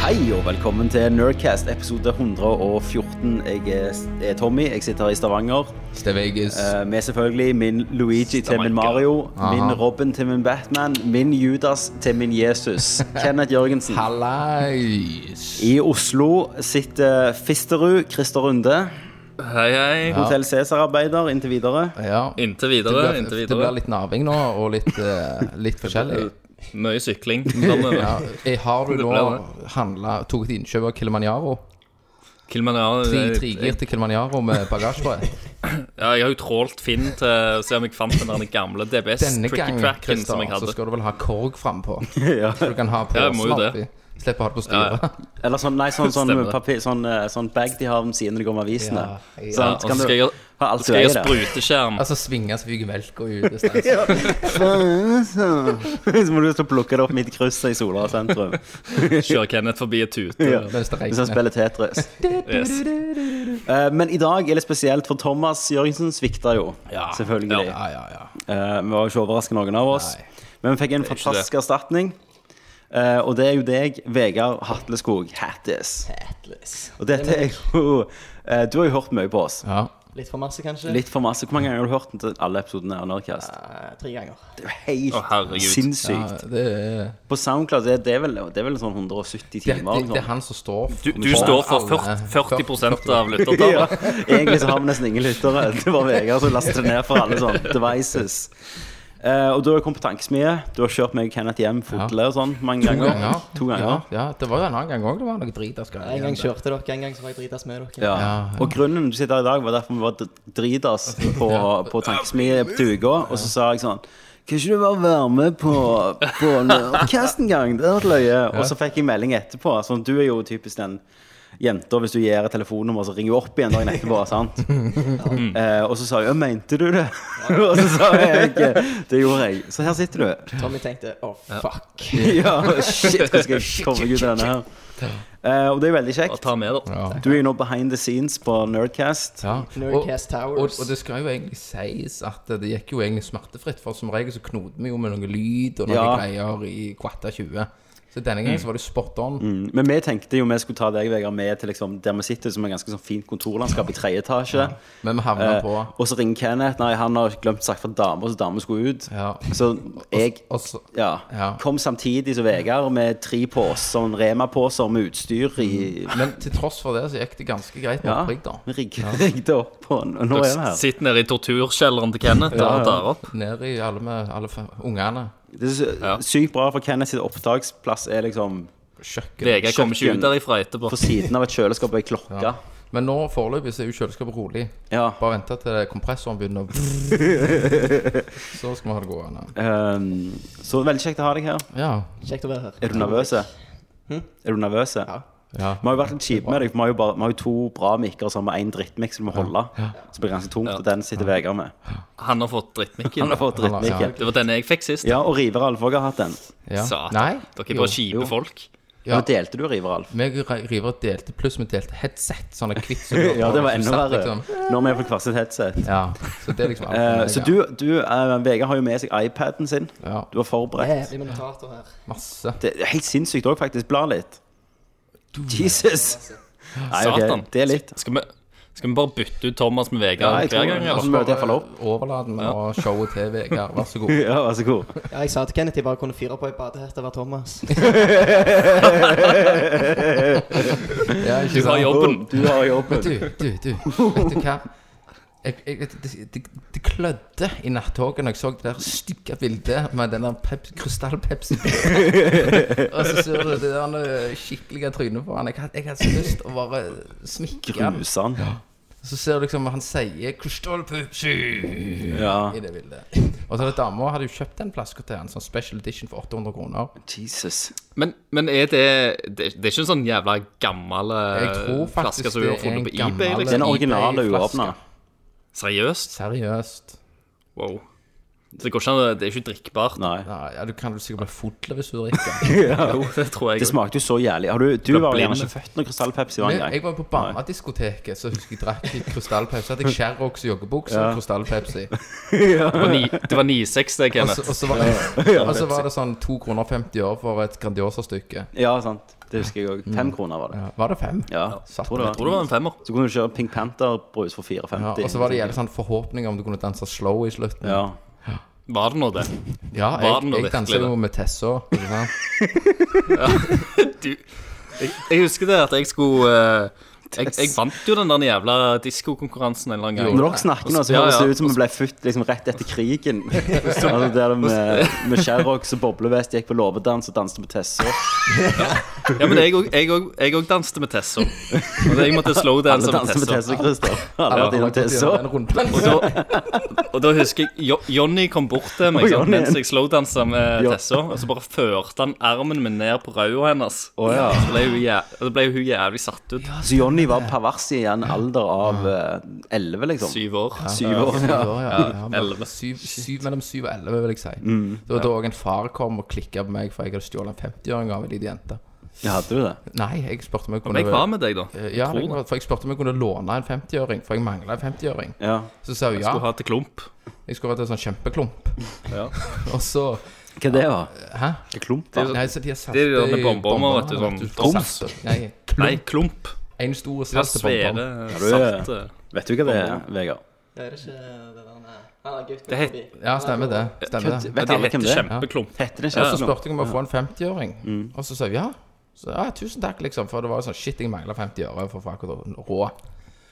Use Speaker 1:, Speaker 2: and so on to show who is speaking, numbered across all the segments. Speaker 1: Hei og velkommen til Nerdcast episode 114. Jeg er- er Tommy, jeg sitter her i Stavanger.
Speaker 2: Til Vegas.
Speaker 1: Eh, Med selvfølgelig min Luigi til min Mario, min Robin til min Batman, min Judas til min Jesus. Kenneth Jørgensen.
Speaker 2: Hallais!
Speaker 1: I Oslo sitter Fisterud, Christer Runde,
Speaker 3: Hei, hei.
Speaker 1: Hotell Cæsar-arbeider inntil videre.
Speaker 2: Ja.
Speaker 3: Inntil videre.
Speaker 2: Det
Speaker 3: inntil
Speaker 2: blir- Det blir
Speaker 3: videre.
Speaker 2: litt naving nå, og litt, eh, litt forskjellig.
Speaker 3: Mye sykling. framover.
Speaker 2: Ja, eh, har du
Speaker 3: Det
Speaker 2: nå handla Tok et innkjøp av Kilimanjaro?
Speaker 3: Kilimanjaro
Speaker 2: Tre
Speaker 3: det-
Speaker 2: trigir til Kilimanjaro med bagasje på?
Speaker 3: Ja, jeg har jo trålt Finn til å se om jeg fant den der gamle DBS
Speaker 2: Denne
Speaker 3: Tricky
Speaker 2: gangen
Speaker 3: Cracken
Speaker 2: Christer,
Speaker 3: som jeg
Speaker 2: så
Speaker 3: hadde.
Speaker 2: skal du vel ha korg frampå.
Speaker 1: Ja.
Speaker 2: Så du kan ha
Speaker 3: Ja, jeg må jo
Speaker 2: påsen oppi.
Speaker 3: det.
Speaker 2: Slipper å ha det på styret.
Speaker 1: Eller sånn, nei, sånn, sånn,
Speaker 3: Stemmer det.
Speaker 1: papir, sånn, eh, sånn bag de har ved siden når de går med avisene.
Speaker 2: Ja, ja.
Speaker 3: Ja,
Speaker 1: Sånn,
Speaker 3: og
Speaker 1: så
Speaker 3: så
Speaker 1: kan
Speaker 3: skal jeg,
Speaker 1: du ha alt du
Speaker 3: skal jeg
Speaker 1: eier der.
Speaker 3: spruteskjerm.
Speaker 2: Altså svinge svigemelka ut i stedet.
Speaker 1: Så må du stå og plukke det opp midt i krysset i Sola sentrum.
Speaker 3: Kjøre Kenneth forbi et tute.
Speaker 2: Mens det
Speaker 1: Hvis han
Speaker 2: regner.
Speaker 1: spiller Tetris.
Speaker 3: Yes.
Speaker 1: Eh, men i dag er det spesielt, for Thomas Jørgensen svikta jo.
Speaker 3: Ja.
Speaker 1: Selvfølgelig.
Speaker 2: Ja, ja, ja.
Speaker 1: Eh, vi var jo ikke overraska noen av oss.
Speaker 2: Nei.
Speaker 1: Men vi fikk en
Speaker 3: er ikke
Speaker 1: fantastisk erstatning. Eh, og det er jo deg, Vegard Hatleskog Hattis.
Speaker 4: Atlas.
Speaker 1: Og dette er jo eh, Du har jo hørt mye på oss.
Speaker 2: Ja.
Speaker 4: Litt for masse, kanskje?
Speaker 1: Litt for masse. Hvor mange ganger har du hørt den til alle episodene av Nerdcast?
Speaker 4: Eh, tre ganger.
Speaker 1: Det er jo helt
Speaker 3: Å, herregud.
Speaker 1: sinnssykt.
Speaker 2: Ja, det, er-
Speaker 1: På SoundCloud det, det er vel, det er vel sånn 170
Speaker 2: det,
Speaker 1: timer.
Speaker 2: det, det er
Speaker 1: liksom.
Speaker 2: han som står
Speaker 3: Du, du står for
Speaker 2: alle-
Speaker 3: 40, 40 av
Speaker 1: Ja,
Speaker 3: lyttertallet.
Speaker 1: egentlig så har vi nesten ingen lyttere. Det var Vegard som lastet ned for alle sånne devices. Eh, og du har jo kommet på tankesmie. Du har kjørt meg og Kenneth hjem fotle og sånn mange
Speaker 2: To
Speaker 1: ganger.
Speaker 2: ganger.
Speaker 1: To ganger.
Speaker 2: Ja, ja, det var jo en annen gang òg det var noe drit. jeg skal
Speaker 4: En gang
Speaker 2: igjen.
Speaker 4: kjørte dere, en gang så var jeg dritas med dere.
Speaker 1: Ja. Og grunnen du sitter her i dag, var derfor vi var d- dritas på, på tankesmie til uka. Og så sa jeg sånn kan ikke du bare være med på, på Nerdcast en gang? Det hadde vært løye. Og så fikk jeg melding etterpå. Sånn, du er jo typisk den jenta hvis du gir et telefonnummer, så ringer hun opp igjen dagen etterpå. sant? Eh, og så sa jeg 'ja, mente du det?' og så sa jeg 'det gjorde jeg'. Så her sitter du.
Speaker 4: Tommy tenkte å, fuck.
Speaker 1: ja, shit, hvordan skal jeg komme meg ut av denne her? Eh, og det er veldig
Speaker 3: Og
Speaker 1: kjekt.
Speaker 3: ta med dere.
Speaker 2: Ja.
Speaker 1: Du er jo nå behind the scenes på Nerdcast.
Speaker 2: Ja.
Speaker 4: Nerdcast
Speaker 2: Og, og,
Speaker 4: Towers.
Speaker 2: og det skal jo egentlig sies at det gikk jo egentlig smertefritt, for som regel så knoter vi jo med noe lyd og noen
Speaker 1: Ja.
Speaker 2: greier i kvarta 20. Så denne gangen så var det jo spot on.
Speaker 1: Mm, Men vi tenkte jo vi skulle ta deg, Vegard, med til liksom, der vi sitter, som er ganske sånn fint kontorlandskap i tredje etasje.
Speaker 2: Men vi havna
Speaker 1: Eh,
Speaker 2: på
Speaker 1: og så ringer Kenneth. Nei, han har glemt sagt for damer, så damer skulle ut.
Speaker 2: Ja.
Speaker 1: Så jeg
Speaker 2: og så-
Speaker 1: ja,
Speaker 2: Ja.
Speaker 1: kom samtidig som Vegard med tre poser, sånn Rema-poser med utstyr i
Speaker 2: Men til tross for det så gikk det ganske greit med
Speaker 1: Ja,
Speaker 2: opprigg, Mm. da.
Speaker 1: vi rig- rigget opp, og n- nå er vi her.
Speaker 3: Sitter nede i torturkjelleren til Kenneth
Speaker 1: Ja, ja.
Speaker 3: og tar opp.
Speaker 2: Ned i alle, med, alle f- ungene.
Speaker 1: Det er
Speaker 3: Ja.
Speaker 1: så- sykt bra, for Kenneth sitt opptaksplass er liksom
Speaker 2: Kjøkken.
Speaker 3: Vegard kommer ikke ut derifra etterpå.
Speaker 1: på siden av et kjøleskap og ei klokke. Ja.
Speaker 2: Men nå foreløpig så er jo kjøleskapet rolig. Bare vente til kompressoren begynner å Så skal vi ha det gående.
Speaker 1: ehm, så veldig kjekt å ha deg her.
Speaker 2: Ja.
Speaker 4: Kjekt å være her.
Speaker 1: Er du nervøs? Er du nervøs? Ja.
Speaker 2: ja.
Speaker 1: Vi har jo vært litt kjipe med deg, for vi har jo, bare, vi har jo to bra mikker sammen med én drittmikk som vi må holde. Så blir det ganske tungt, og den sitter Vegard med.
Speaker 3: Han har fått
Speaker 1: Han
Speaker 3: drittmikken.
Speaker 1: har fått
Speaker 2: Han har-
Speaker 1: drittmikken.
Speaker 3: Det var denne jeg fikk sist.
Speaker 1: Ja, og River Alf også har hatt den.
Speaker 2: ja. Nei?
Speaker 3: Satan. Dere er
Speaker 2: Jo,
Speaker 3: bare kjipe folk.
Speaker 2: Ja.
Speaker 1: Nå delte du River Alf.
Speaker 2: Meg og Re- River delte, pluss vi delte headset. Sånne kvitt som du har
Speaker 1: Ja,
Speaker 2: på,
Speaker 1: det var
Speaker 2: som
Speaker 1: enda
Speaker 2: satt
Speaker 1: verre.
Speaker 2: liksom-
Speaker 1: Når vi er på hvert sitt headset.
Speaker 2: Ja, så det er liksom alt
Speaker 1: Eh,
Speaker 2: for meg,
Speaker 1: så
Speaker 2: ja.
Speaker 1: du, du eh, Vegard har jo med seg iPaden sin.
Speaker 2: Ja,
Speaker 1: Du har forberedt.
Speaker 4: Jævlig med notater her.
Speaker 2: masse.
Speaker 1: Det er helt sinnssykt òg, faktisk. Bla litt. Jesus! Nei, ok,
Speaker 3: Satan.
Speaker 1: Det er litt.
Speaker 3: Skal vi, skal vi bare bytte ut Thomas med
Speaker 1: Ja,
Speaker 3: Vegard
Speaker 1: jeg
Speaker 3: hver
Speaker 1: tror
Speaker 3: gang?
Speaker 1: altså,
Speaker 3: Eller?
Speaker 1: møter jeg faller opp.
Speaker 2: Overlaten og showet til Vegard, vær så god.
Speaker 1: Ja, vær så god.
Speaker 4: Ja, jeg sa til Kenneth jeg bare kunne fyre på ei badehette og være Thomas.
Speaker 2: Ja, ikke
Speaker 3: Du har
Speaker 2: sant?
Speaker 3: jobben.
Speaker 1: Du har jobben.
Speaker 2: Du, du, du, vet du hva? Jeg, jeg, det, det, det klødde i nattoget når jeg så det der stygge bildet med den der pep, krystall-Pepsi. og så ser du det der eh, skikkelige trynet på han. Jeg, had- jeg hadde så lyst å bare smikke han.
Speaker 1: Gruser han.
Speaker 2: Så ser du liksom han sier 'Krystall-Pepsi'
Speaker 1: Ja.
Speaker 2: i det bildet. Og så hadde dama hadde jo kjøpt en flaske til han, sånn special edition for 800 kroner.
Speaker 1: Jesus.
Speaker 3: Men, men er det, det Det er ikke en sånn jævla gammel eh,
Speaker 2: Jeg tror faktisk
Speaker 3: flaske som hun har
Speaker 2: det er
Speaker 3: funnet på
Speaker 2: en gammel- eh.
Speaker 3: eBay? Liksom.
Speaker 1: Den originale
Speaker 2: eBay-flaske.
Speaker 1: uåpna.
Speaker 3: Seriøst?
Speaker 2: Seriøst.
Speaker 3: Wow. Så det går ikke an, å- det er ikke drikkbart.
Speaker 1: Nei.
Speaker 2: Nei, ja, du kan vel sikkert bli fodler hvis du drikker.
Speaker 3: Jo, det tror jeg.
Speaker 1: Det smakte jo så jævlig. Har du, du var vel gjerne
Speaker 3: blind.
Speaker 1: ikke født når krystallpepsi var
Speaker 2: Men
Speaker 1: engang?
Speaker 2: jeg var på barnediskoteket, så husker jeg drakk i krystallpepsi. Så hadde jeg Sherrox joggebukse og krystallpepsi.
Speaker 3: Det var ni- Det var 9,6
Speaker 2: Og
Speaker 3: det,
Speaker 2: så-
Speaker 3: Kenneth.
Speaker 2: og så var, og så var det sånn 2 kroner 50 år for et Grandiosa-stykke.
Speaker 1: Ja, sant. Det husker jeg òg. Fem kroner var det.
Speaker 2: Var det fem?
Speaker 1: Ja,
Speaker 2: satt
Speaker 1: tror det
Speaker 3: Jeg
Speaker 1: var.
Speaker 3: tror det var en femmer.
Speaker 1: Så kunne du kjøre Pink Panther-brus for 4,50.
Speaker 2: Ja, og så var det jævlig sånn forhåpninger om du kunne danse slow i slutten.
Speaker 1: Ja.
Speaker 3: Var det nå det?
Speaker 2: Ja,
Speaker 3: Var den
Speaker 2: jeg,
Speaker 3: det
Speaker 2: jeg danser
Speaker 3: virkelig,
Speaker 2: jo
Speaker 3: da?
Speaker 2: med Tessa. ikke sant?
Speaker 3: Du, jeg, jeg husker det at jeg skulle eh, jeg, jeg vant jo den der jævla diskokonkurransen en eller annen gang.
Speaker 1: Når dere snakker nå, så
Speaker 3: Ja,
Speaker 1: høres
Speaker 3: ja.
Speaker 1: det ut som vi ble født liksom, rett etter krigen. altså, der det med, med Sherrox og boblevest gikk på låvedans og danset på Tessor.
Speaker 3: Ja, men jeg òg- jeg òg- jeg òg danset med Tesso. Og det- jeg måtte slowdanse
Speaker 1: Alle
Speaker 3: med
Speaker 1: danser på Tessor,
Speaker 3: Tesso.
Speaker 1: Christer. Alle har vært innom Tessor.
Speaker 2: Den runden.
Speaker 3: Og da, og da husker jeg jo, Johnny kom bort til
Speaker 1: Å,
Speaker 3: meg sant,
Speaker 1: Johnny.
Speaker 3: mens jeg slowdansa med
Speaker 1: Ja.
Speaker 3: Tesso, og så bare førte han armen min ned på rauda hennes.
Speaker 1: Å, ja.
Speaker 3: Så ble hun, jæ og da ble hun jævlig satt ut.
Speaker 1: Så Johnny var pervers i en alder av eh, 11, liksom.
Speaker 3: Syv år.
Speaker 1: Syv år.
Speaker 2: Ja, ja, ja, men
Speaker 3: Elleve.
Speaker 2: syv, syv, mellom syv og elleve, vil jeg si. Det var da òg en far kom og klikka på meg, for jeg hadde stjålet en 50-åring av ei lita jente.
Speaker 1: Ja, hadde du det?
Speaker 2: Nei, jeg spurte om jeg
Speaker 3: Men
Speaker 2: kunne
Speaker 3: jeg var med deg, da.
Speaker 2: ja, jeg var- for jeg spurte om jeg kunne låne en 50-øring, for jeg mangla en 50-øring.
Speaker 1: Ja.
Speaker 2: Så sa hun ja.
Speaker 3: Skulle ha til klump.
Speaker 2: Jeg skulle hatt en sånn kjempeklump.
Speaker 3: Ja.
Speaker 2: Og så
Speaker 1: Hva det var?
Speaker 2: Hæ?
Speaker 1: Hva klump var?
Speaker 2: Nei, så de har salte
Speaker 3: Det er de der
Speaker 2: i
Speaker 3: bomberne,
Speaker 2: bomberne,
Speaker 3: vet du, sånn
Speaker 2: for
Speaker 3: troms.
Speaker 2: salte. Nei,
Speaker 3: Nei,
Speaker 2: klump.
Speaker 3: klump.
Speaker 2: En stor
Speaker 3: Det var
Speaker 2: salte
Speaker 3: svære,
Speaker 2: bomber.
Speaker 1: du er-
Speaker 3: salte
Speaker 1: Vet du hva det er, Vegard?
Speaker 4: Det er ikke det der nei. Han er gutt
Speaker 3: Det
Speaker 4: med
Speaker 3: het-
Speaker 4: forbi.
Speaker 2: Ja, stemmer det. Stemmer det.
Speaker 3: eh,
Speaker 1: Vet
Speaker 3: Ja, de
Speaker 1: alle hvem
Speaker 3: heter
Speaker 1: det er?
Speaker 3: kjempeklump.
Speaker 1: Heter det
Speaker 2: Og så
Speaker 1: kjempeklump?
Speaker 2: spurte jeg om å få en 50-øring,
Speaker 3: Mm.
Speaker 2: og så sa hun ja. Så ja, tusen takk, liksom, for det var jo sånn shit, jeg mangla 50 øre for å få akkurat rå.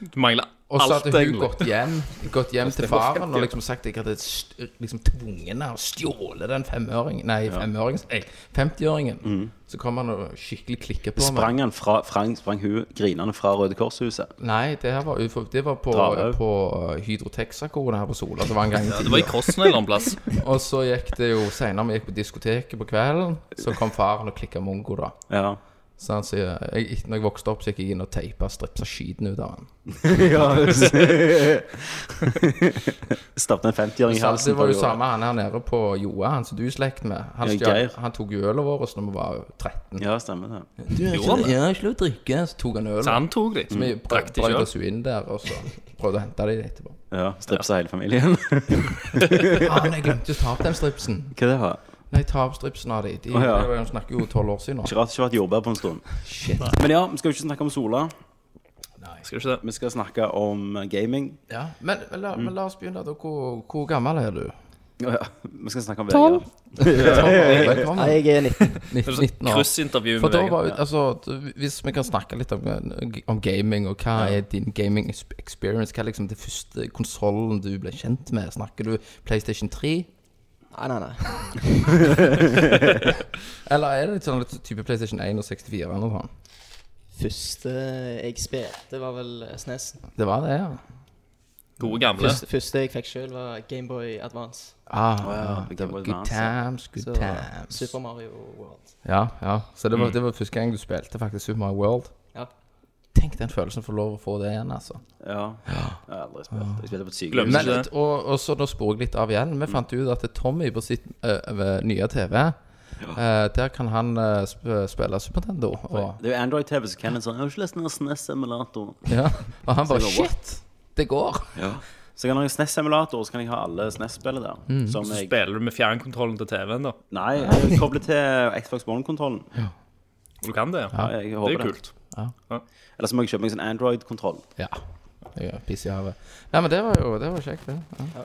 Speaker 3: Du mangler
Speaker 2: Og så
Speaker 3: alt,
Speaker 2: hadde hun
Speaker 3: egentlig.
Speaker 2: gått hjem, gått hjem til
Speaker 3: var
Speaker 2: faren og liksom sagt at jeg hadde st- liksom tvunget henne å stjåle den femøringen Nei, femøringen Nei, 50-øringen.
Speaker 3: Mm.
Speaker 2: Så kom han og skikkelig klikket på meg.
Speaker 1: Sprang han fra, frang, sprang hun grinende fra Røde Kors-huset?
Speaker 2: Nei, det her var, ufor- det var på,
Speaker 1: Drarhaug.
Speaker 2: på uh, Hydro Texaco-en her på Sola. Det var en gang i
Speaker 3: Det var i
Speaker 2: tida.
Speaker 3: Crossen en eller annen plass.
Speaker 2: Og så gikk det jo seinere, vi gikk på diskoteket på kvelden, så kom faren og klikka mongo, da.
Speaker 1: Ja.
Speaker 2: Så han sier jeg, Når jeg vokste opp, så gikk jeg inn og teipa stripsa skiten ut av han. Stappet
Speaker 1: en 50-åring i
Speaker 2: Så
Speaker 1: halsen.
Speaker 2: det var jo
Speaker 1: på jorda.
Speaker 2: samme han her nede på Joa, han som du er i slekt med. Han,
Speaker 1: Ja,
Speaker 2: stjal,
Speaker 1: Geir.
Speaker 2: han tok jo ølet vårt da vi var 13.
Speaker 1: Ja, stemmer det.
Speaker 2: Du, jeg,
Speaker 3: Gjorde han det?
Speaker 2: ja, jeg slutt å drikke. Så tok han ølet.
Speaker 3: Så han tok de.
Speaker 2: Vi
Speaker 3: Drakk de
Speaker 2: brøyta
Speaker 3: sjøl.
Speaker 2: oss jo inn der, og så prøvde å hente de etterpå.
Speaker 1: Ja, Stripsa hele familien.
Speaker 2: Faen, jeg glemte å ta opp den stripsen.
Speaker 1: Hva det var?
Speaker 2: Nei, ta opp stripsen av de. De
Speaker 1: Å, ja.
Speaker 2: det var jo- snakker jo tolv år siden nå.
Speaker 1: Ikke rart det ikke har vært jordbær på en stund.
Speaker 2: Shit.
Speaker 1: Men ja, vi skal jo ikke snakke om Sola.
Speaker 3: Skal ikke det.
Speaker 1: Vi skal snakke om eh, gaming.
Speaker 2: Ja. Men, men, la, men la oss begynne, da. Hvor, hvor gammel er du?
Speaker 1: Ja, ja. Vi skal snakke om Vegard.
Speaker 4: Nei,
Speaker 2: Velkommen.
Speaker 4: jeg er 19.
Speaker 2: 19, 19 år.
Speaker 3: sånn Kryssintervju
Speaker 2: For
Speaker 3: med
Speaker 2: da
Speaker 3: Vegard.
Speaker 2: var jo, altså, d- Hvis vi kan snakke litt om, eh, om gaming, og hva er din gaming ex- experience? Hva er liksom det første konsollen du ble kjent med? Snakker du PlayStation 3?
Speaker 4: Nei, nei, nei.
Speaker 2: Eller er det litt sånn litt type PlayStation 1 og 64 eller noe sånt?
Speaker 4: Første jeg spilte, var vel eh, SNES.
Speaker 2: Det var det, ja.
Speaker 3: Gode gamle.
Speaker 4: E Første, første jeg fikk sjøl, var Gameboy Advance.
Speaker 2: Ah,
Speaker 1: Å ja,
Speaker 2: ja,
Speaker 1: Game
Speaker 2: det var
Speaker 1: Boy
Speaker 2: good
Speaker 1: Advance, ja.
Speaker 2: times, good
Speaker 4: Så
Speaker 2: times.
Speaker 4: Super Mario World.
Speaker 2: Ja, ja. Så
Speaker 1: Mm.
Speaker 2: det var, det var første gang du spilte faktisk Super Mario World.
Speaker 4: Ja.
Speaker 2: Tenk den følelsen for å få lov å få det igjen, altså.
Speaker 1: Ja. Jeg har aldri spilt. Jeg spilte på et
Speaker 3: Glemmer
Speaker 1: sykehus.
Speaker 2: Men,
Speaker 3: ikke det.
Speaker 2: og, og så da spor jeg litt av igjen. Vi fant ut at Tommy på sitt eh, ved nye TV eh, Der kan han eh, sp spille Super Nintendo. Og,
Speaker 1: Det er jo Android-TV, så Kenneth sa Jeg har ikke lest noen E SNES-emulator.
Speaker 2: ja. og han bare
Speaker 1: Så det går bra.
Speaker 2: Shit, det går!
Speaker 1: Så kan jeg ha SNES-emulator, så kan jeg ha alle SNES-spillene der. Som jeg
Speaker 3: Spiller du med fjernkontrollen til TV-en, da?
Speaker 1: Nei, jeg kobler til Xbox One-kontrollen.
Speaker 3: Du kan det, ja.
Speaker 1: Ja, jeg
Speaker 3: Det er
Speaker 1: håper
Speaker 3: jo
Speaker 1: det.
Speaker 3: kult.
Speaker 1: Eller så må jeg kjøpe meg en sånn Android-kontroll.
Speaker 2: Ja. Jeg er Piss i havet. Nei, men det var jo det var kjekt, det. Ja.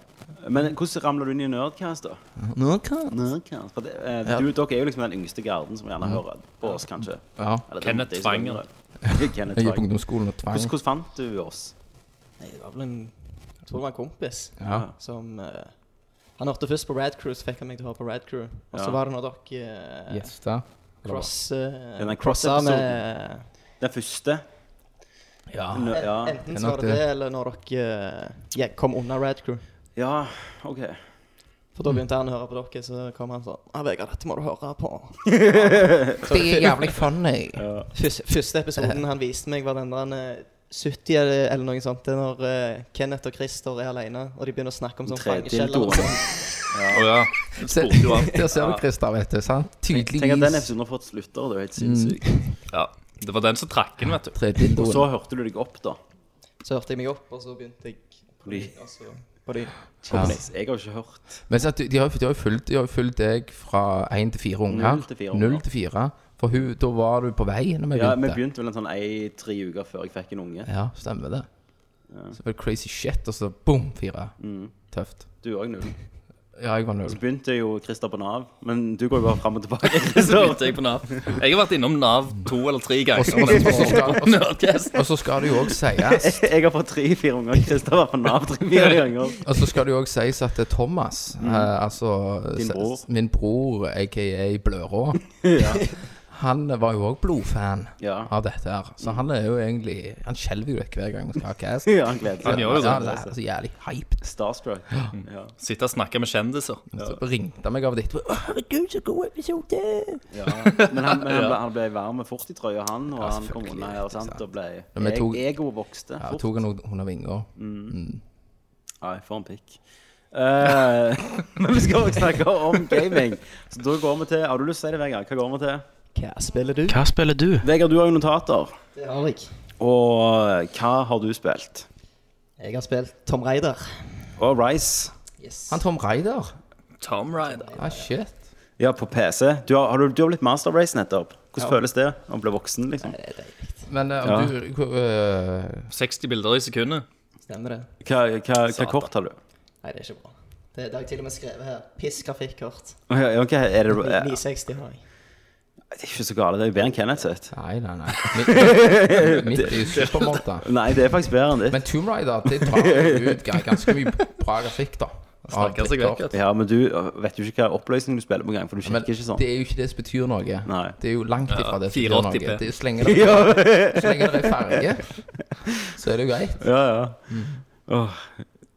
Speaker 1: Men hvordan ramler du inn i Nerdcast, da?
Speaker 2: Nå kan
Speaker 1: Nerdcast? For det, eh, du, Dere er jo liksom den yngste garden som gjerne hører på oss, kanskje.
Speaker 2: Ja.
Speaker 1: Eller, det-
Speaker 3: Kenneth
Speaker 1: det er jo
Speaker 3: Tvanger.
Speaker 1: sånn det er. Kenneth
Speaker 2: Jeg gikk på
Speaker 1: Tvanger.
Speaker 2: ungdomsskolen og tvang.
Speaker 1: Hvordan, hvordan fant du oss?
Speaker 4: Nei, det var vel en Jeg tror det var en kompis
Speaker 2: Ja.
Speaker 4: som eh, Han hørte først på Rad Crew, så fikk han meg til å høre på Rad Crew. Og så
Speaker 1: Ja.
Speaker 4: var det når dere eh,
Speaker 2: Yes, da.
Speaker 4: cross, eh,
Speaker 1: Den der
Speaker 4: crossa
Speaker 1: cross-episoden.
Speaker 4: med
Speaker 1: Den første?
Speaker 2: Ja.
Speaker 1: Nø- ja.
Speaker 2: Det
Speaker 4: Enten
Speaker 2: er
Speaker 4: så
Speaker 2: nok
Speaker 4: var det
Speaker 2: det.
Speaker 4: det, eller når dere eh, ja, kom unna Rad Crew.
Speaker 1: ja, OK.
Speaker 4: For da begynte han å høre på dere, så kom han sånn Ja, Vegard, dette må du høre på.
Speaker 2: Det er jævlig funny.
Speaker 4: Første, første episoden han viste meg, var den der eh, 70 eller eh, eller noe sånt. Det er når eh, Kenneth og Christer er alene, og de begynner å snakke om sånn
Speaker 1: Tredje
Speaker 4: fangekjeller. og
Speaker 1: dildoen.
Speaker 4: sånn.
Speaker 3: Å ja. Den spurte jo han.
Speaker 2: Der ser du, Christer, vet du. sant?
Speaker 1: Tenk at den
Speaker 2: Tydeligvis.
Speaker 1: episoden har fått slutter, det er jo helt sinnssykt.
Speaker 3: Ja. Det var den som trakk den, vet du.
Speaker 2: Tre dildoer.
Speaker 1: Så hørte du deg opp, da.
Speaker 4: Så hørte jeg meg opp, og så begynte jeg på ny. og så På ny.
Speaker 2: Ja.
Speaker 1: Jeg har jo ikke hørt
Speaker 2: Men så at de, de har jo- de har jo fulgt, de har jo fulgt deg fra én til fire unger.
Speaker 1: Null til fire
Speaker 2: Null
Speaker 1: unger.
Speaker 2: til fire. For hun, da var du på vei når vi
Speaker 1: Ja, Vi
Speaker 2: begynte.
Speaker 1: begynte vel en sånn ei-tre uker før jeg fikk en unge.
Speaker 2: Ja, stemmer det. Så var det crazy shit, og så boom, fire.
Speaker 1: Mm.
Speaker 2: Tøft.
Speaker 1: Du òg null.
Speaker 2: Ja, jeg var null.
Speaker 1: Så begynte jo Christer på Nav, men du går jo bare fram og tilbake.
Speaker 3: Så
Speaker 1: Christer.
Speaker 3: begynte jeg på Nav. Jeg har vært innom Nav to eller tre
Speaker 2: Og
Speaker 3: ganger.
Speaker 2: så- og så skal- og så-
Speaker 3: Nerdcast.
Speaker 2: Og så skal det jo òg sies
Speaker 1: Jeg har fått tre-fire unger. Christer var på Nav tre-fire ganger.
Speaker 2: Og så skal det jo også sies at det er Thomas, eh, altså
Speaker 1: Mm. Din
Speaker 2: s-
Speaker 1: bror.
Speaker 2: min bror, aka Blørå, han var jo òg blodfan
Speaker 1: Ja. Mm.
Speaker 2: av dette her. Så han er jo egentlig Han skjelver jo litt hver gang vi skal ha cast.
Speaker 1: Ja, han gleder
Speaker 3: Han
Speaker 1: seg.
Speaker 3: gjør jo
Speaker 2: Ja,
Speaker 3: det.
Speaker 2: han er så jævlig hyped.
Speaker 1: Starstruck. Ja.
Speaker 3: Sitte og snakke med kjendiser.
Speaker 2: Så ringte han meg av og til. «Å, 'Herregud, så god episode!'
Speaker 1: Ja. Men han, men han, ble, han ble varm med fort i trøya, han, og han kom
Speaker 2: selvfølgelig,
Speaker 1: unna
Speaker 2: det er
Speaker 1: her, sant, og ble
Speaker 2: Men vi tok-
Speaker 1: e- Egoet vokste
Speaker 2: Ja,
Speaker 1: fort.
Speaker 2: tok han noe under vinger.
Speaker 1: Nei, for en pikk. Eh, men vi skal også snakke om gaming. Så da går vi til Har du lyst til å si det, Vegard? Hva går vi til?
Speaker 4: Hva spiller du?
Speaker 5: Hva spiller du?
Speaker 1: Vegard, du har jo notater.
Speaker 4: Det har jeg.
Speaker 1: Og eh, hva har du spilt?
Speaker 4: Jeg har spilt Tom Raider.
Speaker 1: Og Rise.
Speaker 4: Yes.
Speaker 2: Han Tom Ryder.
Speaker 3: Tom Ryder.
Speaker 2: Ah, shit.
Speaker 1: Ja, på PC. Du har, har, du, du har blitt Master Race nettopp. Hvordan
Speaker 4: Ja.
Speaker 1: føles det å bli voksen, liksom?
Speaker 2: Men eh, om
Speaker 1: Ja.
Speaker 2: du hvor, eh,
Speaker 3: 60 bilder i sekundet.
Speaker 4: Stemmer det?
Speaker 1: Hva, hva, hva kort har du?
Speaker 4: Nei, det er ikke bra. Det, det har jeg til og med skrevet her. Piss grafikkort.
Speaker 1: Ok, ok, er det, eh,
Speaker 4: 960 har jeg.
Speaker 1: det er ikke så galt. Det er jo bedre enn Kenneth sitt.
Speaker 2: Nei, nei, nei. Midt- Midt i supermåte.
Speaker 1: Nei, det er faktisk bedre enn ditt.
Speaker 2: Men Tomb Raider det tar jo ut ga- ganske mye bra grafikk, da. Av
Speaker 3: Snakker seg
Speaker 2: klikker.
Speaker 3: vekk. vet du.
Speaker 1: Ja, men du øh, vet jo ikke hva oppløsning du spiller på gang, for du
Speaker 2: Men
Speaker 1: kikker ikke sånn.
Speaker 2: det er jo ikke det som betyr noe.
Speaker 1: Nei.
Speaker 2: Det er jo langt ifra det som betyr
Speaker 3: 480p.
Speaker 2: noe. Det er, så, lenge det, er- så lenge det er farge, så er det jo greit.
Speaker 1: Ja, ja. Åh.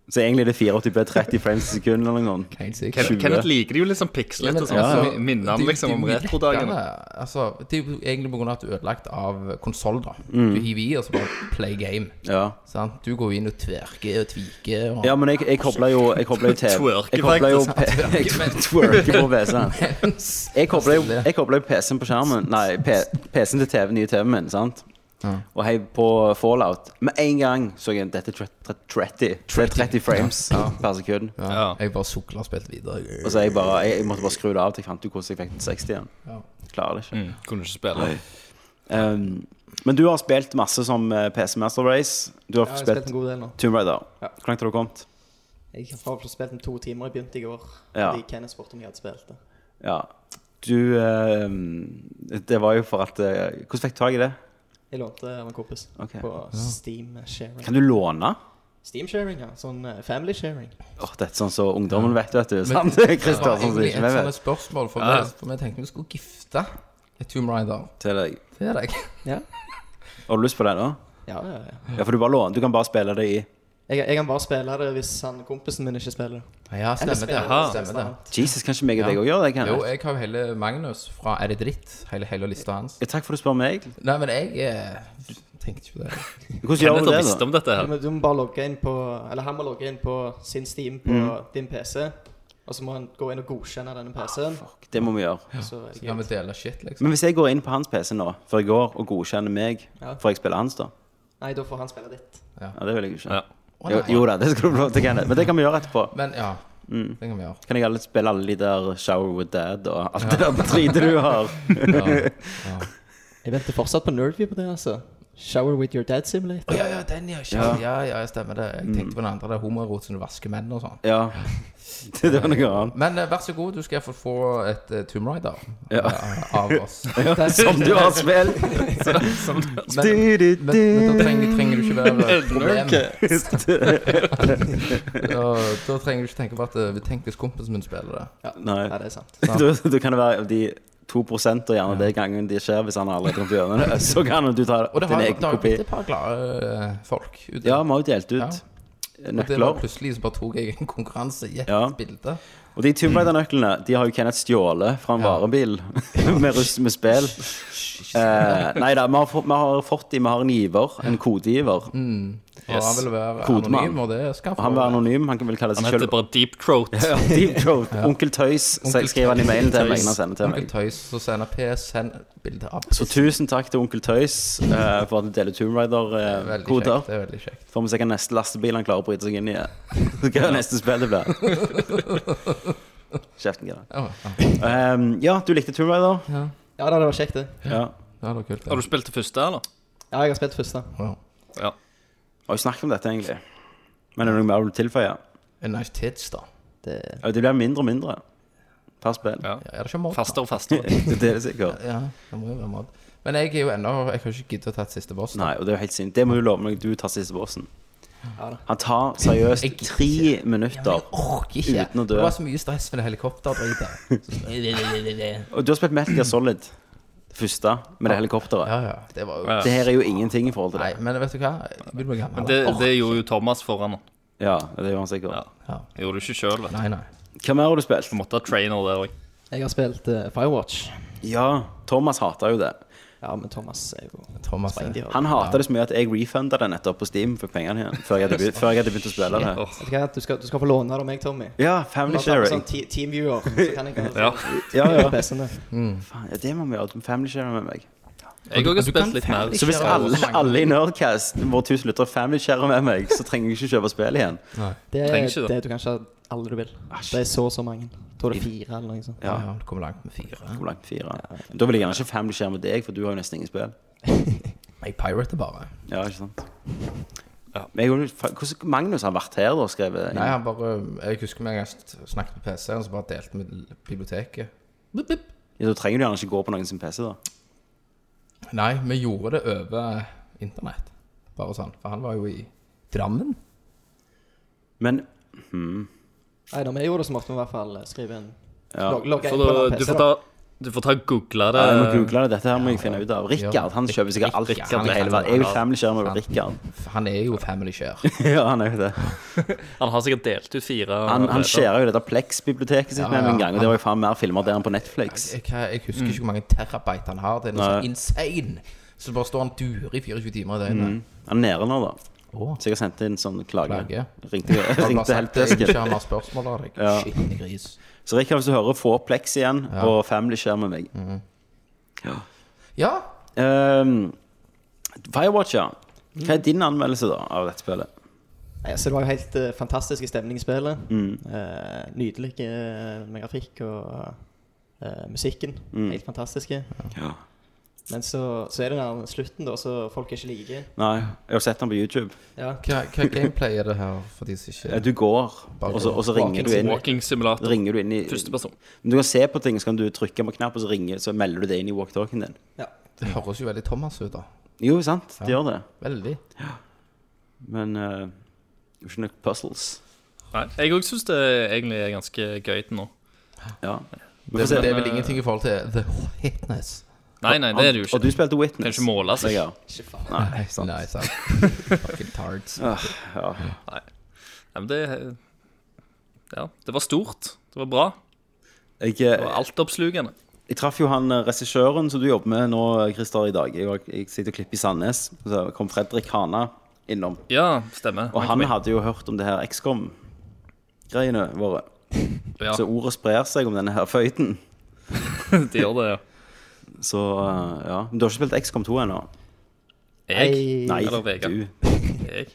Speaker 1: Så egentlig er det 84 30 frames i sekundet eller noe. sånt.
Speaker 2: Helt sikkert.
Speaker 1: Tjue.
Speaker 3: Ken- Kenneth liker det jo litt sånn pikslete og sånn.
Speaker 1: Ja,
Speaker 3: så
Speaker 1: ja.
Speaker 3: mi- Minner han
Speaker 2: Det er jo-
Speaker 3: liksom
Speaker 2: det er
Speaker 3: om
Speaker 2: jo mye
Speaker 3: retrodagene.
Speaker 2: lettere. Altså, det er jo egentlig på grunn av at du er ødelagt av konsoll, da. Du hiver i, og så bare play game.
Speaker 1: Ja.
Speaker 2: Sant? Du går jo inn og tverker og tviker. Og...
Speaker 1: ja, men jeg, jeg kobler jo Jeg kobler jo TV.
Speaker 3: Twerker
Speaker 1: Jeg kobler jo
Speaker 2: faktisk.
Speaker 1: P- jeg twerker på PC-en.
Speaker 2: Mens-
Speaker 1: Jeg kobler jo,
Speaker 2: Det-
Speaker 1: jeg kobler jo PC-en på skjermen Nei, P PC-en til TV, nye TV-en min, sant?
Speaker 2: Ja.
Speaker 1: Og hei på Fallout Med en gang så jeg dette er tre- tre- 30 Det er 30 frames per sekund
Speaker 2: Ja. Jeg bare sukler og spilte videre.
Speaker 1: Og så jeg bare, jeg, jeg måtte bare skru det av til jeg fant ut hvordan jeg fikk den til 60 igjen
Speaker 2: Ja.
Speaker 1: Klarer det ikke
Speaker 3: Mm, kunne ikke spille.
Speaker 1: Ehm, Men du har spilt masse som eh, PC Master Race Du har
Speaker 4: Ja, jeg har spilt
Speaker 1: spilt
Speaker 4: en god del nå.
Speaker 1: Tomb Raider
Speaker 4: Ja.
Speaker 1: Hvor langt har du kommet?
Speaker 4: Jeg har forhåpentlig spilt den to timer. Jeg begynte i går.
Speaker 1: Ja.
Speaker 4: Fordi Kenneth spurte om jeg hadde spilt det.
Speaker 1: Ja Du, ehm, det var jo for at eh, Hvordan fikk du tag i det?
Speaker 4: Jeg lånte av en kompis
Speaker 1: Ok.
Speaker 4: på Steam Sharing.
Speaker 1: Kan du låne?
Speaker 4: Steam Sharing, ja. Sånn eh, family sharing.
Speaker 1: Åh, det er sånn så ungdommen vet, vet du
Speaker 2: Men-
Speaker 1: Sant, Kristian,
Speaker 2: Det
Speaker 1: sånn
Speaker 2: var
Speaker 1: som
Speaker 2: egentlig
Speaker 1: ikke vi
Speaker 2: et
Speaker 1: vet
Speaker 2: sånt spørsmål, for,
Speaker 3: Ja.
Speaker 2: vi, for vi tenkte vi skulle gifte et Tomb Raider
Speaker 1: til deg.
Speaker 2: til deg.
Speaker 4: Ja,
Speaker 1: Har du lyst på det, da?
Speaker 4: ja, ja. ja.
Speaker 1: Ja, for du bare låner. Du kan bare spille det i
Speaker 4: Jeg, jeg kan bare spille det hvis han, kompisen min ikke spiller.
Speaker 2: Ja, stemmer det.
Speaker 3: Jaha.
Speaker 2: Stemmer det.
Speaker 1: Jesus, kanskje meg og deg òg gjør det? Kan
Speaker 2: Jo,
Speaker 1: jeg?
Speaker 2: jeg har jo hele Magnus fra Er det dritt? Hele, hele lista hans.
Speaker 1: Ja, takk for at du spør meg.
Speaker 2: Nei, men jeg eh, tenkte ikke på det.
Speaker 1: Hvordan gjør
Speaker 3: Kenneth
Speaker 1: du
Speaker 3: har
Speaker 1: det,
Speaker 3: visst
Speaker 1: da?
Speaker 3: om dette
Speaker 4: Du
Speaker 3: her.
Speaker 4: må, du må bare logge inn på Eller han må logge inn på sin Steam på din PC. Og så må han gå inn og godkjenne denne PC-en.
Speaker 1: Fuck, Det må vi gjøre.
Speaker 4: Så er det
Speaker 2: Kan
Speaker 4: greit.
Speaker 2: vi dele shit, liksom?
Speaker 1: Men hvis jeg går inn på hans PC nå før jeg går, og godkjenner meg,
Speaker 4: Ja.
Speaker 1: får jeg spille hans, da?
Speaker 4: Nei, da får han spille ditt.
Speaker 1: Ja, Det vil jeg ikke.
Speaker 3: Ja.
Speaker 2: Å,
Speaker 1: Jo,
Speaker 2: nei.
Speaker 1: jo da, det skal du få lov til, Kenneth. Men det kan vi gjøre etterpå.
Speaker 2: Men ja, det kan vi gjøre.
Speaker 1: Kan jeg alle spille alle de der Shower with Dad og alt det der dritet du har?
Speaker 2: Ja.
Speaker 4: Jeg venter fortsatt på Nerdview på det, altså. Shower with your dad simulator.
Speaker 2: Å, ja, ja, den, ja. kjære. Ja, ja, stemmer det. Jeg tenkte på den andre. Det er homorot som du vasker menn og sånn.
Speaker 1: Ja. Det det var noe annet.
Speaker 2: Men eh, vær så god, du skal få få et eh, Tomb Raider
Speaker 1: Ja.
Speaker 2: eh, av oss.
Speaker 1: Som du har spilt!
Speaker 2: Men, men, men da trenger, trenger du ikke være problem. Da, da trenger du ikke tenke på at eh, Tenk hvis kompisen min spiller det.
Speaker 1: Nei.
Speaker 4: Ja, det er sant.
Speaker 1: Da, da kan det være de 2 og gjerne det gangen de skjer, hvis han allerede har gjøre det. Så kan du ta
Speaker 2: Og det
Speaker 1: din
Speaker 2: har
Speaker 1: egen
Speaker 2: det har jo
Speaker 1: kopi.
Speaker 2: blitt et par glade eh, folk ute.
Speaker 1: Ja, vi har jo delt ut
Speaker 2: Og det var
Speaker 1: nøkler.
Speaker 2: plutselig så bare tok jeg en konkurranse i ett
Speaker 1: Ja.
Speaker 2: bilde.
Speaker 1: Og de Tomb Raider-nøklene de har jo Kenneth stjålet fra en varebil med, russ, med spill. Eh, nei da, vi har, fått, vi har fått de, vi har en giver, en kodegiver.
Speaker 2: Mm. Og han vil være
Speaker 1: Kodemann.
Speaker 2: anonym, og det skal han få.
Speaker 1: Han vil være anonym, han kan vel kalle
Speaker 3: Han
Speaker 1: seg
Speaker 3: heter
Speaker 1: selv
Speaker 3: bare Deep Throat.
Speaker 1: Deep Throat. Onkel Tøys
Speaker 2: Onkel
Speaker 1: skriver han i mailen til meg
Speaker 3: Tøys.
Speaker 1: når han sender til
Speaker 2: Onkel
Speaker 1: meg.
Speaker 2: Tøys, så sender PS send bilde av
Speaker 1: Så tusen takk til Onkel Tøys eh, for at du deler Tomb eh,
Speaker 2: Veldig
Speaker 1: Rider-koder.
Speaker 2: kjekt. Det er veldig kjekt.
Speaker 1: Får vi se hva neste lastebil han klarer å bryte seg inn i. er. Så hva neste spill det blir. Kjeften, Gira.
Speaker 2: Ja, ja.
Speaker 1: Um, ja, du likte Tomb Raider.
Speaker 4: Ja, da, det var kjekt, det.
Speaker 1: Ja.
Speaker 2: det var kult.
Speaker 3: Har
Speaker 2: Ja.
Speaker 3: du spilt det første, eller?
Speaker 4: Ja, jeg har spilt først, da.
Speaker 2: Wow.
Speaker 3: Ja.
Speaker 1: Vi har jo snakket om dette, egentlig. Men er det noe mer du vil tilføye?
Speaker 2: En nice tits, da. Det
Speaker 1: Ja, Det blir mindre og mindre per spill.
Speaker 3: ja.
Speaker 2: ja, er det ikke mod. da?
Speaker 3: Fastere og fastere.
Speaker 1: Det er det sikkert.
Speaker 2: Ja, det må jo være mod. Men jeg er jo ennå Jeg har ikke giddet å ta et siste boss.
Speaker 1: Nei, og det er jo helt synd. Det må du love meg. Du tar siste bossen.
Speaker 4: Ja da.
Speaker 1: Han tar seriøst
Speaker 2: Jeg-
Speaker 1: tre minutter.
Speaker 2: Orker ikke.
Speaker 1: Uten å dø.
Speaker 2: Det var så mye stress med det helikopterdritet.
Speaker 1: Og du har spilt Metal Gear Solid, det første, med det helikopteret.
Speaker 2: Ja, ja. Det var jo
Speaker 3: Ja.
Speaker 1: Det her er jo ingenting i forhold til
Speaker 2: Nei,
Speaker 1: det.
Speaker 2: men vet du hva? Jeg Vil bli gammel.
Speaker 3: Det,
Speaker 2: Orker
Speaker 3: det gjorde jo Thomas foran han.
Speaker 1: Ja, det gjør han sikkert.
Speaker 3: Ja.
Speaker 2: Ja.
Speaker 3: Gjorde du ikke sjøl?
Speaker 2: Nei, nei.
Speaker 1: Hva mer har du spilt?
Speaker 3: Du måtte ha trainer der òg.
Speaker 4: Jeg har spilt eh, Firewatch.
Speaker 1: Ja, Thomas hater jo det.
Speaker 4: Ja, men Thomas er jo
Speaker 2: Thomas eh, er-
Speaker 4: Spengdier.
Speaker 1: Han hater det så mye at jeg refunda det nettopp på Steam for pengene igjen. Før jeg hadde begynt, før jeg hadde begynt å spille det.
Speaker 4: Vet du hva, du skal, du skal få låne det av meg, Tommy.
Speaker 1: Ja,
Speaker 4: Nå
Speaker 1: family
Speaker 4: tar vi
Speaker 1: sharing.
Speaker 4: sånn te teamviewer, så kan jeg
Speaker 3: Ja.
Speaker 1: Ja, ja.
Speaker 4: PC-ene.
Speaker 1: Faen, ja, det må vi gjøre. Family sharing med meg.
Speaker 3: Jeg har
Speaker 2: Du
Speaker 3: også
Speaker 2: kan
Speaker 3: spilt litt mer.
Speaker 2: ferdig-
Speaker 1: Så hvis
Speaker 2: Share
Speaker 1: alle,
Speaker 2: også mange.
Speaker 1: alle i Nerdcast, våre tusen lyttere, family sharer med meg, så trenger jeg ikke kjøpe spill igjen.
Speaker 4: Det er
Speaker 3: Trenger ikke det.
Speaker 4: det du kan ikke ha alle du vil. Det er så og så mange. Jeg tror det er fire eller noe sånt.
Speaker 1: Ja.
Speaker 2: Ja, du kommer langt med fire.
Speaker 1: Hvor langt fire? Men da vil jeg gjerne ikke family share med deg, for du har jo nesten ingen spill.
Speaker 2: Jeg pirater bare.
Speaker 1: Ja, ikke sant?
Speaker 3: Ja.
Speaker 1: Men jeg, lurer- fa- hvordan Magnus har vært her, da, skrevet
Speaker 2: Nei, han bare Jeg husker vi en gang snakket på PC-en, så bare delte vi biblioteket. Bip, bip.
Speaker 1: Ja, da trenger du gjerne ikke gå på noen sin PC, da.
Speaker 2: Nei, vi gjorde det over internett. Bare sånn. For han var jo i Drammen.
Speaker 1: Men
Speaker 4: Nei, da, vi gjorde det som ofte, i hvert fall eh, skrive en
Speaker 1: ja.
Speaker 4: log- logge
Speaker 3: Så
Speaker 4: inn på en
Speaker 3: da,
Speaker 4: annen
Speaker 3: du
Speaker 4: PC.
Speaker 3: får ta, du får ta google det.
Speaker 1: Ja, jeg må google det. Dette her må jeg finne ut av. Rikard han kjøper sikkert alt i
Speaker 2: Rikard,
Speaker 1: hele verden. Jeg vil family share med Rikard.
Speaker 2: For Han er jo family share.
Speaker 1: Ja, han er jo det.
Speaker 3: Han har sikkert delt ut fire.
Speaker 1: Han, han
Speaker 3: allerede.
Speaker 1: skjærer jo dette Plex-biblioteket sitt
Speaker 2: Ja,
Speaker 1: med
Speaker 2: ja.
Speaker 1: en gang, og det var jo faen mer filmer der enn på Netflix.
Speaker 2: Jeg, jeg, jeg husker ikke hvor mange terabyte han har. Det er noe
Speaker 1: Mm. Nei.
Speaker 2: sånn insane. Så bare står han durer i 24 timer i døgnet.
Speaker 1: Han er nede nå, da.
Speaker 2: Åh.
Speaker 1: Så jeg har sendt inn sånn klage.
Speaker 2: Klage.
Speaker 1: Ringte,
Speaker 2: Han
Speaker 1: ringte
Speaker 2: bare sagt, Jeg vil
Speaker 1: helpdesken.
Speaker 2: ikke ha mer spørsmål av deg.
Speaker 1: Ja.
Speaker 2: Skitne gris.
Speaker 1: Så Rikard, hvis du hører, få Plex igjen, og family share med meg. Ja.
Speaker 2: Ja,
Speaker 1: Ehm, Firewatch, ja. Hva er din anmeldelse da av dette spillet?
Speaker 4: Nei, altså, det var jo helt eh, fantastisk i stemning i spillet. Eh, nydelig eh, med grafikk og eh, musikken. Helt fantastiske.
Speaker 1: Ja.
Speaker 4: Men så, så er det den slutten, da, så folk ikke liker.
Speaker 1: Nei, jeg har sett den på YouTube.
Speaker 4: Ja.
Speaker 2: hva, hva gameplay er det her for de som
Speaker 1: Eh,
Speaker 2: ikke
Speaker 1: Du går, og så, og så ringer du inn.
Speaker 3: Walking simulator.
Speaker 1: Ringer du inn i
Speaker 3: Første person.
Speaker 1: Men Du kan se på ting, så kan du trykke på en knapp, og så, ringer, så melder du det inn i walktalkien din.
Speaker 4: ja.
Speaker 2: Det høres jo veldig Thomas ut, da.
Speaker 1: Jo, sant, det
Speaker 2: Ja.
Speaker 1: gjør det.
Speaker 2: Veldig.
Speaker 1: Men eh, det er ikke nok puzzles.
Speaker 3: Nei, jeg òg syns det egentlig er ganske gøy til nå.
Speaker 1: Ja.
Speaker 2: Det,
Speaker 1: får se.
Speaker 2: Altså, det er vel ingenting i forhold til The Hitness.
Speaker 3: Nei, nei, det er det jo
Speaker 1: Og du
Speaker 3: ikke.
Speaker 1: spilte Witness.
Speaker 3: Kan ikke altså. måle seg.
Speaker 1: Ja.
Speaker 4: Ikke faen.
Speaker 2: Nei, sant. Nei, sant. Fucking tards.
Speaker 1: Ja.
Speaker 3: Nei, men det Ja, det var stort. Det var bra.
Speaker 1: Jeg,
Speaker 3: Det var
Speaker 1: eh,
Speaker 3: altoppslukende.
Speaker 1: jeg traff jo han eh, regissøren som du jobber med nå, eh, Christer, i dag. Jeg, var- jeg sitter og klipper i Sandnes. Så kom Fredrik Hana innom.
Speaker 3: Ja, stemmer.
Speaker 1: Og han
Speaker 3: kom inn.
Speaker 1: hadde jo hørt om det her XCOM-greiene våre.
Speaker 3: ja,
Speaker 1: Så ordet sprer seg om denne her føyten.
Speaker 3: de gjør det, ja.
Speaker 1: Så eh, ja. Men du har ikke spilt XCOM 2 ennå?
Speaker 3: Jeg,
Speaker 1: Nei,
Speaker 3: Eller Vegard.
Speaker 1: du.
Speaker 3: jeg.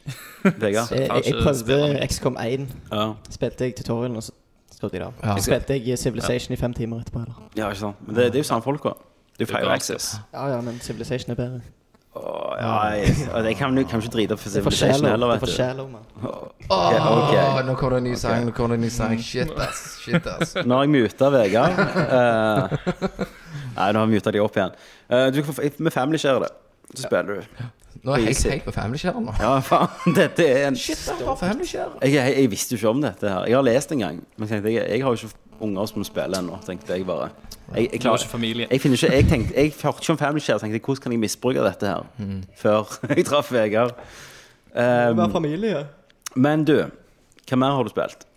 Speaker 1: Vegard.
Speaker 4: eh, Jeg, jeg, jeg
Speaker 3: Kanskje
Speaker 4: prøvde XCOM 1.
Speaker 1: Ja.
Speaker 4: Spilte jeg tutorialen, og så skrudde jeg det av.
Speaker 2: Ja.
Speaker 4: Så spilte jeg eh, Civilization i fem timer etterpå. Eller?
Speaker 1: ja, ikke sant. Men det, det er jo samme folka. Det er jo
Speaker 3: Det er
Speaker 1: Fire
Speaker 3: bra.
Speaker 1: Access.
Speaker 4: Ja, ja, men Civilization er bedre.
Speaker 1: Åh, ja, jeg, jeg kan jo kanskje drite for
Speaker 4: Det er for
Speaker 1: Civilization
Speaker 4: shallow,
Speaker 1: heller,
Speaker 4: det er for
Speaker 1: vet du.
Speaker 4: shallow, man.
Speaker 1: Ok,
Speaker 2: Åh,
Speaker 1: ok.
Speaker 2: Ah, nå kommer det en ny sang. Nå kommer det en ny sang. Shit, ass. Shit, ass.
Speaker 1: Nå har jeg muta Vegard. eh, nei, nå har jeg muta de opp igjen. Eh, du kan få, med family share det. Så spiller du.
Speaker 2: Nå er jeg helt,
Speaker 1: Easy.
Speaker 2: helt på family-skjæren nå.
Speaker 1: Ja, faen. Dette er en
Speaker 2: Shit, han har family-skjæren.
Speaker 1: jeg, jeg, jeg visste jo ikke om dette her. Jeg har lest en gang. Men tenkte jeg, jeg har jo ikke unger som spiller ennå, tenkte jeg bare. Jeg, jeg,
Speaker 3: Du har
Speaker 1: klarer,
Speaker 3: ikke familie.
Speaker 1: jeg, finner ikke, jeg, tenkte, jeg hørte ikke om Family Share, tenkte jeg hvordan kan jeg misbruke dette her? Før jeg traff Vegard.
Speaker 4: Det
Speaker 1: Um,
Speaker 4: var familie.
Speaker 1: men du, hva mer har du spilt?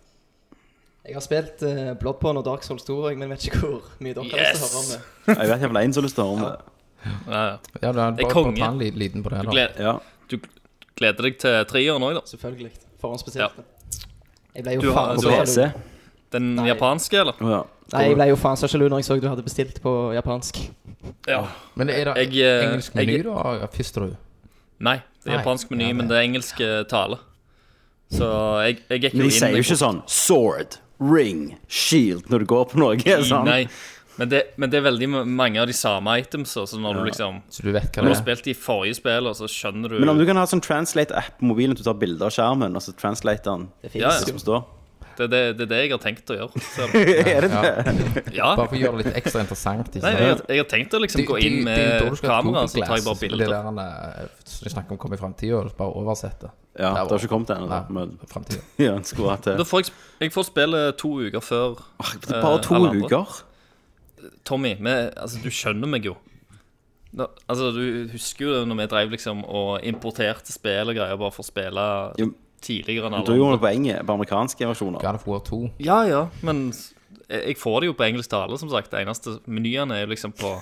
Speaker 4: Jeg har spilt eh, Bloodborne og Dark Souls 2, jeg, men vet ikke hvor mye dere har lyst til å høre om det.
Speaker 1: Jeg vet jeg har en som har lyst til å høre om det.
Speaker 3: Ja, ja.
Speaker 2: Ja, du er
Speaker 3: Det er
Speaker 2: bare
Speaker 3: konge.
Speaker 2: ta en li- liten på det.
Speaker 3: Du,
Speaker 2: da.
Speaker 3: gleder,
Speaker 1: Ja.
Speaker 3: du gleder deg til treeren òg, da?
Speaker 4: Selvfølgelig. Forhåndsbestilt.
Speaker 3: Ja.
Speaker 4: Jeg ble jo
Speaker 3: Du har-
Speaker 4: faen
Speaker 1: På
Speaker 3: du
Speaker 4: så
Speaker 3: Altså, har-
Speaker 4: sjalu.
Speaker 1: PC.
Speaker 3: Den
Speaker 4: Nei.
Speaker 3: japanske, eller?
Speaker 1: Å, ja.
Speaker 4: Nei, jeg ble jo faen så sjalu når jeg så du hadde bestilt på japansk.
Speaker 3: Ja.
Speaker 2: Men er det
Speaker 3: Jeg, eh,
Speaker 2: engelsk
Speaker 3: jeg-
Speaker 2: meny, da? Fisterud?
Speaker 3: Nei, det er
Speaker 2: Nei.
Speaker 3: japansk meny,
Speaker 2: Ja, det-
Speaker 3: men det er engelsk eh, tale. Så jeg, jeg gikk jo
Speaker 1: Men
Speaker 3: inn liksom?
Speaker 1: de sier jo ikke sånn sword, ring, shield når du går på sånn. noe. sant?
Speaker 3: Nei, men det, men det er veldig ma- mange av de samme itemsa, så når du liksom
Speaker 2: Så du vet hva
Speaker 3: Når du
Speaker 2: det
Speaker 3: har
Speaker 2: er?
Speaker 3: spilt de forrige spillene, så skjønner du
Speaker 1: Men om du kan ha sånn translate-app på mobilen, at du tar bilder av skjermen, og så translater den
Speaker 4: Det
Speaker 3: Ja,
Speaker 4: finnes
Speaker 3: ja.
Speaker 1: det
Speaker 4: jo.
Speaker 1: som står?
Speaker 3: det, det, det er det jeg har tenkt å gjøre. Så,
Speaker 1: Er det det?
Speaker 3: ja.
Speaker 2: Bare for å gjøre det litt ekstra interessant. Ikke
Speaker 3: Nei,
Speaker 2: sant?
Speaker 3: jeg, har- jeg har tenkt å liksom
Speaker 2: Det-
Speaker 3: gå
Speaker 2: det-
Speaker 3: inn
Speaker 2: det er jo da
Speaker 3: med
Speaker 2: du skal ha
Speaker 3: kamera, så
Speaker 2: Google
Speaker 3: tar jeg bare
Speaker 2: Glass, Det
Speaker 3: bilder.
Speaker 2: der han eh, som snakker om kommer i fremtiden, og bare oversette.
Speaker 1: Ja, det har ikke kommet ennå, da, men-
Speaker 2: fremtiden.
Speaker 1: Ja, en skulle hatt
Speaker 3: Da
Speaker 1: det.
Speaker 3: får jeg, sp- jeg får spille to uker før eh,
Speaker 1: Bare to
Speaker 3: alle andre.
Speaker 1: uker?
Speaker 3: Tommy, vi, altså, du skjønner meg jo. Nå, altså, du husker jo når vi drev liksom og importerte spill og greier bare for å spille
Speaker 1: Jo.
Speaker 3: tidligere enn
Speaker 1: Du
Speaker 3: alle
Speaker 1: gjorde det
Speaker 3: andre.
Speaker 1: på enge, på amerikanske versjoner.
Speaker 2: God of War 2.
Speaker 3: Ja, ja, men s- jeg jeg får det jo på engelsk tale, som sagt. Det eneste menyene er jo liksom på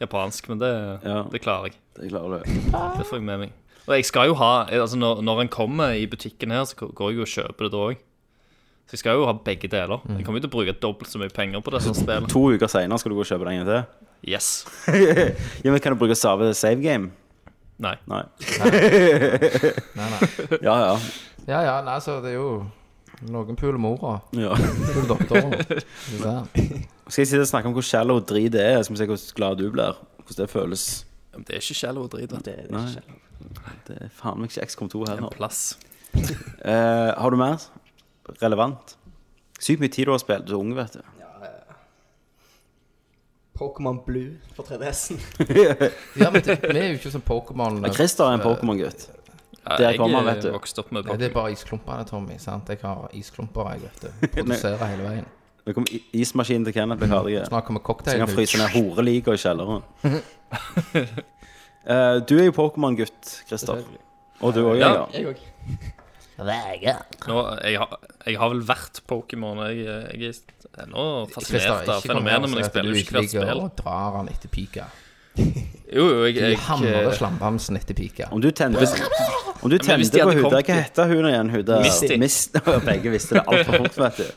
Speaker 3: japansk, men det,
Speaker 1: Ja.
Speaker 3: det klarer jeg.
Speaker 1: Det klarer du.
Speaker 3: Det får jeg med meg. Og jeg skal jo ha altså Når, når en kommer i butikken her, så går jeg jo og kjøper det da òg. Så jeg skal jo ha begge deler. Jeg kommer jo til å bruke dobbelt så mye penger på dette spillet.
Speaker 1: To uker seinere skal du gå og kjøpe den en gang til.
Speaker 3: Yes.
Speaker 1: Ja, men Kan du bruke save save game?
Speaker 3: Nei.
Speaker 1: Nei.
Speaker 2: Nei, nei.
Speaker 1: Ja, ja.
Speaker 2: Ja, ja, nei, så det er jo Noen puler mora,
Speaker 1: ja.
Speaker 2: puler doktoren. Skal vi se.
Speaker 1: Skal jeg sitte og snakke om hvor shallow drit det er, så må vi se hvor glad du blir. Hvordan det føles.
Speaker 3: Men Det er ikke skjell og drit. vet du.
Speaker 4: Det, det er
Speaker 1: Nei.
Speaker 4: ikke sjalu.
Speaker 1: Det er faen meg ikke XCOM2
Speaker 3: Det er
Speaker 1: heller.
Speaker 3: en plass.
Speaker 1: Eh, har du mer relevant? Sykt mye tid du har spilt. Du er ung, vet du.
Speaker 4: Pokémon Blue for 3DS-en.
Speaker 2: Ja, men det, vi er jo ikke som Pokémon.
Speaker 1: Men Christer er en Pokémon-gutt.
Speaker 3: Ja,
Speaker 1: Der
Speaker 3: jeg
Speaker 1: kommer han,
Speaker 3: er
Speaker 1: vet du.
Speaker 3: vokst opp med
Speaker 2: Nei, eh, det er
Speaker 3: Pokémon.
Speaker 2: bare isklumpene, Tommy. sant? Jeg har isklumper, jeg, vet du. Produserer hele veien.
Speaker 1: Nå kommer i- ismaskinen til Kenneth. Blir ferdig. Så
Speaker 2: Snart kommer
Speaker 1: jeg
Speaker 2: cocktailen
Speaker 1: kan fryse ned horeliga i kjelleren. Eh, du er jo Pokémon-gutt, Christer. Og du òg,
Speaker 3: Ja.
Speaker 1: ja.
Speaker 4: Jeg òg.
Speaker 3: Nå, jeg, har, jeg har vel vært Pokémon. Jeg, eh, jeg er ennå
Speaker 2: Christer, ikke
Speaker 3: fascinert av
Speaker 2: kom her og
Speaker 3: fenomenet,
Speaker 2: si
Speaker 3: men jeg
Speaker 2: at
Speaker 3: spiller
Speaker 2: du
Speaker 3: jo ikke hvert
Speaker 2: ligger
Speaker 3: spill.
Speaker 2: Og drar han etter pika.
Speaker 3: Jo, jo, jeg,
Speaker 2: Du
Speaker 3: jeg, eh,
Speaker 2: hamrer slambamsen etter pika.
Speaker 1: Om du tente, om du
Speaker 3: men hvis
Speaker 1: tente
Speaker 3: de
Speaker 1: på
Speaker 3: hadde
Speaker 1: Huda
Speaker 3: kommet-
Speaker 1: Hva heter hun igjen? Huda
Speaker 3: Misty.
Speaker 1: Mist, begge visste det altfor fort, vet du.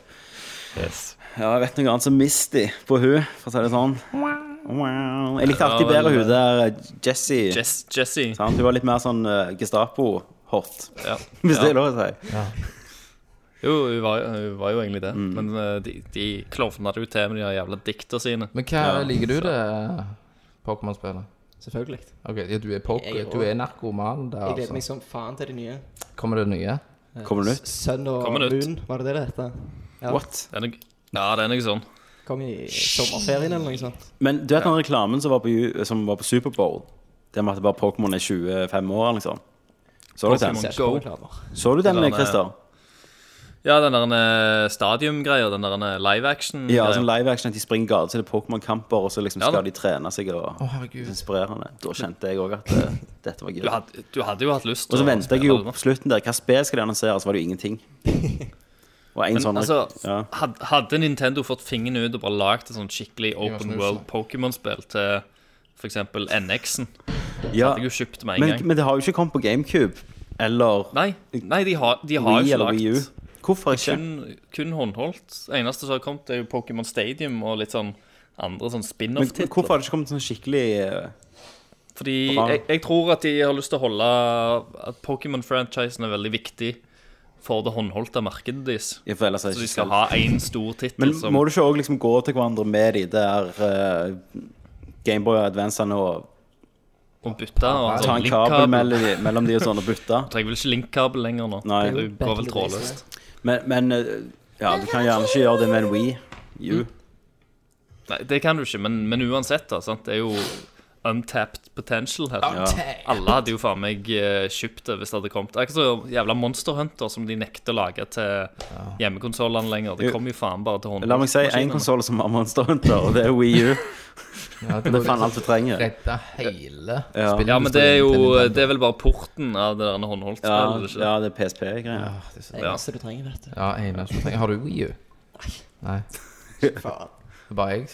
Speaker 3: Yes.
Speaker 1: Ja, jeg vet noe annet som Misty på hun, for å si det sånn. Wow. Jeg likte alltid
Speaker 3: Ja, eh,
Speaker 1: bedre
Speaker 3: vel,
Speaker 1: hun der Jesse.
Speaker 3: Jess, Jesse.
Speaker 1: Sant? Hun var litt mer sånn eh, Gestapo-hot,
Speaker 3: Ja.
Speaker 1: hvis det
Speaker 3: Ja.
Speaker 1: er lov å si.
Speaker 3: Jo, hun var, hun var jo egentlig det.
Speaker 1: Mm.
Speaker 3: Men eh, de, de klovna det jo til med de der jævla dikta sine.
Speaker 2: Men hva liker du det Pokémon-spillet?
Speaker 4: Selvfølgelig.
Speaker 2: Ok, ja, du er,
Speaker 4: Jeg
Speaker 2: pok
Speaker 4: er
Speaker 2: du er narkoman der,
Speaker 4: Jeg gleder
Speaker 2: altså.
Speaker 4: meg som faen til de nye.
Speaker 2: Kommer det nye?
Speaker 4: Eh,
Speaker 1: Kommer den ut?
Speaker 4: S- Sun og
Speaker 3: Kommer den ut?
Speaker 4: Moon, var det det det heter? Ja.
Speaker 1: What?
Speaker 3: Det er noe- Ja, det er noe sånn.
Speaker 4: Kom i sommerferien eller noe sånt.
Speaker 1: Men du vet den reklamen som var på, ju- som var på Superbowl, der med at det bare Pokémon er 25 år, liksom. Så du den,
Speaker 3: Pokémon.
Speaker 4: Ser ikke
Speaker 3: Go.
Speaker 4: på reklamer.
Speaker 1: så du den
Speaker 3: Eller den er- Mm,
Speaker 1: Christer?
Speaker 3: Ja, den der eh, stadium-greia, den der eh, live action
Speaker 1: Ja, sånn live action at de springer galt, så er det Pokémon-kamper, og så liksom
Speaker 3: Ja,
Speaker 1: skal
Speaker 3: da.
Speaker 1: de trene seg og
Speaker 2: Å, herregud.
Speaker 1: inspirerende. Da kjente jeg òg at eh, dette var gøy.
Speaker 3: du, hadde, du hadde jo hatt lyst
Speaker 1: Og så venter jeg
Speaker 3: spille
Speaker 1: jo
Speaker 3: det nå.
Speaker 1: på slutten der. Hva spill skal de annonsere? Så var det jo ingenting. Og en
Speaker 3: Men
Speaker 1: sånn
Speaker 3: altså,
Speaker 1: ja.
Speaker 3: had, hadde Nintendo fått fingeren ut og bare lagd et sånn skikkelig
Speaker 2: var
Speaker 3: open
Speaker 2: snusen.
Speaker 3: world Pokémon-spill til f.eks. NX-en,
Speaker 1: ja.
Speaker 3: hadde jeg jo kjøpt med en
Speaker 1: Men,
Speaker 3: gang.
Speaker 1: men det har jo ikke kommet på GameCube eller
Speaker 3: Nei, nei de har, de har
Speaker 1: Wii
Speaker 3: jo
Speaker 1: eller Wii U.
Speaker 3: ikke lagd
Speaker 1: Hvorfor ikke?
Speaker 3: kun, kun håndholdt. Det eneste som har kommet, er jo Pokémon Stadium og litt sånn andre sånn
Speaker 1: Men hvorfor
Speaker 3: spin-off-titler.
Speaker 1: har det ikke kommet sånn skikkelig eh,
Speaker 3: Fordi
Speaker 1: Bra.
Speaker 3: jeg, jeg tror at de har lyst til å holde At Pokémon-franchisen er veldig viktig for det håndholdte markedet deres.
Speaker 1: jeg føler seg
Speaker 3: Så de
Speaker 1: ikke
Speaker 3: skal
Speaker 1: selv.
Speaker 3: ha én stor tittel
Speaker 1: Men
Speaker 3: som
Speaker 1: må du ikke òg liksom gå til hverandre med de der eh, Gameboy Advancene og
Speaker 3: må bytte. Og
Speaker 1: ta
Speaker 3: sånn
Speaker 1: en kabel
Speaker 3: link-kabel.
Speaker 1: mellom de, mellom de og sånn og bytte?
Speaker 3: Du trenger vel ikke link-kabel lenger nå?
Speaker 1: Nei.
Speaker 3: Du går vel trådløst.
Speaker 1: Men, men eh, ja, du kan gjerne ikke gjøre det med en Wii U.
Speaker 3: Nei, det kan du ikke, men, men uansett, da. Sant? Det er jo untapped potential her. Alle hadde jo faen meg eh, kjøpt det hvis det hadde kommet. Det er ikke så jævla Monster Hunter som de nekter å lage til hjemmekonsollene lenger. Det
Speaker 1: Jo.
Speaker 3: kommer jo faen bare til håndball.
Speaker 1: La meg si én konsoll som har Monster Hunter, og det er Wii U.
Speaker 2: Ja,
Speaker 1: Det er faen alt du trenger.
Speaker 2: Redda hele
Speaker 1: Ja.
Speaker 2: spillet.
Speaker 3: Ja, men det er jo eh, Det er vel bare porten av det der håndholdt
Speaker 1: Ja,
Speaker 3: spillet, ikke?
Speaker 1: ja, det er PSP-greier.
Speaker 2: Ah,
Speaker 4: Det eneste du trenger, vet du.
Speaker 2: Ja, ene som trenger Har du Wii U? Nei.
Speaker 4: Faen.
Speaker 2: Det er bare jeg.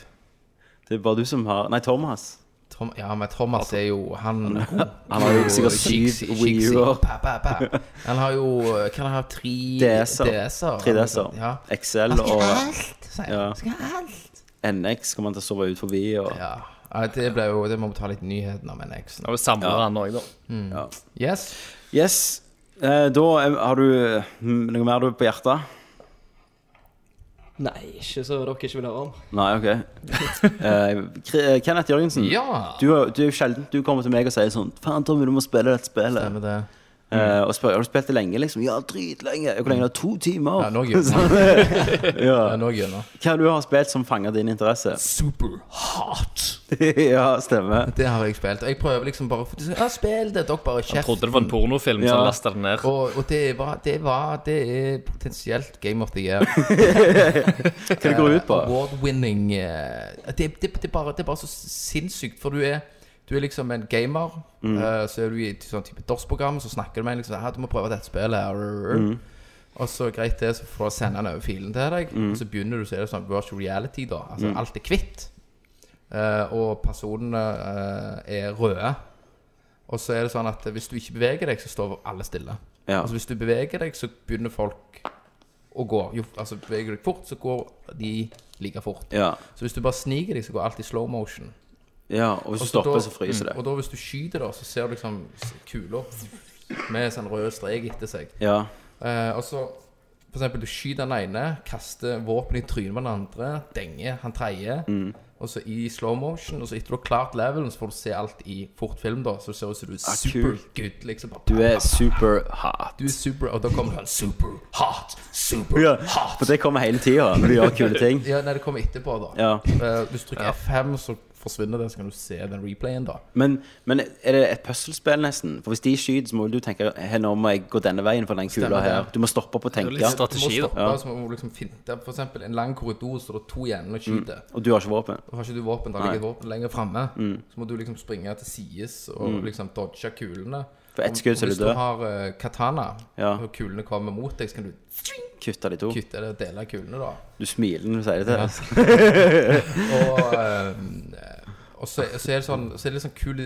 Speaker 1: Det er bare du som har Nei, Thomas.
Speaker 2: Tom, ja, men Thomas er jo Han,
Speaker 1: Han har jo sikkert
Speaker 2: Kiksi-
Speaker 1: syv
Speaker 2: Kiksi-
Speaker 1: Wii U-er.
Speaker 2: pa, pa, pa. Han har jo eh, Kan han ha tre
Speaker 1: DS-er.
Speaker 2: DS-er?
Speaker 1: 3DS-er.
Speaker 2: Ja.
Speaker 1: XL
Speaker 2: Han skal
Speaker 1: og
Speaker 2: ha alt, sier han.
Speaker 1: Ja.
Speaker 2: Skal ha alt.
Speaker 1: NX kommer han til å sove ut forbi. Og,
Speaker 2: Ja. ja, det ble jo Det må vi ta litt nyheten om NX.
Speaker 3: Og samler
Speaker 1: Ja.
Speaker 3: han òg, da.
Speaker 1: ja.
Speaker 2: Yes.
Speaker 1: Yes. Eh, da eh, har du mm, noe mer du på hjertet?
Speaker 4: Nei, ikke så dere ikke vil høre om.
Speaker 1: Nei, OK. Eh, Kri- eh, Kenneth Jørgensen,
Speaker 2: Ja.
Speaker 1: du, er- du er jo sjelden du kommer til meg og sier sånn 'Faen, Tommy, du må spille dette spillet'.
Speaker 2: Stemmer det.
Speaker 1: Eh, og spør har du spilt det lenge. liksom Ja, dritlenge. Hvor lenge? da? To timer. Sånn, eh,
Speaker 2: Ja,
Speaker 1: ja.
Speaker 2: nå gjennom. Ja, nå gjennom.
Speaker 1: Hva er det du har spilt som fanger din interesse?
Speaker 2: Super hot.
Speaker 1: ja, stemmer.
Speaker 2: Det har jeg spilt. Og jeg prøver liksom bare å få Ja, spill det, dere bare
Speaker 3: Han
Speaker 2: kjeft.
Speaker 3: trodde det var en pornofilm, så
Speaker 1: Ja.
Speaker 3: han lasta den ned.
Speaker 2: Og, og det var Det var Det er potensielt Game of the Year.
Speaker 1: Hva det går ut på?
Speaker 2: Eh, Award-winning eh, det, det, det, er bare, det er bare så sinnssykt, for du er du er liksom en gamer,
Speaker 1: Mm.
Speaker 2: eh, så er du i et sånn type DOS-program, så snakker du med en liksom Ja, du må prøve dette spillet. her, rr, rr.
Speaker 1: Mm.
Speaker 2: Og så greit det, så får du sende den over filen til deg.
Speaker 1: Mm.
Speaker 2: Og så begynner du, så er det sånn virtual reality, da. Altså alt er hvitt. eh, og personene eh, er røde. Og så er det sånn at hvis du ikke beveger deg, så står alle stille.
Speaker 1: Ja.
Speaker 2: Altså Hvis du beveger deg, så begynner folk å gå. Jo, altså Beveger du deg fort, så går de like fort.
Speaker 1: Ja.
Speaker 2: Så hvis du bare sniker deg, så går alt i slow motion.
Speaker 1: ja. Og hvis
Speaker 2: Og
Speaker 1: du stopper,
Speaker 2: da-
Speaker 1: så fryser
Speaker 2: mm,
Speaker 1: det.
Speaker 2: Og da hvis du skyter, da, så ser du liksom s- kula med sånn rød strek etter seg.
Speaker 1: Ja.
Speaker 2: Eh, og så for eksempel, du skyter den ene, kaster våpenet i trynet på den andre, denger han tredje.
Speaker 1: Mm.
Speaker 2: Og så i slow motion, og så etter du har klart levelen, så får du se alt i fort film, da. Så det ser ut som du er
Speaker 1: Ah,
Speaker 2: supergood. Liksom. Bare-
Speaker 1: Du er super hot.
Speaker 2: du er super, og da kommer det en super hot, super
Speaker 1: Ja,
Speaker 2: hot.
Speaker 1: for det kommer hele tida når du gjør kule ting.
Speaker 2: Ja, nei, det kommer etterpå, da.
Speaker 1: Ja.
Speaker 2: Eh, hvis du trykker F5, så forsvinner det, så kan du se den replayen, da.
Speaker 1: Men, men er det et puslespill, nesten? For hvis de skyter, så må du tenke «Hei, nå må jeg gå denne veien for den kula
Speaker 2: Stemmer det.
Speaker 1: her. Du må stoppe opp og
Speaker 3: er jo
Speaker 1: tenke.
Speaker 3: litt strat-
Speaker 2: Du må
Speaker 3: Strategi, da.
Speaker 2: stoppe, så må du liksom finte For eksempel en lang korridor, så det er to
Speaker 1: Mm.
Speaker 2: igjen og skyter.
Speaker 1: Og du har ikke våpen.
Speaker 2: Og har ikke du våpen, da ligger et våpen lenger framme.
Speaker 1: Mm.
Speaker 2: Så må du liksom springe til sides og liksom dodge kulene.
Speaker 1: For ett skudd, så er du
Speaker 2: Og Hvis du
Speaker 1: død.
Speaker 2: har eh, katana,
Speaker 1: Ja. Oh.
Speaker 2: og kulene kommer mot deg, så kan du
Speaker 1: Kutte de to.
Speaker 2: kutte det og dele kulene, da.
Speaker 1: Du smiler når du sier det. til
Speaker 2: Og, eh, og så, så er det sånn Så er det liksom kul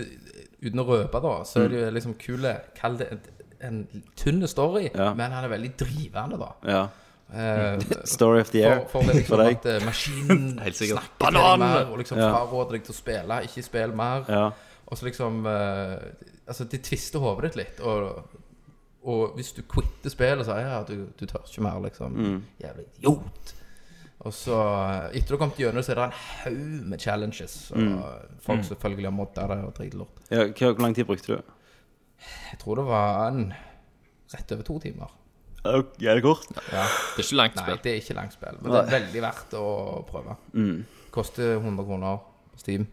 Speaker 2: Uten å røpe, da, så
Speaker 1: Mm.
Speaker 2: er det jo liksom kule Kall det en, en tynn story,
Speaker 1: Ja.
Speaker 2: men han er veldig drivende, da.
Speaker 1: Ja.
Speaker 2: Eh,
Speaker 1: Story of the
Speaker 2: for,
Speaker 1: year
Speaker 2: for det er liksom
Speaker 1: for deg.
Speaker 2: at eh, maskinen
Speaker 3: Helt sikkert.
Speaker 2: snakker til
Speaker 3: Banan!
Speaker 2: deg mer, og liksom
Speaker 1: Ja.
Speaker 2: fraråder deg til å spille, ikke spill mer.
Speaker 1: Ja.
Speaker 2: Og så liksom eh, Altså, de tvister hodet ditt litt. Og, og hvis du quitter spillet, så er ja, du, du tør ikke mer, liksom.
Speaker 1: Mm.
Speaker 2: Jævlig idiot. Og så, eh, etter du har kommet gjennom, så er det en haug med challenges. Og
Speaker 1: Mm.
Speaker 2: folk selvfølgelig har modda det og dritlort.
Speaker 1: Ja, hva- Hvor lang tid brukte du?
Speaker 2: Jeg tror det var en rett over to timer.
Speaker 1: Er det kort?
Speaker 3: Det er ikke langt
Speaker 2: Nei,
Speaker 3: spill.
Speaker 2: det er ikke langt spill, men det er veldig verdt å prøve.
Speaker 1: Mm.
Speaker 2: Koster 100 kroner på Steam.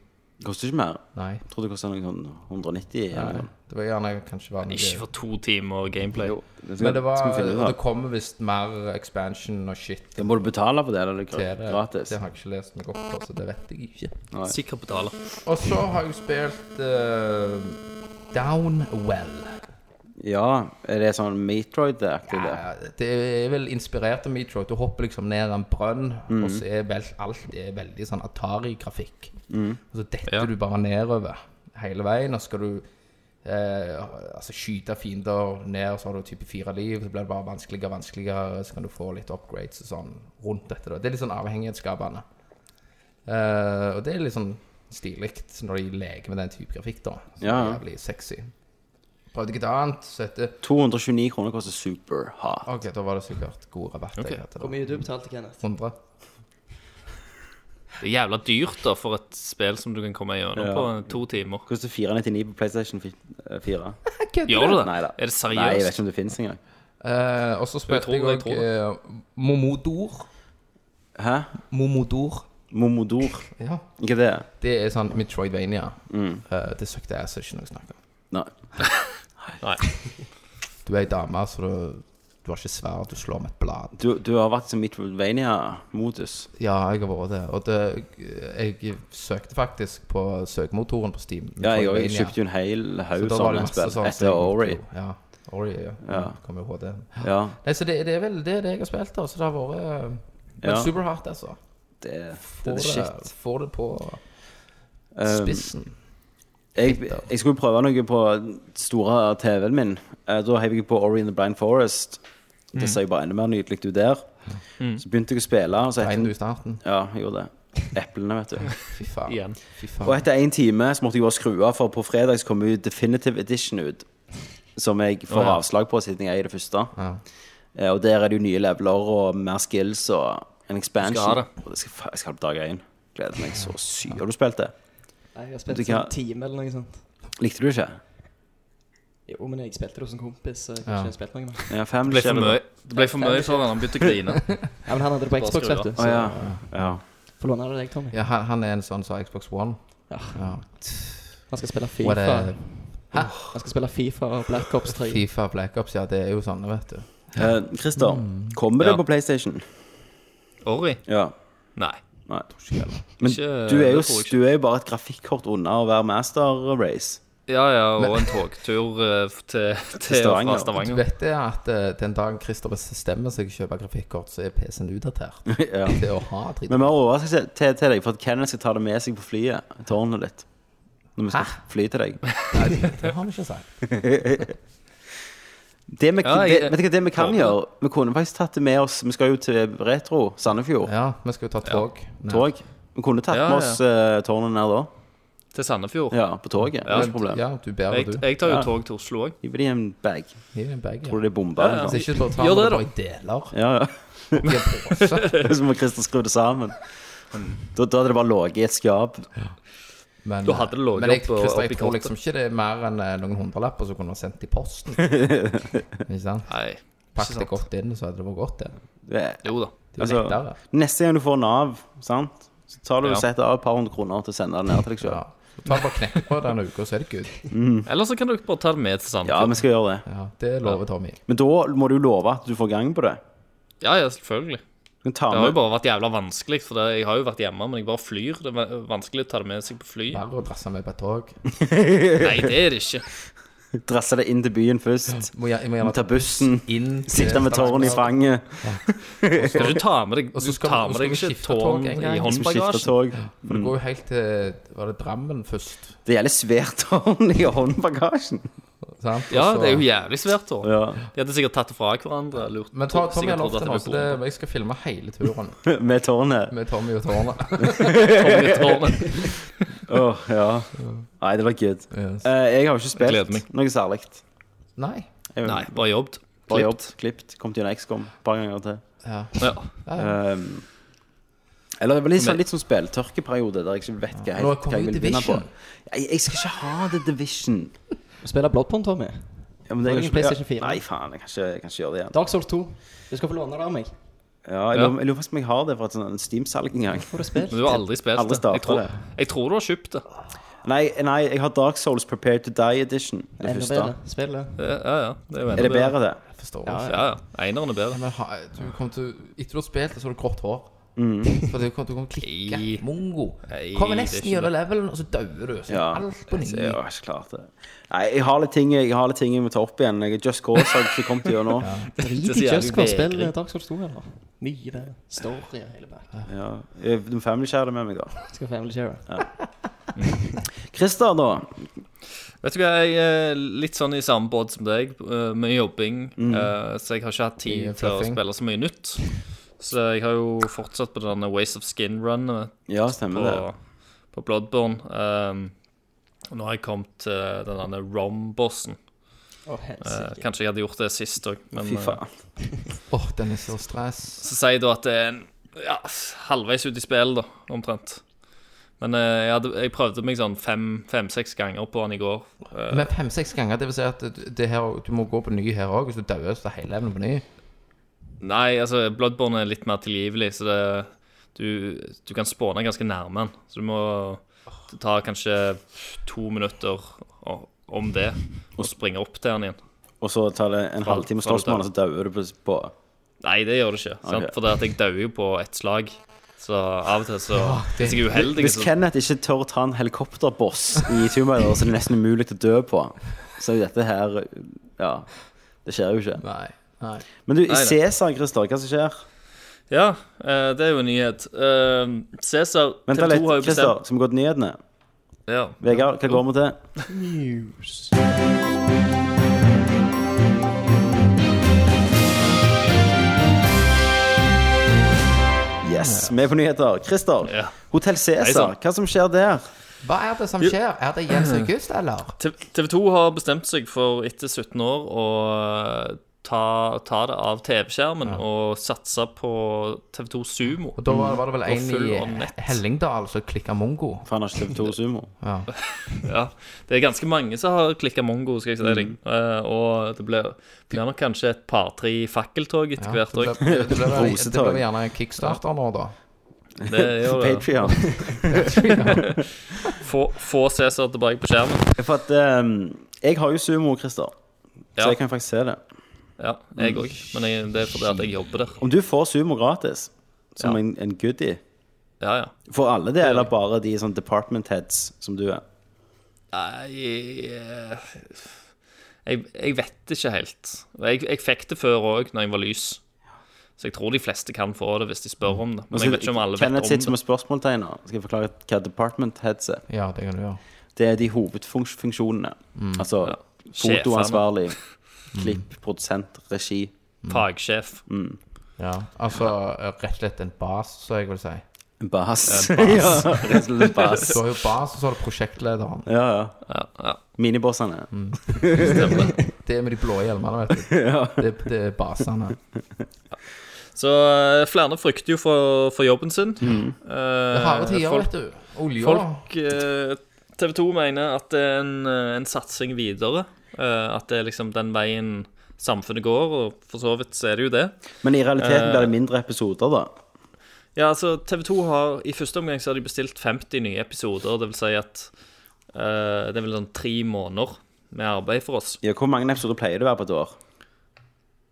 Speaker 1: Koster ikke mer.
Speaker 2: Nei.
Speaker 1: Jeg trodde det kosta noe sånn 190 eller
Speaker 2: Nei.
Speaker 1: noe.
Speaker 2: Det var gjerne kanskje var noe-
Speaker 3: Ikke for to timer gameplay.
Speaker 1: Jo, det skal,
Speaker 2: Men det, var,
Speaker 1: skal vi finne
Speaker 2: og det
Speaker 1: ut av.
Speaker 2: kommer visst mer expansion og shit
Speaker 1: Da må du betale for det, eller er det
Speaker 2: til det.
Speaker 1: gra- gratis?
Speaker 2: Det har jeg ikke lest meg opp på, så det vet jeg ikke.
Speaker 1: Nei.
Speaker 3: Sikker på tale.
Speaker 2: Og så har jeg spilt eh, Downwell.
Speaker 1: Ja, er det sånn Metroid-aktig det?
Speaker 2: Ja, det er vel inspirert av Metroid. Du hopper liksom ned en brønn,
Speaker 1: Mhm.
Speaker 2: og så er vel, alt er veldig sånn Atari-grafikk.
Speaker 1: Mhm.
Speaker 2: Og så detter
Speaker 3: Ja.
Speaker 2: du bare nedover hele veien, og så skal du eh, altså skyte fiender ned, og så har du type fire liv, så blir det bare vanskeligere og vanskeligere, så kan du få litt upgrades og sånn rundt dette. Da. Det er litt sånn avhengighetsskapende. Eh, og det er litt sånn stilig når de leker med den type grafikk, da. Så det
Speaker 1: Ja,
Speaker 2: er
Speaker 1: ja.
Speaker 2: Jævlig sexy. Prøvde ikke et annet, så heter
Speaker 1: 229 kroner koster super hard.
Speaker 2: Ok, da var det sikkert god rabatt.
Speaker 3: Ok.
Speaker 2: jeg hadde da.
Speaker 4: Hvor mye du betalte, Kenneth?
Speaker 2: 100.
Speaker 3: Det er jævla dyrt da for et spill som du kan komme gjennom
Speaker 1: Ja.
Speaker 3: på to timer.
Speaker 1: Koster 499 på PlayStation 4.
Speaker 3: Gjør du det?
Speaker 1: Neida.
Speaker 3: Er det
Speaker 1: Nei, jeg vet
Speaker 3: seriøst?
Speaker 1: ikke om det fins engang.
Speaker 2: Eh, og så
Speaker 3: tror
Speaker 2: spilte
Speaker 3: det,
Speaker 2: jeg
Speaker 3: jeg
Speaker 2: òg Momodor.
Speaker 1: Hæ?
Speaker 2: Momodor.
Speaker 1: Momodor?
Speaker 2: Ja.
Speaker 1: Ikke det?
Speaker 2: Det er sånn Metroidvania.
Speaker 1: Mm.
Speaker 2: Eh, det søkte jeg så ikke noe snakk om.
Speaker 1: Nei.
Speaker 3: Nei.
Speaker 2: Du er ei dame, så du, du har ikke sverd, du slår med et blad.
Speaker 1: Du, du har vært som Metroidvania-modus.
Speaker 2: Ja, jeg har vært det. Og det, jeg søkte faktisk på søkemotoren på Steam.
Speaker 1: Ja, jeg òg.
Speaker 2: Metroidvania.
Speaker 1: Kjøpte jo en hel
Speaker 2: Så
Speaker 1: haug
Speaker 2: da var
Speaker 1: sånne
Speaker 2: det masse
Speaker 1: spill
Speaker 2: sånne
Speaker 1: etter Ori.
Speaker 2: søkemotor. Ja. Ori, ja.
Speaker 1: Ja.
Speaker 2: Kom jo HD.
Speaker 1: Ja,
Speaker 2: Nei, så det, det er vel det, det jeg har spilt, da. Så det har vært eh, men
Speaker 1: Ja.
Speaker 2: superhardt, altså.
Speaker 1: det, det
Speaker 2: Få
Speaker 1: er
Speaker 2: det,
Speaker 1: shit.
Speaker 2: få det på
Speaker 1: Um,
Speaker 2: spissen.
Speaker 1: Jeg, jeg skulle prøve noe på store TV-en min. Eh, Da heiv jeg på Ori in the Blind Forest. Det
Speaker 2: Mm.
Speaker 1: ser jo bare enda mer nydelig ut der. Så begynte jeg å spille. Og så
Speaker 2: Regner Mm. du i
Speaker 1: etter,
Speaker 2: starten?
Speaker 1: ja, jeg gjorde det. Eplene, vet du.
Speaker 2: Fy faen.
Speaker 3: Igjen.
Speaker 2: Fy faen.
Speaker 1: Og etter én time så måtte jeg bare skru av, for på fredag så kom jo Definitive Edition ut. Som jeg får
Speaker 3: Å, ja.
Speaker 1: avslag på siden jeg eier det første.
Speaker 2: Ja.
Speaker 1: Eh, Og der er det jo nye leveler og mer skills og en expansion.
Speaker 3: ha det.
Speaker 1: Og det skal, fa- jeg skal ha det på dag én. Gleder meg så sykt. Har du spilt det?
Speaker 4: Nei, jeg
Speaker 1: Du
Speaker 4: har spilt
Speaker 1: kan-
Speaker 4: sånn en time eller noe sånt.
Speaker 1: Likte du ikke?
Speaker 4: Jo, men jeg spilte det hos en kompis. Så jeg
Speaker 2: Ja.
Speaker 4: har ikke spilt noe med.
Speaker 1: Ja, fem
Speaker 3: Det ble for
Speaker 1: skjer
Speaker 3: mye, det ble for mye for han, han begynte å grine.
Speaker 4: Ja, men han hadde det på
Speaker 3: Bare
Speaker 4: Xbox,
Speaker 3: skru
Speaker 4: vet du.
Speaker 1: Å
Speaker 4: Så
Speaker 1: ja. ja.
Speaker 4: får låne det deg, Tommy.
Speaker 2: ja, han, han er en sånn som har Xbox One.
Speaker 4: Ja.
Speaker 2: Ja.
Speaker 4: Han skal spille
Speaker 2: What
Speaker 4: Fifa.
Speaker 2: a
Speaker 4: Han skal spille Fifa og Black Ops 3.
Speaker 2: Fifa Black Ops, ja. Det er jo sånne, vet du.
Speaker 1: Eh, Christer, kommer det
Speaker 3: Ja.
Speaker 1: på PlayStation?
Speaker 3: Ori?
Speaker 1: Ja.
Speaker 3: Nei.
Speaker 1: Nei. Men
Speaker 3: Ikke,
Speaker 1: du er, jo,
Speaker 3: det tror jeg ikke.
Speaker 1: du er jo bare et grafikkort unna å være master race.
Speaker 3: Ja, ja, og en togtur eh, til, til,
Speaker 1: Stavanger.
Speaker 3: fra
Speaker 2: Du
Speaker 3: Stavanger.
Speaker 2: vet det at eh, den dagen Christer bestemmer seg for å kjøpe grafikkort, så er PC-en utdatert.
Speaker 1: ja.
Speaker 2: Det å ha dritt
Speaker 1: Men vi har overraskelse til, til deg, for at Kenneth skal ta det med seg på flyet. Tårnet ditt. Når vi skal fly til deg.
Speaker 2: Nei, det, det har vi ikke sagt.
Speaker 1: Det vi,
Speaker 3: Ja,
Speaker 1: det,
Speaker 3: jeg-
Speaker 1: vet du hva det vi kan
Speaker 3: Håper det.
Speaker 1: gjøre? Vi kunne faktisk tatt det med oss Vi skal jo til Retro, Sandefjord.
Speaker 2: Ja, vi skal jo ta tog. Nei.
Speaker 1: Tog. Vi kunne tatt
Speaker 3: Ja,
Speaker 1: med
Speaker 3: ja.
Speaker 1: oss eh, tårnet ned da.
Speaker 3: Til Sandefjord.
Speaker 1: Ja, på toget.
Speaker 3: Ja.
Speaker 1: Ikke problem.
Speaker 2: Ja, du bærer,
Speaker 3: Jeg,
Speaker 2: du.
Speaker 3: jeg tar jo
Speaker 1: Ja.
Speaker 3: tog til Oslo òg.
Speaker 1: Gi dem en bag.
Speaker 2: Hiv en bag.
Speaker 1: Tror du
Speaker 2: Ja.
Speaker 1: det er bomba?
Speaker 3: Ja, ja.
Speaker 2: Hvis
Speaker 1: Ja,
Speaker 2: ikke så tar
Speaker 3: Gjør
Speaker 2: vi
Speaker 3: det,
Speaker 2: det
Speaker 3: da.
Speaker 2: bare i deler.
Speaker 1: ja. ja.
Speaker 2: I en pose.
Speaker 1: Så må Christer skru det sammen. Da, da hadde det bare ligget i et skap.
Speaker 2: Men,
Speaker 3: Da hadde det ligget
Speaker 2: men jeg,
Speaker 3: opp-
Speaker 2: Christer,
Speaker 3: opp i
Speaker 2: jeg tror
Speaker 3: kortet.
Speaker 2: liksom ikke det er mer enn eh, noen hundrelapper som kunne ha sendt i posten. Ikke sant?
Speaker 3: Nei.
Speaker 2: Pakk det
Speaker 3: sant. Altså-
Speaker 2: godt inn, så hadde det vært godt, det.
Speaker 1: Det er-
Speaker 3: Jo da.
Speaker 2: Det er jo lettere.
Speaker 1: neste gang du får Nav, sant? så tar du og
Speaker 3: Ja.
Speaker 1: setter av et par hundre kroner til å sende det ned til deg
Speaker 2: Ja.
Speaker 1: sjøl.
Speaker 2: Så ta bare knekk på den uka, så er det good.
Speaker 3: Eller så kan dere bare ta det med til
Speaker 1: Ja,
Speaker 3: Sandefjord.
Speaker 1: vi skal gjøre det.
Speaker 2: Ja, det lover Tommy.
Speaker 1: Men da må du love at du får gang på det.
Speaker 3: Ja, ja, selvfølgelig.
Speaker 1: Du kan ta
Speaker 3: Det har jo
Speaker 1: med
Speaker 3: bare vært jævla vanskelig, for det, jeg har jo vært hjemme, men jeg bare flyr. Det er va- vanskelig å ta det med seg på fly.
Speaker 2: Bare å drasse med på et tog.
Speaker 3: Nei, det er det ikke.
Speaker 1: Drasse det inn til byen først.
Speaker 2: Må jeg, må gjerne
Speaker 1: Ta bussen.
Speaker 2: inn til
Speaker 1: Sitte med tårnet i
Speaker 2: Stavanger.
Speaker 1: fanget.
Speaker 3: Skal du ta med deg
Speaker 2: Og
Speaker 3: Du
Speaker 2: så skal-
Speaker 3: tar
Speaker 2: og
Speaker 3: med
Speaker 2: så skal vi
Speaker 3: deg ikke
Speaker 2: skifte tog
Speaker 3: tårn
Speaker 2: en gang.
Speaker 3: i
Speaker 1: Liksom skifte
Speaker 3: håndbagasjen?
Speaker 1: tog.
Speaker 2: For det går jo helt til Var det Drammen først?
Speaker 1: Det gjelder svært tårn i håndbagasjen.
Speaker 2: Sant?
Speaker 3: Ja,
Speaker 2: Og så-
Speaker 3: det er jo jævlig svært, da.
Speaker 1: Ja.
Speaker 3: De hadde sikkert tatt det fra hverandre. Lurt.
Speaker 2: Men ta, ta med
Speaker 3: sikkert
Speaker 2: loftet
Speaker 3: trodd at det
Speaker 2: nå,
Speaker 3: ble
Speaker 2: så det, jeg skal filme hele turen
Speaker 1: Med tårnet.
Speaker 2: med Tommy og tårnet.
Speaker 3: bombe i tårnet.
Speaker 1: Åh, ja. Nei, det var good.
Speaker 2: Yes.
Speaker 1: Eh, Jeg har jo ikke
Speaker 3: gleder
Speaker 1: spilt
Speaker 3: meg.
Speaker 1: noe særlig.
Speaker 2: Nei.
Speaker 1: Jeg
Speaker 3: Nei, bare jobbet.
Speaker 1: Bare jobbet, klippet, kom til en XCOM et par ganger til.
Speaker 2: Ja.
Speaker 3: Ja.
Speaker 1: Ehm, eller det var litt sånn,
Speaker 3: Men-
Speaker 1: litt sånn spilltørkeperiode der jeg ikke vet hva jeg,
Speaker 2: Nå kommer
Speaker 1: hva jeg
Speaker 2: jo
Speaker 1: vil vinne på.
Speaker 2: Division.
Speaker 1: Jeg, jeg skal ikke ha The Division.
Speaker 4: Spille Bloodborne, Tommy.
Speaker 1: Ja, men det
Speaker 4: Har
Speaker 1: jeg
Speaker 4: du ikke
Speaker 1: kan-
Speaker 4: PlayStation 4?
Speaker 1: Nei, faen, jeg kan ikke, jeg kan ikke gjøre det igjen.
Speaker 4: Dark Souls 2. Du skal få låne det av meg.
Speaker 1: Ja, jeg,
Speaker 3: Ja.
Speaker 1: Lurer, jeg lurer faktisk om jeg har det fra et sånn Steam-salg en gang.
Speaker 4: Får du spilt.
Speaker 3: Men du har aldri spilt
Speaker 1: Aldri
Speaker 3: det.
Speaker 1: startet
Speaker 3: Jeg tror,
Speaker 1: det.
Speaker 3: jeg tror du har kjøpt det.
Speaker 1: Nei, nei, jeg har Dark Souls Prepared to Die Edition. Det
Speaker 4: Enda
Speaker 1: første.
Speaker 4: bedre. Spill det.
Speaker 3: Det- Ja, ja. Det er, jo enda
Speaker 1: Er det bedre, det?
Speaker 2: Jeg forstår
Speaker 4: Ja,
Speaker 2: ikke.
Speaker 3: Ja, ja. Eineren er bedre.
Speaker 2: Men ha, du kom til, etter du har spilt, så har du grått hår.
Speaker 1: Mm.
Speaker 2: For du kommer til å klikke.
Speaker 3: Nei.
Speaker 2: Mongo.
Speaker 3: Nei,
Speaker 2: Kommer
Speaker 3: det er
Speaker 2: nesten
Speaker 3: ikke
Speaker 2: gjennom levelen, og så dauer du. Så
Speaker 1: Ja.
Speaker 2: alt på ny.
Speaker 1: Så jeg har ikke klart det. Nei, jeg har litt ting jeg, har litt ting jeg må ta opp igjen. Jeg Just Cause har jeg ikke kommet til nå.
Speaker 4: Drit
Speaker 3: så
Speaker 4: i
Speaker 3: jævlig
Speaker 4: Just Cause. Spill
Speaker 3: vegring.
Speaker 4: Dark Souls 2, eller? Mye det. Story og hele bakken.
Speaker 1: Ja. Eh, Du må family-share det med meg, da.
Speaker 4: Skal Family Share.
Speaker 1: Christer, da.
Speaker 3: Vet du hva, jeg er litt sånn i samme båt som deg, eh, med jobbing.
Speaker 1: Mm.
Speaker 3: eh, Så jeg har ikke hatt
Speaker 2: Mye
Speaker 3: tid til å
Speaker 2: fluffing.
Speaker 3: spille så mye nytt. Så jeg har jo fortsatt på denne Waste of eh, Skin-runet
Speaker 1: Ja, stemmer det.
Speaker 3: på, på Bloodborne. Um, og nå har jeg kommet til den derne Rom-bossen.
Speaker 4: Å,
Speaker 3: Eh,
Speaker 4: helsike.
Speaker 3: kanskje jeg hadde gjort det sist òg, men
Speaker 1: Fy
Speaker 3: eh,
Speaker 1: faen.
Speaker 2: Åh, den er så stress.
Speaker 3: Så sier jeg da at det er en, ja, halvveis ut i spillet, da, omtrent. Men eh, jeg, hadde, jeg prøvde meg sånn fem-seks ganger på han i går. Eh,
Speaker 2: Men fem-seks ganger, det vil si at det her, du må gå på ny her òg. Hvis du dauer, så er hele levelen på ny.
Speaker 3: nei, altså, Bloodborne er litt mer tilgivelig, så det, du, du kan spåne ganske nærme han. Så du må Det tar kanskje to minutter o- om det, og springe opp til han igjen.
Speaker 1: Og så tar det en halvtime å slåss med han, og så dauer du plutselig på
Speaker 3: Nei, det gjør det ikke.
Speaker 1: Ok.
Speaker 3: Sant? For det at jeg dauer jo på ett slag. Så av og til så
Speaker 2: det-
Speaker 3: Hvis jeg er uheldig,
Speaker 1: Hvis
Speaker 3: så
Speaker 1: Kenneth ikke tør å ta en helikopterboss i Tomb Raider, så er det nesten umulig å dø på. Så er jo dette her Ja. Det skjer jo ikke.
Speaker 2: Nei. Nei.
Speaker 1: Men du, i
Speaker 3: nei.
Speaker 1: Cæsar, Christer, hva som skjer?
Speaker 3: Ja, eh, det er jo en nyhet. Eh, Cæsar
Speaker 1: Vent
Speaker 3: TV2
Speaker 1: litt,
Speaker 3: har jo bestemt
Speaker 1: Christer. Skal vi gå til nyhetene?
Speaker 3: Ja.
Speaker 1: Vegard, hva går vi til?
Speaker 4: News.
Speaker 1: Yes, vi er på nyheter. Christer,
Speaker 3: Ja.
Speaker 1: Hotell
Speaker 3: Hei
Speaker 1: Cæsar,
Speaker 3: sann.
Speaker 1: hva som skjer der?
Speaker 2: Hva er det som skjer? Er det Jens August, eller?
Speaker 3: TV 2 har bestemt seg for etter 17 år å eh, ta, ta det av TV-skjermen og satse på TV 2 Sumo.
Speaker 2: Og da var, var det vel en
Speaker 3: full
Speaker 2: i
Speaker 3: av nett.
Speaker 2: Hellingdal som klikka mongo.
Speaker 1: Faen, har ikke TV2 Sumo?
Speaker 2: Ja.
Speaker 3: Ja, det er ganske mange som har klikka mongo, skal jeg si deg.
Speaker 1: Mm.
Speaker 3: Eh, og det blir, blir nok kanskje et par-tre fakkeltog etter hvert
Speaker 2: det,
Speaker 3: òg.
Speaker 2: ble, det, ble, vel- det
Speaker 1: Rosetog.
Speaker 2: ble vel gjerne en kickstarter nå, da.
Speaker 3: Det er jo eh,
Speaker 1: Patreon.
Speaker 3: få, få Cæsar tilbake på skjermen.
Speaker 1: For at ehm, jeg har jo Sumo, Christer. Så
Speaker 3: Ja.
Speaker 1: jeg kan faktisk se det.
Speaker 3: Ja, jeg òg. Men jeg, det er fordi at jeg jobber der.
Speaker 1: Om du får Sumo gratis, som en, en goodie
Speaker 3: Ja, ja.
Speaker 1: For alle det, eller bare de sånn department heads som du er?
Speaker 3: Nei eh, jeg, jeg vet ikke helt. Jeg, jeg fikk det før òg, når jeg var lys. Så jeg tror de fleste kan få det hvis de spør om det. Men jeg vet ikke om alle vet om
Speaker 1: Altså, Kenneth sitter som
Speaker 3: det.
Speaker 1: en spørsmålstegn nå. Skal jeg forklare hva department heads er?
Speaker 2: Ja, det kan du gjøre.
Speaker 1: Det er de hovedfunksjonene. Altså
Speaker 3: Ja.
Speaker 1: fotoansvarlig, klipp, produsent, regi. mm.
Speaker 3: Fagsjef.
Speaker 2: Ja. Altså rett og slett en bas, så jeg vil si.
Speaker 1: Bass. Ja, rett og slett bass.
Speaker 2: Du har jo bas, og så har du prosjektlederen.
Speaker 1: Ja, ja.
Speaker 3: Ja, ja,
Speaker 1: Minibossene.
Speaker 3: stemmer det.
Speaker 2: Det med de blå hjelmene, vet du. Det, det er basene.
Speaker 3: Så eh, flere frykter jo for, for jobben sin. Eh,
Speaker 2: Det er harde tider,
Speaker 3: folk, eh,
Speaker 2: vet du. Olja.
Speaker 3: folk TV 2 mener at det er en, eh, en satsing videre. Eh, at det er liksom den veien samfunnet går, og for så vidt så er det jo det.
Speaker 1: Men i
Speaker 3: Eh.
Speaker 1: realiteten blir det mindre episoder, da.
Speaker 3: Ja, altså TV2 har I første omgang så har de bestilt 50 nye episoder. Det vil si at eh, det er vel sånn tre måneder med arbeid for oss.
Speaker 1: Ja, hvor mange episoder pleier det å være på et år?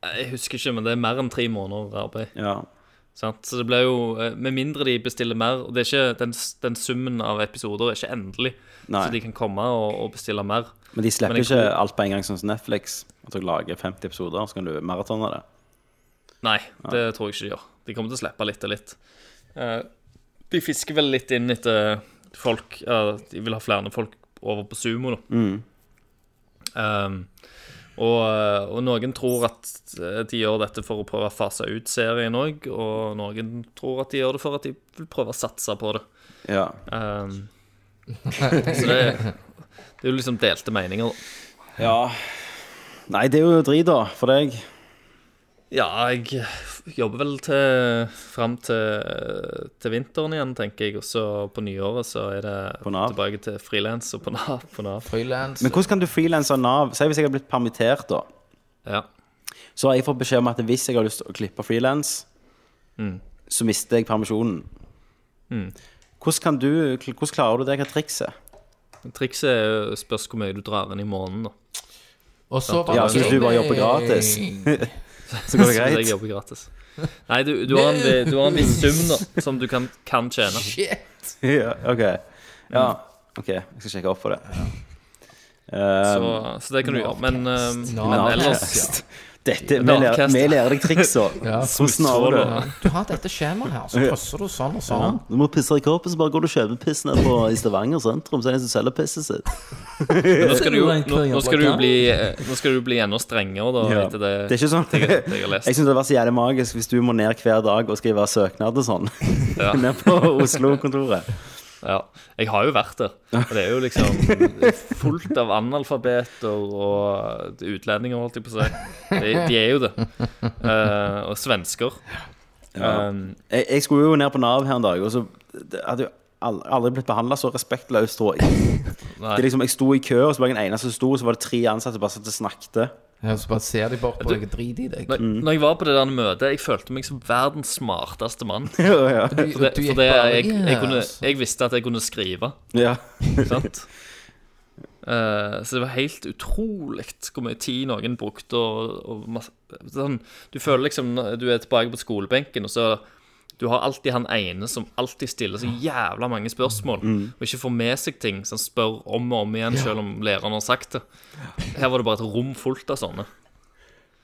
Speaker 3: Jeg husker ikke, men det er mer enn tre måneder arbeid.
Speaker 1: Ja.
Speaker 3: Sant? Så det blir jo eh, Med mindre de bestiller mer og det er ikke, den, den summen av episoder er ikke endelig,
Speaker 1: Nei.
Speaker 3: så de kan komme og, og bestille mer.
Speaker 1: Men de slipper
Speaker 3: Men jeg
Speaker 1: ikke
Speaker 3: tror-
Speaker 1: alt på en gang, sånn som Netflix. At du lager 50 episoder, så kan du maratone det.
Speaker 3: Nei, det tror jeg ikke de gjør. De kommer til å slippe litt og litt. Eh, de fisker vel litt inn etter folk eh, De vil ha flere folk over på sumo, da. Eh, og, eh, og noen tror at eh, de gjør dette for å prøve å fase ut serien òg, og noen tror at de gjør det for at de vil prøve å satse på det.
Speaker 1: Ja.
Speaker 3: Eh, så det, det er jo liksom delte meninger, da.
Speaker 1: ja. Nei, det er jo drit, da, for deg.
Speaker 3: Ja, jeg jobber vel til fram til, til vinteren igjen, tenker jeg. Og så på nyåret så er det
Speaker 1: På Nav.
Speaker 3: tilbake til frilans og på Nav. På NAV.
Speaker 2: Frilans.
Speaker 1: Men hvordan kan du frilanse av Nav? Si hvis jeg har blitt permittert, da.
Speaker 3: Ja.
Speaker 1: Så har jeg fått beskjed om at hvis jeg har lyst til å klippe frilans,
Speaker 3: Mm.
Speaker 1: så mister jeg permisjonen. Hvordan, kan du, hvordan klarer du det? Hva er trikset?
Speaker 3: Men Trikset er jo- spørs hvor mye du drar inn i måneden, da.
Speaker 2: Og så var
Speaker 1: Ja,
Speaker 2: det-
Speaker 1: så hvis du bare jobber gratis, så går det
Speaker 3: Så jeg
Speaker 1: greit.
Speaker 3: jobber gratis. Nei, du, du, har en, vi- du har en viss sum da som du kan, kan tjene.
Speaker 2: Shit.
Speaker 1: Ja, OK. Ja,
Speaker 3: Mm.
Speaker 1: OK. Jeg skal sjekke opp for det. Um,
Speaker 3: Så, så det kan du gjøre. Men, eh, men ellers
Speaker 2: Navcast,
Speaker 1: Dette, vi
Speaker 3: Navcast.
Speaker 1: lærer, vi lærer deg triksa.
Speaker 2: Ja.
Speaker 1: Hvordan har du
Speaker 2: ja.
Speaker 1: det?
Speaker 2: Du har dette skjemaet her, så krysser du sånn og sånn.
Speaker 1: Du må pisse i kroppen, så bare går du og kjøper piss ned på i Stavanger sentrum. Så er det en som selger pisset sitt.
Speaker 3: men Nå skal du jo nå, nå skal du jo bli, eh, nå skal du jo bli enda strengere, da,
Speaker 1: Ja.
Speaker 3: etter
Speaker 1: Det er
Speaker 3: det.
Speaker 1: ikke sånn
Speaker 3: jeg- det jeg har
Speaker 1: Jeg
Speaker 3: lest.
Speaker 1: syns det var så jævlig magisk hvis du må ned hver dag og skrive søknad og sånn. Ned på Oslo-kontoret.
Speaker 3: Ja, jeg har jo vært der. Og det er jo liksom fullt av analfabeter og utlendinger, holdt jeg på å si. De, de er jo det. Eh, og svensker. Um,
Speaker 1: Jeg, jeg skulle jo ned på Nav her en dag, og så det hadde jo al- aldri blitt behandla så respektløst, tror jeg.
Speaker 3: nei.
Speaker 1: Det er liksom, jeg sto i kø, og så var jeg den eneste som sto, og så var det tre ansatte som bare satt og snakket.
Speaker 2: Ja, så bare ser de bort på deg og driter i deg.
Speaker 3: Når, når jeg var på det der møtet, jeg følte meg som verdens smarteste mann. For
Speaker 1: Ja, ja.
Speaker 2: Du,
Speaker 3: det,
Speaker 2: du gikk
Speaker 3: for det
Speaker 2: bare,
Speaker 3: jeg, jeg,
Speaker 2: yes.
Speaker 3: kunne, jeg visste at jeg kunne skrive,
Speaker 1: ja.
Speaker 3: sant? Eh, så det var helt utrolig hvor mye tid noen brukte. Og, og masse, sånn, du føler liksom du er tilbake på skolebenken, og så Du har alltid han ene som alltid stiller så jævla mange spørsmål,
Speaker 2: Mm.
Speaker 3: og ikke får med seg ting som spør om og om igjen, selv om læreren har sagt det. Her var det bare et rom fullt av sånne.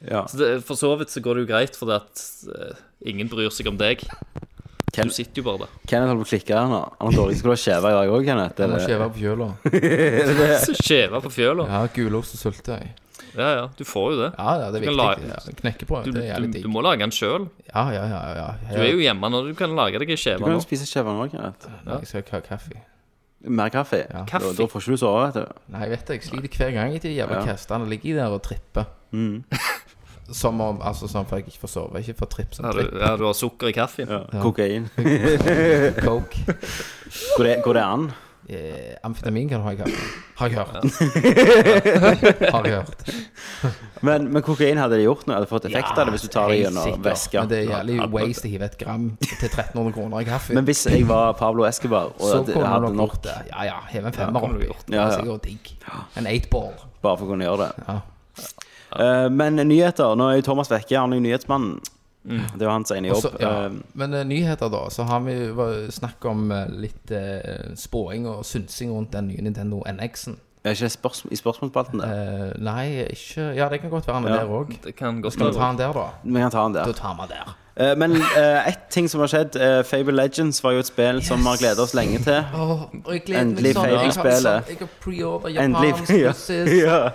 Speaker 1: ja.
Speaker 3: Så det, for så vidt så går det jo greit, fordi at eh, ingen bryr seg om deg. Du sitter jo bare der.
Speaker 1: Kenneth holder på å klikke her nå. Han har dårlig skulle ha skjeva i dag òg, Kenneth.
Speaker 2: Må
Speaker 1: Eller?
Speaker 2: skjeve på fjøla.
Speaker 3: Så Skjeva på fjøla.
Speaker 2: Ja, gulost og syltetøy.
Speaker 3: Ja, ja. Du får jo det.
Speaker 2: Ja, ja, det er
Speaker 3: Du kan
Speaker 2: viktig.
Speaker 3: la-
Speaker 2: Ja, Knekkebrød,
Speaker 3: Du,
Speaker 2: det er
Speaker 3: du,
Speaker 2: jævlig digg.
Speaker 3: du må lage den sjøl.
Speaker 2: Ja, ja, ja. ja.
Speaker 3: Du er jo hjemme når du kan lage deg ei
Speaker 1: Du
Speaker 3: skjeve
Speaker 1: kan
Speaker 3: nå.
Speaker 1: jo spise skjeva nå, Kenneth.
Speaker 2: Jeg skal ikke ha kaffe.
Speaker 1: Mer kaffe.
Speaker 2: Ja.
Speaker 1: Da,
Speaker 3: Kaffe.
Speaker 1: da får ikke du sove, vet du.
Speaker 2: Nei, jeg vet det. Jeg sliter hver gang etter de jævla
Speaker 1: Ja. Mm.
Speaker 2: kastene. Ligger der og tripper. som om Altså sånn for jeg ikke får sove. Ikke for tripp som
Speaker 3: Ja, du,
Speaker 2: tripp.
Speaker 3: ja, du har sukker i kaffen.
Speaker 1: Ja. Kokain.
Speaker 2: Coke.
Speaker 1: Går det, går det an?
Speaker 2: Eh, amfetamin kan du ha i kaffen. Har jeg hørt. Har jeg hørt.
Speaker 1: Men, men kokain hadde det gjort noe? Hadde det fått effekt av det hvis du tar det
Speaker 2: Helt
Speaker 1: gjennom
Speaker 2: sikkert.
Speaker 1: væske?
Speaker 2: Men det er jævlig waste å hive et gram til 1300 kroner i kaffe.
Speaker 1: Men hvis jeg var Pablo Escobar og
Speaker 2: så
Speaker 1: det-
Speaker 2: kunne
Speaker 1: hadde
Speaker 2: du nok
Speaker 1: nok
Speaker 2: gjort det. Ja ja, heve en femmer
Speaker 3: kunne du
Speaker 2: oppi.
Speaker 3: gjort
Speaker 2: Det
Speaker 1: Ja,
Speaker 2: er
Speaker 1: ja.
Speaker 2: sikkert digg. En eightball.
Speaker 1: bare for å kunne gjøre det
Speaker 2: Ja.
Speaker 1: Eh, Men nyheter. Nå er jo Thomas vekke, han er jo nyhetsmannen. Det er jo hans ene jobb.
Speaker 2: Mm. Så, ja.
Speaker 1: Eh,
Speaker 2: Men eh, nyheter, da. Så har vi jo var- snakk om eh, litt eh, spåing og synsing rundt den nye Nintendo NX-en.
Speaker 1: er ikke det spørsmål, i spørsmålsspalten det?
Speaker 2: Eh, nei, ikke Ja, det kan godt være han er
Speaker 1: Ja.
Speaker 2: der òg.
Speaker 3: Det kan godt
Speaker 2: Skal vi ta
Speaker 3: være.
Speaker 2: han der, da?
Speaker 1: Vi kan ta den der.
Speaker 2: Da tar vi han der.
Speaker 1: Eh, Men eh, ett ting som har skjedd. eh, Fable Legends var jo et spill som vi har gledet oss lenge til.
Speaker 2: Åh, og jeg gleder
Speaker 1: Endelig
Speaker 2: meg sånn. Jeg har-
Speaker 1: Fable-spillet.
Speaker 2: sånn, Jeg har pre-order
Speaker 1: Endelig,
Speaker 2: japansk
Speaker 1: ja,
Speaker 2: russisk.
Speaker 1: ja.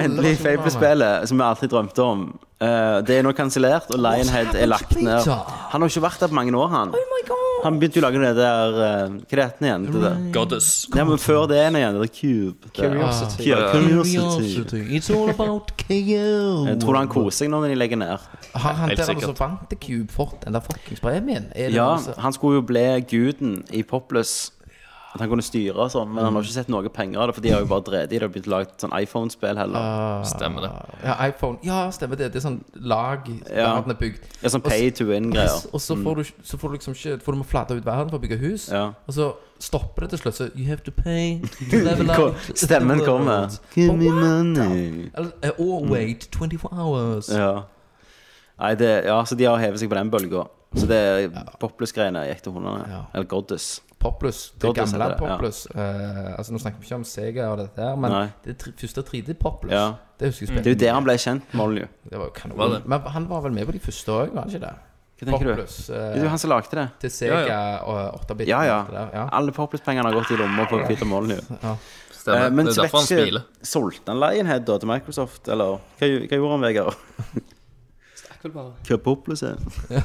Speaker 1: Endelig
Speaker 2: versjonene.
Speaker 1: Fable-spillet som vi alltid drømte om. Eh, det er nå kansellert, og Lionhead er lagt ned. Han har jo ikke vært der på mange år, han.
Speaker 2: Oh
Speaker 1: Han begynte jo å lage det der eh, Hva er det igjen? Det der?
Speaker 3: Goddess.
Speaker 1: Ja, men før det ene igjen, det er Cube. Det.
Speaker 4: Curiosity.
Speaker 1: Ja, Curiosity.
Speaker 2: It's all about KO.
Speaker 1: Jeg tror han koser seg nå når de legger ned.
Speaker 2: Har han
Speaker 3: Helt
Speaker 2: der altså
Speaker 3: sikkert.
Speaker 2: vant til Cube fått den der fuckings premien? Er det
Speaker 1: Ja,
Speaker 2: noe som-
Speaker 1: han skulle jo bli guden i Poplus. At han kunne styre og sånn, men han har ikke sett noe penger av det, for de har jo bare drevet i det og begynt å lage sånn iPhone-spill heller.
Speaker 3: Stemmer det.
Speaker 2: Ja, iPhone. Ja, stemmer det. Det er sånn lag
Speaker 1: Ja.
Speaker 2: verden er bygd.
Speaker 1: Ja, sånn pay to win-greier.
Speaker 2: Og så får, du, så får du liksom ikke For du må flate ut verden for å bygge hus.
Speaker 1: Ja.
Speaker 2: Og så stopper det til slutt. Så you have to pay to level
Speaker 1: Ko-
Speaker 2: up.
Speaker 1: Stemmen kommer. Give me money.
Speaker 2: Eller, eh, Or wait 24 hours.
Speaker 1: Ja. Nei, det, ja, så de har hevet seg på den bølga. Så det Poplus-greiene gikk til hundene.
Speaker 2: Ja.
Speaker 1: Eller Goddess.
Speaker 2: Poplus. Det
Speaker 1: Godless
Speaker 2: gamle
Speaker 1: heter det, ja.
Speaker 2: Poplus. Eh, altså Nå snakker vi ikke om Sega og dette her, men
Speaker 1: Nei.
Speaker 2: det tri første 3D-Poplus,
Speaker 1: Ja. Mm.
Speaker 2: det husker jeg spilte.
Speaker 1: Det er jo der han ble kjent, Molly.
Speaker 2: Det var jo kanon.
Speaker 3: Var det?
Speaker 2: Men han var vel med på de første òg, var han ikke det?
Speaker 1: Hva tenker du?
Speaker 2: Poplus, eh,
Speaker 1: Det er jo han som lagde det.
Speaker 2: til Sega
Speaker 3: Ja,
Speaker 2: og 8-bit.
Speaker 1: Ja, ja.
Speaker 2: og alt det der, ja.
Speaker 1: Alle Poplus-pengene har gått i lomma på Peter Molly.
Speaker 3: Stemmer.
Speaker 1: Eh, men
Speaker 3: det er
Speaker 1: så
Speaker 3: derfor han
Speaker 1: vet ikke-
Speaker 3: smiler.
Speaker 1: Solgte han Lionhead da til Microsoft, eller hva, gj- hva gjorde han, Vegard?
Speaker 4: Stakk vel bare.
Speaker 1: Hva Poplus er? han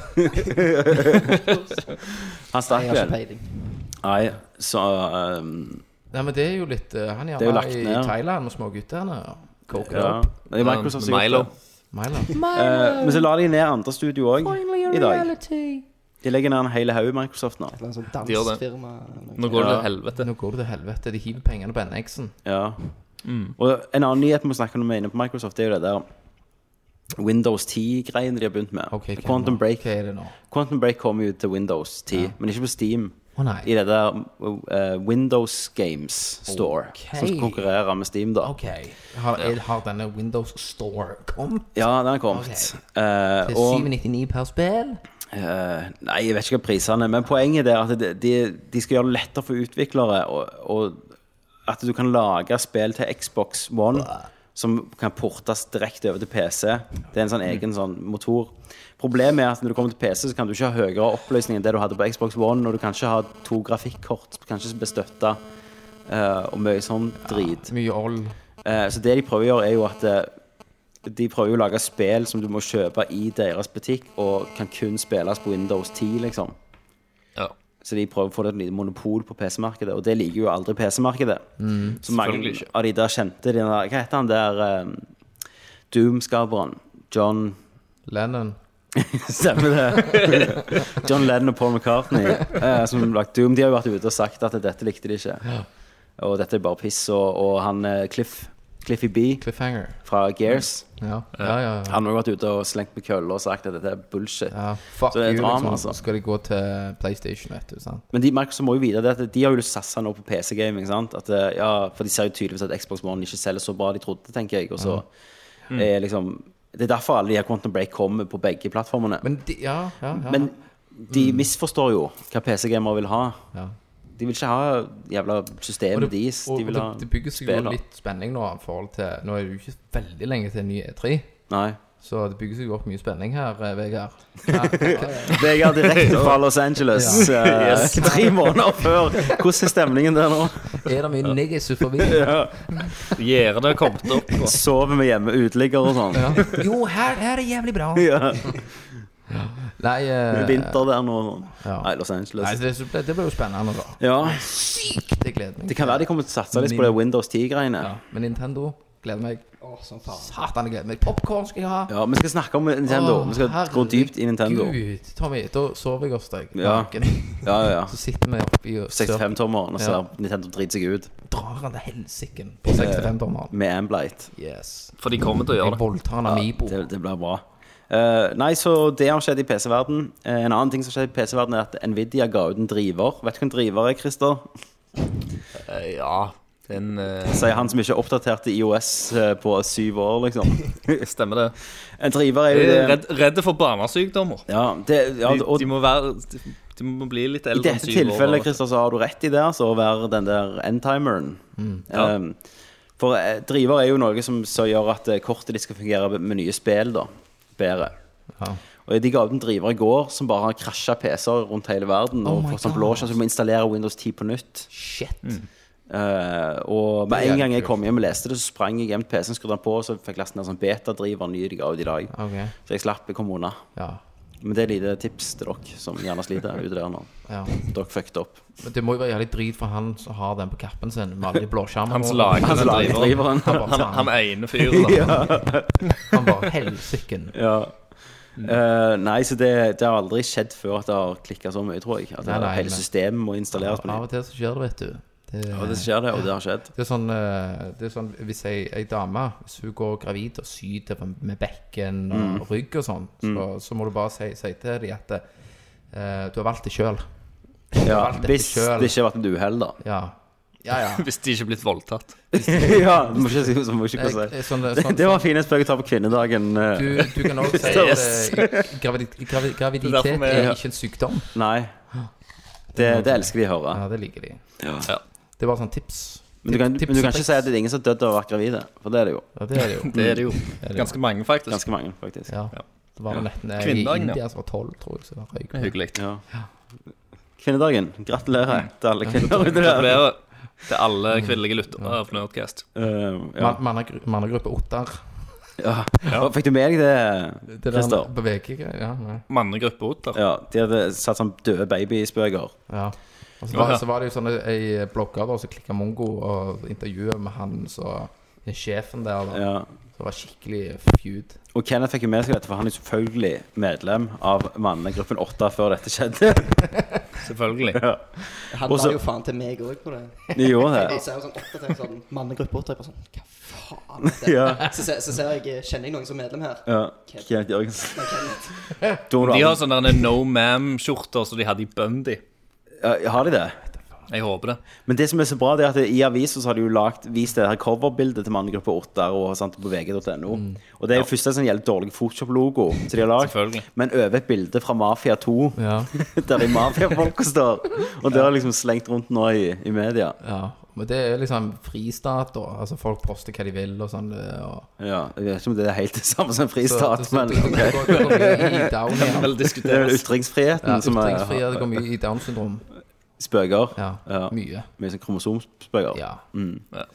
Speaker 4: Nei,
Speaker 1: stakk
Speaker 4: jeg har
Speaker 1: vel.
Speaker 4: ikke peiling.
Speaker 1: Nei, så um,
Speaker 2: Nei, men det er jo litt eh, Han er
Speaker 1: Det er jo
Speaker 2: gjerne
Speaker 1: lagt
Speaker 2: i, i
Speaker 1: ned.
Speaker 2: Thailand med småguttene. Coke ja.
Speaker 1: ja. Det er Microsoft som har gjort
Speaker 3: Milo.
Speaker 1: det.
Speaker 2: Milo.
Speaker 1: Eh, men så la de ned andre studio òg i dag. De legger ned en hel haug i Microsoft nå.
Speaker 4: Det er en sånn
Speaker 3: De gjør det.
Speaker 4: dansfirma. eller noe.
Speaker 3: Nå går det
Speaker 1: Ja.
Speaker 3: til helvete.
Speaker 2: Nå går det til helvete. De hiver pengene på NX-en.
Speaker 1: Ja. Og en annen nyhet vi må snakke om når vi er inne på Microsoft, det er jo det der Windows 10-greiene de har begynt med.
Speaker 2: Ok, hva
Speaker 1: Quantum,
Speaker 2: nå?
Speaker 1: Break,
Speaker 2: Hva er det nå?
Speaker 1: Quantum Break kommer jo til Windows 10, men ikke på Steam.
Speaker 2: Å
Speaker 1: I
Speaker 2: nei.
Speaker 1: det der eh, Windows Games Store, som skal konkurrere med Steam, da.
Speaker 2: Ok. Har, er, har denne Windows Store kommet?
Speaker 1: Ja, den har kommet. Eh,
Speaker 2: Til
Speaker 1: og
Speaker 2: 799 per spill?
Speaker 1: eh, Nei, jeg vet ikke hva prisene er, men poenget er at de, de, de skal gjøre det lettere for utviklere. Og, og at du kan lage spill til Xbox One som kan portes direkte over til PC. Det er en sånn egen sånn motor. Problemet er at når du kommer til PC, så kan du ikke ha høyere oppløsning enn det du hadde på Xbox One, og du kan ikke ha to grafikkort, kanskje bestøtta, uh, og mye sånn drit.
Speaker 2: Mye old.
Speaker 1: Eh, Så det de prøver å gjøre, er jo at eh, de prøver jo å lage spill som du må kjøpe i deres butikk, og kan kun spilles på Windows 10, liksom.
Speaker 3: Ja.
Speaker 1: Så de prøver å få det et lite monopol på PC-markedet, og det liker jo aldri PC-markedet. så mange
Speaker 3: selvfølgelig ikke.
Speaker 1: av de der kjente de der, Hva heter han der eh, Doom-skaperen? John
Speaker 2: Lennon.
Speaker 1: Stemmer det. John Lennon og Paul McCartney eh, som har lagt Doom, de har jo vært ute og sagt at dette likte de ikke. Og dette er bare piss. Og, og han eh, Cliff, Cliffy B
Speaker 2: Cliffhanger.
Speaker 1: fra Gears
Speaker 2: Ja, ja, ja. ja.
Speaker 1: Han har jo vært ute og slengt med køller og sagt at dette er bullshit.
Speaker 2: ja. Fuck
Speaker 1: Så det er
Speaker 2: you,
Speaker 1: et drama,
Speaker 2: liksom.
Speaker 1: altså.
Speaker 2: Så skal de gå til PlayStation, vet du. sant?
Speaker 1: Men de, Microsoft må jo vite det at de har jo satsa nå på PC-gaming. sant? At, eh, ja, For de ser jo tydeligvis at Xbox One ikke selger så bra de trodde, tenker jeg. Og så
Speaker 2: Mm.
Speaker 1: er liksom Det er derfor alle de her Quantum Break kommer på begge plattformene. Men,
Speaker 2: Men de, ja, ja, ja. Mm.
Speaker 1: de misforstår jo hva PC-gamere vil ha.
Speaker 2: ja.
Speaker 1: De vil ikke ha jævla
Speaker 2: Og
Speaker 1: systemet
Speaker 2: det,
Speaker 1: deres.
Speaker 2: og,
Speaker 1: De
Speaker 2: og
Speaker 1: vil
Speaker 2: det,
Speaker 1: ha
Speaker 2: det bygger seg jo
Speaker 1: spiller.
Speaker 2: litt spenning nå i forhold til Nå er det jo ikke veldig lenge til en ny E3.
Speaker 1: Nei.
Speaker 2: Så det bygger seg jo opp mye spenning her, eh, Vegard.
Speaker 1: Vegard direkte fra Los Angeles eh,
Speaker 3: Yes.
Speaker 1: tre måneder før. Hvordan er stemningen der nå?
Speaker 2: Er det mye neggs utenfor vinduet?
Speaker 3: Gjerdene har kommet opp. Og...
Speaker 1: Sover vi hjemme, uteligger og sånn?
Speaker 2: Ja. Jo, her, her er jævlig bra.
Speaker 1: Ja.
Speaker 2: Nei, eh,
Speaker 1: Det er Vinter der nå. og sånn.
Speaker 2: Ja.
Speaker 1: Nei, Los
Speaker 2: Nei,
Speaker 1: Angeles.
Speaker 2: det, så ble, det ble jo spennende, da.
Speaker 1: Ja,
Speaker 2: Det gleder meg.
Speaker 1: Det kan være de kommer til å satse litt på det Windows 10-greiene.
Speaker 2: Ja, men Nintendo gleder meg.
Speaker 4: Åh, som faen.
Speaker 2: Satan, jeg gleder meg. Popkorn skal jeg ha.
Speaker 1: Ja, Vi skal snakke om Nintendo.
Speaker 2: Åh,
Speaker 1: Vi skal gå dypt i Nintendo.
Speaker 2: herregud. Tommy, da sover jeg hos deg.
Speaker 1: Ja.
Speaker 2: naken.
Speaker 1: Ja, ja, ja.
Speaker 2: Så sitter vi oppi og sør-
Speaker 1: 65-tommeren, og så
Speaker 2: Ja.
Speaker 1: ser Nintendo driter seg ut
Speaker 2: drar han til helsiken på 65-tommeren.
Speaker 1: med Amblight.
Speaker 2: Yes.
Speaker 3: For de kommer til å
Speaker 2: Jeg
Speaker 3: gjøre det.
Speaker 2: voldtar en Amiibo.
Speaker 1: Det, det blir bra. Eh, nei, så det har skjedd i PC-verden. Eh, en annen ting som har skjedd i PC-verden, er at Nvidia ga ut en driver. Vet du hva en driver er, Christer?
Speaker 3: Eh, Ja. Det er en, eh,
Speaker 1: Sier han som ikke oppdaterte IOS eh, på syv år, liksom.
Speaker 3: stemmer det.
Speaker 1: En driver er
Speaker 3: De
Speaker 1: jo
Speaker 3: er
Speaker 1: det
Speaker 3: redd, redde for barnesykdommer.
Speaker 1: Ja, det, eh, ja
Speaker 3: De,
Speaker 1: og
Speaker 3: de, må være, de, de må bli litt
Speaker 1: I
Speaker 3: eldre enn
Speaker 1: dette
Speaker 3: syv år.
Speaker 1: tilfellet Christer, så har du rett i det, altså, å være den der endtimeren.
Speaker 2: Mm.
Speaker 3: Ja.
Speaker 1: Um, for eh, driver er jo noe som så gjør at eh, kortet ditt skal fungere med nye spill da, bedre.
Speaker 2: Ja.
Speaker 1: Og De ga ut en driver i går som bare har krasja PC-er rundt hele verden.
Speaker 2: Oh
Speaker 1: og
Speaker 2: my
Speaker 1: fått sånn
Speaker 2: God.
Speaker 1: blåskjerm, så du må installere Windows 10 på nytt.
Speaker 2: Shit.
Speaker 3: Mm.
Speaker 1: Eh, og med
Speaker 2: Det er
Speaker 1: en gang jeg
Speaker 2: kult.
Speaker 1: kom hjem og leste det, så sprang jeg hjem til PC-en, skrudde den på, og så fikk jeg lasten ned sånn beta-driver ny de ga ut i dag.
Speaker 2: Ok.
Speaker 1: Så jeg slapp, jeg kom unna.
Speaker 2: Ja.
Speaker 1: Men det er et lite tips til dere som gjerne sliter ute der nå.
Speaker 2: ja.
Speaker 1: Dere fucked opp.
Speaker 2: Men det må jo være jævlig drit for han som har den på kappen sin med alle de blåskjermene.
Speaker 3: Han som lager
Speaker 1: Han
Speaker 3: den
Speaker 1: som lager driveren.
Speaker 3: driveren.
Speaker 2: Han bare,
Speaker 3: Han,
Speaker 2: faen,
Speaker 3: han ene fyren. da.
Speaker 2: han bare helsiken.
Speaker 1: Ja. Eh, nei, så det, det har aldri skjedd før at det har klikka så mye, tror jeg. At det
Speaker 2: Nei, nei,
Speaker 1: hele
Speaker 2: men-
Speaker 1: systemet må installeres på
Speaker 2: Av og
Speaker 1: nytt.
Speaker 2: til så skjer det, vet du. Det,
Speaker 1: Og det skjer, det. Og det har skjedd.
Speaker 2: Det er sånn, eh, det er sånn Hvis ei, ei dame Hvis hun går gravid og syter på- med bekken og
Speaker 1: Mm.
Speaker 2: rygg og sånn, så, så må du bare si, si til dem at eh, du har valgt det sjøl.
Speaker 1: Ja,
Speaker 2: valgt dette
Speaker 1: hvis
Speaker 2: selv.
Speaker 1: det ikke har vært et uhell, da.
Speaker 2: Ja. Ja, ja.
Speaker 3: Hvis de ikke er blitt voldtatt.
Speaker 1: ja, du må ikke, si- så må ikke
Speaker 2: Jeg,
Speaker 1: gå og si.
Speaker 2: jeg, sånn,
Speaker 1: Det,
Speaker 2: sånn,
Speaker 1: det var fine spøk å ta på kvinnedagen. eh.
Speaker 2: du, du kan også si at
Speaker 3: Yes.
Speaker 2: eh, gravid, gravid, graviditet
Speaker 3: Det er derfor vi-
Speaker 2: er ikke en sykdom.
Speaker 1: Nei. Det, det elsker de å høre.
Speaker 2: Ja, det liker de.
Speaker 3: Ja.
Speaker 2: Det var sånn tips.
Speaker 1: Men du kan,
Speaker 2: Tips- tips
Speaker 1: men du
Speaker 2: og
Speaker 1: kan ikke
Speaker 2: triks.
Speaker 1: si at det er ingen som har dødd av å ha vært gravide. For det er det jo. Mm.
Speaker 2: Ja, det er det jo.
Speaker 3: Det er det jo.
Speaker 2: Det er det jo.
Speaker 3: Ganske mange, faktisk.
Speaker 1: Ganske mange, faktisk.
Speaker 2: Ja.
Speaker 3: Ja.
Speaker 2: Det var vel nesten jeg i
Speaker 3: Kvinnedagen, ja.
Speaker 2: India som var tolv, tror jeg. Så røyk.
Speaker 3: Det er hyggelig.
Speaker 1: Ja. Kvinnedagen. Gratulerer til alle kvinner ute der.
Speaker 3: Gratulerer til alle kvinnelige lyttere av Nerdcast.
Speaker 1: Eh, ja.
Speaker 2: Man- mannegru- Mannegruppe Ottar.
Speaker 1: Ja. Fikk du med deg det,
Speaker 2: Det
Speaker 1: Christer?
Speaker 2: der på VG-greier. Ja, nei.
Speaker 3: Mannegruppe Otter.
Speaker 1: Ja, de hadde satt sånn døde babyspøker.
Speaker 2: Ja. Og så var,
Speaker 3: Ja.
Speaker 2: så var det jo sånne ei blogger da, som klikka mongo og intervjuet med han så den sjefen der. da
Speaker 1: Ja.
Speaker 2: Så var skikkelig feud.
Speaker 1: Og Kenneth fikk jo med seg dette, for han er jo selvfølgelig medlem av mannegruppen 8 før dette skjedde.
Speaker 3: Selvfølgelig.
Speaker 1: Ja.
Speaker 4: Han
Speaker 1: Også-
Speaker 4: la jo faen til meg òg på det.
Speaker 1: De gjorde
Speaker 4: Jeg
Speaker 1: det.
Speaker 4: ser jo sånn oppdatert sånn mannegruppe og tenker sånn Hva faen? er det?
Speaker 1: Ja.
Speaker 4: Så, ser- så ser jeg eh, Kjenner jeg noen som medlem her?
Speaker 1: Ja. Kenneth Jørgensen.
Speaker 4: Nei, Kenneth.
Speaker 1: Donald-
Speaker 3: De har sånne der No Mam-skjorter som de hadde i Bundy.
Speaker 1: ja, har de det?
Speaker 3: Jeg håper det.
Speaker 1: Men det som er så bra, det er at i avisen så har de jo lagt, vist det her coverbildet til mannegruppe 8 og sånt på vg.no. Og det er jo først en sånn jævlig dårlig Photoshop-logo som de har lagd,
Speaker 3: Selvfølgelig.
Speaker 1: men over et bilde fra Mafia 2,
Speaker 2: Ja,
Speaker 1: der de mafiafolka står. Og det er liksom slengt rundt nå i, i media.
Speaker 2: ja. Men det er jo liksom fristat, da. Altså Folk poster hva de vil og sånn. eh, Og,
Speaker 1: Ja, jeg vet ikke om det er helt det samme som
Speaker 2: så,
Speaker 1: fristat,
Speaker 2: så-
Speaker 1: men
Speaker 2: det, det, går- det går mye i down igjen.
Speaker 3: Vel
Speaker 1: Det er
Speaker 3: diskuteres.
Speaker 1: vel ytringsfriheten
Speaker 2: Ja,
Speaker 1: som er
Speaker 2: ytringsfrihet, det går mye i down syndrom.
Speaker 1: spøker.
Speaker 2: Ja,
Speaker 1: Ja.
Speaker 2: Mye.
Speaker 1: Mye sånn kromosomspøker.
Speaker 2: Ja.
Speaker 1: Mm.
Speaker 3: Ja.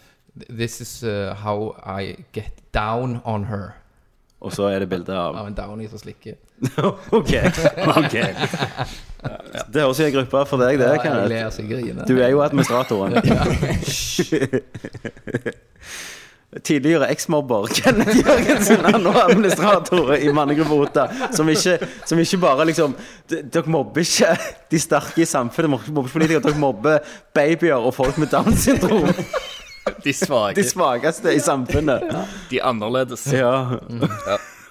Speaker 2: This is uh, how I get down on her.
Speaker 1: Og så er det bilde av
Speaker 2: Av en downy som slikker.
Speaker 1: OK. ok Det høres ut som en gruppe for deg, det,
Speaker 2: jeg
Speaker 1: Kenneth.
Speaker 2: ler så jeg griner.
Speaker 1: Du er jo administratoren. Tidligere eksmobber Kenneth Jørgensen er nå administrator i Mannegruppa Otta. Som, ikke- som ikke bare liksom d- Dere mobber ikke de sterke i samfunnet, dere mobber ikke politikere, dere mobber babyer og folk med Downs syndrom.
Speaker 3: De svake.
Speaker 1: De svakeste i samfunnet.
Speaker 3: De annerledes. Det
Speaker 1: Ja.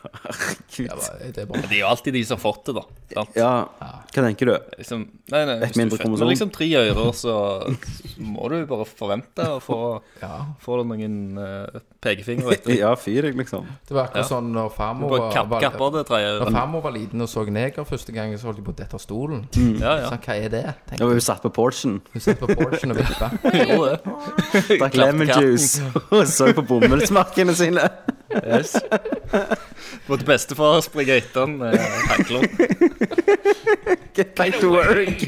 Speaker 2: Ja,
Speaker 1: Herregud.
Speaker 2: det er bra.
Speaker 3: er jo alltid de som har fått det, da. Sant?
Speaker 1: Ja, hva tenker du?
Speaker 3: Liksom, nei, nei, hvis du
Speaker 1: mindre
Speaker 3: er født
Speaker 1: kromosom.
Speaker 3: med liksom tre ører, så må du bare forvente å få,
Speaker 2: Ja.
Speaker 3: få noen uh, pekefingre etter.
Speaker 1: Ja, fyr deg, liksom.
Speaker 2: Det var akkurat
Speaker 3: Ja.
Speaker 2: sånn når farmor
Speaker 3: Bare
Speaker 2: var,
Speaker 3: kapp,
Speaker 2: var-
Speaker 3: kapper det tredje
Speaker 2: når
Speaker 3: øret.
Speaker 2: farmor var liten og så neger første gang, så holdt de på å dette av stolen.
Speaker 1: Mm.
Speaker 3: Ja, ja.
Speaker 2: Sånn, hva er det?
Speaker 1: Da
Speaker 2: Tenkte
Speaker 1: var vi satt på porchen,
Speaker 2: hun satt på Porschen og vippa.
Speaker 3: Gjorde det.
Speaker 1: drakk lemon juice og så på bomullsmarkene sine.
Speaker 3: Yes. Måtte bestefar springe etter han eh, med hagla.
Speaker 1: Get back to work.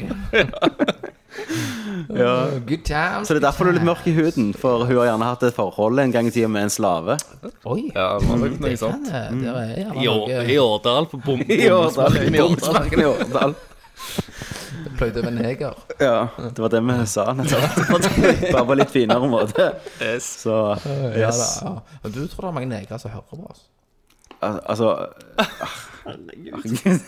Speaker 1: ja.
Speaker 2: Good times.
Speaker 1: Så det er derfor du er litt mørk i huden, for hun har gjerne hatt et forhold en gang i tida med en slave.
Speaker 2: Oi.
Speaker 3: Ja, det var nok noe
Speaker 2: Det kan
Speaker 3: sånt.
Speaker 2: det.
Speaker 1: Mm.
Speaker 2: Det er gjerne
Speaker 3: I Å- i
Speaker 2: noe
Speaker 3: Årdal, på bom-
Speaker 1: I Årdal.
Speaker 3: bommesmerken i Årdal.
Speaker 1: i Årdal.
Speaker 2: pløyd over en heger.
Speaker 1: Ja, det var det vi sa nettopp. Bare på litt finere måte.
Speaker 3: Yes.
Speaker 1: Så
Speaker 2: Ja,
Speaker 1: yes.
Speaker 2: da, ja. Og du tror det er mange negere som hører på oss?
Speaker 1: Al- Altså Herregud.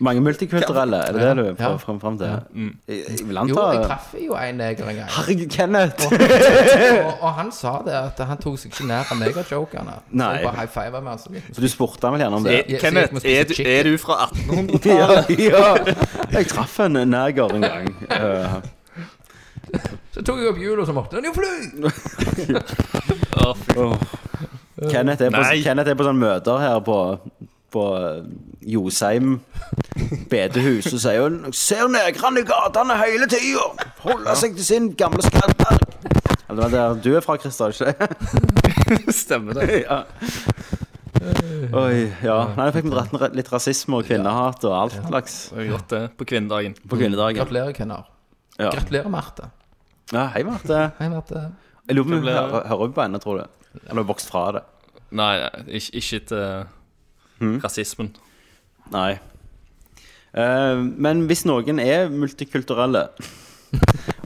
Speaker 1: Mange multikulturelle, er det det du
Speaker 2: Ja.
Speaker 1: prøver frem, frem til? Jeg, Mm. jeg vil
Speaker 2: Jo, jeg
Speaker 1: anta
Speaker 2: traff jo en neger en gang.
Speaker 1: Herregud, Kenneth!
Speaker 2: Og, og han sa det at han tok seg ikke nær av negerjokerne. Så
Speaker 1: Nei.
Speaker 2: jeg Bare high five altså, liksom. med han så vidt.
Speaker 1: Så du spurte han vel gjerne om det?
Speaker 2: Så jeg-
Speaker 3: Eh, Kenneth,
Speaker 2: må spise
Speaker 3: er du,
Speaker 2: chicken.
Speaker 3: er du fra 1800?
Speaker 1: Ja, ja. Jeg traff en neger en gang. Eh,
Speaker 2: Så tok jeg opp hjulet, og så måtte han jo fly!
Speaker 3: Å, fy-
Speaker 1: åh. Kenneth, er på,
Speaker 3: Nei.
Speaker 1: Kenneth er på sånne møter her på, på eh, Josheim bedehus og sier jo Ser negrene i gatene hele tida! Holder seg til sin gamle skattberg! Ja, det var der Du er fra Christer, ikke sant?
Speaker 3: Stemmer det.
Speaker 1: ja. Oi, ja. Nei, jeg fikk med dratt ned litt rasisme og kvinnehat og alt slags
Speaker 3: Det er godt, det. På kvinnedagen.
Speaker 1: på kvinnedagen.
Speaker 2: Gratulerer, Kenner.
Speaker 1: Ja.
Speaker 2: Gratulerer, Marte.
Speaker 1: Ja, hei, Marte.
Speaker 2: Hei, Marte.
Speaker 1: Jeg lurer på om hun
Speaker 3: Gratulerer.
Speaker 1: hører hører på henne, tror du. Eller har vokst fra det.
Speaker 3: Nei, nei, ikke, ikke til eh, rasismen.
Speaker 1: Nei. Eh, men hvis noen er multikulturelle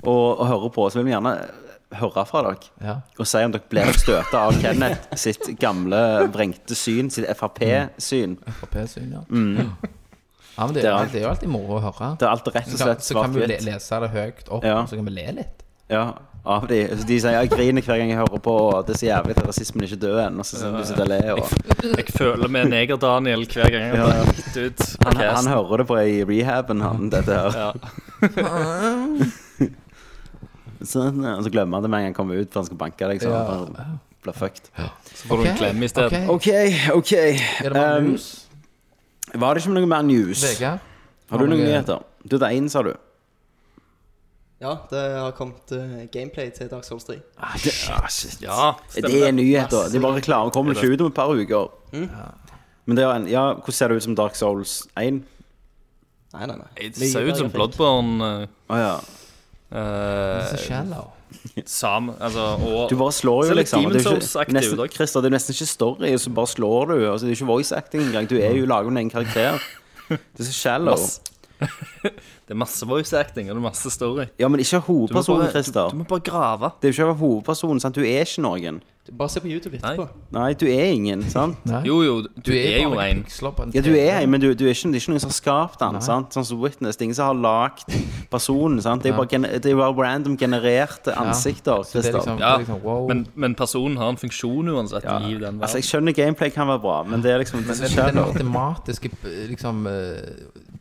Speaker 1: og, og hører på, så vil vi gjerne høre fra dere.
Speaker 2: Ja.
Speaker 1: Og si om dere blir støta av Kenneth sitt gamle vrengte syn, sitt Frp-syn.
Speaker 2: Frp-syn, ja. ja men det, er,
Speaker 1: Mm. Det er
Speaker 2: jo-
Speaker 1: alt.
Speaker 2: det er jo alltid moro å høre.
Speaker 1: Det er alt rett og
Speaker 2: Så kan,
Speaker 1: slett
Speaker 2: så kan vi jo le-
Speaker 1: svart-hvitt.
Speaker 2: lese det høyt opp,
Speaker 1: Ja.
Speaker 2: og så kan vi le litt.
Speaker 1: Ja, av de. Så de sier 'jeg griner hver gang jeg hører på', og 'det er så jævlig at rasismen ikke er død ennå'. Så sitter du sitter og ler. Og...
Speaker 3: Jeg føler med Neger-Daniel hver gang jeg
Speaker 1: Ja, ja.
Speaker 3: blir gitt ut.
Speaker 1: Han,
Speaker 3: Cast.
Speaker 1: han hører det på i rehaben, han, dette her.
Speaker 3: Ja.
Speaker 1: Sånn, ja. og så glemmer han det med en gang han kommer ut, for han skal banke deg. Så
Speaker 2: Ja.
Speaker 1: han bare blir fucked.
Speaker 3: Så får du en klem i stedet.
Speaker 1: OK,
Speaker 2: ok.
Speaker 1: OK.
Speaker 2: Er det bare
Speaker 1: Um,
Speaker 2: mus?
Speaker 1: Var det ikke noe mer news?
Speaker 2: Vegard?
Speaker 1: Har du noen
Speaker 2: noe-
Speaker 1: nyheter? Du er én, sa du.
Speaker 4: Ja, det har kommet eh, gameplay til Dark Souls 3.
Speaker 1: Ah, det, ah, shit.
Speaker 3: Ja,
Speaker 1: det er
Speaker 3: stemmer det.
Speaker 1: nyheter. Det er bare reklame. Kommer
Speaker 3: Det Mm. er
Speaker 1: ikke ut om et par uker. Men det er en, ja, hvordan ser det ut som Dark Souls 1?
Speaker 4: Nei, nei, nei.
Speaker 3: Det
Speaker 4: Mye
Speaker 3: ser ut som
Speaker 4: grafikk.
Speaker 3: Bloodborne
Speaker 1: Å ja.
Speaker 2: Det er
Speaker 3: uh,
Speaker 1: eh,
Speaker 2: så shallow.
Speaker 3: Sam, altså, og
Speaker 1: Du bare slår jo,
Speaker 3: Ser litt
Speaker 1: liksom. og Det er
Speaker 3: Demon's
Speaker 1: jo
Speaker 3: Souls-aktig
Speaker 1: ikke,
Speaker 3: ut,
Speaker 1: nesten,
Speaker 3: da.
Speaker 1: Christer, det er nesten ikke story, og så bare slår du. Altså, det er ikke voice acting engang. Du er
Speaker 3: Mm.
Speaker 1: jo lager en egen karakter. Det er så shallow.
Speaker 3: Masse- Det er masse voice acting og det er masse story.
Speaker 1: Ja, men ikke
Speaker 3: Du må
Speaker 1: hovedpersonen,
Speaker 3: bare, du,
Speaker 1: Christer.
Speaker 3: du må bare grave.
Speaker 1: Det er jo ikke hovedpersonen, sant. Du er ikke noen.
Speaker 4: Bare se på YouTube etterpå.
Speaker 1: Nei, du er ingen, sant.
Speaker 2: Nei.
Speaker 3: Jo, jo, du, er jo
Speaker 2: bare
Speaker 3: en.
Speaker 2: piksler på en
Speaker 1: Ja, du
Speaker 2: TV.
Speaker 1: er en, men du, du er ikke, det er ikke noen som har skapt den. Sant? Sånn som Witness. Det er ingen som har lagd personen. Sant? Det, er bare, gener- det er bare random genererte ansikter.
Speaker 2: Så det
Speaker 1: Christer.
Speaker 2: er liksom, det
Speaker 3: Ja,
Speaker 2: er liksom wow.
Speaker 3: men, men personen har en funksjon uansett i den
Speaker 1: Altså,
Speaker 3: verden.
Speaker 1: jeg skjønner gameplay kan være bra, men det er liksom det
Speaker 2: Men
Speaker 1: som
Speaker 2: den-
Speaker 1: skjer
Speaker 2: den
Speaker 1: nå.
Speaker 2: matematiske liksom, eh,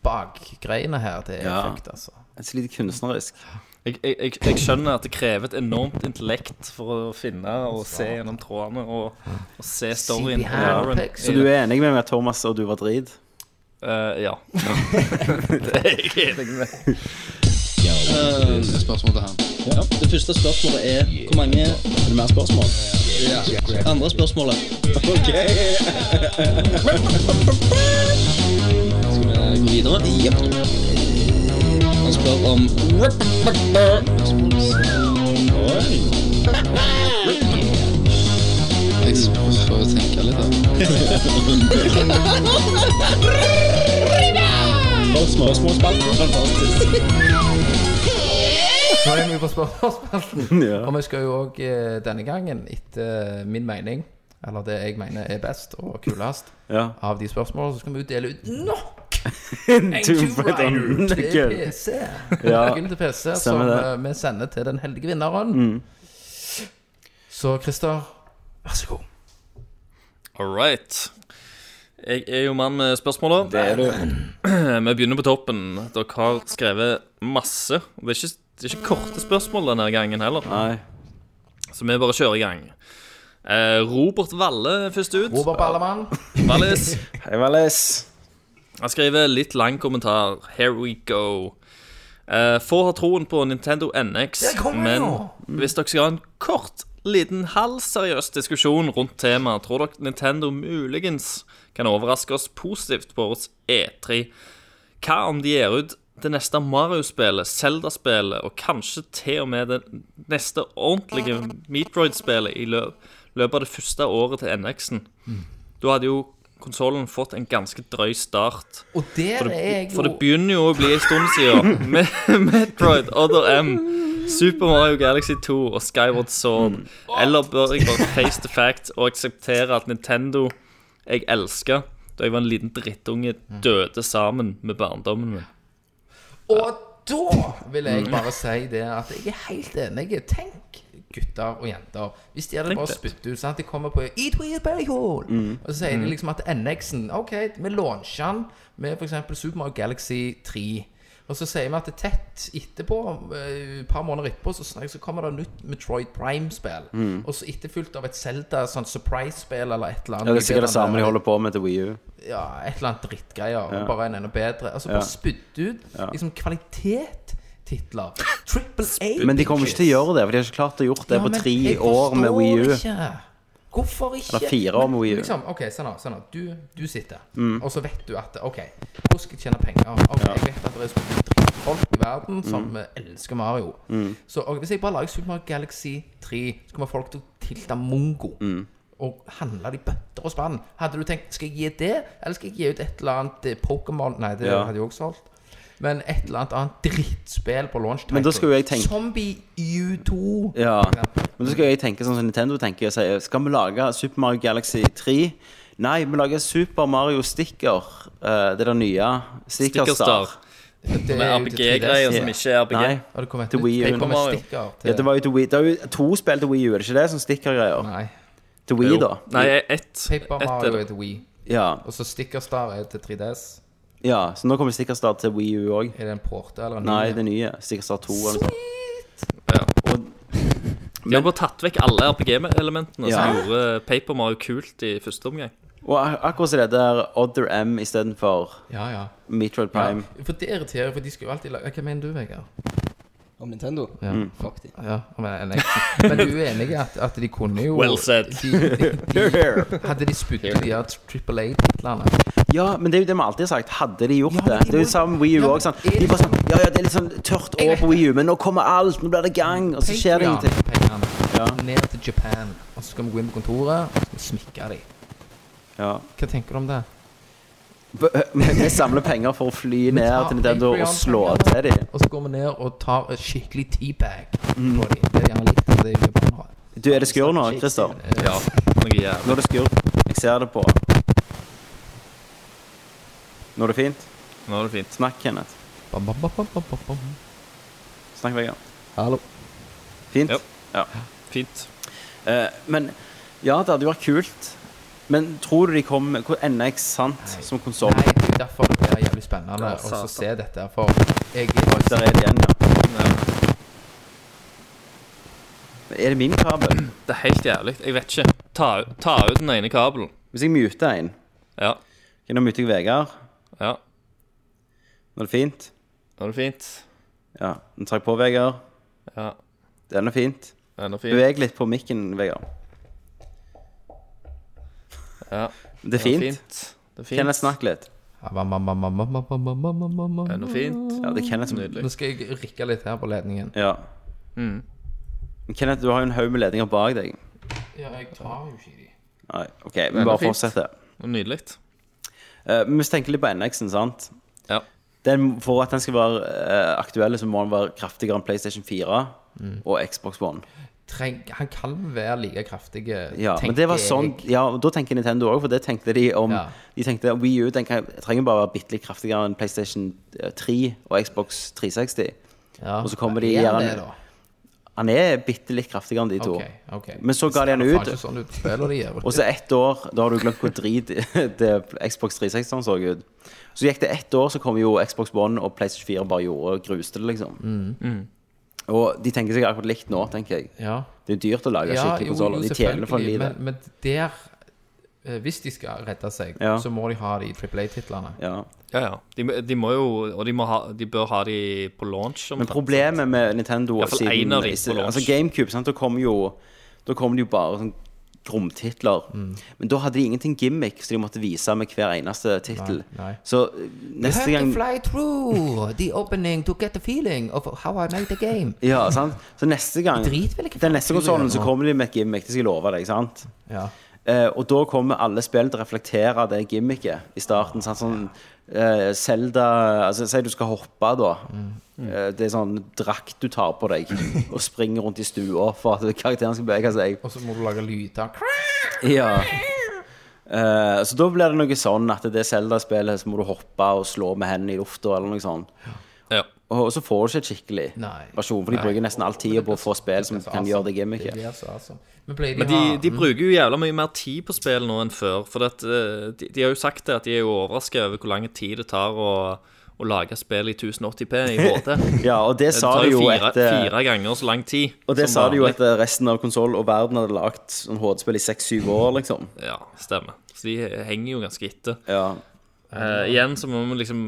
Speaker 2: bakgreiene her, det er
Speaker 1: Ja.
Speaker 2: fucked, altså.
Speaker 1: Et lite kunstnerisk.
Speaker 3: Jeg, jeg, jeg, jeg skjønner at det krever et enormt intellekt for å finne og se gjennom trådene og, og se storyen.
Speaker 2: See behind
Speaker 3: Ja.
Speaker 2: the pics.
Speaker 1: Så du er enig med meg, Thomas, og du var drit?
Speaker 3: Eh, ja. det er jeg enig med.
Speaker 5: Det første spørsmålet er hvor mange Er det mer spørsmål? Andre spørsmålet. Ok. Skal vi gå videre? Jepp. Han spør om Oi. Spørsmålsspalten. Fantastisk.
Speaker 2: Nå er vi på spørsmålsspalten.
Speaker 1: Ja.
Speaker 2: Og vi skal jo òg denne gangen, etter eh, min mening, eller det jeg mener er best og kulest
Speaker 1: ja.
Speaker 2: av de spørsmålene, så skal vi jo dele ut nok en
Speaker 1: Tomb Raider.
Speaker 2: Q-rider til
Speaker 1: Gull.
Speaker 2: PC.
Speaker 1: Ja.
Speaker 2: Gull til PC som
Speaker 1: Stemmer det. Mm.
Speaker 2: eh, vi sender til den heldige vinneren. Så Christer, vær så god.
Speaker 3: All right. Jeg er jo mann med spørsmålet.
Speaker 1: Det er du.
Speaker 3: Vi begynner på toppen. Dere har skrevet masse. Det er ikke, det er ikke korte spørsmål denne gangen heller,
Speaker 1: Nei.
Speaker 3: så vi bare kjører i gang. Eh, Robert Valle er først ut.
Speaker 2: Robert Ballemann.
Speaker 3: Vallis.
Speaker 1: Hei, Valis.
Speaker 3: Han skriver litt lang kommentar. Here we go. Eh, få har troen på Nintendo NX,
Speaker 2: Der kommer
Speaker 3: men
Speaker 2: jo!
Speaker 3: hvis dere skal ha en kort liten halvseriøs diskusjon rundt temaet. Tror dere Nintendo muligens kan overraske oss positivt på årets E3? Hva om de gir ut det neste Mario-spillet, Zelda-spillet og kanskje til og med det neste ordentlige Meatroid-spillet i lø løpet av det første året til NX-en? Da hadde jo konsollen fått en ganske drøy start.
Speaker 2: Og der
Speaker 3: For det,
Speaker 2: er jeg jo
Speaker 3: for det begynner jo å bli en stund siden. Med Metroid, Other M, Super Mario Galaxy 2 og Skyward Sword. Eller bør jeg bare face the fact og akseptere at Nintendo jeg elska da jeg var en liten drittunge,
Speaker 1: Mm.
Speaker 3: døde sammen med barndommen min?
Speaker 2: Og da vil
Speaker 1: Mm.
Speaker 2: jeg bare si det at jeg er helt enig. Tenk gutter og jenter. Hvis de hadde
Speaker 3: Tenk
Speaker 2: bare
Speaker 3: det.
Speaker 2: spyttet ut sant? De kommer på Eat Weird Berry Hall.
Speaker 1: Mm.
Speaker 2: Og så sier de liksom at NX-en OK, vi launcher den med f.eks. Super Mario Galaxy 3. Og så sier vi at det er tett etterpå, eh, et par måneder etterpå, så, snakker- så kommer det nytt Metroid Prime-spill.
Speaker 1: Mm.
Speaker 2: Og så etterfulgt av et Zelda sånn surprise-spill eller et eller annet.
Speaker 1: Ja, det er sikkert det samme de
Speaker 2: der-
Speaker 1: holder på med til Wii U.
Speaker 2: ja, et eller annet drittgreier. Bare en enda bedre. Altså bare spydd ut liksom kvalitet-titler. Triple A.
Speaker 1: Men de kommer ikke til å gjøre det, for de har ikke klart å gjort det på tre år med Wii U.
Speaker 2: Hvorfor ikke?
Speaker 1: Eller fire år med Wii U.
Speaker 2: Men Liksom, ok, se nå, se nå. Du, du sitter,
Speaker 1: Mm.
Speaker 2: og så vet du at OK, hvor skal jeg tjene penger? Ah, Ok, Jeg vet at det er så mye drittfolk i verden som
Speaker 1: Mm.
Speaker 2: eh, elsker Mario. Så ok, hvis jeg bare lager Super Mario Galaxy 3, så kommer folk til å tilte mongo.
Speaker 1: Mm.
Speaker 2: Og handle de bøtter og spann. Hadde du tenkt skal jeg gi det, eller skal jeg gi ut et eller annet eh, Pokémon Nei, det
Speaker 1: Ja.
Speaker 2: hadde jeg også solgt. Men et eller annet annet drittspill på launch.
Speaker 1: Men da skulle jo jeg tenke-
Speaker 2: Zombie U2.
Speaker 1: Ja. Men så skal jeg tenke sånn som Nintendo tenker. og sier, Skal vi lage Super Mario Galaxy 3? Nei, vi lager Super Mario Sticker. eh, det er det nye. Sticker Star.
Speaker 3: Stickerstar.
Speaker 2: Det
Speaker 3: Med
Speaker 2: er jo til 3DS.
Speaker 3: RPG-greier som ikke er RPG.
Speaker 1: Nei.
Speaker 2: Har det kommet
Speaker 1: Til
Speaker 2: ut?
Speaker 1: Wii U.
Speaker 2: Det kommer
Speaker 3: Mario.
Speaker 2: stikker til
Speaker 1: Ja, det, var jo til Wii. det er jo to spill til Wii U, er det ikke det? Sånn stickergreier.
Speaker 2: Nei.
Speaker 1: Til Wii, da.
Speaker 3: Nei, ett.
Speaker 2: Paper
Speaker 3: ett
Speaker 2: Mario
Speaker 3: er det.
Speaker 2: er til Wii.
Speaker 1: Ja.
Speaker 2: Og så Stickerstar er til 3DS.
Speaker 1: ja. Så nå kommer Stickerstar til Wii U òg.
Speaker 2: Er det en porte eller en
Speaker 1: Nei, det nye. Stickerstar 2 eller sånn. noe sånt.
Speaker 3: De har bare tatt vekk alle RPG-elementene
Speaker 1: Ja.
Speaker 3: som gjorde Paper Mario kult i første omgang.
Speaker 1: Og ak- akkurat som det der Other M istedenfor
Speaker 2: Ja, ja.
Speaker 1: Metroid Prime.
Speaker 2: ja. For det irriterer, for de skal jo alltid lage Hva mener du, Vegard?
Speaker 5: Om Nintendo?
Speaker 2: Ja.
Speaker 1: Mm.
Speaker 5: Fuck de.
Speaker 2: Ja, men, nei. men du er enig i at, at de kunne jo
Speaker 3: Well said.
Speaker 2: De, de, de, hadde de spydd ut de her Triple A-titlene
Speaker 1: Ja, men det er jo det vi alltid har sagt. Hadde de gjort
Speaker 2: Ja, men
Speaker 1: det?
Speaker 2: de
Speaker 1: Det er jo
Speaker 2: må-
Speaker 1: samme Wii U
Speaker 2: Ja, men
Speaker 1: òg. Sånn.
Speaker 2: er det
Speaker 1: De bare sånn Ja, ja, det er litt sånn tørt
Speaker 2: Jeg
Speaker 1: år
Speaker 2: vet
Speaker 1: på Wii U, men nå kommer alt. Nå blir det gang. Og så skjer det ingenting.
Speaker 2: Patreon-pengene ned til Japan, og så skal vi gå inn på kontoret og så skal vi smikke dem.
Speaker 1: Ja.
Speaker 2: Hva tenker du om det?
Speaker 1: B- Vi vi samler penger for å fly ned
Speaker 2: tar
Speaker 1: til Nintendo og slå
Speaker 2: Patreon-pengene,
Speaker 1: til dem.
Speaker 2: Og så går vi ned og tar et skikkelig teabag
Speaker 1: Mm.
Speaker 2: på dem. Det er gjerne litt av det japanere har.
Speaker 1: Du, er det skurr nå, Christer?
Speaker 3: Ja, noe jævlig.
Speaker 1: Nå er det skurr. Jeg ser det på Nå er det fint.
Speaker 3: Nå er det fint.
Speaker 1: Snakk, Kenneth.
Speaker 2: Bam, bam, bam, bam, bam, bam.
Speaker 1: Snakk, Vegard.
Speaker 5: Hallo.
Speaker 1: Fint.
Speaker 3: Ja.
Speaker 1: Ja.
Speaker 3: Fint.
Speaker 1: Eh, men ja, det hadde jo vært kult. Men tror du de kom med hvor NX sant som konsoll?
Speaker 2: Nei, det er derfor det blir jævlig spennende
Speaker 3: Ja,
Speaker 2: å så
Speaker 3: satan.
Speaker 2: se dette. her, For jeg er jo
Speaker 1: Der er det igjen, ja.
Speaker 3: Ja.
Speaker 1: eh, Er det min kabel?
Speaker 3: Det er helt jævlig. Jeg vet ikke. Ta, ta ut den ene kabelen.
Speaker 1: Hvis jeg muter en,
Speaker 3: Ja.
Speaker 1: kan jeg mute jeg Vegard?
Speaker 3: ja.
Speaker 1: Nå er det fint.
Speaker 3: Nå er det fint.
Speaker 1: Ja, nå tar jeg på Vegard.
Speaker 3: Ja.
Speaker 1: Den er fint.
Speaker 3: Den er fin.
Speaker 1: Beveg litt på mikken, Vegard.
Speaker 3: Ja.
Speaker 1: Det er
Speaker 3: Den er
Speaker 1: fint.
Speaker 3: Det er fint.
Speaker 1: Kenneth, snakk litt.
Speaker 2: Bam, bam, bam, bam, bam, bam, bam, bam, bam, bam.
Speaker 3: Den er fint.
Speaker 1: Ja, det er Kenneth som
Speaker 2: Nå
Speaker 3: Nydelig. Mm.
Speaker 2: skal jeg rikke litt her på ledningen.
Speaker 1: Ja. Men Kenneth, du har jo en haug med ledninger bak deg.
Speaker 2: Ja, jeg tar jo ikke de.
Speaker 1: Nei, OK,
Speaker 3: er
Speaker 1: vi bare
Speaker 3: fint.
Speaker 1: fortsetter.
Speaker 3: Nydelig.
Speaker 1: Eh, men hvis vi tenker litt på NX-en, sant.
Speaker 3: Ja.
Speaker 1: Den, for at den skal være eh, aktuell, så må den være kraftigere enn PlayStation 4
Speaker 3: Mm.
Speaker 1: og Xbox One.
Speaker 2: Treng, han kan være like kraftig, eh,
Speaker 1: Ja, men det var sånn, ja, og da tenker Nintendo òg, for det tenkte de om
Speaker 2: Ja.
Speaker 1: De tenkte Wii U den kan, trenger bare være bitte litt kraftigere enn PlayStation 3 og Xbox 360.
Speaker 2: Ja.
Speaker 1: og så kommer de
Speaker 2: Er han
Speaker 1: gjerne-
Speaker 2: det, da?
Speaker 1: Han er bitte litt kraftigere enn de to.
Speaker 2: Ok, ok.
Speaker 1: Men så ga de han
Speaker 2: Det er
Speaker 1: ut.
Speaker 2: faen ikke sånn ut spiller de gjør.
Speaker 1: Og så ett år, da har du glemt hvor drit det Xbox 360 så ut. Så gikk det ett år, så kom jo Xbox One og PlayStation 4 bare gjorde og gruste det, liksom.
Speaker 2: Mm.
Speaker 1: Og de tenker seg akkurat likt nå, tenker jeg.
Speaker 2: Ja.
Speaker 1: Det er jo dyrt å lage
Speaker 2: Ja,
Speaker 1: skikkelig
Speaker 2: jo, jo,
Speaker 1: konsoller. De tjener for en
Speaker 2: selvfølgelig,
Speaker 1: lite.
Speaker 2: Men, men der eh, Hvis de skal redde seg,
Speaker 1: Ja.
Speaker 2: så må de ha de Triple A-titlene.
Speaker 1: Ja.
Speaker 3: Ja, ja. De, de må jo Og de, må ha, de bør ha de på launch.
Speaker 1: Men problemet med Nintendo
Speaker 3: I hvert fall en av de på launch.
Speaker 1: altså GameCube, sant, da kom jo Da kom det jo bare sånn gromtitler.
Speaker 2: Mm.
Speaker 1: Men da hadde de ingenting gimmick, så de måtte vise med hver eneste tittel.
Speaker 2: Nei, nei.
Speaker 1: Så eh, neste gang
Speaker 2: fly through the opening to get the feeling of how I made the game.
Speaker 1: ja, sant? Så neste gang
Speaker 2: Drit vel ikke
Speaker 1: Den neste
Speaker 2: faen
Speaker 1: konsollen
Speaker 2: du
Speaker 1: så
Speaker 2: gjør nå.
Speaker 1: kommer de med et gimmick, det skal jeg love deg. sant?
Speaker 2: Ja.
Speaker 1: Eh, og da kommer alle spill til å reflektere det gimmicket i starten. Sant? Sånn eh, Zelda altså, Si du skal hoppe, da.
Speaker 2: Mm.
Speaker 1: Eh, det er sånn drakt du tar på deg og springer rundt i stua for at karakteren skal bevege seg.
Speaker 2: Og så må du lage lyder.
Speaker 1: Ja. Eh, så da blir det noe sånn at det Zelda-spillet, så må du hoppe og slå med hendene i lufta eller noe sånt.
Speaker 3: Ja.
Speaker 1: Og, og så får du ikke et skikkelig
Speaker 2: Nei.
Speaker 1: versjon, for de bruker nesten all tida på å få spill som kan gjøre det
Speaker 2: Det
Speaker 1: gimmicket.
Speaker 2: blir så awesome. Men pleier de,
Speaker 3: Men de,
Speaker 2: ha-
Speaker 3: de bruker jo jævla mye mer tid på spill nå enn før. For det, at, eh, de, de har jo sagt det at de er jo overraska over hvor lang tid det tar å, å lage spill i 1080P i HD.
Speaker 1: Ja, og det
Speaker 3: Det
Speaker 1: sa
Speaker 3: tar
Speaker 1: de jo
Speaker 3: jo fire,
Speaker 1: etter
Speaker 3: fire ganger så lang tid.
Speaker 1: Og det
Speaker 3: som
Speaker 1: sa de jo
Speaker 3: vanlig.
Speaker 1: at eh, resten av konsoll og verden hadde lagt sånn HD-spill i seks-syv år, liksom.
Speaker 3: Ja, stemmer. Så de henger jo ganske etter.
Speaker 1: Ja.
Speaker 3: Eh, igjen så må vi liksom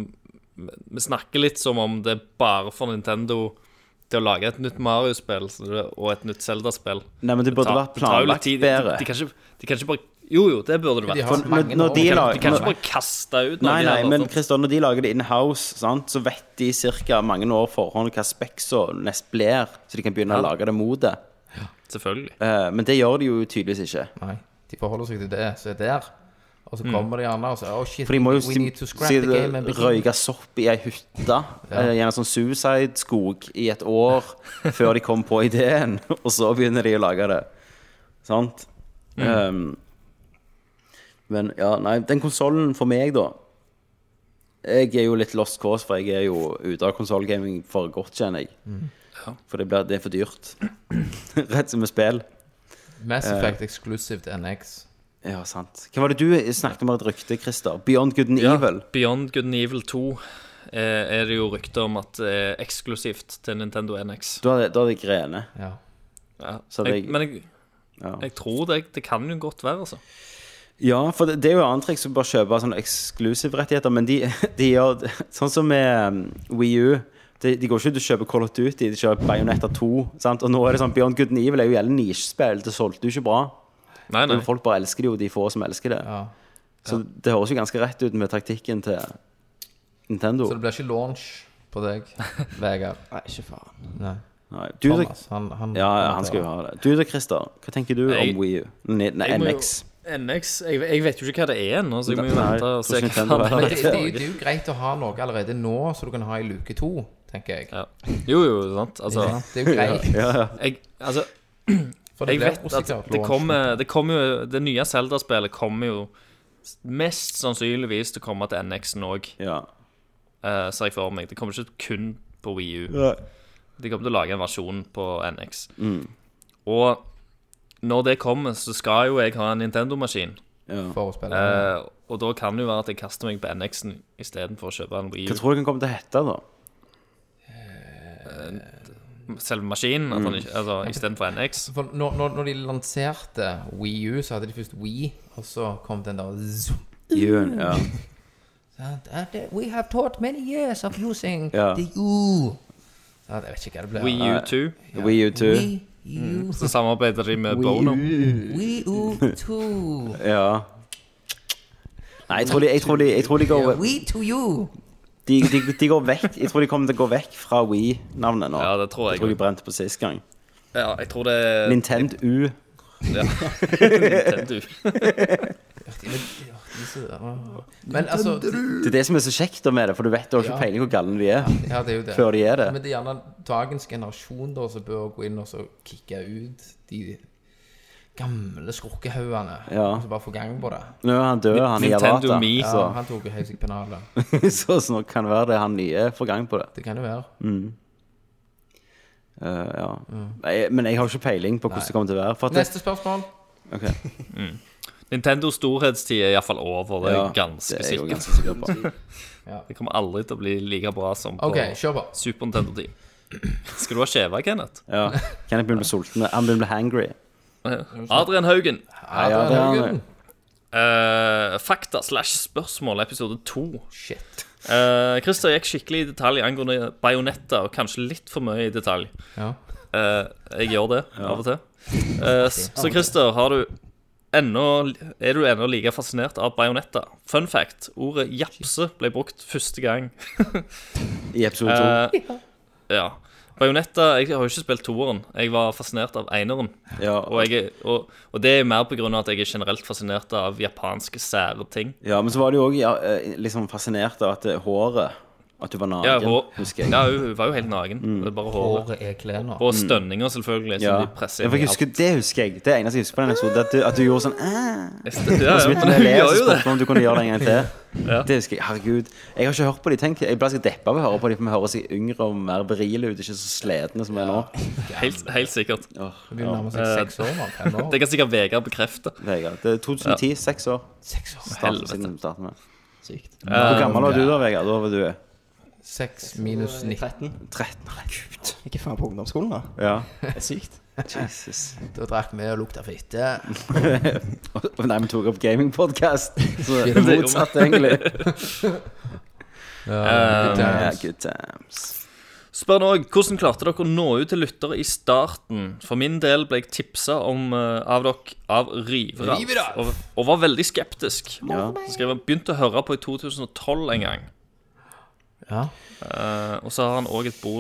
Speaker 3: Vi snakker litt som om det er bare for Nintendo til å lage et nytt Mario-spill så det- og et nytt Zelda-spill.
Speaker 1: Nei, men det burde vært
Speaker 3: tar jo litt
Speaker 1: planlagt
Speaker 3: tid.
Speaker 1: bedre.
Speaker 3: De, de, kan ikke, de kan ikke bare Jo, jo, det burde det
Speaker 2: de
Speaker 3: vært.
Speaker 2: har
Speaker 1: For
Speaker 2: mange
Speaker 1: når- når
Speaker 2: år.
Speaker 1: de
Speaker 3: De kan,
Speaker 1: la-
Speaker 3: de kan ikke bare kaste ut noe.
Speaker 1: Nei, nei,
Speaker 3: her,
Speaker 1: men
Speaker 3: sant?
Speaker 1: Christian, når de lager det in-house, sant, så vet de ca. mange år forhånd hva speksa nest blir, så de kan begynne å lage det mot det.
Speaker 3: Selvfølgelig.
Speaker 1: Eh, men det gjør de jo tydeligvis ikke.
Speaker 2: Nei, de forholder seg til det som er der. Og så kommer de gjerne og sier oh shit,
Speaker 1: For de må jo
Speaker 2: we need to scrap
Speaker 1: si-
Speaker 2: the game and begin.
Speaker 1: røyke sopp i ei hytte, eh, i en sånn suicide-skog, i et år før de kom på ideen, og så begynner de å lage det. Sant?
Speaker 2: Mm.
Speaker 1: Um, men ja, nei, den konsollen for meg, da Jeg er jo litt lost cause, for jeg er jo ute av konsollgaming for godt, kjenner jeg.
Speaker 2: Mm.
Speaker 1: For det, blir, det er for dyrt. Rett som med spill.
Speaker 2: Mass Effect exclusive til NX.
Speaker 1: Ja, sant. Hva var det du snakket om et rykte, Christer? Beyond Good and Evil?
Speaker 3: Beyond Good and Evil 2 eh, er det jo rykter om at det er eksklusivt til Nintendo NX.
Speaker 1: Da hadde da hadde jeg grene.
Speaker 2: Ja.
Speaker 3: Ja.
Speaker 1: Så
Speaker 3: Jeg,
Speaker 1: det-
Speaker 3: men jeg,
Speaker 1: Ja.
Speaker 3: jeg tror det, det kan jo godt være, altså.
Speaker 1: Ja, for det, det er jo annet triks å bare kjøpe sånne eksklusive rettigheter, men de, de gjør sånn som med um, Wii U. De, de går ikke ut og kjøper Call of Duty, de kjøper Bayonetta 2. Sant? Og nå er det sånn Beyond Good and Evil er jo gjerne nisjespill, det solgte jo ikke bra.
Speaker 3: Nei, nei.
Speaker 1: Men folk bare elsker det jo, de få som elsker det.
Speaker 2: ja.
Speaker 1: Så det høres jo ganske rett ut med taktikken til Nintendo.
Speaker 2: Så det blir ikke launch på deg, Vegard.
Speaker 4: Nei, ikke faen.
Speaker 2: Nei.
Speaker 1: Nei, du, da,
Speaker 2: Thomas, han, han,
Speaker 1: ja, ja, han skal jo ha det. Du da, Christer, hva tenker du
Speaker 3: Jeg-
Speaker 1: om Wii U? Nei, nei
Speaker 3: Jeg må jo-
Speaker 1: NX.
Speaker 3: NX Jeg, jeg vet jo ikke hva det er ennå, så jeg må jo
Speaker 1: Nei,
Speaker 3: vente og se
Speaker 1: hvordan
Speaker 3: hva
Speaker 1: Nintendo
Speaker 2: Men
Speaker 1: er.
Speaker 2: det, det, er jo- det er jo greit å ha noe allerede nå, så du kan ha i luke to, tenker jeg.
Speaker 3: ja. Jo, jo, sant. Altså,
Speaker 2: Ikke sant? Det er jo greit.
Speaker 3: jeg, altså
Speaker 2: For det
Speaker 3: Jeg
Speaker 2: blir
Speaker 3: vet at
Speaker 2: usikkert
Speaker 3: det
Speaker 2: launch.
Speaker 3: kommer, det kommer jo Det nye Zelda-spillet kommer jo mest sannsynligvis til å komme til NX-en òg,
Speaker 1: Ja.
Speaker 3: eh, ser jeg for meg. Det kommer ikke kun på Wii U.
Speaker 1: Nei. Mm.
Speaker 3: De kommer til å lage en versjon på NX. Og når det kommer, så skal jo jeg ha en Nintendo-maskin.
Speaker 2: for å spille.
Speaker 3: Eh, og da kan det jo være at jeg kaster meg på NX-en istedenfor å kjøpe en Wii
Speaker 1: Hva
Speaker 3: U.
Speaker 1: tror du den kommer til å hete, da?
Speaker 3: Selve maskinen,
Speaker 1: Mm.
Speaker 3: at han ikke- altså, istedenfor NX.
Speaker 2: For når, når, når de lanserte Wii U, så hadde de først Wii, og så kom den der zoom.
Speaker 1: Jun, ja.
Speaker 2: Sant? At, uh, We have taught many years of using
Speaker 1: Ja.
Speaker 2: the U. Sant? Jeg vet ikke hva det ble.
Speaker 3: Wii U 2.
Speaker 1: Wii U 2.
Speaker 2: Wii U.
Speaker 3: Så samarbeider de med Bono.
Speaker 2: Wii U 2.
Speaker 1: Ja. Nei, jeg tror de, jeg tror de, jeg tror de, går,
Speaker 2: Wii to U.
Speaker 1: de, de, de går vekk Jeg tror de kommer til å gå vekk fra We-navnet nå.
Speaker 3: Ja, det tror jeg
Speaker 1: tror de
Speaker 3: også.
Speaker 1: brente på sist gang.
Speaker 3: Ja, jeg tror det
Speaker 1: Nintendo U.
Speaker 3: Nintendo.
Speaker 2: Men altså
Speaker 1: Det er det som er så kjekt da med det, for du vet du har ikke
Speaker 2: Ja.
Speaker 1: peiling hvor galne de er
Speaker 2: Ja, det er jo det.
Speaker 1: før de er det.
Speaker 2: Men det er gjerne dagens generasjon da som bør gå inn og så kicke ut de gamle skurkehaugene.
Speaker 1: Ja.
Speaker 2: Og så bare få gang på det.
Speaker 1: Nå er han død, han
Speaker 3: Nintendo
Speaker 1: Iwata.
Speaker 3: Mi.
Speaker 2: Ja,
Speaker 1: Så,
Speaker 2: han tok jo helt sikkert pennalet.
Speaker 1: så, så nå kan det være det han nye får gang på det.
Speaker 2: Det kan jo være.
Speaker 1: Eh, ja. Nei, men jeg har jo ikke peiling på hvordan det kommer til å være. For at det,
Speaker 2: Mm. Neste spørsmål.
Speaker 1: ok.
Speaker 3: Nintendos storhetstid er iallfall over, det er
Speaker 1: Ja,
Speaker 3: jeg ganske
Speaker 1: det er jeg jo
Speaker 3: sikkert.
Speaker 1: ganske sikker på.
Speaker 3: Det kommer aldri til å bli like bra som på
Speaker 2: OK, kjør på.
Speaker 3: Super Nintendo-tid. Skal du ha skjeva, Kenneth?
Speaker 1: Ja. Kan jeg begynne å bli sulten? Han begynner å bli hangry.
Speaker 3: Adrian Haugen.
Speaker 1: ja, det er han,
Speaker 2: Haugen.
Speaker 3: Eh, fakta slash spørsmål, episode to.
Speaker 2: Shit.
Speaker 3: Eh, Christer gikk skikkelig i detalj angående bajonetter, og kanskje litt for mye i detalj.
Speaker 2: Ja.
Speaker 3: Eh, jeg gjør det av og til. Eh, s- så Christer, har du ennå, er du ennå like fascinert av Bajonetta? Fun fact, ordet japse ble brukt første gang.
Speaker 1: I episode to.
Speaker 3: Eh, ja. Bajonetta Jeg har jo ikke spilt toeren. Jeg var fascinert av eineren.
Speaker 1: ja,
Speaker 3: Og, jeg, er- og, og det er mer på grunn av at jeg er generelt fascinert av japanske sære ting.
Speaker 1: ja, men så var du òg ja, eh, liksom fascinert av at eh, håret At du var naken,
Speaker 3: Ja, hår,
Speaker 1: husker jeg. Mm.
Speaker 3: ja, hun var jo helt naken. Det er bare håret.
Speaker 2: Håret er klærne.
Speaker 3: Og stønninger, selvfølgelig, som
Speaker 1: Ja.
Speaker 3: de presser
Speaker 1: Jeg
Speaker 3: inn i alt.
Speaker 1: husker, det husker jeg. Det eneste jeg husker på den episoden, at du, at du gjorde sånn «Æ».
Speaker 3: Ja,
Speaker 1: Og så
Speaker 3: ja,
Speaker 1: begynte vi å
Speaker 3: men hun
Speaker 1: le, og
Speaker 3: gjør
Speaker 1: så
Speaker 3: jo det.
Speaker 1: spurte vi om du kunne gjøre det en gang til. Det husker jeg. Herregud. Jeg har ikke hørt på de, tenk. Jeg ble så deppa av å høre på de, for vi høres yngre og mer berile ut, ikke så sletne som vi er nå.
Speaker 3: Helt, helt sikkert.
Speaker 1: Åh,
Speaker 2: Vi nærmer seg seks år, mann. Fem år.
Speaker 3: Det kan sikkert Vegard bekrefte.
Speaker 1: Vegard. Det er 2010, seks år
Speaker 2: Seks år.
Speaker 1: starten,
Speaker 3: Helvete. Eh,
Speaker 1: siden du startet med.
Speaker 4: Sykt.
Speaker 1: Hvor gammel var du da, Vegard? Da var du
Speaker 2: Seks minus 19.
Speaker 4: 13.
Speaker 1: 13? Herregud.
Speaker 4: Ikke faen på ungdomsskolen, da.
Speaker 1: Ja.
Speaker 4: Det er sykt.
Speaker 1: Jesus.
Speaker 2: Da drakk vi og lukta fitte.
Speaker 1: Og Nei, vi tok opp gamingpodkast. Så
Speaker 2: Det
Speaker 1: det
Speaker 3: gjorde vi.
Speaker 1: motsatt, egentlig.
Speaker 2: Ja, good
Speaker 1: Ja,
Speaker 2: times.
Speaker 1: good times.
Speaker 3: Spør nå, hvordan klarte dere å nå ut til lyttere i starten? For min del ble jeg tipsa om eh, av dere av Riveralf,
Speaker 2: Riveralf.
Speaker 3: og, og var veldig skeptisk.
Speaker 1: Ja.
Speaker 3: Så skrev han begynte å høre på i 2012 en gang.
Speaker 2: Ja.
Speaker 3: Eh, og så har han òg et bo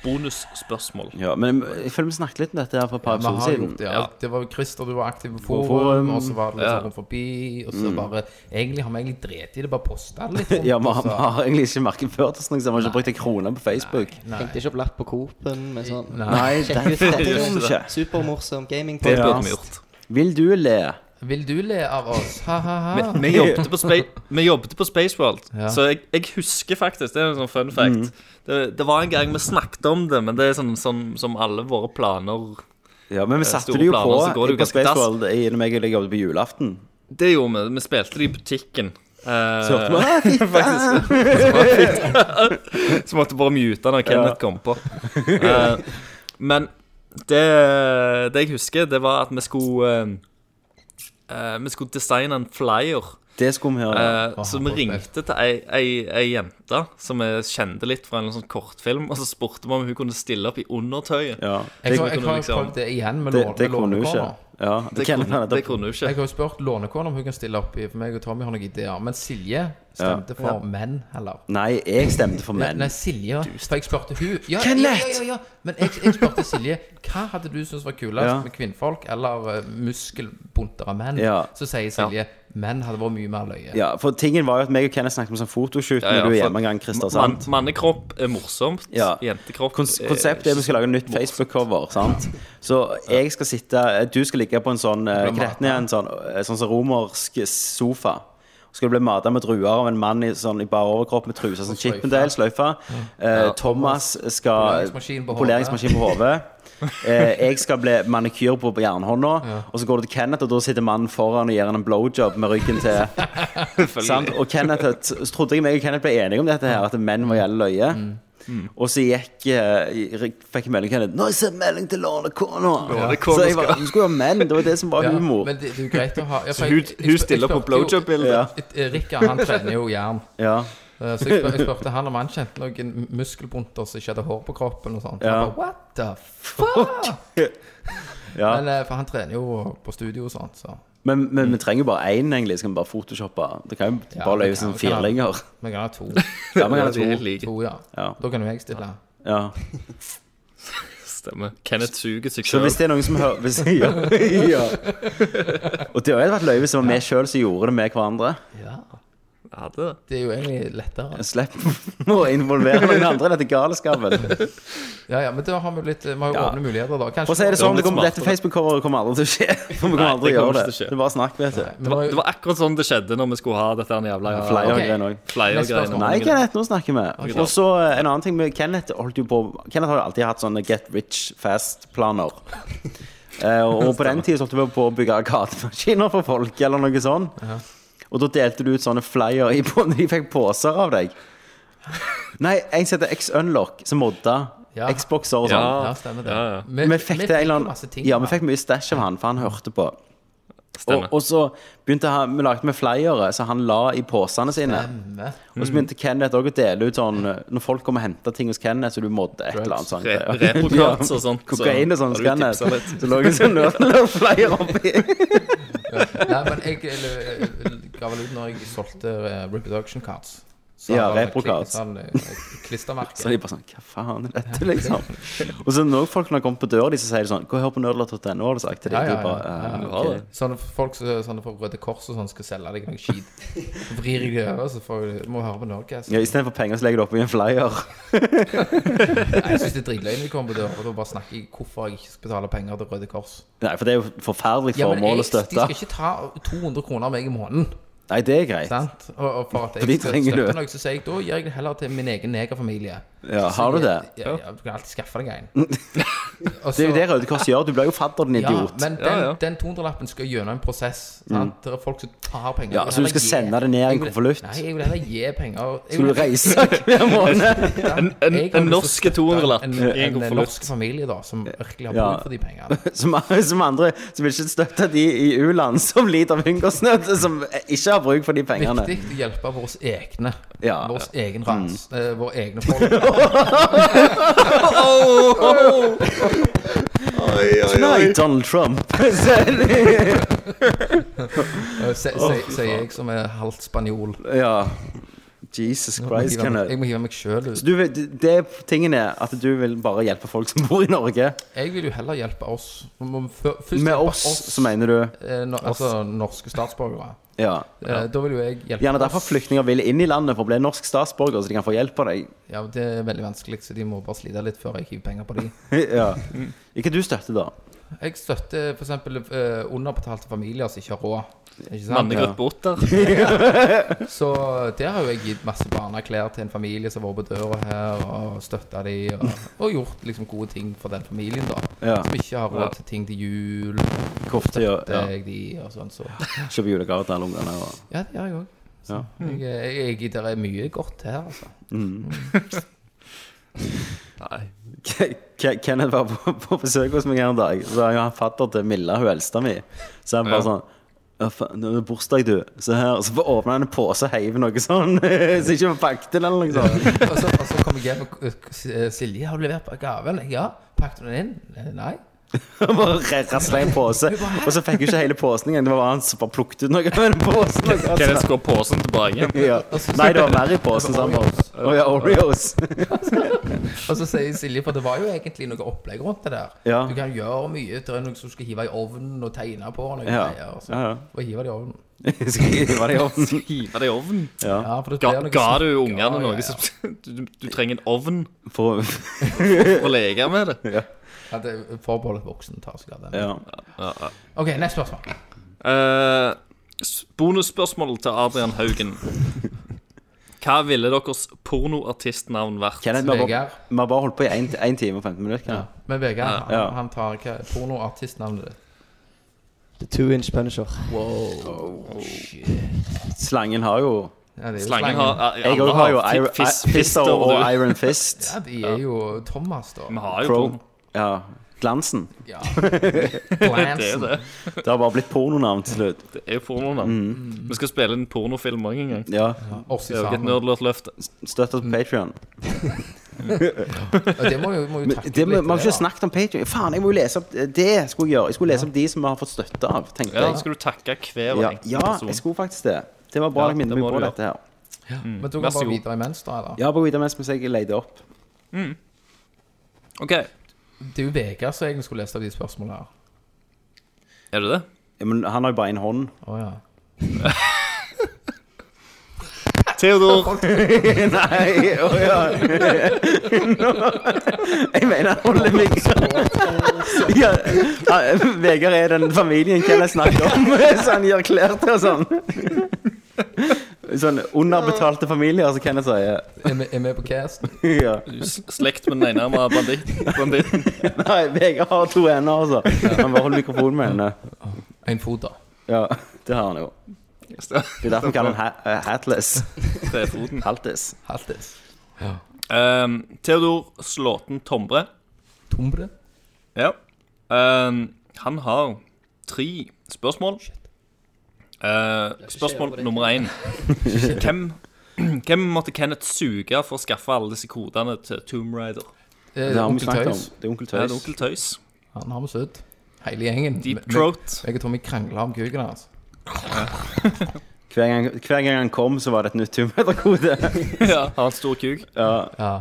Speaker 3: bonusspørsmål.
Speaker 1: ja. Men jeg føler vi snakket litt om dette her for et par
Speaker 2: Vi har
Speaker 1: episoder siden.
Speaker 2: gjort det, ja.
Speaker 3: Ja.
Speaker 2: Det var jo Christer, du var aktiv på
Speaker 1: På
Speaker 2: forum,
Speaker 1: forum. Mm.
Speaker 2: og så var det litt
Speaker 3: Ja.
Speaker 2: sånn rundt forbi, og så bare Egentlig har vi egentlig drept i det, bare posta litt. rundt,
Speaker 1: Ja, vi
Speaker 2: og
Speaker 1: har, vi
Speaker 2: så-
Speaker 1: har egentlig ikke markedsført oss noe, sånn, så vi har ikke brukt en krone på Facebook.
Speaker 2: Nei.
Speaker 4: Hengte ikke opp lapp på Coop-en med sånn
Speaker 1: Nei,
Speaker 4: Sjekk
Speaker 1: det
Speaker 4: ut dette
Speaker 1: gjør vi ikke.
Speaker 4: Supermorsom gaming
Speaker 3: Det
Speaker 1: Ja.
Speaker 3: burde vi gjort.
Speaker 1: Vil du le?
Speaker 2: Vil du le av oss? Ha-ha-ha.
Speaker 3: Vi jobbet på, Spa vi jobbet på Spaceworld,
Speaker 2: Ja.
Speaker 3: så jeg, jeg husker faktisk Det er en sånn fun fact. Det, det var en gang vi snakket om det, men det er sånn, sånn som alle våre planer
Speaker 1: Ja, men vi satte
Speaker 3: store
Speaker 1: det jo
Speaker 3: planer, så
Speaker 1: på
Speaker 3: går det jo
Speaker 1: på
Speaker 3: ganske dass.
Speaker 1: Spaceworld i- når jeg jeg jobbet på julaften.
Speaker 3: Det gjorde vi. Vi spilte det i butikken. Eh,
Speaker 1: Så hørte vi «Å, fy faen!»
Speaker 3: så måtte jeg bare mute når Kenneth kom på. Eh, men det, det jeg husker, det var at vi skulle eh, eh, Vi skulle designe en flyer.
Speaker 1: Det skulle vi høre.
Speaker 3: eh, så vi ringte til ei, ei, ei jente som vi kjente litt fra en sånn kortfilm, og så spurte vi om hun kunne stille opp i undertøyet.
Speaker 1: Ja,
Speaker 2: Jeg
Speaker 1: det,
Speaker 2: tror jeg
Speaker 3: kunne
Speaker 2: har
Speaker 3: liksom-
Speaker 2: prøvd det igjen med
Speaker 1: det,
Speaker 2: låne-
Speaker 1: det
Speaker 2: med
Speaker 1: kunne hun ikke.
Speaker 2: lånekona.
Speaker 1: Ja,
Speaker 3: Det
Speaker 1: Kenneth
Speaker 3: kunne,
Speaker 1: har nettopp-
Speaker 3: det kunne hun
Speaker 2: Jeg
Speaker 3: ikke.
Speaker 2: har jo spurt lånekona om hun kan stille opp i, for meg og Tommy har noen ideer. Men Silje stemte for menn, heller.
Speaker 1: Nei, jeg stemte for menn.
Speaker 2: Nei, Silje For jeg spurte hun ja, ja, ja,
Speaker 1: Kenneth!
Speaker 2: ja, ja. Men jeg, jeg spurte Silje hva hadde du syntes var kulest
Speaker 1: Ja.
Speaker 2: med kvinnfolk eller eh, muskelbuntere menn.
Speaker 1: Ja.
Speaker 2: Så sier Silje menn hadde vært mye mer løye.
Speaker 1: Ja, for tingen var jo at meg og Kenneth snakket om sånn fotoshoot
Speaker 3: Ja,
Speaker 1: når
Speaker 3: ja,
Speaker 1: du er
Speaker 3: for-
Speaker 1: hjemme en gang, Christer.
Speaker 3: Man, Eh,
Speaker 1: sant?
Speaker 3: mannekropp er morsomt.
Speaker 1: Ja.
Speaker 3: Jentekropp
Speaker 1: Kons konseptet er at vi skal lage en nytt Facebook-cover. sant? Så jeg skal sitte eh, Du skal ligge på en sånn eh, Kneten i en sånn, eh, sånn som romersk sofa. Så skal du bli mata med druer av en mann i, sånn, i bare overkropp med truse. Sånn
Speaker 2: sløyfe. Mm.
Speaker 1: Chippendale-sløyfe. Eh, Thomas skal
Speaker 2: Poleringsmaskin på hodet.
Speaker 1: Poleringsmaskin på hodet. Eh, jeg skal bli manikyr på, på jernhånda. Og så går du til Kenneth, og da sitter mannen foran og gir han en blowjob med ryggen til. Sant? Og Kenneth, så trodde jeg meg og Kenneth ble enige om dette her, at menn var jævlig løye. Og så gikk eh, fikk jeg melding til Kenneth Nå har jeg sendt melding til lånekona!
Speaker 3: Lånekona
Speaker 1: Så jeg
Speaker 3: skal-
Speaker 1: var, hun skulle jo ha menn. Det var det som var
Speaker 2: Ja,
Speaker 1: humor.
Speaker 2: men det, det er jo greit å ha ja, for
Speaker 3: hun-
Speaker 2: jeg- jeg
Speaker 3: hun
Speaker 2: spør-
Speaker 3: stiller
Speaker 2: jeg
Speaker 3: på
Speaker 2: spurte jo-
Speaker 3: blowjob-bildet.
Speaker 1: Ja.
Speaker 2: Eh, Rikard, han trener jo jern.
Speaker 1: Ja.
Speaker 2: Eh, Så jeg spør- jeg spurte han om han kjente noen muskelbunter som ikke hadde hår på kroppen. og sånt
Speaker 1: Ja.
Speaker 2: Han bare, What the fuck?
Speaker 1: ja.
Speaker 2: Men, eh, for han trener jo på studio og sånt, så
Speaker 1: Men, men vi trenger jo bare én, egentlig. Så kan vi bare photoshoppe. Det kan jo
Speaker 2: Ja,
Speaker 1: bare
Speaker 2: vi
Speaker 1: løye
Speaker 2: kan-
Speaker 1: som
Speaker 2: vi kan ha-
Speaker 1: firlinger.
Speaker 2: vi kan ha to.
Speaker 1: Ja, vi kan ha
Speaker 3: er
Speaker 1: to.
Speaker 3: helt like.
Speaker 2: to ja.
Speaker 1: Ja.
Speaker 2: Da kan jo jeg stille.
Speaker 1: Ja.
Speaker 3: Stemmer. Kenneth suger seg
Speaker 1: Så
Speaker 3: selv.
Speaker 1: hvis det er noen som hører hvis, ja. ja. Og det hadde vært løye hvis det var vi sjøl som gjorde det med hverandre.
Speaker 2: Ja.
Speaker 3: Ja, det.
Speaker 2: Det er jo egentlig lettere.
Speaker 1: Slipp å involvere noen andre i dette galskapen.
Speaker 2: Ja, ja, Men da har vi jo litt Vi har jo
Speaker 1: Ja.
Speaker 2: åpne muligheter, da. Kanskje
Speaker 1: For å si det
Speaker 3: Ja,
Speaker 1: sånn,
Speaker 3: men
Speaker 1: det kommer,
Speaker 3: smartere.
Speaker 1: dette Facebook-coveret kommer aldri til å skje. For vi kommer
Speaker 3: Nei,
Speaker 1: aldri
Speaker 3: det
Speaker 1: til å
Speaker 3: kommer
Speaker 1: gjøre det.
Speaker 3: ikke til å skje.
Speaker 1: Det er bare snakk, vet du.
Speaker 3: Det var, det var akkurat sånn det skjedde når vi skulle ha dette her jævla
Speaker 1: Flyer
Speaker 2: ok.
Speaker 1: og greier også.
Speaker 3: flyer-greiene.
Speaker 2: Neste
Speaker 1: Nei, Kenneth, nå snakker vi.
Speaker 3: Ok.
Speaker 1: Og så eh, en annen ting med Kenneth holdt jo på Kenneth har jo alltid hatt sånne get rich fast-planer. Eh, og på den tida holdt vi på å bygge arkademaskiner for folk, eller noe sånt. Og da delte du ut sånne flyer i på De fikk poser av deg. Nei, en som heter X-Unlock, som modda
Speaker 2: Ja.
Speaker 1: Xboxer og sånn.
Speaker 3: Ja.
Speaker 2: Ja, stemmer det.
Speaker 3: Ja, ja.
Speaker 1: Vi fikk det en eller
Speaker 2: masse
Speaker 1: annen
Speaker 2: ting.
Speaker 1: Ja, vi fikk mye stæsj av han, for han hørte på. Og,
Speaker 3: Stemmer.
Speaker 1: og så begynte han, vi lagde med flyere som han la i posene sine.
Speaker 2: Stemme.
Speaker 1: Og så begynte Kenneth også å dele ut sånn Når folk kommer og henter ting hos Kenneth, så du måtte et eller annet sånt.
Speaker 3: Re
Speaker 1: greier.
Speaker 3: Reprokrats og sånt. så
Speaker 1: Kokain og sånn
Speaker 3: har
Speaker 1: hos
Speaker 3: du
Speaker 1: Kenneth.
Speaker 3: tipset litt.
Speaker 1: Så lå jeg sånn og flyer oppi.
Speaker 2: Nei, men jeg eller, eller, ga vel ut når jeg solgte eh, reproduction cards. Så
Speaker 1: Ja,
Speaker 2: var det
Speaker 1: repro
Speaker 2: kli-
Speaker 1: cards.
Speaker 2: Sånn, eh, klistremerke.
Speaker 1: Så de bare sånn Hva faen er dette, liksom? Og så når folk når de kommer på døra, de så sier de sånn Gå og hør på nerdlert.no, har du sagt til dem.
Speaker 2: Ja, ja,
Speaker 1: De bare,
Speaker 2: ja,
Speaker 1: «Eh,
Speaker 3: Du har det.
Speaker 2: Sånne folk som sånne folk Røde Kors og sånn skal selge deg noe skit. Så vrir jeg det over, så får jeg, må jeg høre på Norge. Så.
Speaker 1: ja, Istedenfor penger, så legger du oppi en flyer.
Speaker 2: Nei, jeg syns det er dritløgn når de kommer på døra, og da bare snakker jeg hvorfor jeg ikke skal betale penger til Røde Kors.
Speaker 1: Nei, for det er jo et forferdelig
Speaker 2: Ja, men
Speaker 1: formål å
Speaker 2: jeg, de
Speaker 1: støtte.
Speaker 2: skal ikke ta 200 kroner av meg i måneden.
Speaker 1: Nei, det er greit.
Speaker 2: Sant? Og, og for at jeg
Speaker 1: For de
Speaker 2: skal
Speaker 1: trenger du.
Speaker 2: støtte noe, så sier jeg da gir jeg det heller til min egen negerfamilie.
Speaker 1: Ja, har du det?
Speaker 2: Ja, ja, du kan alltid skaffe deg en. Og
Speaker 1: Det er
Speaker 2: så-
Speaker 1: jo det Røde Kors gjør. Du blir jo fadder, din
Speaker 2: Ja,
Speaker 1: idiot. Mm.
Speaker 2: men den,
Speaker 3: Ja, ja.
Speaker 2: den 200-lappen skal gjennom en prosess. Sant? Det er folk som tar penger.
Speaker 1: Ja,
Speaker 2: Jeg vil
Speaker 1: så du
Speaker 2: heller
Speaker 1: skal
Speaker 2: gi-
Speaker 1: sende det ned i en
Speaker 2: Jeg vil-
Speaker 1: konvolutt?
Speaker 2: Nei, jeg vil heller gi penger. Jeg
Speaker 1: Skal
Speaker 2: vil-
Speaker 1: du reise hver måned?
Speaker 2: Ja,
Speaker 3: En- en-
Speaker 2: jeg har lyst
Speaker 3: en
Speaker 2: til å
Speaker 3: norske
Speaker 2: støtte
Speaker 3: 200-lapp
Speaker 2: en-
Speaker 3: i en
Speaker 2: En,
Speaker 3: konvolutt.
Speaker 2: norsk familie, da, som virkelig har
Speaker 1: Ja.
Speaker 2: bruk for de pengene.
Speaker 1: Som, som andre som ikke støtter de i u-land som lider av hungersnød, som ikke har bruk for de pengene.
Speaker 2: Viktig å hjelpe våre egne.
Speaker 1: Ja. Mm.
Speaker 2: Vår egen rans. eh, våre egne folk.
Speaker 1: Nei, Donald Trump.
Speaker 2: eh, se- se- Sier jeg som er halvt spanjol.
Speaker 1: ja. Jesus
Speaker 2: Jeg må
Speaker 1: Christ,
Speaker 2: hive meg-
Speaker 1: Kenneth.
Speaker 2: jeg må hive meg sjøl ut.
Speaker 1: Så du, vil- det tingen er at du vil bare hjelpe folk som bor i Norge.
Speaker 2: Jeg vil jo heller hjelpe oss. Vi må fø- Først
Speaker 1: Med
Speaker 2: hjelpe
Speaker 1: oss, så mener du.
Speaker 2: eh, no- Altså norske statsborgere.
Speaker 1: Ja.
Speaker 2: Eh, Da vil jo jeg hjelpe
Speaker 1: Gjerne derfor
Speaker 2: oss.
Speaker 1: flyktninger vil inn i landet for å bli norsk statsborger, så de kan få hjelp av deg.
Speaker 2: Ja, det er veldig vanskelig, så de må bare slite litt før jeg hiver penger på de.
Speaker 1: ja. Ikke du støtter, da.
Speaker 2: Jeg støtter f.eks. Uh, underbetalte familier som ikke har råd. Ikke
Speaker 1: Sånn,
Speaker 2: sant?
Speaker 3: Mannegruppe Otter.
Speaker 2: Så der har jo jeg gitt masse barneklær til en familie som har vært på døra her, og støtta de, og, og gjort liksom gode ting for den familien, da.
Speaker 1: Ja.
Speaker 2: Som ikke har råd til ting til jul,
Speaker 1: Kofte og
Speaker 2: det
Speaker 1: ja.
Speaker 2: jeg de og sånn, så
Speaker 1: kjøpe julegaver til alle ungene. Og...
Speaker 2: Ja, det gjør jeg òg.
Speaker 1: Ja.
Speaker 2: Jeg, eh, jeg, jeg, det er mye godt her, altså.
Speaker 3: Nei.
Speaker 1: Ke- Ke- Kenneth var på, på besøk hos meg her en dag. Så er jo han fatter til Milla, hun eldste mi. Så han bare
Speaker 3: Ja.
Speaker 1: sånn «Ja, faen, Det er bursdag, du. Se her. Og så bare åpner han en pose og heiver noe sånn. Så ikke var pakket den eller noe sånt.
Speaker 2: Og så, og så kom jeg hjem og eh, Silje, har du levert på gaven? Ja. Pakket du den inn? Eh, Nei.
Speaker 1: Han bare rasla en pose. Og så fikk hun ikke hele posen engang. Det var bare han som bare plukket ut noe av den posen. Og
Speaker 3: Kan jeg
Speaker 1: så,
Speaker 3: skå posen tilbake?
Speaker 1: ja. Nei, det var mer i posen. Så han bare Å ja, Oreos.
Speaker 2: Og så sier Silje, for det var jo egentlig noe opplegg rundt det der.
Speaker 1: Ja.
Speaker 2: Du kan gjøre mye. Det er noe som skal hive i ovnen og tegne på. og Noe
Speaker 1: Ja. altså.
Speaker 2: greier, og så.
Speaker 1: ja, ja.
Speaker 2: Og hive det i ovnen.
Speaker 1: Skal jeg hive det i ovnen?
Speaker 3: Hive det i ovnen.
Speaker 1: Ja.
Speaker 2: Ja, for det
Speaker 3: Ga,
Speaker 2: blir noe
Speaker 3: ga
Speaker 2: sånn-
Speaker 3: du
Speaker 2: Ja,
Speaker 3: ungene
Speaker 2: ja,
Speaker 3: noe
Speaker 2: ja.
Speaker 3: som du, du trenger en ovn
Speaker 1: For,
Speaker 3: for å leke med det?
Speaker 2: Ja, det er forbeholdet voksne tar seg av den.
Speaker 1: ja.
Speaker 3: Ja, ja.
Speaker 2: OK, neste spørsmål.
Speaker 3: Eh, s- bonusspørsmål til Adrian Haugen. Hva ville deres pornoartistnavn vært?
Speaker 1: Kenneth, vi har bare-
Speaker 2: Vegard.
Speaker 1: vi har bare holdt på i 1 time og 15 minutter.
Speaker 2: Ja.
Speaker 1: Kenneth.
Speaker 2: Men Vegard,
Speaker 1: Ja.
Speaker 2: han, han tar hva pornoartistnavnet ditt?
Speaker 4: The Two Inch Punisher.
Speaker 1: Slangen har jo
Speaker 2: Ja, det er jo
Speaker 3: Slangen har
Speaker 1: Jeg
Speaker 3: alle
Speaker 1: òg har jo
Speaker 3: fi-
Speaker 1: Iron,
Speaker 3: fis-
Speaker 1: I- Fister og
Speaker 3: du.
Speaker 1: Iron Fist.
Speaker 2: Ja, de er jo Thomas, da.
Speaker 3: Vi har jo
Speaker 1: Pro.
Speaker 3: porno.
Speaker 1: Ja. Glansen.
Speaker 2: Ja.
Speaker 3: Det er
Speaker 2: Glansen.
Speaker 3: det.
Speaker 1: Det har bare blitt pornonavn til slutt.
Speaker 3: Det er jo pornonavn. Vi skal spille en pornofilm òg en gang.
Speaker 1: Ja.
Speaker 2: Oss
Speaker 3: Det
Speaker 2: i
Speaker 3: er jo ikke et
Speaker 2: sammen.
Speaker 3: nerdlåtløft.
Speaker 1: Støtt oss på Patrion.
Speaker 2: Og det må jo, må jo takle
Speaker 1: Vi har
Speaker 2: det,
Speaker 1: ikke
Speaker 2: da.
Speaker 1: snakket om Patrion. Faen, jeg må jo lese opp eh, Det skulle jeg gjøre. Jeg skulle lese opp de som vi har fått støtte av, tenkte
Speaker 3: Ja, da
Speaker 1: jeg.
Speaker 3: skal du takke hver og
Speaker 1: Ja,
Speaker 3: enkelt
Speaker 1: ja, jeg
Speaker 3: person.
Speaker 1: skulle faktisk det. Det var bra
Speaker 3: Ja,
Speaker 1: jeg minnet
Speaker 3: det
Speaker 1: meg
Speaker 3: må
Speaker 1: på
Speaker 3: du gjøre.
Speaker 1: dette her.
Speaker 2: Men du
Speaker 3: Vær
Speaker 2: går
Speaker 3: så
Speaker 2: bare
Speaker 3: god.
Speaker 2: videre imens, da, eller?
Speaker 1: Ja, bare videre mens mens jeg leter opp.
Speaker 3: OK,
Speaker 2: Det er jo Vegard som egentlig skulle lest av de spørsmålene her.
Speaker 3: er det det?
Speaker 1: Ja, Men han har jo bare én hånd.
Speaker 2: Å ja.
Speaker 3: Theodor
Speaker 1: Nei, å ja. Jeg mener, han holder meg ja, ja, Vegard er den familien Kenneth snakker om, så han gir klær til og sånn. Sånn underbetalte familier, som Kenneth sier.
Speaker 2: Er vi- Er vi på casten?
Speaker 1: Ja.
Speaker 3: s- Slekt med den ene med banditt. banditten.
Speaker 1: Nei, Vegard har to ender, altså. Han bare holder mikrofonen med henne.
Speaker 2: En fot, da.
Speaker 1: Ja, det har han jo. Det er derfor vi kaller han ha eh, Hatless.
Speaker 3: Det er foten.
Speaker 1: Haltis.
Speaker 2: Haltis.
Speaker 3: Ehm, Theodor Slåten Tombre.
Speaker 2: Tombre.
Speaker 3: Ja. Ehm, han har tre spørsmål. Eh, spørsmål nummer én. Hvem, hvem måtte Kenneth suge for å skaffe alle disse kodene til Tomb Raider?
Speaker 2: Eh,
Speaker 1: Det har vi
Speaker 2: Onkel
Speaker 1: snakket om.
Speaker 2: Tøys.
Speaker 1: Det er Onkel
Speaker 3: Er det
Speaker 1: Tøys.
Speaker 3: onkel Tøys?
Speaker 2: Han har vi søtt. Hele gjengen.
Speaker 3: Deep
Speaker 2: Me- me-
Speaker 3: Throat?
Speaker 2: Jeg og Tommy krangla om kuken hans.
Speaker 1: Hver gang, hver gang han kom, så var det et nytt Tomb Raider-kode.
Speaker 3: Ja, har han stor kuk?
Speaker 2: Ja.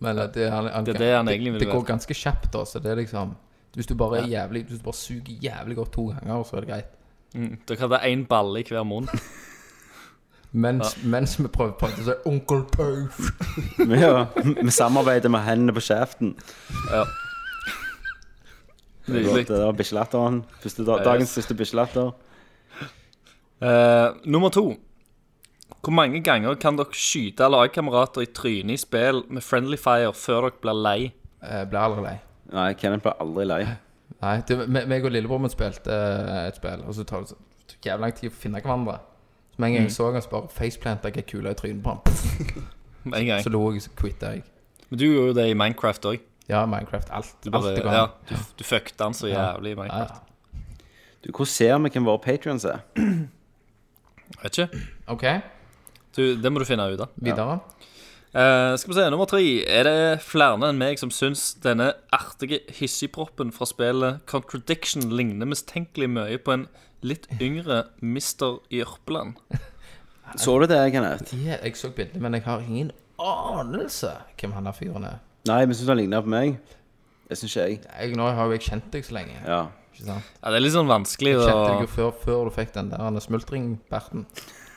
Speaker 2: Men eh, det, han, han,
Speaker 3: Det er det han egentlig vil
Speaker 2: det går
Speaker 3: vite.
Speaker 2: ganske kjapt, da. Så det er liksom Hvis du bare er jævlig Hvis du bare suger jævlig godt to ganger, så er det greit.
Speaker 3: Mm, Dere hadde én balle i hver munn.
Speaker 2: Mens, mens vi prøver på det, så er Onkel Tøys
Speaker 1: Vi ja, vi samarbeider med hendene på kjeften. Det var-
Speaker 3: Nydelig.
Speaker 1: det var bikkjelatteren. Første da- Dagens første bikkjelatter.
Speaker 3: Eh, nummer to. Hvor mange ganger kan dere skyte lagkamerater i trynet i spill med friendly fire før dere blir lei?
Speaker 2: eh, Blir aldri lei.
Speaker 1: Nei, Kenneth ble aldri lei.
Speaker 2: Nei, det, me- meg og lillebror min spilte eh, et spill, og så tar det så det tok jævlig lang tid å finne hverandre. Så med en
Speaker 3: Mm.
Speaker 2: gang jeg så han, så bare faceplanta jeg ei kule i trynet på han. Pff,
Speaker 3: Med en
Speaker 2: Så
Speaker 3: gang.
Speaker 2: lo jeg, så quitta jeg.
Speaker 3: Men du gjorde jo det i Minecraft òg.
Speaker 2: Ja, Minecraft. Alt.
Speaker 3: Du,
Speaker 2: alt
Speaker 3: bare-
Speaker 2: det går
Speaker 3: ja,
Speaker 2: an.
Speaker 3: du, du fucket han så jævlig i
Speaker 2: Ja,
Speaker 3: Minecraft.
Speaker 2: ja.
Speaker 1: Du, Hvor ser vi hvem våre patrions er?
Speaker 3: Vet ikke.
Speaker 2: OK,
Speaker 3: Du, det må du finne ut av.
Speaker 2: videre.
Speaker 3: Eh, skal vi se, nummer tre. Er det flere enn meg som syns denne artige hissigproppen fra spillet Contradiction ligner mistenkelig mye på en litt yngre Mr. Jørpeland?
Speaker 1: Så du det, Kenneth?
Speaker 2: Ja, jeg så bildet, men jeg har ingen anelse hvem han der fyren er.
Speaker 1: Nei, vi syns han ligner på meg. Det syns ikke jeg.
Speaker 2: Jeg, nå har jo jeg kjent deg så lenge.
Speaker 1: Ja.
Speaker 2: Ikke sant?
Speaker 3: Ja, det er litt sånn vanskelig
Speaker 2: Jeg
Speaker 3: å
Speaker 2: kjente deg jo før, før du fikk den der smultringbarten.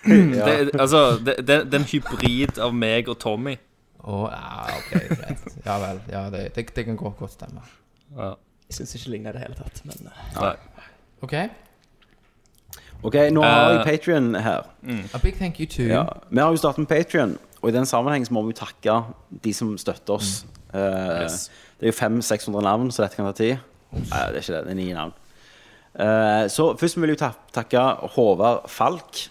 Speaker 3: det, Altså, det, det, det er en hybrid av meg og Tommy.
Speaker 2: Å, ja, OK, greit. Ja vel. Ja, det, det, det kan gå godt stemme.
Speaker 4: Jeg syns ikke det ligner i det hele tatt, men eh,
Speaker 3: Nei.
Speaker 2: OK. A
Speaker 1: OK, nå har
Speaker 3: Eh. Mm.
Speaker 1: jeg Patrion her.
Speaker 2: big thank you to
Speaker 1: Ja. Vi har jo startet med Patrion, og i den sammenheng så må vi jo takke de som støtter oss. Eh,
Speaker 3: Mm. Yes.
Speaker 1: Det er jo 500-600 navn, så dette kan ta tid. Nei, det er ikke det. Det er ni navn. Eh, så først vil jeg jo ta takke Håvard Falk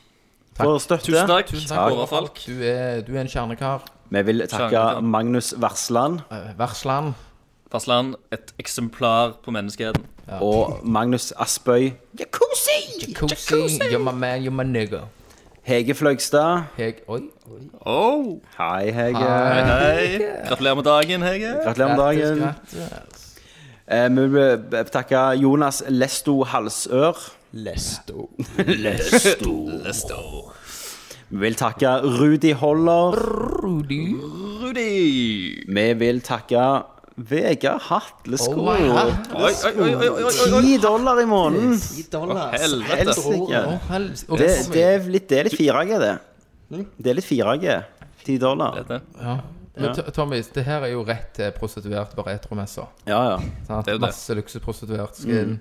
Speaker 1: for støtte.
Speaker 3: Tusen takk.
Speaker 2: Tusen
Speaker 1: Takk.
Speaker 2: takk, Håvard Falk. Du er, du er en kjernekar.
Speaker 1: Vi vil takke
Speaker 3: Sjanger, ja.
Speaker 1: Magnus Versland
Speaker 2: Eh, Versland.
Speaker 3: Fastland, et eksemplar på menneskeheten.
Speaker 1: og Magnus Aspøy,
Speaker 2: Cozy. You're my man, you're my nigger.
Speaker 1: Hege Fløgstad.
Speaker 2: Jeg, oi. Ah,
Speaker 3: Oh,
Speaker 1: Hei, Hege.
Speaker 2: Hei.
Speaker 3: hei. Gratulerer med dagen, Hege.
Speaker 1: Gratulerer med dagen.
Speaker 2: Grattis, grattis.
Speaker 1: Eh, vi vil b- takke Jonas Lesto Halsør.
Speaker 4: Lesto.
Speaker 1: Vi vil takke Rudi Holler.
Speaker 2: Rudy.
Speaker 3: Rudi.
Speaker 1: Vi vil takke Vegard Hatlesko.
Speaker 2: Oh my God.
Speaker 3: Oi, oi, oi, oi, oi, oi, oi.
Speaker 1: Ti dollar i måneden!
Speaker 4: Dollar.
Speaker 3: Helvete.
Speaker 1: Helsike.
Speaker 2: Å, helse- Ok,
Speaker 1: Det,
Speaker 2: kom
Speaker 1: det,
Speaker 2: igjen.
Speaker 1: er litt- det er litt 4G, det.
Speaker 2: Mm.
Speaker 1: Det er litt 4G. Ti dollar.
Speaker 3: Dette.
Speaker 2: Ja. Men T- Tommy, det her er jo rett til prostituert på retromessa.
Speaker 1: Ja, ja.
Speaker 2: sant?
Speaker 3: Det er jo det.
Speaker 2: Masse luksusprostituert.
Speaker 1: Mm.
Speaker 2: Skal...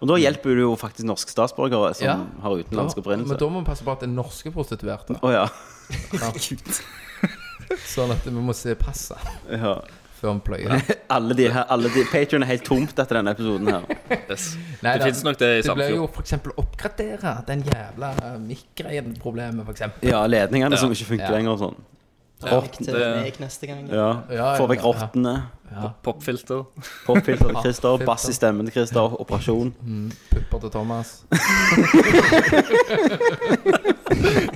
Speaker 1: Og da hjelper du jo faktisk norske statsborgere som
Speaker 2: Ja.
Speaker 1: har utenlandsk
Speaker 2: men
Speaker 1: opprinnelse.
Speaker 2: da må vi passe på at det er norske prostituerte.
Speaker 1: Å ja.
Speaker 2: Sånn at vi må se passet
Speaker 1: ja.
Speaker 2: før vi pløyer det.
Speaker 1: Alle de her, alle de, Patreon er helt tomt etter denne episoden her.
Speaker 3: Yes.
Speaker 2: Nei,
Speaker 3: Det finnes nok det i
Speaker 2: Det ble jo
Speaker 3: Sandefjord.
Speaker 2: f.eks. oppgradere den jævla eh, mic-greien-problemet, f.eks.
Speaker 1: Ja, ledningene som
Speaker 3: Ja.
Speaker 1: ikke funker
Speaker 2: Ja.
Speaker 1: lenger og sånn.
Speaker 4: Takk til
Speaker 3: Det-
Speaker 4: meg neste gang.
Speaker 1: Ja.
Speaker 2: Ja,
Speaker 1: Få
Speaker 2: ja,
Speaker 1: vekk
Speaker 2: ja.
Speaker 1: rottene.
Speaker 3: Popfilter.
Speaker 1: Popfilter til Christer. Bass i stemmen til Christer. Operasjon.
Speaker 2: Pupper til Thomas.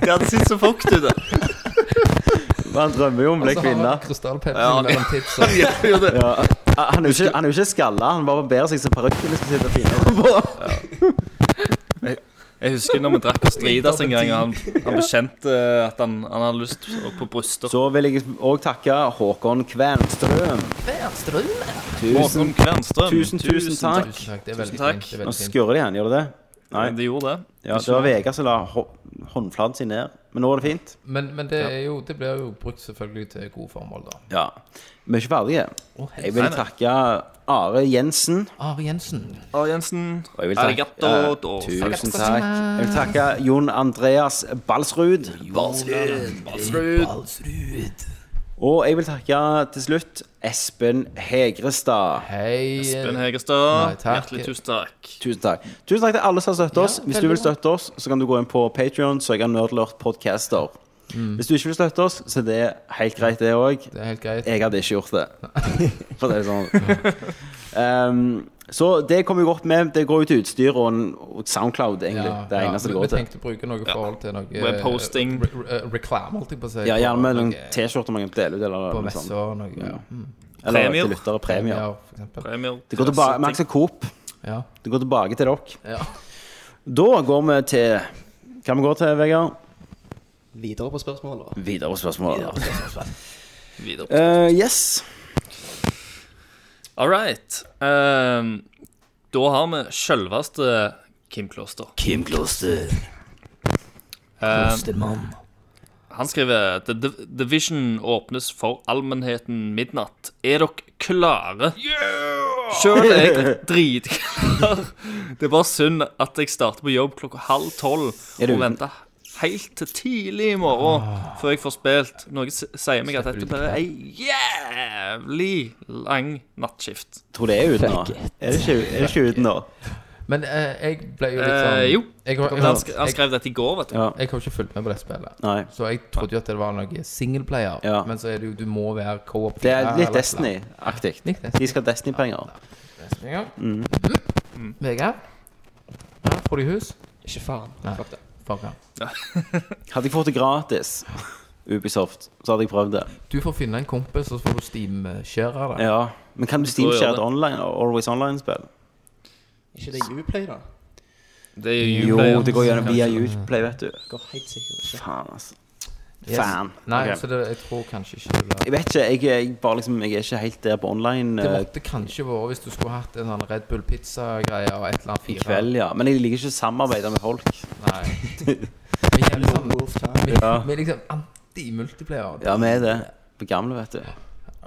Speaker 3: Det hadde sett så fukt ut. det.
Speaker 1: Han drømmer jo om å bli
Speaker 2: Så har
Speaker 1: kvinne.
Speaker 2: Altså, han krystallpepsi
Speaker 3: Ja, han-
Speaker 2: mellom titsa.
Speaker 1: Ja. Han er jo ikke, han er jo ikke skalla, han bare barberer seg så parykken skal sitte finere på.
Speaker 3: Jeg husker når vi drakk på Stridas en gang, og han, han bekjente at han, han hadde lyst på bryster.
Speaker 1: Så vil jeg òg takke Håkon Kvernstrøm. Tusen,
Speaker 3: Håkon Kvernstrøm.
Speaker 1: tusen, tusen takk.
Speaker 2: Tusen takk. Det er veldig
Speaker 3: Tusen takk.
Speaker 2: fint. Det er
Speaker 1: Nå
Speaker 2: veldig fint.
Speaker 1: skurrer de igjen, gjør det det? Nei.
Speaker 3: Nei, de gjorde det.
Speaker 1: Ja, det var Vegard som la hå- håndflaten sin ned. Men nå er det fint.
Speaker 2: Men, men det, er jo, det blir jo brukt selvfølgelig til gode formål, da.
Speaker 1: Ja. Vi er ikke ferdige.
Speaker 2: Å,
Speaker 1: Jeg vil takke Are Jensen.
Speaker 2: Are Jensen.
Speaker 3: Are Jensen.
Speaker 1: Og jeg vil takke,
Speaker 3: Arigato.
Speaker 1: eh,
Speaker 3: do-
Speaker 1: Tusen takk. Jeg vil takke Jon Andreas Balsrud.
Speaker 3: Balsrud.
Speaker 1: Og jeg vil takke til slutt Espen Hegrestad.
Speaker 2: Hei. eh,
Speaker 3: Espen
Speaker 2: Nei,
Speaker 3: Hegerstad.
Speaker 2: takk.
Speaker 3: Hjertelig tusen takk.
Speaker 1: Tusen takk. Tusen takk til alle som har støttet oss.
Speaker 2: Ja,
Speaker 1: Hvis du
Speaker 2: veldig
Speaker 1: vil støtte oss, så kan du gå inn på Patrion, søke Nerdlurt Podcaster.
Speaker 2: Mm.
Speaker 1: Hvis du ikke vil støtte oss, så er det helt greit, det òg.
Speaker 2: Det er helt greit.
Speaker 1: Jeg hadde ikke gjort det. For det er sånn. Ehm, så det kommer jeg opp med. Det går jo til utstyr og, en- og Soundcloud, egentlig.
Speaker 2: Ja,
Speaker 1: det er
Speaker 2: ja,
Speaker 1: eneste det
Speaker 2: vi-
Speaker 1: går
Speaker 2: Vi
Speaker 1: til.
Speaker 2: tenkte å bruke noe forhold til noe
Speaker 3: Webhosting.
Speaker 2: eh, re- re- Reklame, holdt jeg på å si.
Speaker 1: Ja, Gjerne med noen
Speaker 2: Noe eh,
Speaker 1: T-skjorter man kan dele ut, eller
Speaker 2: På
Speaker 1: noe
Speaker 2: messer
Speaker 1: sånt.
Speaker 2: og noe ja.
Speaker 1: Eller
Speaker 3: Premier.
Speaker 1: til lyttere. Premier.
Speaker 2: premier, for eksempel.
Speaker 3: Premier.
Speaker 1: Det går tilbake, Max og Coop.
Speaker 2: Ja.
Speaker 1: Det går tilbake til dere.
Speaker 2: ja.
Speaker 1: Da går vi til Hva vi går til, Vegard?
Speaker 4: Videre på spørsmålet.
Speaker 1: Videre spørsmål.
Speaker 3: Videre.
Speaker 1: Eh, yes.
Speaker 3: All right. Ehm, da har vi sjølveste Kim Kloster.
Speaker 1: Kim Kloster.
Speaker 3: Ehm, han skriver The Div- Division åpnes for allmennheten midnatt. Er dere klare? Yeah! Sjøl er jeg dritklar. Det er bare synd at jeg starter på jobb klokka halv tolv
Speaker 1: Er du Ah.
Speaker 3: og
Speaker 1: uten-
Speaker 3: venter helt til tidlig i morgen før jeg får spilt. Noe s- sier meg at dette blir ei jævlig lang nattskift.
Speaker 1: Tror det er ute nå. Er det ikke, er det ikke ute nå?
Speaker 2: Men eh, jeg ble jo litt sånn
Speaker 3: Eh, jo.
Speaker 2: Jeg, har- jeg,
Speaker 3: Han,
Speaker 2: har-
Speaker 3: sk han skrev dette i går, vet du.
Speaker 1: Ja.
Speaker 2: jeg har ikke fulgt med på det spillet.
Speaker 1: Nei.
Speaker 2: Så jeg trodde jo at det var noe singleplayer,
Speaker 1: Ja.
Speaker 2: men så er det jo du må være co-op.
Speaker 1: Det er
Speaker 2: eller-
Speaker 1: litt Destiny-aktig.
Speaker 2: Litt Destiny.
Speaker 1: De skal ha Destiny-penger.
Speaker 2: Destiny, ja. Mm. Vegard? Ja, får du hus?
Speaker 4: Ikke faen.
Speaker 2: Nei.
Speaker 4: Fuck det.
Speaker 2: Fuck ja.
Speaker 1: Hadde jeg fått det gratis, Ubisoft, så hadde jeg prøvd det.
Speaker 2: Du får finne en kompis, og så får du steam-kjøre det.
Speaker 1: Ja. Men kan du
Speaker 3: Tror jeg
Speaker 1: steamshare
Speaker 3: det.
Speaker 1: et online, Always Online-spill?
Speaker 4: Ikke det Uplay, da.
Speaker 3: Det er jo
Speaker 1: Jo,
Speaker 3: jubileum.
Speaker 1: det går gjennom via Uplay, vet du.
Speaker 4: Går helt sikkert ikke.
Speaker 1: Faen, altså.
Speaker 2: Yes.
Speaker 1: Fan.
Speaker 2: Nei,
Speaker 1: Ok.
Speaker 2: så det, jeg tror kanskje ikke det blir
Speaker 1: Jeg vet ikke, jeg, jeg, bare liksom, jeg er ikke helt der på online
Speaker 2: Det
Speaker 1: eh,
Speaker 2: måtte kanskje vært hvis du skulle hatt en sånn Red Bull pizza-greie og et eller annet
Speaker 1: i
Speaker 2: fire.
Speaker 1: kveld, ja. Men jeg liker ikke å samarbeide med folk.
Speaker 2: Nei. Vi er liksom,
Speaker 4: Wolf Town.
Speaker 2: vi,
Speaker 1: Ja.
Speaker 2: vi er liksom anti-multiplayer.
Speaker 1: Ja, vi er det. På gamle, vet du.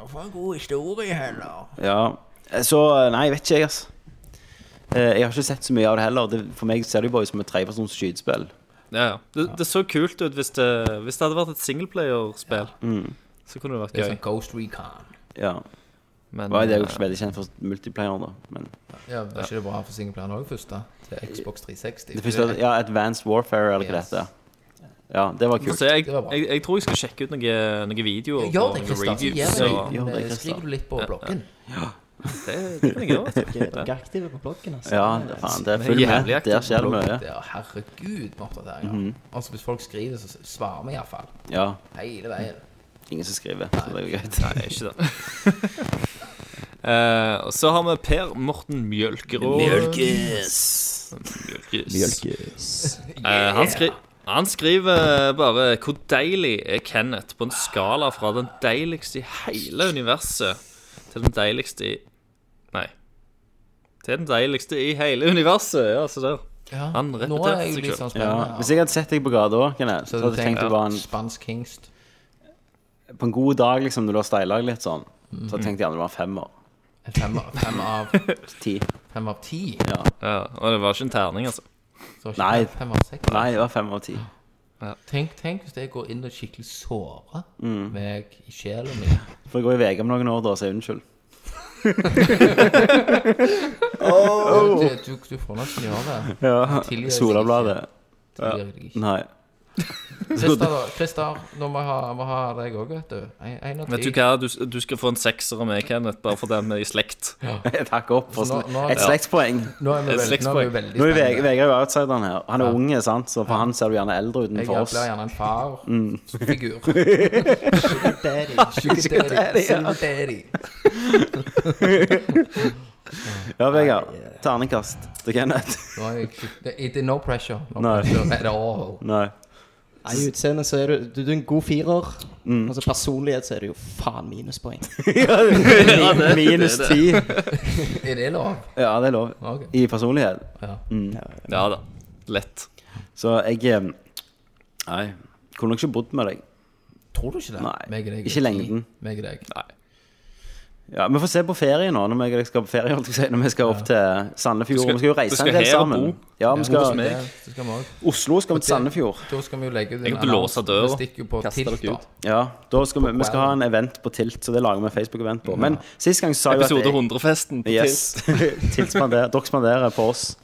Speaker 2: For en god historie, heller.
Speaker 1: Ja. Eh, Så eh, Nei, jeg vet ikke, jeg, altså. Eh, Jeg har ikke sett så mye av det heller. Det, for meg ser det jo bare ut som et trepersons skytespill.
Speaker 2: Mm.
Speaker 3: Ja, ja. Det, det så kult ut hvis det, hvis det hadde vært et singleplayerspill.
Speaker 2: Mm.
Speaker 3: Så kunne det vært
Speaker 2: Det er
Speaker 3: gøy.
Speaker 2: sånn Ghost Recon.
Speaker 1: Ja.
Speaker 3: Men
Speaker 1: Det var jo det jeg
Speaker 3: eh,
Speaker 1: ikke veldig kjent for multiplayer, da. Men
Speaker 2: Ja, Var ikke det bra for singelplayeren òg først, da? Til Xbox 360.
Speaker 1: det første, ja, Advanced Warfare, eller hva
Speaker 2: Yes.
Speaker 1: det heter. Ja, det var
Speaker 3: får
Speaker 1: kult.
Speaker 3: se, jeg,
Speaker 2: Det var bra.
Speaker 3: jeg, jeg tror jeg skal sjekke ut noen noe videoer.
Speaker 2: Gjør
Speaker 3: og
Speaker 2: det,
Speaker 3: noen
Speaker 2: Kristian.
Speaker 3: reviews,
Speaker 1: Gjør det.
Speaker 3: så
Speaker 1: Gjør det,
Speaker 2: Skriv
Speaker 1: Christian.
Speaker 2: skriv litt på bloggen.
Speaker 3: det, det kan jeg gjøre. vet du.
Speaker 4: Dere er dere aktive på bloggen, altså.
Speaker 1: Ja, det, faen, det er
Speaker 3: Det er
Speaker 1: full med.
Speaker 3: jævlig aktivt
Speaker 1: Der skjer det mye.
Speaker 2: Ja, herregud, med oppdateringer.
Speaker 1: Mhm.
Speaker 2: Altså, hvis folk skriver, så svarer vi iallfall.
Speaker 1: Ja.
Speaker 2: Hele veien.
Speaker 1: Ingen som skriver, så det er jo greit.
Speaker 3: Nei, ikke det. Eh, og så har vi Per Morten Mjølkerå. Mjølkes. Eh, han, skri han skriver bare 'Hvor deilig er Kenneth?' på en skala fra den deiligste i hele universet til den deiligste i Nei. Til den deiligste i hele universet. Ja, se der.
Speaker 2: Ja.
Speaker 3: Han
Speaker 2: Nå
Speaker 3: repeterer
Speaker 2: er jeg
Speaker 3: seg
Speaker 2: litt
Speaker 3: selv.
Speaker 2: sånn
Speaker 1: Mhm. Ja.
Speaker 2: spennende.
Speaker 1: Hvis jeg hadde sett deg på gata, Kenneth, så hadde jeg tenkt
Speaker 2: tenker
Speaker 1: du var en,
Speaker 2: Spansk hingst.
Speaker 1: på en god dag, liksom, når du har steila litt sånn. Så hadde jeg tenkt gjerne du var en femmer.
Speaker 2: En Fem, av- fem, av,
Speaker 1: Ti.
Speaker 2: fem av ti.
Speaker 1: Ja.
Speaker 3: Ja, og det var ikke en terning, altså.
Speaker 2: Så ikke
Speaker 1: Nei.
Speaker 2: Fem av seks.
Speaker 1: Nei, det var fem av ti.
Speaker 2: Tenk, tenk hvis jeg går inn og skikkelig sårer
Speaker 1: Mm.
Speaker 2: meg i sjelen min.
Speaker 1: For jeg går i VG om noen år, da, så jeg unnskyld.
Speaker 2: Du, du, du får nesten gjøre det.
Speaker 1: Oh. Ja.
Speaker 2: Tidligere-
Speaker 1: Solabladet.
Speaker 2: Tilgir jeg deg ikke.
Speaker 1: Nei.
Speaker 2: Christer, da. Christer, nå må jeg ha, må ha deg òg, vet du. En, en av
Speaker 3: Vet du
Speaker 2: ti.
Speaker 3: hva, du, du skal få en sekser av meg, Kenneth, bare fordi vi er i slekt.
Speaker 1: Takk
Speaker 3: Altså,
Speaker 1: opp for
Speaker 2: Så nå-
Speaker 1: sn-
Speaker 2: nå-
Speaker 1: et slektspoeng.
Speaker 2: Nå er vi veldig,
Speaker 3: Et
Speaker 2: nå er vi
Speaker 3: slektspoeng.
Speaker 2: veldig
Speaker 1: Nå er Ve-
Speaker 2: spennende.
Speaker 1: Vegard er jo outsideren her. Han er unge, sant? så for han ser du gjerne eldre
Speaker 2: Jeg
Speaker 1: utenfor oss.
Speaker 2: blir gjerne en
Speaker 1: Mm.
Speaker 2: farfigur.
Speaker 4: Daddy.
Speaker 2: Sugar daddy.
Speaker 1: daddy, ja.
Speaker 2: Silver daddy.
Speaker 1: Ja, Vegard. Terningkast til Kenneth.
Speaker 2: Nå er jeg skikkelig- det- It is no pressure. No
Speaker 1: Nei.
Speaker 2: pressure at all.
Speaker 1: Nei.
Speaker 4: Nei, I utseendet så er du, du, du er en god firer.
Speaker 1: Mm.
Speaker 4: Og så personlighet så er det jo faen minuspoeng.
Speaker 1: Minus ti.
Speaker 2: Er det lov?
Speaker 1: Ja, det er lov.
Speaker 2: Ok.
Speaker 1: I personlighet.
Speaker 2: Ja.
Speaker 3: Ja da. Lett.
Speaker 1: Så jeg eh, Nei. Kunne nok ikke bodd med deg.
Speaker 2: Tror du ikke det?
Speaker 1: Nei,
Speaker 2: Meg og deg er
Speaker 1: ikke
Speaker 2: ti.
Speaker 1: lengden.
Speaker 2: Meg og deg. Nei.
Speaker 1: Ja, Vi får se på ferie nå, når vi skal på ferie, holdt jeg på å si, når vi skal opp til Sandefjord. vi
Speaker 3: Du skal-
Speaker 1: skal jo
Speaker 3: du
Speaker 1: reise
Speaker 3: skal
Speaker 1: en del
Speaker 3: her og
Speaker 1: sammen.
Speaker 3: bo.
Speaker 1: Ja, vi
Speaker 3: Hos
Speaker 1: skal
Speaker 3: meg.
Speaker 2: Det skal vi også.
Speaker 1: Oslo skal vi til Sandefjord.
Speaker 2: Da skal vi jo legge ut
Speaker 3: Jeg
Speaker 2: en
Speaker 3: måtte låse
Speaker 2: annonse.
Speaker 3: døra.
Speaker 2: Vi stikker jo på
Speaker 3: Kaste
Speaker 2: Tilt,
Speaker 3: dere
Speaker 2: da.
Speaker 3: ut.
Speaker 1: Ja, da skal vi, vi skal ha en event på Tilt, så det lager vi en Facebook-event på. Men sist gang så sa jeg jo at
Speaker 3: Episode
Speaker 1: jeg,
Speaker 3: 100-festen. på
Speaker 1: Yes. Tilt spanderer, dere spanderer på oss.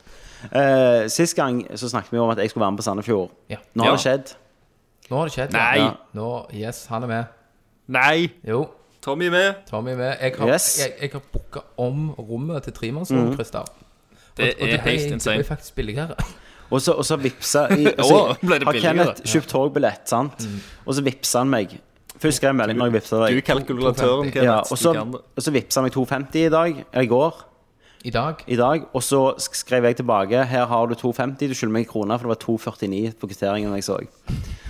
Speaker 1: Eh, sist gang så snakket vi om at jeg skulle være med på Sandefjord.
Speaker 2: Ja.
Speaker 1: Nå har
Speaker 3: Ja.
Speaker 1: det skjedd.
Speaker 2: Nå har det skjedd.
Speaker 3: Nei.
Speaker 2: Ja. Nå, yes, han er med.
Speaker 3: Nei!
Speaker 2: Jo.
Speaker 3: Tommy er med.
Speaker 2: Tommy er med. Jeg har,
Speaker 1: Yes. Mhm.
Speaker 2: jeg, jeg har booka om rommet til tremannsrom, Christer. Og
Speaker 3: Det er
Speaker 2: ble-
Speaker 3: helt
Speaker 2: Det ble
Speaker 3: insane.
Speaker 2: faktisk billigere.
Speaker 1: Og så, og så vipsa i, og så,
Speaker 3: Å, ble det
Speaker 1: Har
Speaker 3: billigere?
Speaker 1: Kenneth kjøpt togbillett, sant? Og så vipsa han meg. Først skrev jeg melding når jeg vipsa
Speaker 3: Du
Speaker 1: deg.
Speaker 3: kalkulatøren,
Speaker 2: to-
Speaker 3: Kenneth.
Speaker 1: Ja,
Speaker 3: du
Speaker 1: og så,
Speaker 3: kan det.
Speaker 1: og så vipsa han meg 2,50 i dag. Eller i går.
Speaker 2: I dag.
Speaker 1: I dag. Og så sk- skrev jeg tilbake her har du 2,50, du skylder meg en krone, for det var 2,49 på kvitteringen jeg så.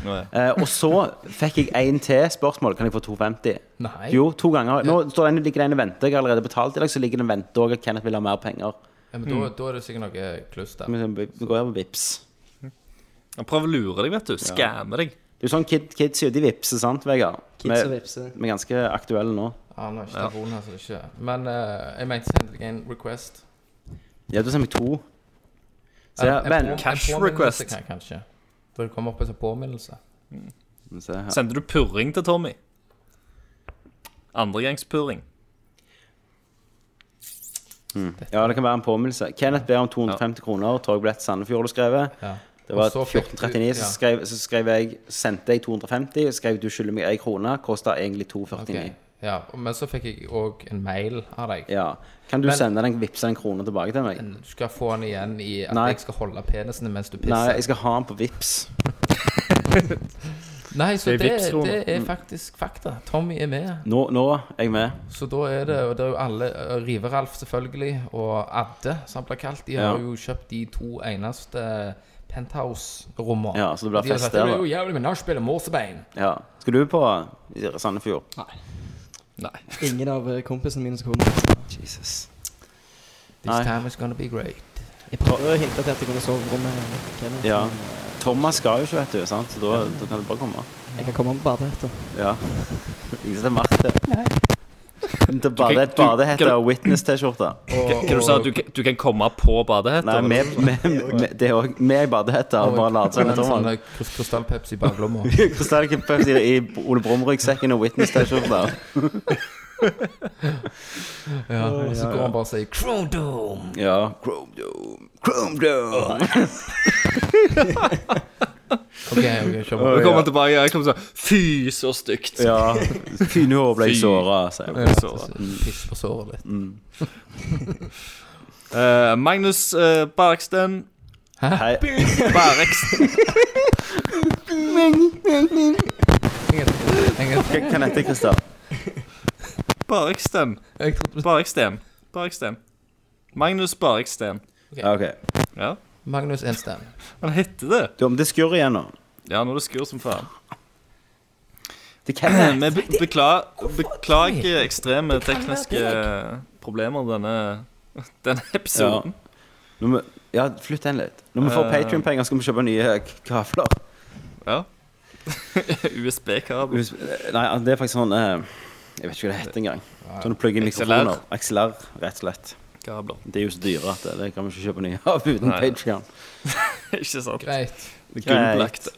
Speaker 3: Nå er-
Speaker 1: Eh, og så fikk jeg en til spørsmål. Kan jeg få 2,50?
Speaker 2: Nei.
Speaker 1: Jo, to ganger. Nå står den, ligger den og venter. Jeg har allerede betalt i dag, så ligger den og venter også at Kenneth vil ha mer penger.
Speaker 2: Ja, men
Speaker 3: Mm.
Speaker 2: da, da er det sikkert noe kluss der.
Speaker 1: Men Vi vi går her på vips.
Speaker 3: Han prøver å lure deg, vet du. Skamme deg.
Speaker 1: Det er jo sånn kid, kids gjør de vipser, sant, Vegard?
Speaker 4: Kids og vipse.
Speaker 1: Vi er ganske aktuelle nå.
Speaker 2: Ja, Ah, nå er ikke telefonen her, så det er ikke Men eh, jeg mente sendte deg en request.
Speaker 1: Ja, du sender meg to. Se her.
Speaker 2: En- en
Speaker 1: Men
Speaker 2: på- en
Speaker 3: Cash
Speaker 2: påminnelse
Speaker 3: request.
Speaker 2: kan- Kanskje. Da det kommer opp en sånn påminnelse.
Speaker 1: Se her.
Speaker 3: Sender du purring til Tommy? Andregangspurring.
Speaker 1: Ja, det kan være en påminnelse. Kenneth ber om 250 kroner. Togbillett Sandefjord, du skrevet.
Speaker 2: Ja.
Speaker 1: Det
Speaker 2: Og
Speaker 1: var
Speaker 2: så fikk du-
Speaker 1: 1439. Så,
Speaker 2: ja.
Speaker 1: skrev, så skrev jeg, sendte jeg 250, og skrev du skylder meg ei krone. Kosta egentlig 249.
Speaker 2: Ok. Ja, men så fikk jeg òg en mail av deg.
Speaker 1: Ja. Kan du
Speaker 2: Men-
Speaker 1: sende den, vippse den krona tilbake til meg?
Speaker 2: Du skal få den igjen i at
Speaker 1: Nei.
Speaker 2: jeg skal holde penisen mens du pisser.
Speaker 1: Nei, jeg skal ha den på vips.
Speaker 2: Nei, så
Speaker 3: Det
Speaker 2: det,
Speaker 3: er Vipps-rom.
Speaker 2: det er faktisk fakta. Tommy er med.
Speaker 1: Nå, nå er jeg med.
Speaker 2: Så da er det Og det er jo alle eh, Riveralf, selvfølgelig, og Adde, som han blir kalt. De har
Speaker 1: Ja.
Speaker 2: jo kjøpt de to eneste penthouse-rommene.
Speaker 1: Ja, så det blir
Speaker 2: De har
Speaker 1: fest
Speaker 2: sagt, det
Speaker 1: der,
Speaker 2: blir jo jævlig med nachspiel og morsebein.
Speaker 1: Ja. Skal du på Sandefjord?
Speaker 3: Nei.
Speaker 4: Ingen av eh, kompisene mine som kommer.
Speaker 1: Jesus.
Speaker 2: This
Speaker 1: Nei.
Speaker 2: time is gonna be great.
Speaker 4: Jeg prøvde å hinte til at jeg kunne sove på rommet. med Kenneth,
Speaker 1: Ja.
Speaker 4: men, eh,
Speaker 1: Thomas skal jo ikke, vet du, sant? så da, da kan det bare komme.
Speaker 4: Jeg kan komme om på badehette.
Speaker 1: Ja. Ingen som har merket det. Det er
Speaker 3: Du
Speaker 1: bare
Speaker 3: kan-
Speaker 1: et
Speaker 3: du-
Speaker 1: badehette
Speaker 3: kan-
Speaker 1: og Witness-T-skjorte.
Speaker 2: Og,
Speaker 3: Hva du sa du? kan- Du kan komme på
Speaker 1: Nei,
Speaker 3: badehetter?
Speaker 1: vi- vi- vi- det er òg Vi er i badehette og bare later som vi er Thomas.
Speaker 2: Krystallpeps i baklomma.
Speaker 1: Hvordan er det ikke Pepsi i Ole Brumm-ryggsekken og Witness-T-skjorte?
Speaker 2: Ja, og så går han bare og sier Chrome Dome!
Speaker 1: Ja. Chrome Dome. Chrome Dome.
Speaker 2: Ok, ok, kjør på.
Speaker 3: Nå kommer han tilbake og jeg kommer sånn Fy, så stygt.
Speaker 1: Ja. Fine hår ble jeg altså.
Speaker 3: Fy.
Speaker 1: såra, sier jeg.
Speaker 2: Ja, så Piss på såret litt.
Speaker 3: Eh, Magnus eh, Barksten.
Speaker 1: Hei.
Speaker 3: Barksten.
Speaker 2: Jeg, jeg,
Speaker 1: Hva kan dette, Christer?
Speaker 3: Barksten.
Speaker 2: jeg trodde du
Speaker 3: Barksten. Barksten. Magnus Barksten.
Speaker 1: Ja, OK.
Speaker 3: Ja,
Speaker 2: Magnus Enstein.
Speaker 3: han heter det.
Speaker 1: Du, om det skurrer igjen nå.
Speaker 3: Ja, nå er det skur som faen.
Speaker 1: Det kan jeg.
Speaker 3: Vi be bekla beklager ekstreme tekniske problemer denne, denne episoden.
Speaker 1: Nå må- Ja, flytt den litt. Når vi får
Speaker 3: Eh.
Speaker 1: Patrion-penger, skal vi kjøpe nye k- kafler.
Speaker 3: Ja. USB-kabel.
Speaker 1: Hvis- Nei, det er faktisk sånn eh, Jeg vet ikke hva det heter engang. Sånn du plugger inn
Speaker 3: XLR.
Speaker 1: mikrofoner. XLR, rett og slett.
Speaker 3: Kabler.
Speaker 1: Det er jo så dyre at det, det kan vi ikke kjøpe nye av uten
Speaker 3: Nei.
Speaker 1: Patreon
Speaker 3: Ikke sant?
Speaker 2: Greit.
Speaker 1: Greit.
Speaker 3: Gullbelagt.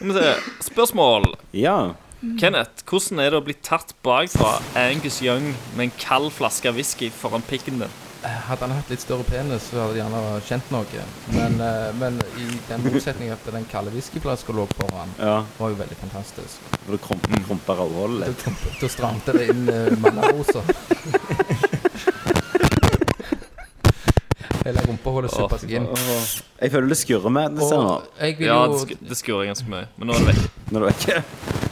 Speaker 3: Vi må se. Spørsmål.
Speaker 1: Ja.
Speaker 3: Kenneth, hvordan er det å bli tatt bakfra Angus Young med en kald flaske whisky foran pikken din?
Speaker 2: Hadde han hatt litt større penis, så hadde de gjerne kjent noe. Men, eh, men i den motsetningen at den kalde whiskyflaska lå foran,
Speaker 1: ja.
Speaker 2: var jo veldig fantastisk.
Speaker 1: For det krum- krumper rødhålet
Speaker 2: Da
Speaker 1: litt.
Speaker 2: kom- Da stramte det inn uh, mannarosa. Hele rumpehullet suppa seg inn.
Speaker 1: Åh. Jeg føler det skurrer med det ser nå.
Speaker 2: Og jeg vil
Speaker 3: Ja, det,
Speaker 2: jo
Speaker 3: sk det skurrer ganske mye, men nå er det vekk.
Speaker 1: Når du er ikke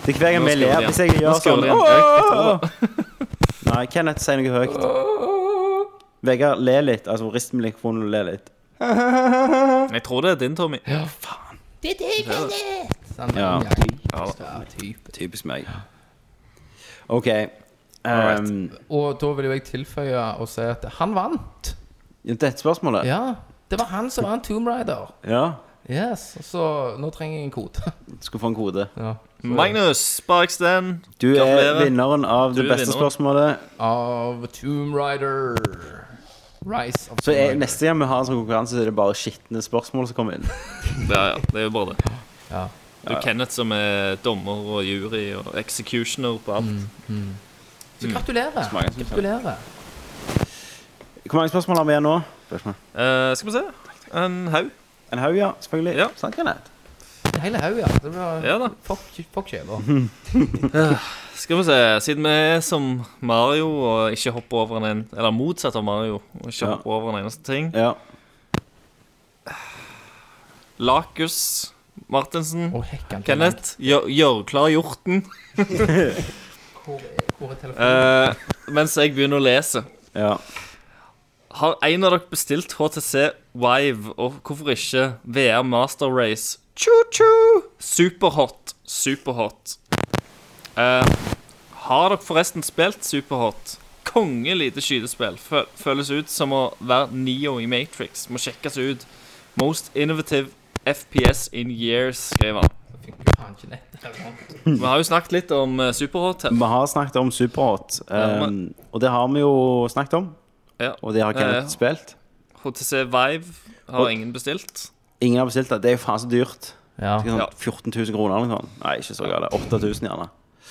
Speaker 1: Det er hver gang
Speaker 3: Nå
Speaker 1: vi
Speaker 3: skurrer
Speaker 1: ler
Speaker 3: det
Speaker 1: hvis jeg
Speaker 3: igjen.
Speaker 1: gjør
Speaker 3: Nå
Speaker 1: sånn.
Speaker 3: skurrer det igjen.
Speaker 1: Åh! Nei, Kenneth sier noe høyt. Vegard, le litt. Altså rist med mikrofonen og le litt.
Speaker 3: Jeg tror det er din, Tommy.
Speaker 2: Ja, faen. Det er det,
Speaker 1: Ja.
Speaker 2: Kenneth! Sånn, Ja. type.
Speaker 1: Typisk meg. OK.
Speaker 3: Alright.
Speaker 1: ehm,
Speaker 2: Og da vil jo jeg tilføye og si at han vant.
Speaker 1: dette spørsmålet?
Speaker 2: Ja, det var han som var en Tomb Raider.
Speaker 1: ja.
Speaker 2: Yes, så nå trenger jeg en kode.
Speaker 1: Du skal få en kode.
Speaker 2: Ja.
Speaker 3: Magnus Barksten.
Speaker 1: Du er
Speaker 3: Gratulerer.
Speaker 1: vinneren av
Speaker 3: Du
Speaker 1: det
Speaker 3: er
Speaker 1: beste
Speaker 3: vinneren.
Speaker 1: spørsmålet.
Speaker 2: Av Tomb Raider. Rise of
Speaker 1: Så
Speaker 2: Tomb
Speaker 1: er,
Speaker 2: Raider.
Speaker 1: neste gang vi har en sånn konkurranse, så er det bare skitne spørsmål som kommer inn.
Speaker 3: Ja, ja, det er jo bare det.
Speaker 2: Ja.
Speaker 3: Det er jo Kenneth som er dommer og jury og executioner på
Speaker 2: Mm.
Speaker 3: alt.
Speaker 2: Så gratulerer.
Speaker 3: Mm.
Speaker 1: mange som
Speaker 2: Gratulerer.
Speaker 1: Hvor mange spørsmål har vi igjen nå? Spørsmål.
Speaker 3: Eh, skal vi se. En haug.
Speaker 1: En haug, ja. Selvfølgelig.
Speaker 3: Ja.
Speaker 1: Sant, Kenneth?
Speaker 2: en hel haug, ja. Det var
Speaker 3: Ja da.
Speaker 2: Fuck, fuck kjeva.
Speaker 3: Skal vi se, siden vi er som Mario og ikke hopper over en en Eller motsatt av Mario og ikke
Speaker 1: Ja.
Speaker 3: hopper over en eneste ting.
Speaker 1: Ja.
Speaker 3: Lakus Martinsen.
Speaker 2: Å, hekkan.
Speaker 3: Kenneth, gjør, gjør klar hjorten
Speaker 2: Hvor er, hvor er telefonen?
Speaker 3: eh, mens jeg begynner å lese.
Speaker 1: ja.
Speaker 3: Har en av dere bestilt HTC Vive, og hvorfor ikke VR Master Race? Choo-choo! Superhot, superhot. Eh, har dere forresten spilt Superhot? Konge lite skytespill. Fø- Føles ut som å være Neo i Matrix. Må sjekkes ut. Most innovative FPS in years, skriver han.
Speaker 2: Det funker faen ikke nettet her nå.
Speaker 1: Hmm.
Speaker 3: Vi har jo snakket litt om eh, Superhot her.
Speaker 1: Vi har snakket om Superhot,
Speaker 3: Ja,
Speaker 1: um, og det har vi jo snakket om.
Speaker 3: Ja.
Speaker 1: Og det har Kenneth
Speaker 3: Eh, Ja, ja.
Speaker 1: spilt.
Speaker 3: HTC Vive har ingen bestilt.
Speaker 1: Ingen har bestilt det. Det er jo faen så dyrt.
Speaker 2: Ja.
Speaker 1: Det er sånn
Speaker 3: Ja.
Speaker 1: 14 000 kroner eller noe sånt. Nei, ikke så galt. 8000 gjerne.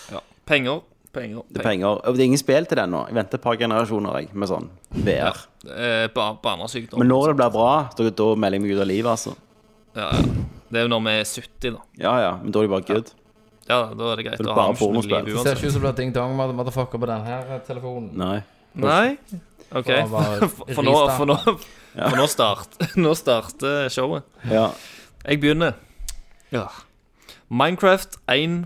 Speaker 3: Ja. Penger, penger,
Speaker 1: Det er
Speaker 3: penger.
Speaker 1: penger. Og det er ingen spill til det ennå. Jeg venter et par generasjoner jeg, med sånn
Speaker 3: Ja.
Speaker 1: VR.
Speaker 3: Eh, ba- Barnesykdom.
Speaker 1: Men når det blir bra, da, da melder jeg meg ut av livet, altså.
Speaker 3: Ja, ja. Det er jo når vi er 70, da.
Speaker 1: Ja ja, men da er det bare good.
Speaker 3: Ja, Da er det greit
Speaker 1: Det er
Speaker 3: å ha
Speaker 1: bare
Speaker 3: med liv
Speaker 1: pornospill.
Speaker 2: Det ser
Speaker 3: uansett.
Speaker 2: ikke ut som det er ding dong mother- motherfucker på den her eh, telefonen.
Speaker 1: Nei.
Speaker 3: Nei? OK.
Speaker 2: For å bare
Speaker 3: For, for, nå, for, nå, for nå, start, nå starter showet.
Speaker 1: Ja.
Speaker 3: Jeg begynner. Ja. Minecraft 1.9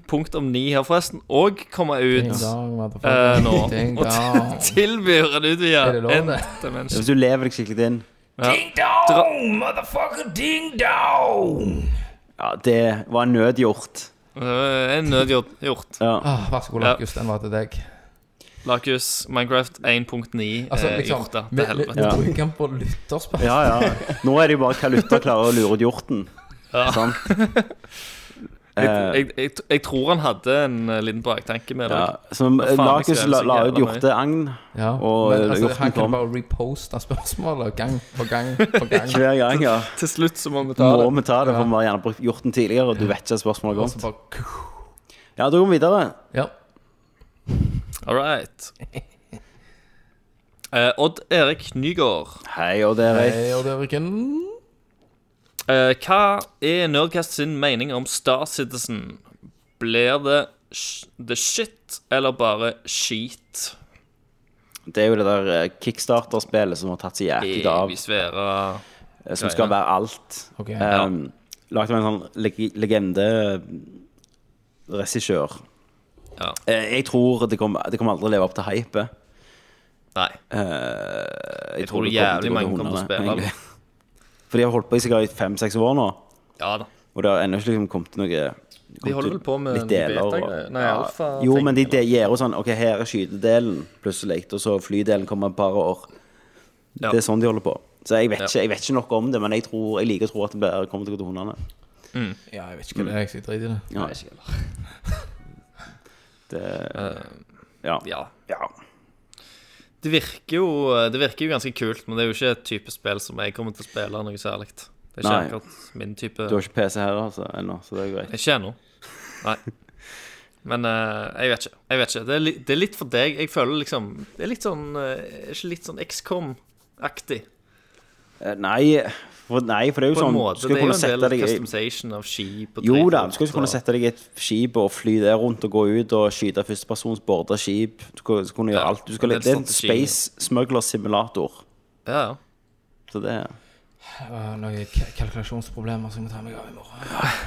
Speaker 3: her, forresten, òg kommer ut
Speaker 2: Ding dong
Speaker 3: eh,
Speaker 2: motherfucker.
Speaker 3: nå.
Speaker 2: Ding
Speaker 3: Og
Speaker 2: dong.
Speaker 3: t- tilbyr en utvida
Speaker 2: Er det lov, det?
Speaker 3: en dimensjon.
Speaker 1: Hvis du lever deg skikkelig inn
Speaker 3: Ja.
Speaker 2: dong motherfucker ding dong.
Speaker 1: Ja, det var nødgjort.
Speaker 3: Eh, En nødgjort. gjort.
Speaker 1: Ja.
Speaker 2: Ah, vær så god,
Speaker 3: Ja.
Speaker 2: Lakus. Den var til deg.
Speaker 3: Lakus, Minecraft 1.9
Speaker 2: Altså,
Speaker 3: eh,
Speaker 2: liksom,
Speaker 3: hjorta.
Speaker 2: vi,
Speaker 3: Til
Speaker 2: vi,
Speaker 3: helvete.
Speaker 2: vi bruker den på lytterspørsmål.
Speaker 1: ja ja. Nå er det jo bare hva Luther klarer å lure ut hjorten.
Speaker 3: Ja.
Speaker 1: Sant? Eh,
Speaker 3: Jeg, jeg, jeg tror han hadde en eh, liten baktanke med det.
Speaker 1: Ja, som
Speaker 3: Hva faen, jeg
Speaker 1: Lakus
Speaker 3: skrev
Speaker 1: la,
Speaker 3: så
Speaker 1: la ut
Speaker 3: jævla mye.
Speaker 1: hjorteagn
Speaker 2: Ja.
Speaker 1: Og,
Speaker 2: Men
Speaker 1: eh,
Speaker 2: altså,
Speaker 1: hjorten
Speaker 2: her kan
Speaker 1: kom.
Speaker 2: du bare reposte spørsmålet gang på gang på gang.
Speaker 1: hver gang. ja
Speaker 3: Til slutt så må vi ta
Speaker 1: Må
Speaker 3: det.
Speaker 1: vi ta det, for
Speaker 2: Ja.
Speaker 1: vi har gjerne brukt hjorten tidligere, og du vet ikke at spørsmålet
Speaker 2: Og så
Speaker 1: går.
Speaker 2: Altså, bare kuh.
Speaker 1: Ja, da går vi videre.
Speaker 2: Ja.
Speaker 3: All right. Eh, Odd Erik Nygaard.
Speaker 1: Hei, og det er
Speaker 2: Hei, Odd Øriken.
Speaker 3: Eh, hva er Nerdcast sin mening om Star Citizen? Blir det sh- the shit eller bare skit?
Speaker 1: Det er jo det der eh, kickstarter-spillet som har tatt seg jæklig av,
Speaker 3: Evig svære
Speaker 1: eh, som skal
Speaker 3: greia.
Speaker 1: være alt.
Speaker 2: Ok.
Speaker 1: Um, Lagd av en sånn leg legende-regissør.
Speaker 3: Ja.
Speaker 1: Eh, Jeg tror det kommer, det kommer aldri å leve opp til hypet.
Speaker 3: Nei.
Speaker 1: Eh,
Speaker 3: Jeg tror
Speaker 1: det
Speaker 3: jævlig
Speaker 1: det
Speaker 3: mange
Speaker 1: til
Speaker 3: kommer til å
Speaker 1: hundene,
Speaker 3: spille altså.
Speaker 1: egentlig. For de har holdt på i sikkert fem-seks år nå.
Speaker 3: Ja da.
Speaker 1: Og det har ennå ikke liksom kommet noe
Speaker 3: De holder vel på med
Speaker 1: litt deler og-
Speaker 3: beta-greier. Nei,
Speaker 1: ja.
Speaker 3: alfa-ting,
Speaker 1: Jo, men de de gir jo sånn OK, her er skytedelen plutselig, og så flydelen kommer om et par år.
Speaker 3: Ja.
Speaker 1: Det er sånn de holder på. Så jeg vet,
Speaker 3: Ja.
Speaker 1: ikke, jeg vet ikke noe om det, men jeg, tror, jeg liker å tro at det bare kommer til å gå til hundene.
Speaker 2: Ja, jeg vet ikke hva det er. Jeg driter i det.
Speaker 1: Ja. Det, ja.
Speaker 3: Eh, Ja.
Speaker 1: ja.
Speaker 3: Det virker, jo, det virker jo ganske kult, men det er jo ikke et type spill som jeg kommer til å spille noe særlig. Det er ikke
Speaker 1: Nei.
Speaker 3: akkurat min type
Speaker 1: Du har ikke PC her altså, ennå, så det er greit.
Speaker 3: Ikke ennå. Nei. Men eh, jeg vet ikke. Jeg vet ikke. Det, er li, det er litt for deg. Jeg føler liksom Det er litt sånn eh, Er ikke litt sånn XCOM-aktig?
Speaker 1: Eh, Nei, for, nei, for det er jo
Speaker 3: På en
Speaker 1: sånn
Speaker 3: måte.
Speaker 1: Du
Speaker 3: Det
Speaker 1: skal
Speaker 3: er
Speaker 1: kunne
Speaker 3: jo en del
Speaker 1: sette
Speaker 3: av
Speaker 1: deg i
Speaker 3: customization av skip og
Speaker 1: Jo da,
Speaker 3: drivhus
Speaker 1: du skal ikke
Speaker 3: og-
Speaker 1: kunne sette deg i et skip og fly der rundt og gå ut og skyte førstepersons borda skip. Du skal, skal kunne gjøre
Speaker 3: Ja,
Speaker 1: alt. Du skal,
Speaker 3: det er
Speaker 1: det er en
Speaker 3: strategi.
Speaker 1: space smuggler simulator.
Speaker 3: Ja, ja.
Speaker 1: Så det
Speaker 2: Det var Noen ka- kalkulasjonsproblemer som jeg må ta meg av i morgen.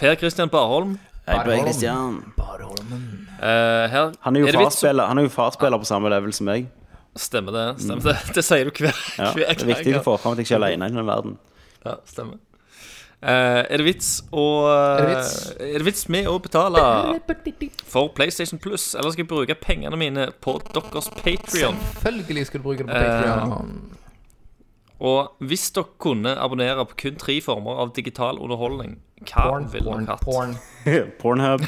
Speaker 3: Per Christian Barholm.
Speaker 1: Hei,
Speaker 2: Bare
Speaker 1: Bøy
Speaker 2: hold.
Speaker 1: Christian.
Speaker 2: Badeholmen.
Speaker 3: eh, her
Speaker 1: Han er jo
Speaker 3: det vits å-
Speaker 1: farspiller, han er jo farspiller på samme level som meg.
Speaker 3: Stemmer det. stemmer Det Det sier du hver
Speaker 1: Mm. Ja, det
Speaker 3: hver
Speaker 1: er viktig
Speaker 3: gang.
Speaker 1: å få fram at jeg ikke er alene i den verden.
Speaker 3: Ja, stemmer. Eh, er det vits å Er
Speaker 2: det vits?
Speaker 3: Er det vits med å betale for PlayStation Plus, eller skal jeg bruke pengene mine på deres Patrion?
Speaker 2: Selvfølgelig skal du bruke det på
Speaker 3: Eh,
Speaker 2: Patreon.
Speaker 3: Og hvis dere kunne abonnere på kun tre former av digital underholdning, hva
Speaker 2: Porn,
Speaker 3: ville
Speaker 2: porn,
Speaker 3: dere hatt?
Speaker 2: porn.
Speaker 1: Pornhub.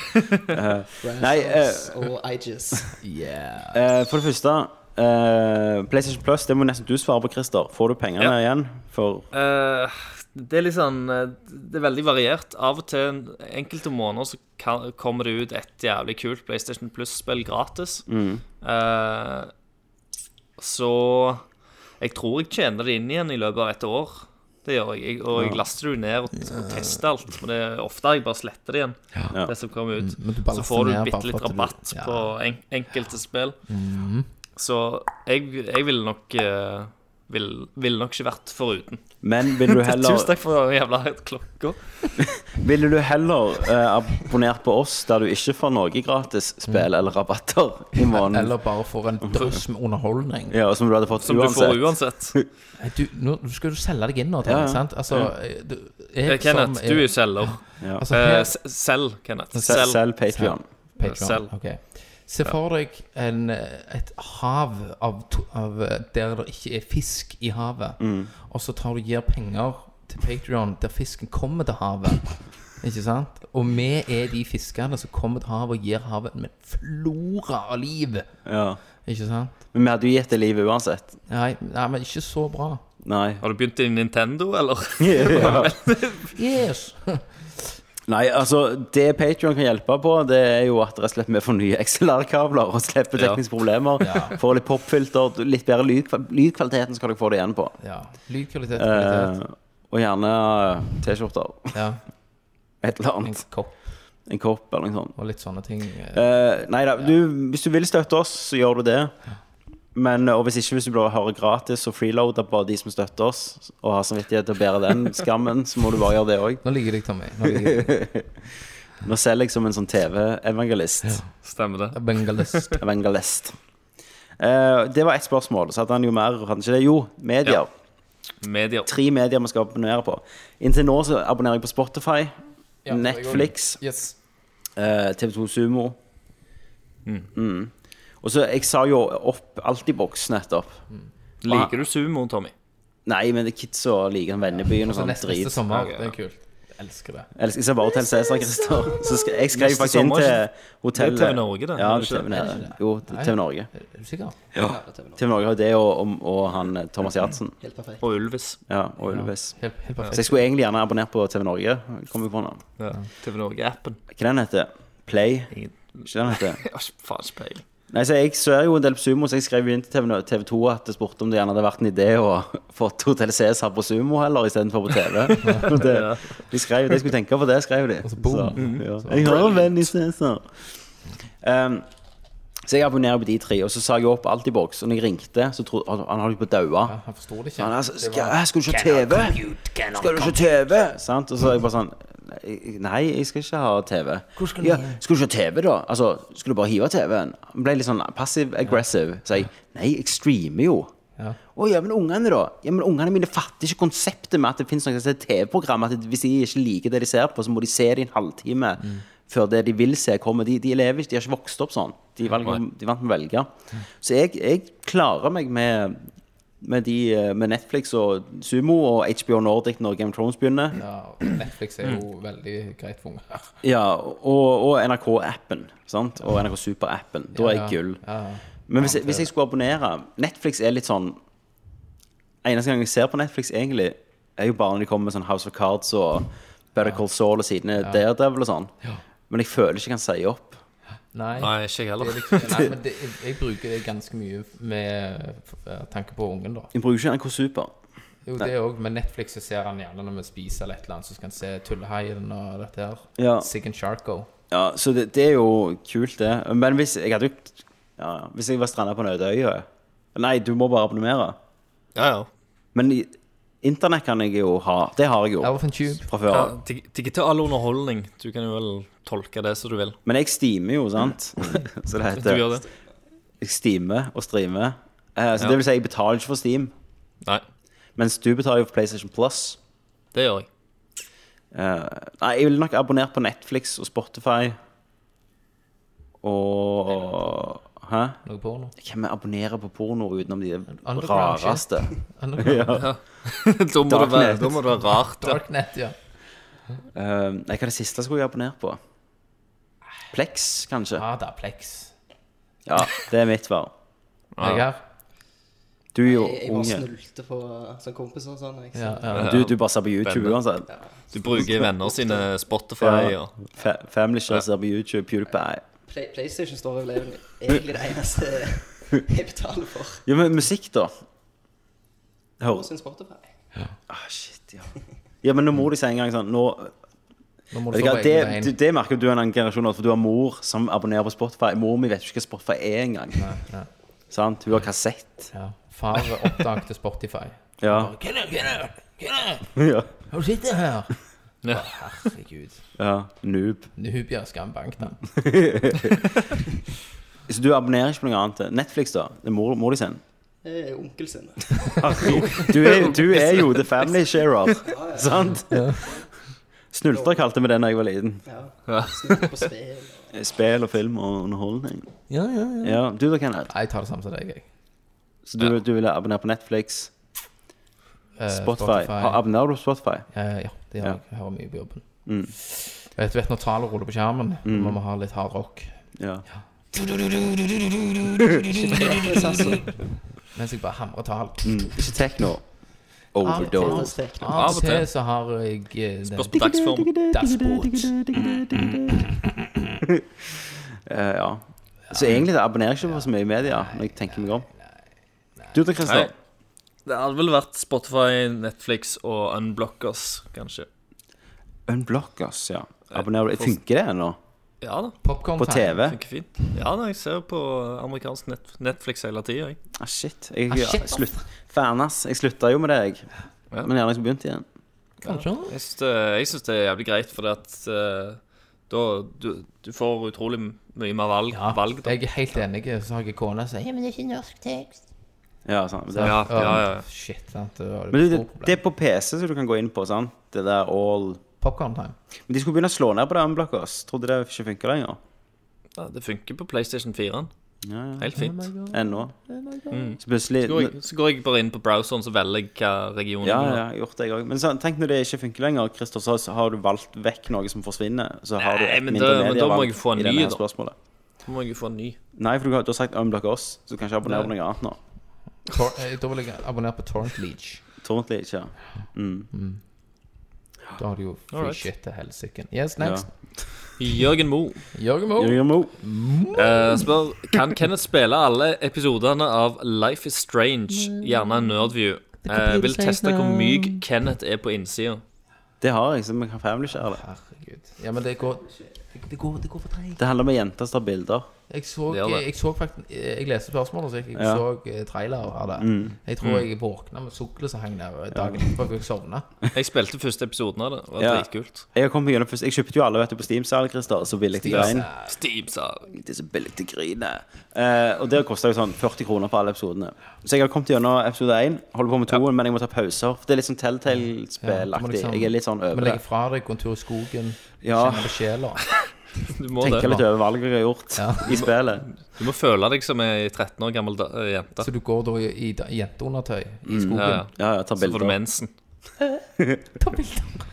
Speaker 1: Nei, eh,
Speaker 4: og Aegis.
Speaker 2: Yeah.
Speaker 1: eh, for det første eh, PlayStation Plus, det må nesten du svare på, Christer. Får du pengene
Speaker 3: Ja.
Speaker 1: igjen for
Speaker 3: Eh, det er litt sånn eh, Det er veldig variert. Av og til enkelte måneder så kan, kommer det ut et jævlig kult PlayStation Plus-spill gratis. Eh, så jeg tror jeg tjener det inn igjen i løpet av et år. Det gjør jeg. jeg og jeg laster det jo ned og, og tester alt. Men det er ofte jeg bare sletter det igjen,
Speaker 1: Ja.
Speaker 3: det som kommer ut.
Speaker 2: men du bare
Speaker 3: så
Speaker 2: laster
Speaker 3: får du
Speaker 2: ned bare
Speaker 3: bitte litt
Speaker 2: for at du-
Speaker 3: rabatt
Speaker 2: Ja.
Speaker 3: på en, enkelte spill. Så jeg, jeg ville nok eh, vil- Ville nok ikke vært foruten.
Speaker 1: Men ville du
Speaker 3: Tusen
Speaker 1: heller,
Speaker 3: takk for den jævla klokka.
Speaker 1: ville du heller eh, abonnert på oss der du ikke får noe gratis spill eller rabatter i måneden?
Speaker 2: Eller bare får en drøss med underholdning.
Speaker 1: Ja, som du hadde fått
Speaker 3: Som du
Speaker 1: uansett.
Speaker 3: får uansett.
Speaker 2: Nei, Eh, Du, nå nå skal du selge deg inn nå, Terje.
Speaker 1: Ja, ja.
Speaker 2: sant? Altså, du, jeg,
Speaker 3: Eh, Kenneth,
Speaker 2: som
Speaker 3: du er jo selger.
Speaker 1: Ja.
Speaker 2: altså,
Speaker 3: Eh,
Speaker 2: her,
Speaker 3: s- Selg, Kenneth.
Speaker 1: Selv,
Speaker 3: Selg.
Speaker 1: selv Patreon.
Speaker 2: Patreon,
Speaker 3: selv.
Speaker 2: ok. Se for deg en, eh, et hav av, to- av eh, der det ikke er fisk i havet,
Speaker 3: Mm.
Speaker 2: og så tar du og gir penger til Patreon der fisken kommer til havet. Ikke sant? Og vi er de fiskene som kommer til havet og gir havet en flora av liv.
Speaker 1: Ja.
Speaker 2: Ikke sant?
Speaker 1: Men vi hadde jo gitt det livet uansett.
Speaker 2: Nei, nei men ikke så bra.
Speaker 1: Nei.
Speaker 3: Har du begynt i Nintendo, eller?
Speaker 2: Yes!
Speaker 1: Nei, altså, det Patreon kan hjelpe på, det er jo at rett og slett vi får nye XLR-kabler og slipper
Speaker 3: Ja.
Speaker 1: tekniske problemer. Får litt popfilter, litt bedre lydkva- lydkydkvaliteten skal dere få det igjen på.
Speaker 2: Ja. Lydkvalitet,
Speaker 1: Eh,
Speaker 2: kvalitet.
Speaker 1: og gjerne eh, T-skjorter.
Speaker 2: Ja.
Speaker 1: Et eller
Speaker 2: En
Speaker 1: annet.
Speaker 2: kopp
Speaker 1: En kopp eller noe sånt.
Speaker 2: og litt sånne ting.
Speaker 1: Eh, nei da, du, hvis du vil støtte oss, så gjør du det. Men, eh, og hvis ikke, hvis du bare hører gratis og freeloader på de som støtter oss, og har samvittighet til å bære den skammen, så må du bare gjøre det òg.
Speaker 2: Nå ligger jeg, Tommy. Nå ligger jeg.
Speaker 1: Nå selger jeg som en sånn TV-evangelist.
Speaker 3: Stemmer det.
Speaker 2: Bengalist.
Speaker 1: Evangelist. Eh, det var ett spørsmål. Så hadde han jo mer. Hadde han ikke det? Jo, medier.
Speaker 3: Ja. Medier.
Speaker 1: Tre medier vi skal abonnere på. Inntil nå så abonnerer jeg på Spotify,
Speaker 2: Ja,
Speaker 1: Netflix,
Speaker 2: Yes.
Speaker 1: eh, TV2 Sumo. Mm. Og så Jeg sa jo opp alt i boks nettopp.
Speaker 3: Liker du sumo, Tommy?
Speaker 1: Nei, men det er kidsa liker Vennebyen og
Speaker 2: Så
Speaker 1: sånn
Speaker 2: Altså, neste,
Speaker 1: drit.
Speaker 2: neste sommer.
Speaker 3: Ja, ja.
Speaker 2: Det er kult. Jeg elsker det.
Speaker 1: Eller skal jeg se bare Hotell Cæsar, Christer? Så skal, jeg skrev
Speaker 3: Neste
Speaker 1: faktisk inn
Speaker 3: sommer,
Speaker 1: til
Speaker 3: Det er
Speaker 1: hotellet
Speaker 3: TV Norge, det.
Speaker 1: Ja,
Speaker 3: Er det
Speaker 1: det er
Speaker 3: ikke
Speaker 1: TV Norge.
Speaker 2: det?
Speaker 1: Jo, TV Norge.
Speaker 2: Er du sikker?
Speaker 1: TV Norge har jo det og, og, og han eh, Thomas Giertsen.
Speaker 5: Helt perfekt.
Speaker 3: Og Ulvis.
Speaker 1: Ja, og Ylvis.
Speaker 2: Helt, helt
Speaker 1: Så jeg
Speaker 2: perfekt.
Speaker 1: skulle egentlig gjerne abonnert på TV Norge. Kom jeg på nå.
Speaker 3: Ja. TV Norge-appen.
Speaker 1: Hva den heter Play?
Speaker 3: Ingen-
Speaker 1: Ikke den heter
Speaker 3: Jeg har ikke faen ikke peiling.
Speaker 1: Nei, så Jeg ser jo en del på Sumo, så jeg skrev jo inn til TV 2 at jeg spurte om det gjerne hadde vært en idé å få Hotell Cæsar på Sumo heller istedenfor på TV. Og det, de skrev det jeg skulle tenke på det, skrev de.
Speaker 2: så boom.
Speaker 1: ja. Jeg har en venn i Cæsar. Um, så jeg abonnerer på de tre, og så sa jeg opp alt i boks. Og når jeg ringte, så trodde han han holdt på å daue.
Speaker 2: Ja, Han forsto det ikke.
Speaker 1: Ja, nei, altså, skal, hæ, skal du ikke ha TV? Skal du ikke ha TV? Sant? Og så er jeg bare sånn «Nei, Nei, jeg skal ikke ha TV. Ja, skal du ikke ha TV, da? Altså, skal du bare hive TV-en? Han ble litt sånn passiv-aggressive. Så jeg Nei, jeg streamer jo.
Speaker 2: Ja.
Speaker 1: Å ja, men ungene, da? Ja, men Ungene mine fatter ikke konseptet med at det finnes noe som heter TV-program. At hvis de ikke liker det de ser på, så må de se det i en halvtime før det de vil se, kommer. De, de lever ikke, de har ikke vokst opp sånn. De, velger, de er vant med å velge. Så jeg, jeg klarer meg med med, de, eh, med Netflix og Sumo og HBO Nordic når Game of Thrones begynner.
Speaker 2: Ja, Netflix er
Speaker 3: Mm.
Speaker 2: jo veldig greit for unger.
Speaker 1: Ja, og, og NRK-appen. sant? Og NRK Super-appen. Da er jeg gull.
Speaker 2: Ja, ja.
Speaker 1: Men hvis, jeg- hvis jeg skulle abonnere Netflix er litt sånn Eneste gang jeg ser på Netflix, egentlig, er jo bare når de kommer med sånn House of Cards og Better Call Saul og sidene Daredevil og sånn. Men jeg føler ikke jeg kan si opp.
Speaker 2: Nei.
Speaker 3: Nei, ikke jeg
Speaker 2: Det
Speaker 3: heller.
Speaker 2: er liksom, nei, men det, jeg- jeg bruker det ganske mye med eh, tanke på ungen, da.
Speaker 1: Jeg bruker ikke NRK Super.
Speaker 2: Jo, det òg, men Netflix så ser han gjerne når vi spiser eller et eller annet, så skal han se Tullehaien og dette her.
Speaker 1: Ja.
Speaker 2: Sig and Sharko.
Speaker 1: Ja, så det, det er jo kult, det. Men hvis jeg hadde jo ja, Hvis jeg var stranda på en øde øy Nei, du må bare abonnere.
Speaker 3: Ja, ja.
Speaker 1: Men i- internett kan jeg jo ha. Det har jeg jo
Speaker 2: Elephant Tube.
Speaker 1: fra før
Speaker 3: ja
Speaker 1: av.
Speaker 3: dig- digital underholdning. Du kan jo vel tolke det som du vil.
Speaker 1: Men jeg steamer jo, sant? Så det
Speaker 3: Mm. Du gjør
Speaker 1: heter
Speaker 3: det?
Speaker 1: Jeg steamer og streamer. Eh, så
Speaker 3: Ja.
Speaker 1: det vil si, jeg betaler ikke for Steam,
Speaker 3: Nei,
Speaker 1: mens du betaler jo for PlayStation Plus.
Speaker 3: det gjør jeg.
Speaker 1: Eh, nei, jeg ville nok abonnert på Netflix og Spotify og Hæ?
Speaker 2: Noe porno.
Speaker 1: Hvem abonnerer på porno utenom de
Speaker 2: Underground shit.
Speaker 1: rareste?
Speaker 2: Underground.
Speaker 1: Ja.
Speaker 3: Da må, det være,
Speaker 1: Darknet.
Speaker 3: da må det være rart. Ja.
Speaker 2: Darknet, ja.
Speaker 1: Eh, nei, hva er det siste skulle jeg abonnert på? Plex, kanskje?
Speaker 2: Ah, det er Plex.
Speaker 1: Ja, det er mitt svar.
Speaker 2: Jeg her.
Speaker 1: Du er jo
Speaker 5: Jeg, jeg bare
Speaker 1: unge.
Speaker 5: snulte på sånn kompiser og sånn. Jeg,
Speaker 2: Ja, ja.
Speaker 1: Du, du bare ser på YouTube
Speaker 3: Venner.
Speaker 1: uansett.
Speaker 3: Du bruker venner sine Spotify og
Speaker 1: Fa family Share ser på YouTube, PewDiePie.
Speaker 5: Play, PlayStation står over leven. Egentlig det eneste jeg betaler for.
Speaker 1: Jo, men musikk, da? Høres
Speaker 5: Også en Spotify.
Speaker 1: ah, Shit, Ja, men når mor di sier en gang sånn nå,
Speaker 2: Nå må du
Speaker 1: vet du
Speaker 2: stå
Speaker 1: hva,
Speaker 2: på
Speaker 1: det,
Speaker 2: egne
Speaker 1: du,
Speaker 2: bein.
Speaker 1: det merker jo du er en annen generasjon, for du har mor som abonnerer på Spotify. Mor mi vet jo ikke hva Spotify er engang.
Speaker 2: nei.
Speaker 1: Sant? Hun har kassett.
Speaker 2: Ja. Far oppdaget Spotify.
Speaker 1: Ja.
Speaker 2: Kenneth, Kenneth, Kenneth,
Speaker 1: ja.
Speaker 2: har du sittet her?
Speaker 3: Ja.
Speaker 2: Herregud.
Speaker 1: ja. Noob.
Speaker 2: Nubia skambank, da.
Speaker 1: Så du abonnerer ikke på noe annet? Netflix, da? Det er mor, mor di sin?
Speaker 4: Det er onkel sin.
Speaker 1: Ah, Du er, du er jo the family sharer, sant? Snulter kalte vi det da jeg var liten.
Speaker 4: Ja.
Speaker 3: Ja.
Speaker 4: Snurrer på spill.
Speaker 1: Spill Eh, og film og underholdning.
Speaker 2: Ja, ja, ja.
Speaker 1: Ja, du da, Kenneth.
Speaker 2: Jeg tar det samme som deg, jeg.
Speaker 1: Så du, du ville abonnere på Netflix,
Speaker 2: Eh,
Speaker 1: Spotify. Har- Abonnerer du på Spotify?
Speaker 2: Eh, ja, det gjør
Speaker 1: Ja.
Speaker 2: jeg. Jeg hører mye på jobben.
Speaker 1: Mm.
Speaker 2: Vet du vet når taler ruller på skjermen, må vi ha litt hard rock.
Speaker 1: Ja.
Speaker 2: Mens jeg bare hamrer tal.
Speaker 1: Mm. Ikke techno. Overdose.
Speaker 4: Fantastisk tekno.
Speaker 2: Av og til så har jeg eh, den-
Speaker 3: Spørs på dagsform.
Speaker 2: Dashboard.
Speaker 1: Eh, ja. Så egentlig da abonnerer jeg ikke på så mye media, når jeg tenker meg om. Du da,
Speaker 3: Nei.
Speaker 1: Christer?
Speaker 3: Det hadde vel vært Spotify, Netflix og Unblockers, kanskje.
Speaker 1: Unblockers, ja. Abonnerer du?
Speaker 3: for-
Speaker 1: Funker det ennå?
Speaker 3: Ja da,
Speaker 2: Popcorn
Speaker 1: På
Speaker 2: time.
Speaker 1: TV?
Speaker 3: funker fint. Ja da, jeg ser på amerikansk net Netflix hele tida, jeg.
Speaker 1: Ah, shit. Jeg,
Speaker 2: Ah, shit, ass.
Speaker 1: slutt, fan, ass. Jeg slutta jo med det, jeg.
Speaker 3: Ja.
Speaker 1: Men gjerne jeg skulle begynt igjen.
Speaker 2: Kanskje?
Speaker 3: Jeg syns det, jeg synes det er jævlig greit, fordi at eh, da du, du får utrolig mye mer valg.
Speaker 2: Ja,
Speaker 3: valg da.
Speaker 2: jeg er helt enig. Så har jeg kona som sier
Speaker 6: Jamen, det er ikke norsk tekst.
Speaker 1: Ja, sant. Det.
Speaker 3: Ja, ja, ja.
Speaker 2: Shit, sant. Det var
Speaker 1: Men du, det,
Speaker 2: et stort problem.
Speaker 1: det er på PC, så du kan gå inn på, sant? Det der all
Speaker 2: Popcorn time.
Speaker 1: Men de skulle begynne å slå ned på det Unblockers. Trodde det ikke funka lenger.
Speaker 3: ja. Det funker på PlayStation 4.
Speaker 1: Ja, ja.
Speaker 3: Helt fint.
Speaker 1: Ennå. Så plutselig
Speaker 3: Så går, jeg, så går jeg bare inn på browseren så velger jeg hva regionen
Speaker 1: Ja, ja, jeg har gjort det, jeg òg. Men så, tenk når det ikke funker lenger, Christer, så så har du valgt vekk noe som forsvinner. Så har du
Speaker 3: Nei,
Speaker 1: et
Speaker 3: men
Speaker 1: mindre
Speaker 3: da- men da må
Speaker 1: medievalg
Speaker 3: jeg få en
Speaker 1: i denne
Speaker 3: ny,
Speaker 1: her
Speaker 3: da.
Speaker 1: spørsmålet.
Speaker 3: Da må jeg jo få en ny.
Speaker 1: Nei, for du, har- du har sagt unblock oss, så du kan ikke abonnere på
Speaker 3: Nei.
Speaker 1: noe annet nå.
Speaker 2: Tor eh, da vil jeg abonnere på Torrent Leach.
Speaker 1: Torrentlig ikke. ja.
Speaker 2: Da har du jo free
Speaker 3: Alright.
Speaker 2: shit til helsike. Yes, next.
Speaker 3: Jørgen Moe
Speaker 2: Jørgen Moe.
Speaker 1: Jørgen Moe.
Speaker 3: eh, spør Kan Kenneth spille alle episodene av Life is Strange, gjerne en nerdview. Eh, vil teste hvor myk Kenneth er på innsida.
Speaker 1: Det har jeg, så vi kan family-share det.
Speaker 2: Herregud. Ja, men det går det- Det går, det går for treigt.
Speaker 1: Det handler om jenter som tar bilder.
Speaker 2: Jeg så,
Speaker 3: Det gjør det.
Speaker 2: jeg så faktisk Jeg leste spørsmålet, så jeg, jeg
Speaker 1: Ja. Mm.
Speaker 2: så eh, trailer av det. Jeg tror jeg våkna med suklet som hang der eh, dagen etterpå, for jeg sovna.
Speaker 3: Jeg spilte første episoden av det. Det var
Speaker 1: Ja.
Speaker 3: dritkult.
Speaker 1: Jeg har kommet gjennom først. Jeg kjøpte jo alle vet du, på Steam-salg, Christer, så billig til grein.
Speaker 3: Steam, sa jeg.
Speaker 1: Det er så billig til grine. Eh, og det kosta jo sånn 40 kroner for alle episodene. Så jeg har kommet gjennom episode 1, holder på med toen, men jeg må ta pauser. For det er litt sånn
Speaker 2: Ja, du må
Speaker 1: Telltale-spillaktig.
Speaker 2: liksom-
Speaker 1: jeg er litt sånn
Speaker 2: Men
Speaker 1: over det.
Speaker 2: legge fra deg kontur i skogen,
Speaker 1: Ja.
Speaker 2: kjenne på sjela.
Speaker 3: Du må
Speaker 1: Tenker
Speaker 3: det.
Speaker 1: litt over valget jeg har gjort
Speaker 2: Ja.
Speaker 1: i spillet.
Speaker 3: Du må føle deg som ei 13 år gammel da, eh, jente.
Speaker 2: Så du går da i, i da- jenteundertøy i skogen.
Speaker 3: Ja, ja.
Speaker 1: Mm, Ja, ja, ta
Speaker 3: Så får du
Speaker 1: bilder.
Speaker 3: mensen.
Speaker 2: Ta bilder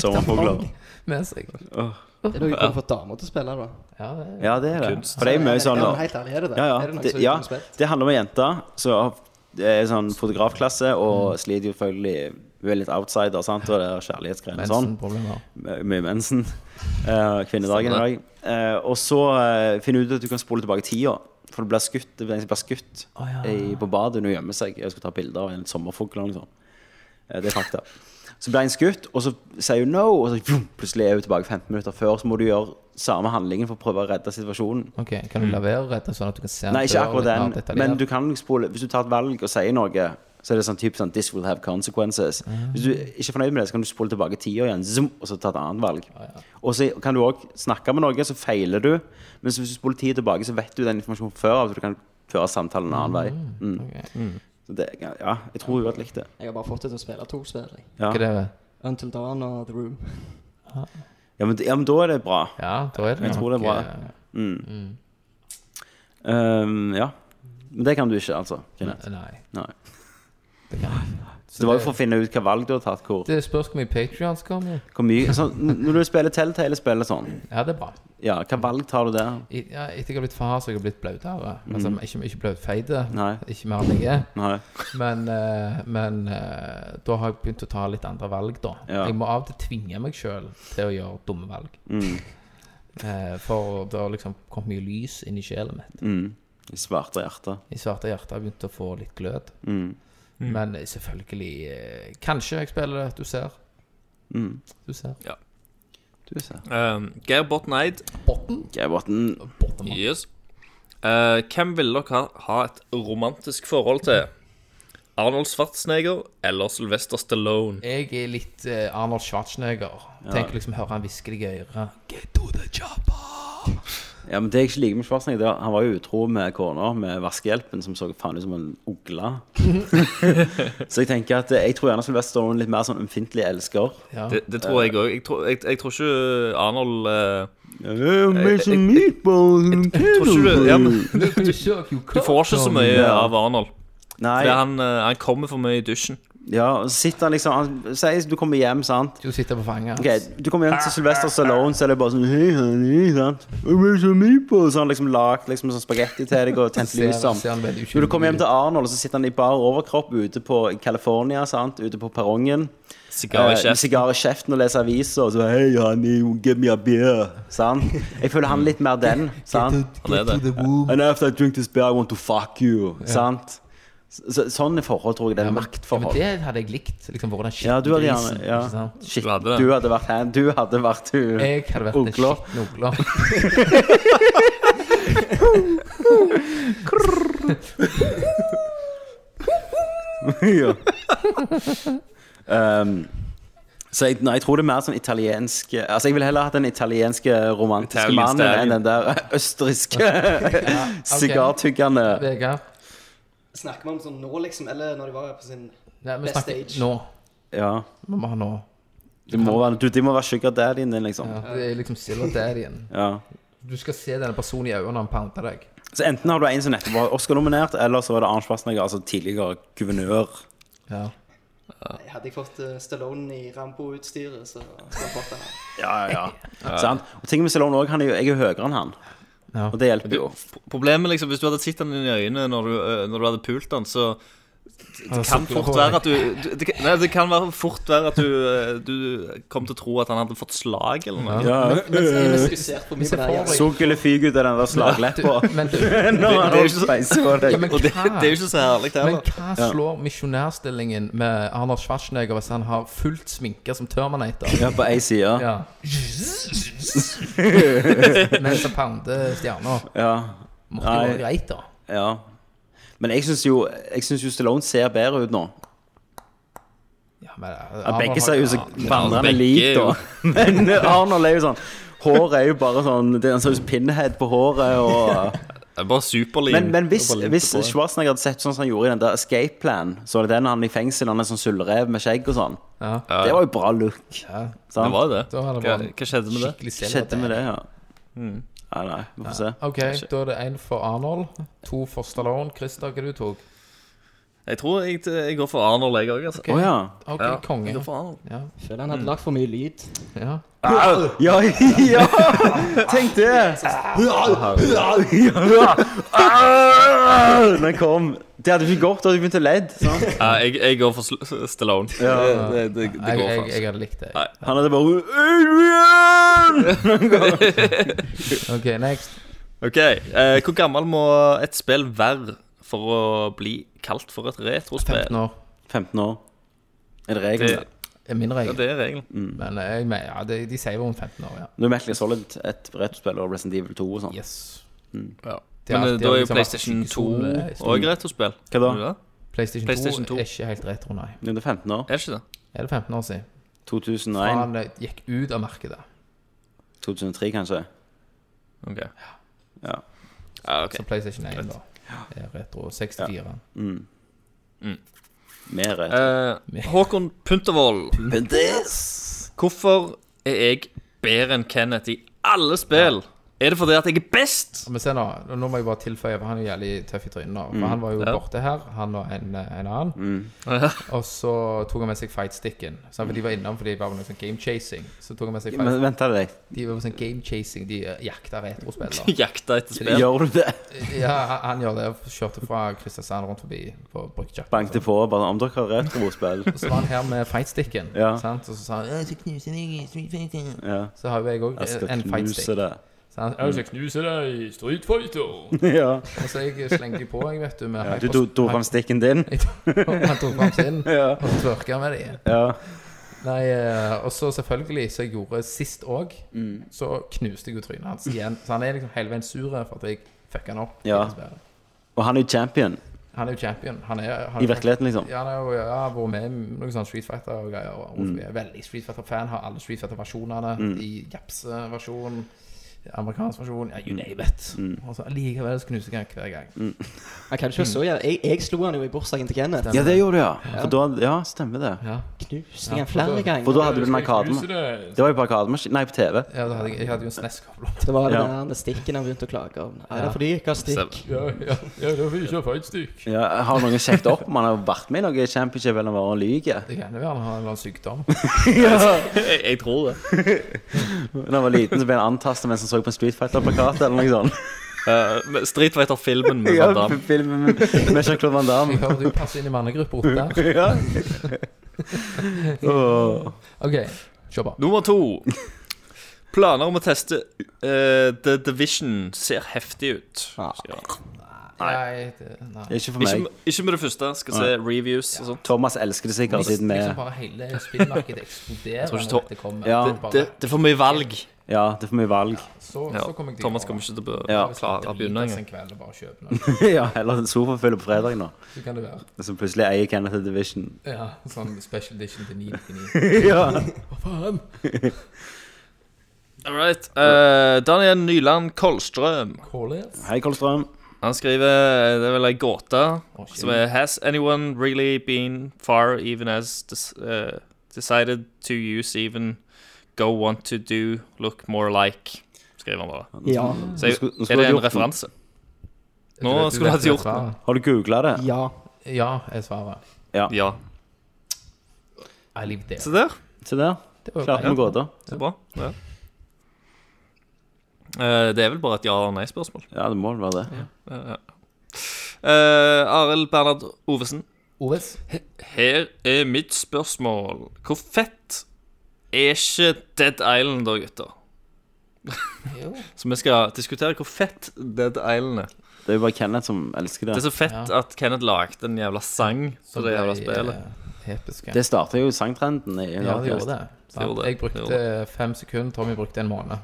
Speaker 1: Sommerfugler.
Speaker 2: med seg.
Speaker 4: Det er noe jeg kunne fått damer til å spille, da.
Speaker 2: Ja, det er
Speaker 1: Ja, det er det.
Speaker 3: Kunst.
Speaker 1: For det er jo mye sånn
Speaker 4: Ja,
Speaker 1: nå.
Speaker 4: men Helt ærlig, er det det?
Speaker 1: Ja,
Speaker 4: Er det
Speaker 1: ja.
Speaker 4: noe
Speaker 1: Det,
Speaker 4: som
Speaker 1: ja,
Speaker 4: kunne spilt?
Speaker 1: det handler om ei jente som er sånn fotografklasse og
Speaker 2: Mm.
Speaker 1: sliter jo selvfølgelig Hun er litt outsider, sant, og det er kjærlighetsgreier og sånn.
Speaker 2: mensenproblemer.
Speaker 1: mye mensen. Eh, kvinnedagen i dag. Eh, og så eh, finner du ut at du kan spole tilbake tida. For du blir skutt, det blir en som blir skutt
Speaker 2: Å, ja.
Speaker 1: i, på badet når hun gjemmer seg. Jeg skal ta bilder av en sommerfugl eller noe sånt. Eh, det er fakta. Så blir en skutt, og så sier hun no, og så vroom, plutselig er hun tilbake 15 minutter før. Så må du gjøre samme handlingen for å prøve å redde situasjonen.
Speaker 2: Ok, Kan du la være å redde, sånn at du kan se
Speaker 1: Mm. Nei, ikke
Speaker 2: døren
Speaker 1: akkurat
Speaker 2: litt
Speaker 1: den,
Speaker 2: mer detaljert?
Speaker 1: men du kan spole Hvis du tar et valg og sier noe, så er det sånn typ sånn This will have consequences. Hvis du ikke er fornøyd med det, så kan du spole tilbake tida igjen, zoom, og så ta et annet valg. Og så kan du òg snakke med noen, så feiler du. Men så hvis du spoler tid tilbake, så vet du den informasjonen før av, så du kan føre samtalen en annen vei. Mm.
Speaker 2: Ok.
Speaker 1: Så det, ja, jeg tror hun hadde likt det.
Speaker 4: Jeg har bare fått det til å spille to spill. jeg.
Speaker 1: Ja.
Speaker 2: Hva er det?
Speaker 4: Until Dawn og The Room.
Speaker 1: Ja, men, ja, men da er det bra.
Speaker 2: Ja, da er det
Speaker 1: Jeg
Speaker 2: nok,
Speaker 1: tror det er bra.
Speaker 2: eh,
Speaker 1: Um, ja. Men det kan du ikke, altså. Kenneth.
Speaker 2: Nei.
Speaker 1: Nei.
Speaker 2: Det, kan.
Speaker 1: Så det var jo for å finne ut hva valg du har tatt. Hvor,
Speaker 2: det spørs hvor mye Patrions kommer.
Speaker 1: hvor mye sånn, Når du spiller Telltale-spill og sånn,
Speaker 2: Ja, det er bra.
Speaker 1: ja, hva valg tar du der?
Speaker 2: I- ja, Etter jeg har blitt far, så har jeg blitt blautere. Altså, ikke, ikke blautfeite,
Speaker 1: Mm. Nei.
Speaker 2: ikke mer enn jeg er.
Speaker 1: Nei.
Speaker 2: Men, eh, men eh, da har jeg begynt å ta litt andre valg, da.
Speaker 1: Ja.
Speaker 2: Jeg må av og til tvinge meg sjøl til å gjøre dumme valg.
Speaker 1: Mm,
Speaker 2: Eh, for det har liksom kommet mye lys inn i sjelen mitt.
Speaker 1: Mm. I svarte Mm, hjerte.
Speaker 2: I svarte hjerte har jeg begynt å få litt glød. Men selvfølgelig eh, Kanskje jeg spiller det. Du ser.
Speaker 1: mm.
Speaker 2: Du ser.
Speaker 1: Du ser.
Speaker 3: Um, Geir Botten Eid.
Speaker 2: Botten.
Speaker 1: Geirbotten.
Speaker 2: Botten.
Speaker 3: Yes. Eh, hvem ville dere ha, ha et romantisk forhold til? Arnold Schwarzenegger eller Sylvester Stallone?
Speaker 2: Jeg er litt eh, Arnold Schwarzenegger. Tenker liksom høre han hviske deg i øret. Get to the chopper!
Speaker 1: Ja, men det jeg ikke liker med Schwarzenegger, det er, han var jo utro med kona med vaskehjelpen, som så faen ut som en ugle. så jeg tenker at eh, jeg tror gjerne Sylvester Stallone er litt mer sånn ømfintlig elsker.
Speaker 2: Ja.
Speaker 3: Det, det tror jeg òg. Jeg, tror- jeg, jeg tror ikke Arnold eh,
Speaker 1: Make
Speaker 3: some jeg tror ikke du, ja, men,
Speaker 1: Mm.
Speaker 2: du,
Speaker 3: du får ikke så mye
Speaker 1: Ja.
Speaker 3: av Arnold.
Speaker 1: Nei,
Speaker 3: Fordi han, eh, han kommer for mye i dusjen.
Speaker 1: ja, og så sitter han liksom Han sier du kommer hjem, sant?
Speaker 2: Du sitter på fanget
Speaker 1: Ok, Du kommer hjem til Sylvester Stallone, så er det bare sånn Hei, honey, sant? I make some meatballs. Så har han liksom lagd liksom, sånn spagetti til deg og tent lys om. Når du kommer hjem til Arnold, så sitter han i bar overkropp ute på i California, sant? ute på perrongen.
Speaker 3: Sigar i
Speaker 1: Eh, med
Speaker 3: kjeften.
Speaker 1: Sigar i kjeften og leser aviser. Og så Hei, honey, give me a beer. Sant? Jeg føler han er litt mer den. Sant?
Speaker 3: Han er det.
Speaker 1: And after I drink this beer, I want to fuck you. Sant? Så, så, sånne forhold tror jeg det er
Speaker 2: Men
Speaker 1: maktforhold.
Speaker 2: det hadde jeg likt. Liksom vært den
Speaker 1: Ja, du hadde
Speaker 2: skittengrisen,
Speaker 1: gjerne ja.
Speaker 2: ikke sant?
Speaker 1: Shit,
Speaker 3: Du hadde det.
Speaker 1: du hadde vært hen. Du hadde vært hun.
Speaker 2: Jeg hadde vært den
Speaker 1: Ugla.
Speaker 2: skitne ugla.
Speaker 1: ja. um, så jeg, nei, jeg tror det er mer sånn italiensk Altså Jeg ville heller hatt den italienske romantiske
Speaker 3: Italian
Speaker 1: mannen
Speaker 3: stallion.
Speaker 1: enn den der østerrikske sigartyggende.
Speaker 2: Vegard.
Speaker 4: Snakker vi om sånn nå, liksom? Eller når de var på sin
Speaker 2: Nei, vi
Speaker 4: Best
Speaker 2: snakker
Speaker 4: age.
Speaker 2: nå.
Speaker 1: Ja.
Speaker 2: Vi må ha nå.
Speaker 1: Det må være, du, de må være sugar daddyen din, liksom.
Speaker 2: Ja, det er liksom Silver Daddy-en.
Speaker 1: Ja.
Speaker 2: Du skal se denne personen i øynene når han pounder deg.
Speaker 1: Så enten har du en som nettopp var Oscar-nominert, eller så var det Arne Schwarzenegger, altså tidligere guvernør.
Speaker 2: Ja.
Speaker 4: Hadde jeg fått eh, Stallone i Rambo-utstyret, så skulle jeg fått den.
Speaker 1: Ja, ja, ja. Sant? Og ting med Stallone også, han er jo, jeg er jo høyere enn han.
Speaker 2: Ja.
Speaker 1: Og det hjelper
Speaker 3: Du,
Speaker 1: jo.
Speaker 3: problemet liksom, Hvis du hadde sett han i øynene når du, eh, når du hadde pult han, så
Speaker 2: Det
Speaker 3: kan fort være at du, du det, kan- Nei, det kan være fort være at du, eh, du kom til å tro at han hadde fått slag eller noe.
Speaker 1: Ja.
Speaker 4: Jeg
Speaker 1: Eh.
Speaker 4: ble skusert på mye
Speaker 2: ser
Speaker 4: på
Speaker 2: for meg-
Speaker 4: det.
Speaker 1: Sukkel er fyk ut av den der slagleppa.
Speaker 2: Men, du,
Speaker 1: Når han
Speaker 3: det er jo ikke så-
Speaker 1: speiser på deg.
Speaker 2: ja, men
Speaker 3: Og det,
Speaker 2: hva?
Speaker 3: det er jo ikke så herlig, det
Speaker 2: Men
Speaker 3: heller.
Speaker 2: hva slår misjonærstillingen med Arnold Schwarzenegger hvis han har fullt sminke som Terminator?
Speaker 1: Ja, på ei side. Ja.
Speaker 2: Ja. Mens han pounder stjerna.
Speaker 1: Ja.
Speaker 2: Måtte jo
Speaker 1: Nei.
Speaker 2: være greit, da.
Speaker 1: Men jeg syns jo, jeg synes jo Stallone ser bedre ut nå.
Speaker 2: Ja, men,
Speaker 1: Ja,
Speaker 2: Arnold
Speaker 1: begge
Speaker 2: har-
Speaker 1: ser jo så
Speaker 3: ja,
Speaker 1: vandrende
Speaker 3: begge
Speaker 1: lik,
Speaker 3: er
Speaker 1: da.
Speaker 3: jo-
Speaker 1: Men Arnold er jo sånn Håret er jo bare sånn det- Han ser ut som pinhead på håret. Og,
Speaker 3: Det er bare superlim.
Speaker 1: men, men hvis,
Speaker 3: Det er bare
Speaker 1: hvis
Speaker 3: lim på det.
Speaker 1: Schwarzenegger hadde sett sånn som han gjorde i den der Escape Plan, så var det den han i fengsel, han er sånn sølvrev med skjegg og sånn.
Speaker 2: Ja,
Speaker 1: Det var jo bra look.
Speaker 2: ja.
Speaker 3: Det
Speaker 1: Sant?
Speaker 3: var jo det.
Speaker 2: Da hadde det
Speaker 3: Hva,
Speaker 2: vært
Speaker 3: hva skjedde med det? Mm.
Speaker 2: Skikkelig
Speaker 1: Hva
Speaker 2: Silver
Speaker 1: skjedde med
Speaker 2: Daddy.
Speaker 1: det, ja? Nei, nei, vi får se.
Speaker 2: Ok, da er det én for Arnold, to for Stallone. Christer, hva du tok?
Speaker 3: Jeg tror jeg, jeg går for Arnold, jeg òg. Altså.
Speaker 1: Å ja.
Speaker 2: Ok,
Speaker 3: Ja,
Speaker 2: konge.
Speaker 3: jeg går for Arnold.
Speaker 2: Ja,
Speaker 4: Føler han hadde lagt for mye lyd.
Speaker 2: ja.
Speaker 1: Ja, ja! Tenk det! Den kom. Det hadde ikke gått, da hadde vi begynt å ledd. sant?
Speaker 3: Ja, jeg, jeg går for Sl- Stallone. det, det, det, det
Speaker 2: Jeg,
Speaker 3: går
Speaker 2: jeg,
Speaker 3: for
Speaker 2: jeg hadde likt det.
Speaker 1: Han hadde bare Adrian!
Speaker 2: Ok, next.
Speaker 3: OK. Eh, hvor gammel må et spill være for å bli kalt for et retrospill?
Speaker 2: 15 år
Speaker 1: 15 år. Er det
Speaker 3: Det,
Speaker 1: regelen?
Speaker 2: er min
Speaker 3: ja,
Speaker 2: regel.
Speaker 3: det er
Speaker 1: Mm.
Speaker 3: regelen.
Speaker 2: Men eh, jeg, men- ja, de, de sier jo om 15 år, ja.
Speaker 1: Nå er Metal Gear Solid et retrospill og Resident Evil 2 og sånn.
Speaker 2: Yes.
Speaker 3: Ja.
Speaker 2: Det er
Speaker 3: Men eh,
Speaker 2: alltid
Speaker 3: da er jo
Speaker 2: liksom
Speaker 3: PlayStation
Speaker 2: vært
Speaker 3: 2
Speaker 2: skikkelig sånn, eh,
Speaker 3: òg retrospill.
Speaker 1: Hva da?
Speaker 3: Er det det?
Speaker 2: PlayStation,
Speaker 3: PlayStation
Speaker 2: 2
Speaker 3: 2.
Speaker 2: er ikke helt retro, nei.
Speaker 1: Nå er det 15 år.
Speaker 3: Er det ikke det?
Speaker 2: Er det 15 år siden?
Speaker 1: 2001.
Speaker 2: Han eh, gikk ut av markedet.
Speaker 1: 2003, kanskje.
Speaker 3: OK.
Speaker 1: Ja.
Speaker 3: Ja, ok.
Speaker 2: Så PlayStation 1 da er retro. 64.
Speaker 1: Mer retro.
Speaker 3: Eh, Håkon Puntervold,
Speaker 1: Men det-
Speaker 3: hvorfor er jeg bedre enn Kenneth i alle spill? Er det fordi at jeg er best?
Speaker 2: Men se nå, nå må jeg bare tilføye, for han er jo jævlig tøff i trynet nå. For
Speaker 1: Mm.
Speaker 2: han var jo
Speaker 3: Ja.
Speaker 2: borte her, han og en, en annen. Og så tok han med seg fightsticken. Så for de var innom fordi de var på noe sånn game chasing. Så tok han med seg fight.
Speaker 1: Men vent deg.
Speaker 2: De var på sånn game chasing, de eh, jakta retrospillere.
Speaker 3: Jakta etter spill.
Speaker 1: Gjør du det?
Speaker 2: ja, han- han gjør det. og Kjørte fra Kristiansand rundt forbi på Bryggjappa.
Speaker 1: Bankte på bare sånn, om dere har retrospill.
Speaker 2: Og så var han her med fightsticken,
Speaker 1: Ja.
Speaker 2: sant? og så sa han «Å, jeg skal knuse deg i Street Fighter».
Speaker 1: Ja.
Speaker 2: "Eh, Så har jo jeg òg
Speaker 1: Jeg skal
Speaker 2: en
Speaker 1: knuse
Speaker 2: fightstick.
Speaker 1: det.
Speaker 2: sant? Så er han, jeg skal knuse deg i Street Fighter.
Speaker 1: ja.
Speaker 2: Og så jeg slengte de på, jeg, vet du. Med
Speaker 1: Du tok tok fram stikken din?
Speaker 2: Han tok fram sin
Speaker 1: Ja.
Speaker 2: og tørka med det.
Speaker 1: Ja.
Speaker 2: Nei, eh, og så selvfølgelig, som jeg gjorde sist òg,
Speaker 1: Mm.
Speaker 2: så knuste jeg jo trynet hans igjen. Så han er liksom hele veien sur for at jeg fucka han opp. i
Speaker 1: Ja.
Speaker 2: det spillet.
Speaker 1: Og han er jo champion
Speaker 2: Han er jo champion. Han er, han
Speaker 1: i virkeligheten, liksom.
Speaker 2: Ja, han har jo ja, vært med i noen sånne Street Fighter og greier. Og
Speaker 1: Mm.
Speaker 2: Rolf er veldig Street Fighter-fan. Har alle Street Fighter-versjonene i japseversjon, amerikansk versjon, ja, you name it.
Speaker 1: Mm.
Speaker 2: Og så Allikevel så knuser jeg han hver gang.
Speaker 4: Han kan ikke være så jævlig. Jeg, jeg slo han jo i bursdagen til Kenneth.
Speaker 1: Ja, det gjorde du, ja. For da, ja, stemmer det.
Speaker 2: Ja.
Speaker 4: Knuste han
Speaker 2: Ja,
Speaker 4: flere
Speaker 2: for-
Speaker 1: For
Speaker 4: ganger.
Speaker 1: da hadde du den arkaden. Det var jo på arkademaskin Nei, på TV.
Speaker 2: Ja, da hadde jeg, jeg hadde jo en SNES-kabel.
Speaker 4: Det var den
Speaker 1: Ja.
Speaker 4: der med stikken han begynte å klage om. Nei, det
Speaker 2: Ja.
Speaker 4: er fordi jeg ikke har stikk.
Speaker 3: Så-
Speaker 2: Ja, ja, ja, da får vi kjøre fightstick.
Speaker 1: Ja, har noen sjekket opp om han har vært med i noe championship eller bare lyver?
Speaker 2: Det kan jo være han har en eller annen sykdom.
Speaker 3: Jeg, jeg tror det.
Speaker 1: Da han var liten, så ble han antastet mens han så på en Street Fighter-plakat eller noe sånt.
Speaker 3: Eh, men Street Fighter-filmen med
Speaker 1: Ja,
Speaker 3: Van Damme.
Speaker 1: filmen med med Jean-Claude Van
Speaker 2: Jeg
Speaker 1: Damme.
Speaker 2: hører du passer inn i mannegruppe åtte.
Speaker 1: Ja. Åh.
Speaker 2: OK, se på.
Speaker 3: Nummer to. Planer om å teste eh, The Division ser heftig ut.
Speaker 1: Ah.
Speaker 3: sier han.
Speaker 2: Nei, det, nei.
Speaker 1: Ikke for
Speaker 3: Ikke,
Speaker 1: meg.
Speaker 3: med- ikke med det første. Skal se reviews og sånn. sånt.
Speaker 1: Thomas elsker det sikkert siden vi
Speaker 2: Liksom bare hele spillmarkedet eksploderer
Speaker 3: tror ikke
Speaker 2: når
Speaker 3: to-
Speaker 2: dette kommer.
Speaker 1: Ja,
Speaker 2: bare,
Speaker 3: Det, det er for mye valg.
Speaker 1: Ja, det er for mye valg.
Speaker 2: så,
Speaker 3: Ja.
Speaker 2: så kommer jeg til
Speaker 3: Thomas
Speaker 2: å-
Speaker 3: kommer ikke til å be-
Speaker 1: Ja.
Speaker 3: klare å begynne
Speaker 2: Drites
Speaker 3: engang.
Speaker 2: en kveld og bare kjøpe noe.
Speaker 1: Ja, Eller en sofafull på fredag nå,
Speaker 2: Så kan det være.
Speaker 1: som plutselig eier Kenneth og Division.
Speaker 2: Ja, sånn special edition til 999.
Speaker 1: Ja.
Speaker 2: Hva faen?
Speaker 3: All right. Eh, Daniel Nyland Kolstrøm.
Speaker 2: Callers?
Speaker 1: Hei, Kolstrøm.
Speaker 3: Han skriver Det er vel ei gåte
Speaker 2: Å, shit.
Speaker 3: som er Has anyone really been far even as des- eh, decided to use even go want to do look more like? Skriver han bare.
Speaker 4: Ja.
Speaker 3: Så
Speaker 1: Nå
Speaker 3: jeg,
Speaker 1: skulle- nå
Speaker 3: er
Speaker 1: skulle
Speaker 3: det
Speaker 1: du
Speaker 3: en
Speaker 1: gjort den.
Speaker 3: referanse? Nå
Speaker 2: Du vet- du
Speaker 3: skulle du
Speaker 2: vet
Speaker 3: hatt gjort
Speaker 2: svaret.
Speaker 1: Har du googla det?
Speaker 4: Ja.
Speaker 2: Ja, er svaret.
Speaker 3: Ja.
Speaker 2: I live there.
Speaker 3: Se der.
Speaker 1: Se der.
Speaker 2: Det var jo
Speaker 1: Klarte vi
Speaker 2: greit.
Speaker 1: gåta.
Speaker 3: Så bra. Ja. Eh, det er vel bare et ja- eller nei-spørsmål.
Speaker 1: Ja, det må vel være det.
Speaker 3: Uh, Eh, Arild Bernhard Ovesen.
Speaker 2: OS?
Speaker 3: Her er mitt spørsmål. Hvor fett er ikke Dead Island, da, gutter?
Speaker 2: Jo.
Speaker 3: Så vi skal diskutere hvor fett Dead Island er.
Speaker 1: Det er jo bare Kenneth som elsker
Speaker 3: Det er
Speaker 1: det.
Speaker 3: så fett at Kenneth lagde en jævla sang
Speaker 2: Så
Speaker 3: til det jævla
Speaker 2: ble,
Speaker 3: spillet.
Speaker 2: eh, Episke.
Speaker 1: Det starta jo sangtrenden i
Speaker 2: ja, det gjorde det. Sant?
Speaker 3: gjorde det.
Speaker 2: Jeg
Speaker 3: Det
Speaker 2: brukte
Speaker 3: gjorde
Speaker 2: fem sekunder, Tommy brukte en måned.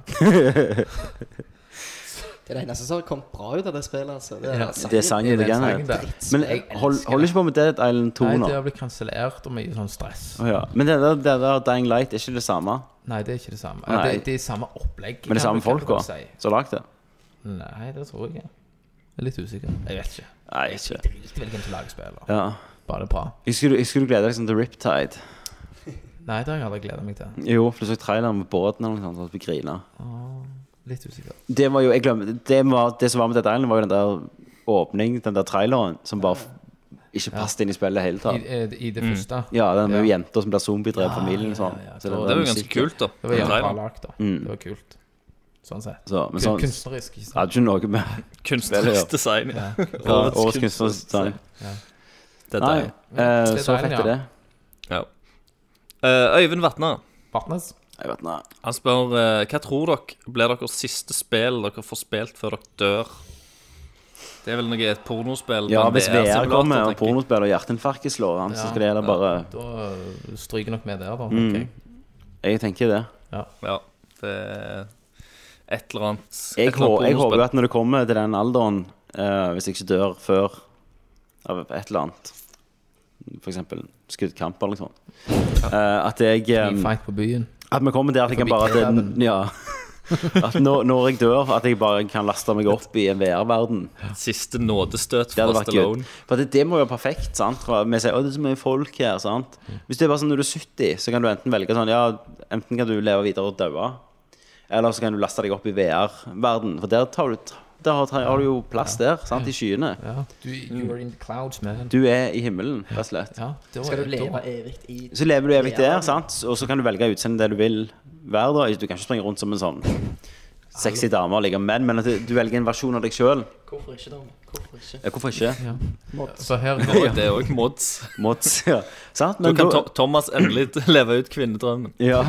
Speaker 4: Det er det eneste som har kommet bra ut av det spillet, altså. Det er,
Speaker 2: Ja.
Speaker 1: Det er sangen til Kenneth. Men eh, hold, hold ikke på med Dead Island 2
Speaker 2: Nei,
Speaker 1: nå.
Speaker 2: det har blitt kansellert og mye sånn stress.
Speaker 1: Å ja. Men det der, det der Dying Light er ikke det samme
Speaker 2: Nei, det er ikke det samme.
Speaker 1: Nei.
Speaker 2: Det, det er samme opplegg.
Speaker 1: Men det er
Speaker 2: kan
Speaker 1: samme
Speaker 2: du- kan du
Speaker 1: folka
Speaker 2: godt si.
Speaker 1: som har lagd det?
Speaker 2: Nei, det tror jeg ikke. Jeg er litt usikker. Jeg vet ikke.
Speaker 1: Nei, ikke
Speaker 2: Ikke vel hvem som lager spillet.
Speaker 1: ja.
Speaker 2: Bare det er bra.
Speaker 1: Husker du, husker du gleda deg sånn til Riptide?
Speaker 2: Nei, det har jeg aldri gleda meg til.
Speaker 1: Jo, for du så traileren med båten eller noe sånt, og vi grina.
Speaker 2: Litt usikker.
Speaker 1: Det var jo, jeg glemmer det, var, det som var med Dead Island, var jo den der åpning, den der traileren, som bare f- ikke passet inn i spillet i hele
Speaker 2: I,
Speaker 1: tatt.
Speaker 2: eh, i det første.
Speaker 1: Ja, den med
Speaker 2: Ja.
Speaker 1: jenta som blir zombiedrevet av familien og sånn.
Speaker 2: ja, ja.
Speaker 1: Så den
Speaker 2: Det var
Speaker 3: Det
Speaker 1: der
Speaker 3: var jo ganske
Speaker 1: musikken.
Speaker 3: kult, da.
Speaker 2: Det var jævla bra
Speaker 3: Traileren.
Speaker 2: lagt, da. Det var kult. Sånn sett.
Speaker 1: Så, men
Speaker 2: Kun-
Speaker 1: sånn
Speaker 2: Kunstnerisk. Ikke sant?
Speaker 1: hadde ikke noe med
Speaker 3: Kunstnerisk design.
Speaker 2: Ja.
Speaker 1: ja,
Speaker 3: Årets
Speaker 1: årets kunstnerisk design.
Speaker 3: Dead
Speaker 1: Nei,
Speaker 3: Island.
Speaker 1: eh,
Speaker 2: Dead
Speaker 1: så
Speaker 2: Island,
Speaker 1: fett er
Speaker 2: ja.
Speaker 1: det.
Speaker 3: Ja. Eh, Øyvind Vatne.
Speaker 2: Partners?
Speaker 1: Jeg vet ikke.
Speaker 3: Han spør eh, hva tror dere blir deres siste spill dere får spilt før dere dør? Det er vel noe et pornospill?
Speaker 1: Ja,
Speaker 3: på en
Speaker 1: hvis VR
Speaker 2: altså
Speaker 3: VR-simulator,
Speaker 1: kommer og
Speaker 3: tenker jeg.
Speaker 1: pornospill og hjerteinfarkt slår han, så
Speaker 2: Ja.
Speaker 1: skal det gjelde bare
Speaker 2: Da stryker nok med der, da. tenker jeg.
Speaker 1: Jeg tenker det.
Speaker 3: Ja, det er et eller annet
Speaker 1: Jeg,
Speaker 3: et eller annet
Speaker 1: hå- jeg håper
Speaker 3: pornospill.
Speaker 1: jo at når det kommer til den alderen, eh, hvis jeg ikke dør før av et eller annet F.eks. skuddkamp eller noe sånt. eh, at jeg
Speaker 2: I
Speaker 1: eh,
Speaker 2: fight på byen.
Speaker 1: At vi kommer der at jeg kan bare at,
Speaker 2: Forbi
Speaker 1: det- ja, at når, når jeg dør, at jeg bare kan laste meg opp i en VR-verden.
Speaker 3: Siste nådestøt
Speaker 1: Det hadde
Speaker 3: fra
Speaker 1: vært
Speaker 3: Stallone.
Speaker 1: good. For det, det må jo være perfekt. sant? For Vi sier «Å, det er så mye folk her. sant? Hvis det er bare sånn når du er 70, så kan du enten velge sånn ja, Enten kan du leve videre og daue, eller så kan du laste deg opp i VR-verden. For der, tar du, der har, har du jo plass der, sant? i skyene.
Speaker 2: Ja. Du, you are in the clouds, man.
Speaker 1: Du er i himmelen, rett og slett.
Speaker 2: Ja, da er-
Speaker 4: skal du
Speaker 2: da-
Speaker 4: leve evig i
Speaker 1: Så lever du evig der, sant? og så kan du velge utseendet det du vil være. da. Du kan ikke springe rundt som en sånn sexy dame og ligge med menn, men at du velger en versjon av deg sjøl.
Speaker 4: Hvorfor ikke, da? Hvorfor ikke?
Speaker 1: Hvorfor ikke?
Speaker 2: Ja.
Speaker 4: Mods.
Speaker 2: Så her
Speaker 3: Og det er òg mods.
Speaker 1: Mods. Ja. Sant?
Speaker 3: Nå
Speaker 1: Men
Speaker 3: kan
Speaker 1: da-
Speaker 3: Tho- Thomas endelig leve ut kvinnedrømmen.
Speaker 1: Ja.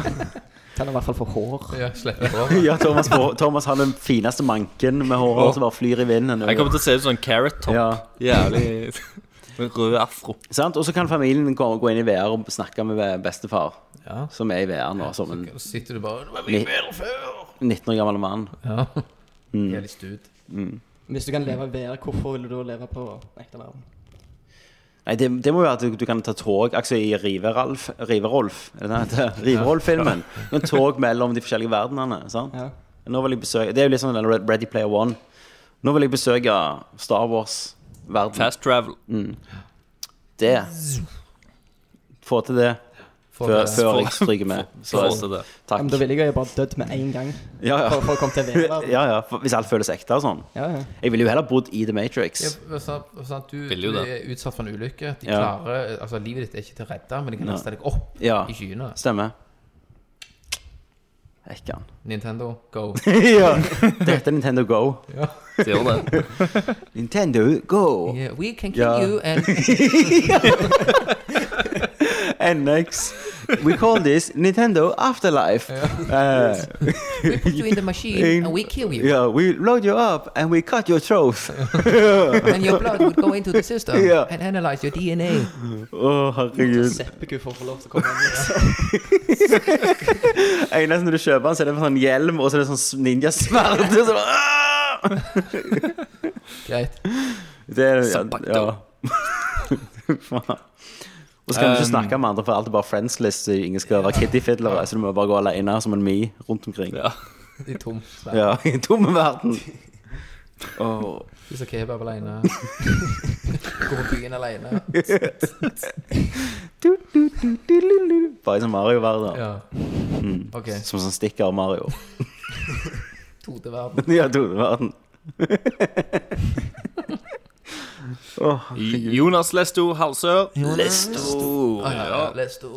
Speaker 4: Kan i hvert fall få hår.
Speaker 2: Ja, slette på.
Speaker 1: Ja, Thomas, får- Thomas har den fineste manken med håret som bare flyr i vinden.
Speaker 3: Jeg kommer til å se ut som en carrot top.
Speaker 1: ja,
Speaker 3: Jævlig med rød afro.
Speaker 1: sant? Og så kan familien gå, gå inn i VR og snakke med bestefar,
Speaker 2: Ja.
Speaker 1: som er i VR nå, som en
Speaker 2: Så sitter du bare Det var mye bedre før!
Speaker 1: 19 år gammel mann.
Speaker 2: Ja.
Speaker 1: Mm.
Speaker 2: Jævlig stud.
Speaker 4: Hvis du kan leve i VR, hvorfor vil du da leve på ekte verden?
Speaker 1: Nei, det, det må jo være at du, du kan ta tog altså i Riveralf, Riverolf, er det den heter? Riverolf-filmen. En tog mellom de forskjellige verdenene. sant?
Speaker 4: Ja.
Speaker 1: Nå vil jeg besøke, det er jo litt sånn den Red- Ready Player One. Nå vil jeg besøke Star Wars-verden.
Speaker 3: Fast travel.
Speaker 1: Det. Få til det
Speaker 2: Får
Speaker 1: før,
Speaker 2: det-
Speaker 1: før jeg stryker med.
Speaker 3: Så
Speaker 1: Så
Speaker 3: det.
Speaker 4: Ja, Men
Speaker 1: takk.
Speaker 4: da ville jeg jo bare dødd med en gang
Speaker 1: Ja, ja.
Speaker 4: for, for å komme til VR-verden.
Speaker 1: ja, ja. for- Hvis alt føles ekte og sånn.
Speaker 4: Ja, ja.
Speaker 1: Jeg ville jo heller bodd i The Matrix.
Speaker 2: Ja, sant, sant, du,
Speaker 3: Vil jo
Speaker 2: du
Speaker 3: det.
Speaker 2: er utsatt for en ulykke. De
Speaker 1: Ja.
Speaker 2: klarer, altså Livet ditt er ikke til å redde, men de kan løfte deg opp
Speaker 1: Ja.
Speaker 2: i skyene.
Speaker 1: Stemmer. Ekkan.
Speaker 2: Nintendo, go.
Speaker 1: ja. Dette er Nintendo Go.
Speaker 3: Det gjør det.
Speaker 1: Nintendo Go.
Speaker 2: Yeah, we can kill
Speaker 1: Ja.
Speaker 2: you and
Speaker 1: NX. We call this Nintendo Afterlife. Uh,
Speaker 2: we put you in the machine and we kill you.
Speaker 1: yeah, we load you up and we cut your throat.
Speaker 2: And your blood would go into the system
Speaker 1: Ja.
Speaker 2: and analyze your DNA.
Speaker 1: Å, herregud.
Speaker 4: Seppeku får få lov til å komme inn.
Speaker 1: Eneste når du kjøper den, så er det en sånn hjelm og så er det sånn ninjasverd. og så bare, «Ah!»
Speaker 2: Greit.
Speaker 1: Det er ja,
Speaker 3: Zappato.
Speaker 1: ja. Faen. Og så kan du ikke
Speaker 3: Um,
Speaker 1: snakke med andre, for alt er bare friends list. så Ingen skal være kittyfiddlere, så du må bare gå alene som en mi rundt omkring.
Speaker 3: Ja.
Speaker 2: I tom.
Speaker 1: Ja, i tomme verden. Åh.
Speaker 2: Spiser kebab alene. Går på byen alene.
Speaker 1: Du, du, du, du, du, du. Bare i sånn Mario-verden.
Speaker 2: Ja. OK.
Speaker 1: Som sånn stikker av Mario.
Speaker 2: Todeverden.
Speaker 1: ja, toneverden. Åh,
Speaker 3: Jonas Lesto Halsør. Oh,
Speaker 1: Lesto.
Speaker 2: Ah, ja, ja. Les to.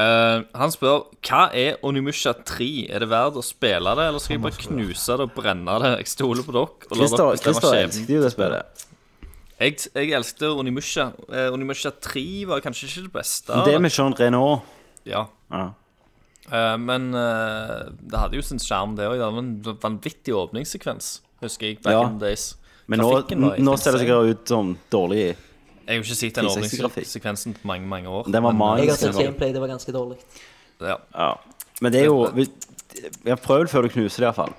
Speaker 3: Eh, han spør hva er Onimusha 3? Er det verdt å spille det, eller skal jeg bare knuse det og brenne det? Jeg stoler på dere. og lar dere
Speaker 1: Christer
Speaker 3: bestemme
Speaker 1: Christer
Speaker 3: skjebnen.
Speaker 1: elsket jo det spillet.
Speaker 3: Jeg, jeg elsket Onimusha. Eh, Onimusha 3 var kanskje ikke det beste.
Speaker 1: Det med Jean Renault
Speaker 3: Ja.
Speaker 1: ja.
Speaker 3: Eh, men eh, det hadde jo sin skjerm, det òg. Det var en vanvittig åpningssekvens, husker jeg. back
Speaker 1: Ja.
Speaker 3: in the days.
Speaker 1: Men nå,
Speaker 3: Grafikken var helt
Speaker 1: nå ser det
Speaker 3: insane.
Speaker 1: sikkert ut som dårlig
Speaker 3: Jeg har jo ikke sett den
Speaker 1: 360-grafikk.
Speaker 3: åpningssekvensen på mange mange år.
Speaker 1: Den var
Speaker 3: men, eh,
Speaker 1: magisk.
Speaker 5: Jeg har sett gameplay, det var ganske dårlig.
Speaker 3: Ja.
Speaker 1: ja. Men det er jo vi- Jeg har prøvd før du knuser det, iallfall.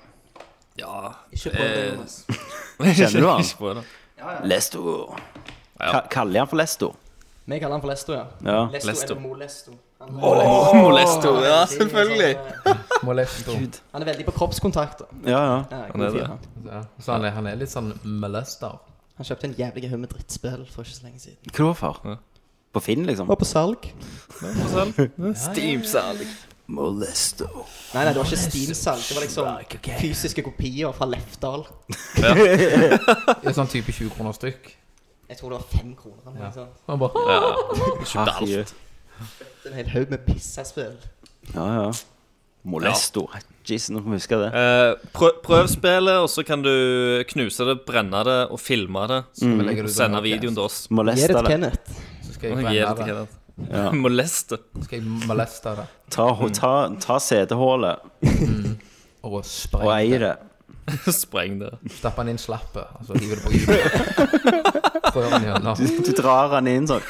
Speaker 3: ja.
Speaker 5: Ikke prøv det,
Speaker 4: Eh,
Speaker 5: Jonas.
Speaker 1: Kjenner du han?
Speaker 3: Ikke på det.
Speaker 1: Lesto.
Speaker 3: Ja.
Speaker 1: Ka- Kaller jeg han for Lesto?
Speaker 4: Vi kaller han for Lesto, ja.
Speaker 1: Ja.
Speaker 4: Lesto,
Speaker 3: Lesto.
Speaker 4: eller Molesto. Han,
Speaker 3: Åh, Molesto. Ja, selvfølgelig.
Speaker 2: Molesto.
Speaker 4: han er veldig på kroppskontakt. da.
Speaker 1: Ja, ja.
Speaker 4: Ja,
Speaker 3: Han er
Speaker 4: god fyr,
Speaker 3: det.
Speaker 4: han.
Speaker 2: Ja. Så han er, han er litt sånn molester.
Speaker 4: Han kjøpte en jævlig haug med drittspill for ikke så lenge siden.
Speaker 1: Hva da, far? På Finn, liksom?
Speaker 4: Var på salg.
Speaker 3: Steam-salg.
Speaker 1: Molesto.
Speaker 4: Nei, nei, det var ikke Steam-salg. Det var liksom fysiske kopier fra Lefdal.
Speaker 2: Det er sånn type 20 kroner stykk.
Speaker 4: Jeg tror det var fem kroner. eller noe
Speaker 2: Ja.
Speaker 4: sånt.
Speaker 2: Han bare
Speaker 3: Ja.
Speaker 1: Ja,
Speaker 3: Kjøpte alt.
Speaker 4: Det er En hel haug med pissespill.
Speaker 1: ja. Molesto. Jeez, nå må jeg huske det.
Speaker 3: Eh, prøv, prøv spillet, og så kan du knuse det, brenne det og filme det.
Speaker 1: Mm.
Speaker 2: vi legge det ut
Speaker 3: Og
Speaker 2: på
Speaker 3: sende
Speaker 2: podcast.
Speaker 3: videoen til oss.
Speaker 4: Gi det
Speaker 1: Molesta
Speaker 4: til
Speaker 1: det.
Speaker 4: Kenneth.
Speaker 2: Så skal jeg
Speaker 3: Gi det til
Speaker 2: brenne det.
Speaker 3: Kenneth. Moleste.
Speaker 2: Så skal jeg moleste det.
Speaker 1: Ta, ta, ta CD-hullet
Speaker 2: Og
Speaker 1: og eie
Speaker 2: sprenge det.
Speaker 1: det.
Speaker 3: Spreng det.
Speaker 2: Stappe den inn slappet, og så hive det på hjulet. Prøv den gjennom.
Speaker 1: Du drar han inn sånn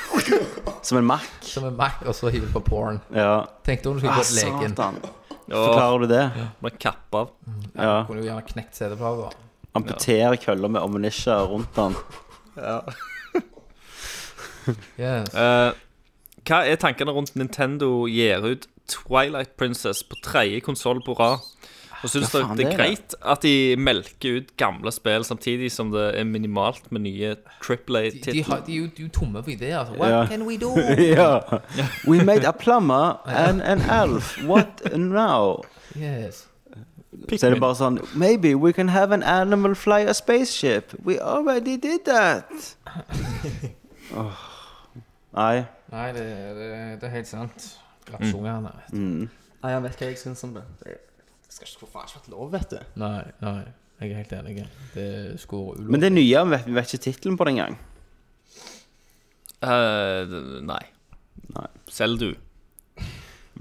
Speaker 1: som en mack.
Speaker 2: Som en Mac, og så hive det på porn.
Speaker 1: Ja.
Speaker 2: Tenkte om du skulle
Speaker 1: Ah,
Speaker 2: gå til legen.
Speaker 1: satan.
Speaker 3: Åh,
Speaker 1: Forklarer du det?
Speaker 3: Må kappe av.
Speaker 1: Ja.
Speaker 2: Kunne jo gjerne knekt CD-plata.
Speaker 1: Amputere køller med ammunisja rundt han.
Speaker 2: Yes.
Speaker 3: Eh, hva er tankene rundt Nintendo gir ut Twilight Princess på tredje konsoll på rad? Og syns
Speaker 1: Ja,
Speaker 3: dere
Speaker 1: faen,
Speaker 3: det er
Speaker 1: det er det.
Speaker 3: greit at de melker ut gamle spill samtidig som det er minimalt med nye Triple
Speaker 2: De, de,
Speaker 3: A-titler?
Speaker 2: har, de, er jo, de er jo tomme for ideer. Altså. What
Speaker 1: Ja.
Speaker 2: can we do?
Speaker 1: ja. We made a plumber and an elf. What now?
Speaker 2: Yes.
Speaker 1: Så er det bare sånn Maybe we can have an animal fly a spaceship. We already did that. Åh. Nei.
Speaker 2: Nei, det, det, det er helt sant. Gratulerende.
Speaker 4: Nei, han vet hva jeg syns om det. Det skal ikke få faen ikke vært lov, vet du.
Speaker 2: Nei, nei. Jeg er helt enig. Det skulle ulovlig.
Speaker 1: Men det nye, vi vet, vi vet ikke tittelen på det engang.
Speaker 3: Eh, nei.
Speaker 1: Nei.
Speaker 3: Selv du.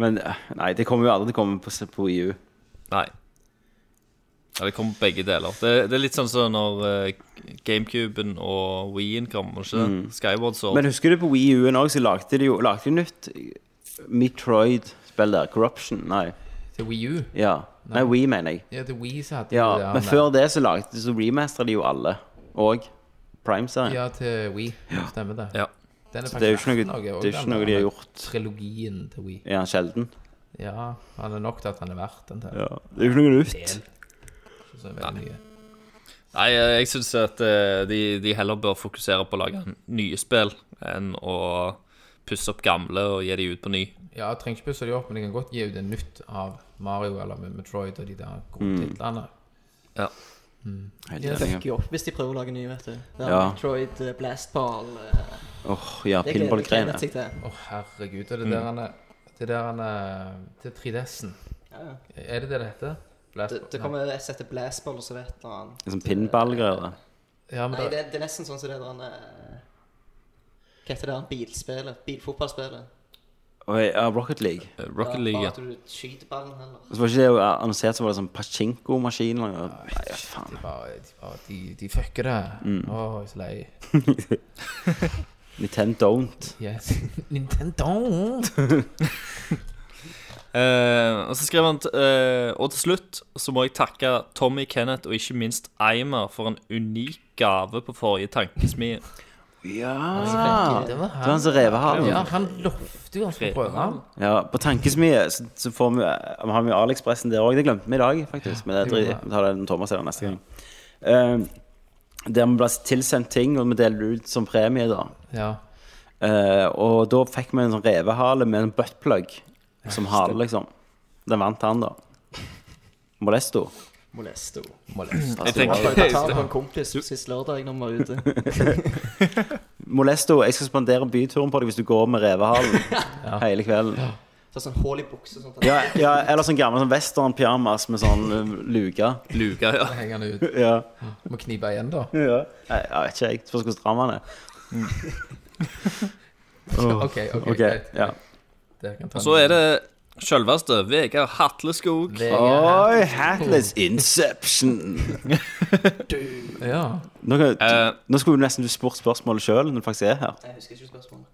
Speaker 1: Men eh, nei, det kommer jo aldri til å komme på, på EU.
Speaker 3: Nei. Ja, det kom begge deler. Det, det er litt sånn som når eh, GameCuben og Wien kom, var ikke det? Skyward Sword.
Speaker 1: Men husker du på Wii U-en òg, så lagde de jo lagde de nytt eh, Metroid-spill der. Corruption. Nei.
Speaker 2: Til Wii U.
Speaker 1: Ja. Nei, Wii, mener jeg.
Speaker 2: Ja, til Wii så hadde
Speaker 1: Ja,
Speaker 2: de det
Speaker 1: Men
Speaker 2: der-
Speaker 1: før det så lagde så remastera de jo alle. Og Prime-serien.
Speaker 2: Ja, til Wii. Stemmer det.
Speaker 3: Ja.
Speaker 2: Den
Speaker 1: Det er jo ikke
Speaker 2: faktisk
Speaker 1: noe,
Speaker 2: verdt
Speaker 1: det er
Speaker 2: den
Speaker 1: ikke noe de
Speaker 2: der
Speaker 1: har gjort
Speaker 2: Trilogien til Wii.
Speaker 1: ja, sjelden.
Speaker 2: Ja, han er nok til at han er verdt den til.
Speaker 1: Ja. Det er jo ikke noe nytt.
Speaker 2: Del. Ikke Så veldig mye.
Speaker 3: Nei, eh, jeg syns at eh, de, de heller bør fokusere på å lage nye spill enn å pusse opp gamle og gi de ut på ny.
Speaker 2: Ja, jeg trenger ikke pusse de opp, men jeg kan godt gi ut en nytt av Mario eller Metroid og de der
Speaker 1: Mm.
Speaker 2: gode titlene.
Speaker 1: Helt
Speaker 4: Det
Speaker 1: enig.
Speaker 4: fucker jo opp hvis de prøver å lage nye, vet du. Det er
Speaker 1: Ja.
Speaker 4: Metroid, eh, Blastball eh,
Speaker 1: Åh, ja.
Speaker 4: Det gleder
Speaker 1: Pinballgreiene.
Speaker 4: gleder jeg meg til.
Speaker 2: Å, herregud. Er det
Speaker 1: Mm.
Speaker 2: der han er Det der han er Til 3DS-en.
Speaker 4: Ja, ja.
Speaker 2: Er det det det heter? Blast-
Speaker 4: Det, det kommer et sett til Blastball, og så vet du han
Speaker 1: Sånn pinballgreier.
Speaker 2: Ja, men
Speaker 4: Nei,
Speaker 2: det,
Speaker 4: det, det er nesten sånn som det der han eh, Hva heter det han bilspillet? Bilfotballspillet?
Speaker 1: Og ja, Rocket League.
Speaker 3: Eh, Rocket
Speaker 4: Ja,
Speaker 3: League.
Speaker 4: Bare at du skyter ballen heller.
Speaker 1: Og så var ikke det jo annonsert som var det sånn pachinko-maskin. eller noe. Nei, ja, faen.
Speaker 2: de, bare, de, bare, de, de fucker det.
Speaker 1: Mm.
Speaker 2: Å, jeg er så lei.
Speaker 1: Nintendo don't.
Speaker 2: Yes. Nintendo!
Speaker 3: Eh, og så skrev han eh, Og til slutt så må jeg takke Tommy, Kenneth og ikke minst Eimer for en unik gave på forrige tankesmie.
Speaker 1: Ja!
Speaker 2: Det
Speaker 1: Det
Speaker 2: var
Speaker 1: var han som rev halen.
Speaker 2: Ja, han lovte jo han skulle prøve han.
Speaker 1: Ja, på tankesmie så, så får vi, eh, har vi AliExpressen der òg. Det glemte vi i dag, faktisk. Men det
Speaker 2: det gjorde
Speaker 1: dri-
Speaker 2: vi.
Speaker 1: vi tar den Thomas her neste gang. Eh, der vi ble tilsendt ting, og vi delte ut som premie. da
Speaker 2: Ja.
Speaker 1: Eh, Og da fikk vi en sånn revehale med en buttplug som hale, liksom. Den vant han, da. Molesto.
Speaker 4: Molesto.
Speaker 2: Molest.
Speaker 3: Jeg
Speaker 4: Jeg prøvde å ta
Speaker 3: tenker,
Speaker 4: på en kompis sist lørdag når vi var ute.
Speaker 1: Molesto, jeg skal spandere byturen på deg hvis du går med revehalen hele kvelden.
Speaker 4: Så sånn hull i buksa sånn at
Speaker 1: Ja, ja, eller sånn gammel sånn western-pyjamas med sånn eh, luke.
Speaker 3: Luka, ja.
Speaker 2: Henger han ut.
Speaker 1: Ja.
Speaker 2: Må knipe igjen, da.
Speaker 1: ja. Jeg, jeg vet ikke, jeg tror jeg skal stramme den. jeg.
Speaker 2: OK, OK.
Speaker 1: Ok,
Speaker 2: greit.
Speaker 1: ja.
Speaker 2: Dere kan ta
Speaker 3: Og så er det sjølveste Vegard Hatleskog.
Speaker 2: Vegard.
Speaker 1: Oi, Hatless Inception!
Speaker 2: Ja.
Speaker 1: Nå, kan,
Speaker 3: Eh.
Speaker 1: nå skulle du nesten du spurt spørsmålet sjøl, når du faktisk er her.
Speaker 4: Jeg husker ikke spørsmålet.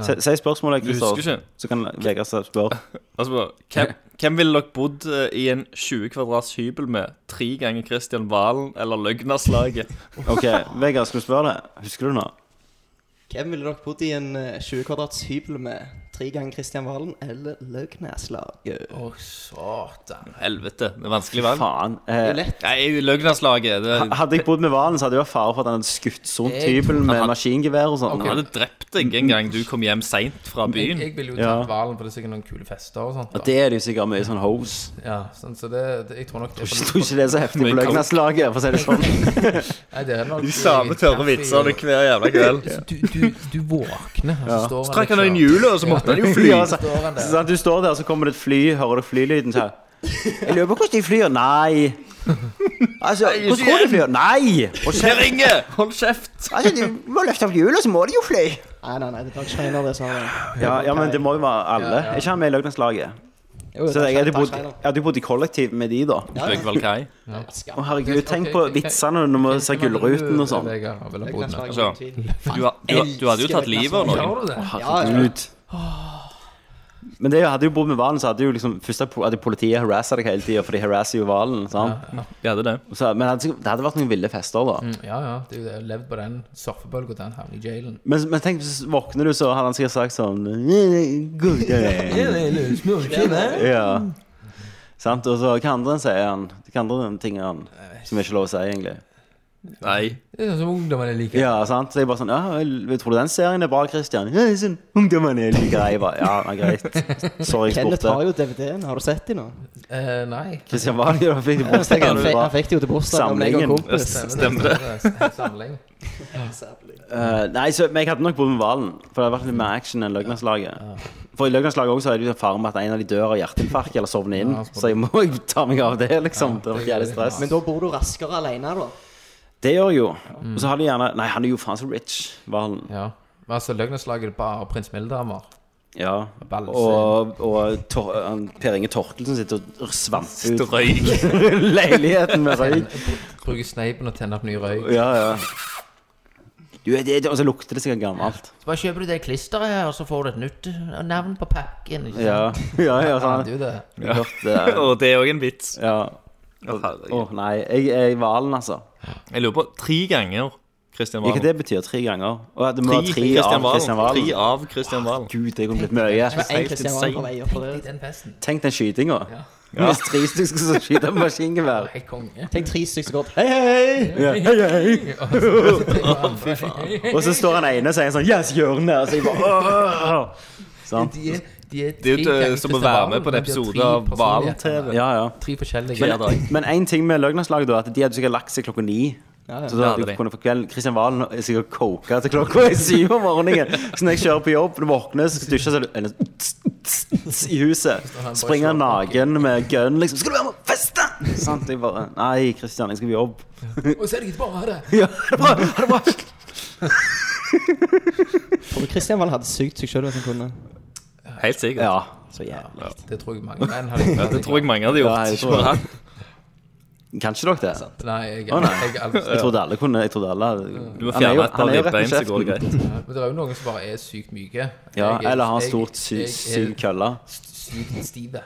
Speaker 1: Si, si spørsmålet,
Speaker 3: Du husker
Speaker 1: Christer,
Speaker 3: ikke?
Speaker 1: så kan Vegard spørre.
Speaker 3: Altså, hvem, hvem ville dere bodd eh, i en 20 kvadrats hybel med tre ganger Kristian Valen eller Løgnerslaget?
Speaker 1: Ok, Vegard, skal du spørre det? Husker du nå?
Speaker 4: Hvem ville dere bodd i en eh, 20 kvadrats hybel med? Tre ganger Kristian Valen eller Løgneslaget?
Speaker 2: Å, satan.
Speaker 3: Helvete, det er vanskelig valg.
Speaker 1: Faen.
Speaker 4: Det er
Speaker 1: Eh,
Speaker 4: jo lett.
Speaker 3: Nei, Løgnerslaget det,
Speaker 1: ha- hadde jeg bodd med hvalen, så hadde jeg vært fare for at han hadde skutt sånt
Speaker 2: Jeg
Speaker 1: hybel med
Speaker 3: han-
Speaker 1: maskingevær og sånn.
Speaker 3: Han hadde drept deg en gang du kom hjem seint fra
Speaker 2: Jeg,
Speaker 3: byen.
Speaker 2: jeg ville jo
Speaker 1: Ja.
Speaker 2: tatt hvalen, for det er sikkert noen kule fester og sånt.
Speaker 1: Og det er det jo sikkert mye sånn hose.
Speaker 2: Ja, sånn, så det, det, jeg tror nok det er
Speaker 1: Jeg
Speaker 2: for
Speaker 1: tror ikke det er så heftig på Løgnaslaget, for å si det sånn.
Speaker 2: Nei, det er nok
Speaker 3: hver jævla kveld.
Speaker 2: Så Du, du, du våkner, og så står han
Speaker 3: Trakk han
Speaker 2: liksom-
Speaker 3: inn hjulet, og så måtte han jo fly.
Speaker 1: Ja, altså.
Speaker 2: Så
Speaker 1: så,
Speaker 2: står han
Speaker 1: så,
Speaker 2: der.
Speaker 1: sant, du står der, så kommer det et fly, hører du flylyden, så her. Jeg lurer på hvordan de flyr. Nei. Altså, hvordan tror du de flyr? Nei. Og så,
Speaker 3: Jeg ringer! Hold kjeft!
Speaker 1: altså, du må løfte opp hjulet, så må de jo fly.
Speaker 4: Nei, nei, nei, det er Dag Schreiner det sa han.
Speaker 1: Ja, ja, men det må jo være alle. Er ikke han med i Løgnaslaget?
Speaker 4: Jo,
Speaker 1: Så jeg
Speaker 4: Dag
Speaker 1: hadde bodd,
Speaker 4: Schreiner.
Speaker 1: jeg hadde bodd i kollektiv med de, da.
Speaker 3: Løgvalkai.
Speaker 4: Ja,
Speaker 1: Å,
Speaker 4: skam.
Speaker 1: herregud, tenk på
Speaker 2: Ok, ok.
Speaker 1: vitsene når man ser Gullruten og sånn.
Speaker 2: Vegard, har vel en bod med.
Speaker 4: Løgneslaget,
Speaker 3: Altså.
Speaker 4: uten tvil.
Speaker 3: Du, har- du, har- du hadde jo tatt livet av noen.
Speaker 2: Gjør du det?
Speaker 1: Herregud. Men det hadde jo bodd med hvalen, så hadde jo liksom Først hadde politiet harassa deg hele tida, for de harasser jo hvalen. sant?
Speaker 3: De hadde det.
Speaker 1: Og så- Men det hadde, sikkert- det hadde vært noen ville fester, da.
Speaker 2: Ja, ja. Det er jo det. Levd på den surfebølga, den havner i jailen.
Speaker 1: Men, men tenk, hvis våkner du, så hadde han sikkert sagt sånn "Eh, god dag." Ja. Sant? Og så hva andre sier han? Hva andre ting er han som ikke er lov å si, egentlig?
Speaker 3: Nei.
Speaker 2: Det er sånn som ungdommene liker.
Speaker 1: Ja, sant? Så jeg bare sånn Ja, jeg tror du den serien er bra, Christian? Ja, det er sånn Ungdommen er like grei, bare. Ja, ja, greit. Sorry, jeg
Speaker 4: Kenneth har
Speaker 1: spurte.
Speaker 4: jo DVD-en, har du sett de nå?
Speaker 2: Eh, nei.
Speaker 1: Christian var det, da fikk du
Speaker 4: Han fikk,
Speaker 1: bursdagen.
Speaker 4: han
Speaker 1: det
Speaker 4: fikk,
Speaker 1: var
Speaker 4: han
Speaker 1: bra.
Speaker 4: fikk det jo til bursdag av meg og
Speaker 1: Samlingen.
Speaker 4: kompis.
Speaker 3: Stemmer det.
Speaker 2: Samling.
Speaker 1: Eh, nei, så, men jeg hadde nok bodd med hvalen. For det hadde vært litt mer action enn Løgnaslaget. For i Løgnaslaget også så er det jo en fare med at en av de dør av hjerteinfarkt eller sovner inn.
Speaker 2: Ja, spot.
Speaker 1: Så jeg må jo ta meg av det, liksom. Det var jævlig stress.
Speaker 4: Men da bor du raskere alene, da.
Speaker 1: Det gjør jeg jo. Og så har de gjerne Nei, han er jo faen så rich, hvalen.
Speaker 2: Ja. Men altså, Løgneslaget er bare prins Mildamer.
Speaker 1: Ja.
Speaker 2: Balse.
Speaker 1: Og, og Tor han, Per Inge Torkelsen sitter og svamper ut
Speaker 3: Røyk.
Speaker 1: leiligheten med røyk.
Speaker 2: Bruker sneipen og tenner opp ny røyk.
Speaker 1: Ja, ja. Du, det, det, og så lukter det sikkert gammelt.
Speaker 2: Så bare kjøper du det klisteret her, og så får du et nytt eh, navn på pakken. Ikke sant?
Speaker 1: Ja, ja, ja
Speaker 2: Ja,
Speaker 1: sånn.
Speaker 2: det er jo det.
Speaker 1: Ja. Ja. sånn.
Speaker 3: Og det er òg en vits.
Speaker 1: Å,
Speaker 3: herregud.
Speaker 1: nei. Jeg jeg er i hvalen, altså.
Speaker 3: Jeg lurer på Tre ganger Christian
Speaker 1: Hva
Speaker 3: Valen.
Speaker 1: det betyr tre ganger? Og at det må
Speaker 3: Tre
Speaker 1: være tre
Speaker 3: Christian
Speaker 1: av Kristian
Speaker 3: Valen. Tre
Speaker 1: Valen?
Speaker 3: av Christian Valen.
Speaker 1: Gud, det kunne blitt mye.
Speaker 4: Det var en
Speaker 3: Helt
Speaker 4: Kristian Valen på vei opp for
Speaker 2: I
Speaker 4: det.
Speaker 2: den festen.
Speaker 1: Tenk den skytinga.
Speaker 2: Ja.
Speaker 1: Hvis tre stykker skal skyte med maskingevær.
Speaker 2: Helt konge.
Speaker 4: Tenk tre stykker som går opp. Hei, hei!
Speaker 1: Ja, hei, hei.
Speaker 2: Fy faen.
Speaker 1: Og så står han ene og sier sånn Yes, hjørnet! Og så jeg bare «Åh!» Sant?
Speaker 2: De er, de er
Speaker 3: Det er jo
Speaker 2: tre
Speaker 3: et,
Speaker 2: ganger
Speaker 3: eh, som
Speaker 2: Christian
Speaker 3: å være
Speaker 2: Valen,
Speaker 3: med
Speaker 2: men
Speaker 3: på en
Speaker 2: de har
Speaker 3: episode
Speaker 2: tre
Speaker 3: av
Speaker 2: personligheter.
Speaker 3: Valen-TV.
Speaker 1: Ja, ja.
Speaker 2: Tre forskjellige
Speaker 3: Hver dag.
Speaker 1: Men én ting med løgnlandslaget, da, at de hadde sikkert lagt seg klokka ni. Så da
Speaker 3: Ja,
Speaker 1: hadde
Speaker 3: det er
Speaker 1: du
Speaker 3: det.
Speaker 1: kunnet få kvelden Kristian Valen er sikkert koka til klokka er syv om morgenen. Så når jeg kjører på jobb, når du våkner, så skal du dusje, så er det en tss, tss, tss i huset. Springer naken med gun, liksom. 'Skal du være med og feste?' Sant? Jeg bare Nei, Kristian, jeg skal på jobb.
Speaker 2: Og så er det ikke bare det.
Speaker 1: Ja, ha det bra! Ha det bra!
Speaker 4: Tror du Kristian Valen hadde sugd seg sjøl hvis han kunne?
Speaker 3: Helt sikkert.
Speaker 1: Ja.
Speaker 4: Så jævlig.
Speaker 2: Det tror jeg mange menn har
Speaker 3: Ja, det tror jeg mange hadde
Speaker 1: Ja, jeg tror
Speaker 3: gjort.
Speaker 1: Kan ikke dere det?
Speaker 2: Nei, jeg,
Speaker 1: Å, nei.
Speaker 2: jeg, jeg,
Speaker 1: Jeg trodde alle kunne Jeg trodde alle
Speaker 3: Du må
Speaker 1: Han er jo-
Speaker 3: fjerne et
Speaker 1: han
Speaker 3: par
Speaker 1: er jo rett
Speaker 3: ribbein, så
Speaker 1: med
Speaker 3: går det
Speaker 1: kjeften.
Speaker 3: greit.
Speaker 2: sånn. Men det er jo noen som bare er sykt myke.
Speaker 1: Ja,
Speaker 2: Jeg er-
Speaker 1: eller har en
Speaker 2: jeg-
Speaker 1: stort sy-
Speaker 2: jeg er
Speaker 1: syv kølle.
Speaker 2: st- Sykt stive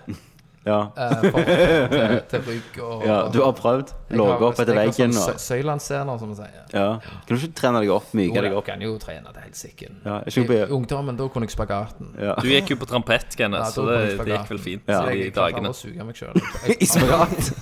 Speaker 1: Ja.
Speaker 2: eh, for- til, til rygg og
Speaker 1: ja. Du har prøvd? Ligget opp etter veggen
Speaker 3: sånn
Speaker 1: og
Speaker 2: og Søylandssener, sånn som man sier.
Speaker 1: ja. Kan du ikke trene deg opp? Myke deg
Speaker 2: Jo, jeg
Speaker 1: opp?
Speaker 2: kan jo trene til helsike.
Speaker 1: Ja, jeg
Speaker 2: I
Speaker 1: skal
Speaker 2: i
Speaker 1: be
Speaker 2: ungdommen, da kunne jeg spagaten.
Speaker 1: ja.
Speaker 3: Du gikk jo på trampett,
Speaker 2: Ja,
Speaker 3: Kenneth, så
Speaker 2: da
Speaker 3: det,
Speaker 2: kom jeg
Speaker 3: det gikk
Speaker 2: tilbake.
Speaker 3: vel fint
Speaker 1: Ja.
Speaker 3: de
Speaker 2: jeg klarte
Speaker 3: dagene.
Speaker 2: å suge meg sjøl.
Speaker 1: I spagat?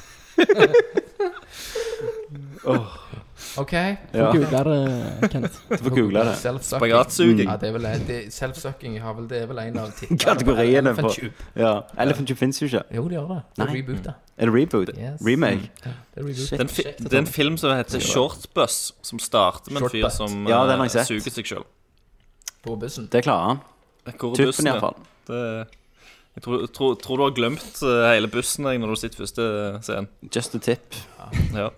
Speaker 2: OK.
Speaker 1: Ja.
Speaker 4: Google det, eh, Kenneth.
Speaker 1: Du får google det.
Speaker 2: Self-sucking.
Speaker 3: Spagatsuging.
Speaker 2: Ja, det er vel det- Self-sucking har vel det er vel en av titlene.
Speaker 1: Kategoriene
Speaker 2: Elephant
Speaker 1: på-
Speaker 2: Tube.
Speaker 1: Ja. Elephant Tube fins jo ikke.
Speaker 2: Jo, det gjør det. Det er
Speaker 1: Nei.
Speaker 2: reboot, da.
Speaker 1: Er det reboot?
Speaker 2: Yes. Mm.
Speaker 1: Remake?
Speaker 2: Det er reboot.
Speaker 1: Shit.
Speaker 3: Det er en fi- det er en film som heter Shortbus, som starter med en
Speaker 2: Short
Speaker 3: fyr
Speaker 2: Bus.
Speaker 3: som
Speaker 1: Ja,
Speaker 3: eh,
Speaker 1: den har jeg sett.
Speaker 3: suger seg sjøl.
Speaker 2: På bussen.
Speaker 1: Det klarer han.
Speaker 3: Hvor er
Speaker 1: Tuppen,
Speaker 3: bussen? ja?
Speaker 1: iallfall.
Speaker 3: Det- Jeg tror, tror, tror du har glemt eh, hele bussen jeg, når du har sett første scenen.
Speaker 1: Just a tip.
Speaker 3: Ja.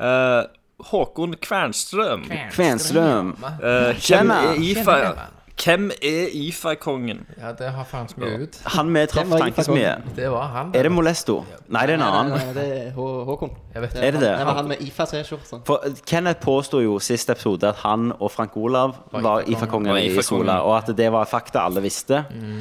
Speaker 3: Eh, Håkon Kvernstrøm.
Speaker 1: Kvenstrøm.
Speaker 3: Eh, hvem
Speaker 1: Kjenner.
Speaker 3: er IFA? Hvem er IFA-kongen?
Speaker 2: Ja, det har faen så mye ut.
Speaker 1: Han vi traff
Speaker 4: Den var
Speaker 1: tankesmie.
Speaker 2: Det var han.
Speaker 1: Er det Molesto? Nei, det er en annen.
Speaker 4: Det er Hå Håkon.
Speaker 2: Jeg vet
Speaker 1: Er det det?
Speaker 4: Det var han med IFA-T-skjorta.
Speaker 1: For Kenneth påsto jo sist episode at han og Frank Olav var
Speaker 2: IFA-kongen.
Speaker 1: IFA-kongen i
Speaker 3: Var
Speaker 1: Sola,
Speaker 3: IFA-kongen.
Speaker 1: og at det var fakta alle visste,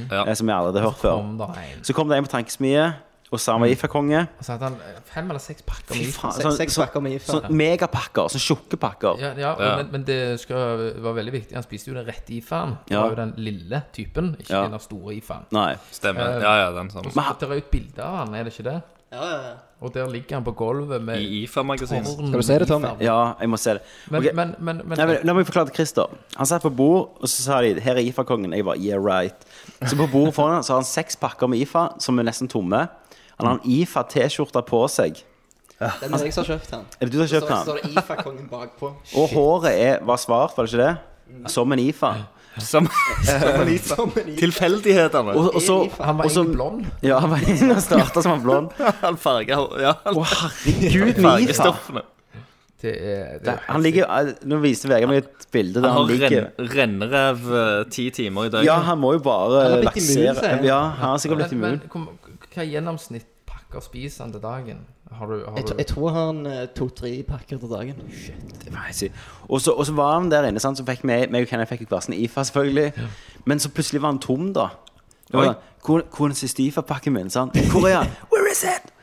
Speaker 3: Ja.
Speaker 1: eh, som vi alle hadde hørt før.
Speaker 2: Kom da en.
Speaker 1: Så kom det en på tankesmie, og så han var IFA-konge.
Speaker 2: Og så hadde han eh, fem eller seks pakker med
Speaker 1: Fy
Speaker 2: is.
Speaker 1: faen,
Speaker 4: Seks-
Speaker 1: Sånn,
Speaker 4: Seks
Speaker 1: sånn,
Speaker 4: pakker med IFA.
Speaker 1: sånn megapakker, sånn tjukke pakker.
Speaker 2: Ja, ja,
Speaker 3: Ja.
Speaker 2: Men, men det skal, var veldig viktig. Han spiste jo den rette IFA-en. Det
Speaker 1: Ja.
Speaker 2: var jo den lille typen, ikke
Speaker 1: Ja.
Speaker 2: den der store IFA-en.
Speaker 1: Nei.
Speaker 2: Eh.
Speaker 3: Stemmer. Ja, ja, den samme.
Speaker 1: Men han-
Speaker 2: Det er jo et bilde av han, er det ikke det?
Speaker 4: Ja, ja, ja.
Speaker 2: Og der ligger han på gulvet med
Speaker 3: I IFA-magasinet.
Speaker 2: tårn
Speaker 4: Skal du se det, Tommy?
Speaker 2: IFA.
Speaker 1: Ja, jeg må se det.
Speaker 2: Men,
Speaker 1: Ok.
Speaker 2: men, men, men
Speaker 1: Nei, men, la meg forklare til Christer. Han satt på bord, og så sa de 'Her er IFA-kongen'. Jeg bare 'Yeah, right'. Så på bordet foran han, så har han seks pakker med IFA, som er nesten tomme. Han har en IFA-T-skjorte på seg.
Speaker 4: Den er jeg som har kjøpt den.
Speaker 1: Er det du som har
Speaker 4: Så
Speaker 1: kjøpt den?
Speaker 4: står det IFA-kongen bakpå.
Speaker 1: Og håret er, var svart, var det ikke det? Som en IFA.
Speaker 3: Som, som
Speaker 4: Som en IFA.
Speaker 3: tilfeldighetene.
Speaker 1: Og, og så
Speaker 4: IFA.
Speaker 2: han var
Speaker 1: og så-
Speaker 2: egentlig blond.
Speaker 1: Ja, han var inne og starta som en blond.
Speaker 3: Han farger ja, han
Speaker 1: Å, herregud, med IFA!
Speaker 3: fargestoffene.
Speaker 2: Det er, det
Speaker 1: Det-
Speaker 2: er
Speaker 1: Han ligger, eh, nå viser Vegard meg et bilde der
Speaker 3: Han
Speaker 1: han
Speaker 3: har
Speaker 1: ligger
Speaker 3: renn- rennrev eh, ti timer i døgnet.
Speaker 1: Ja, han må jo
Speaker 4: Han
Speaker 1: bare
Speaker 4: har blitt immun, sier
Speaker 1: laksere
Speaker 4: han.
Speaker 1: Ja, han har sikkert blitt
Speaker 2: men, men
Speaker 1: immun.
Speaker 2: kom, hva gjennomsnitt pakker spiser han til dagen? Har du, har
Speaker 4: Jeg,
Speaker 2: du
Speaker 4: tr- jeg tror han eh, to-tre pakker til dagen.
Speaker 1: Det var helt sykt. Og så og så var han der inne, sant, så fikk vi meg og Kenneth fikk jo hver sin IFA, selvfølgelig. Men så plutselig var han tom, da. Det var
Speaker 3: Oi.
Speaker 1: sånn, Hvor, hvor er den siste IFA-pakken min? sant? Hvor er han? Where is it?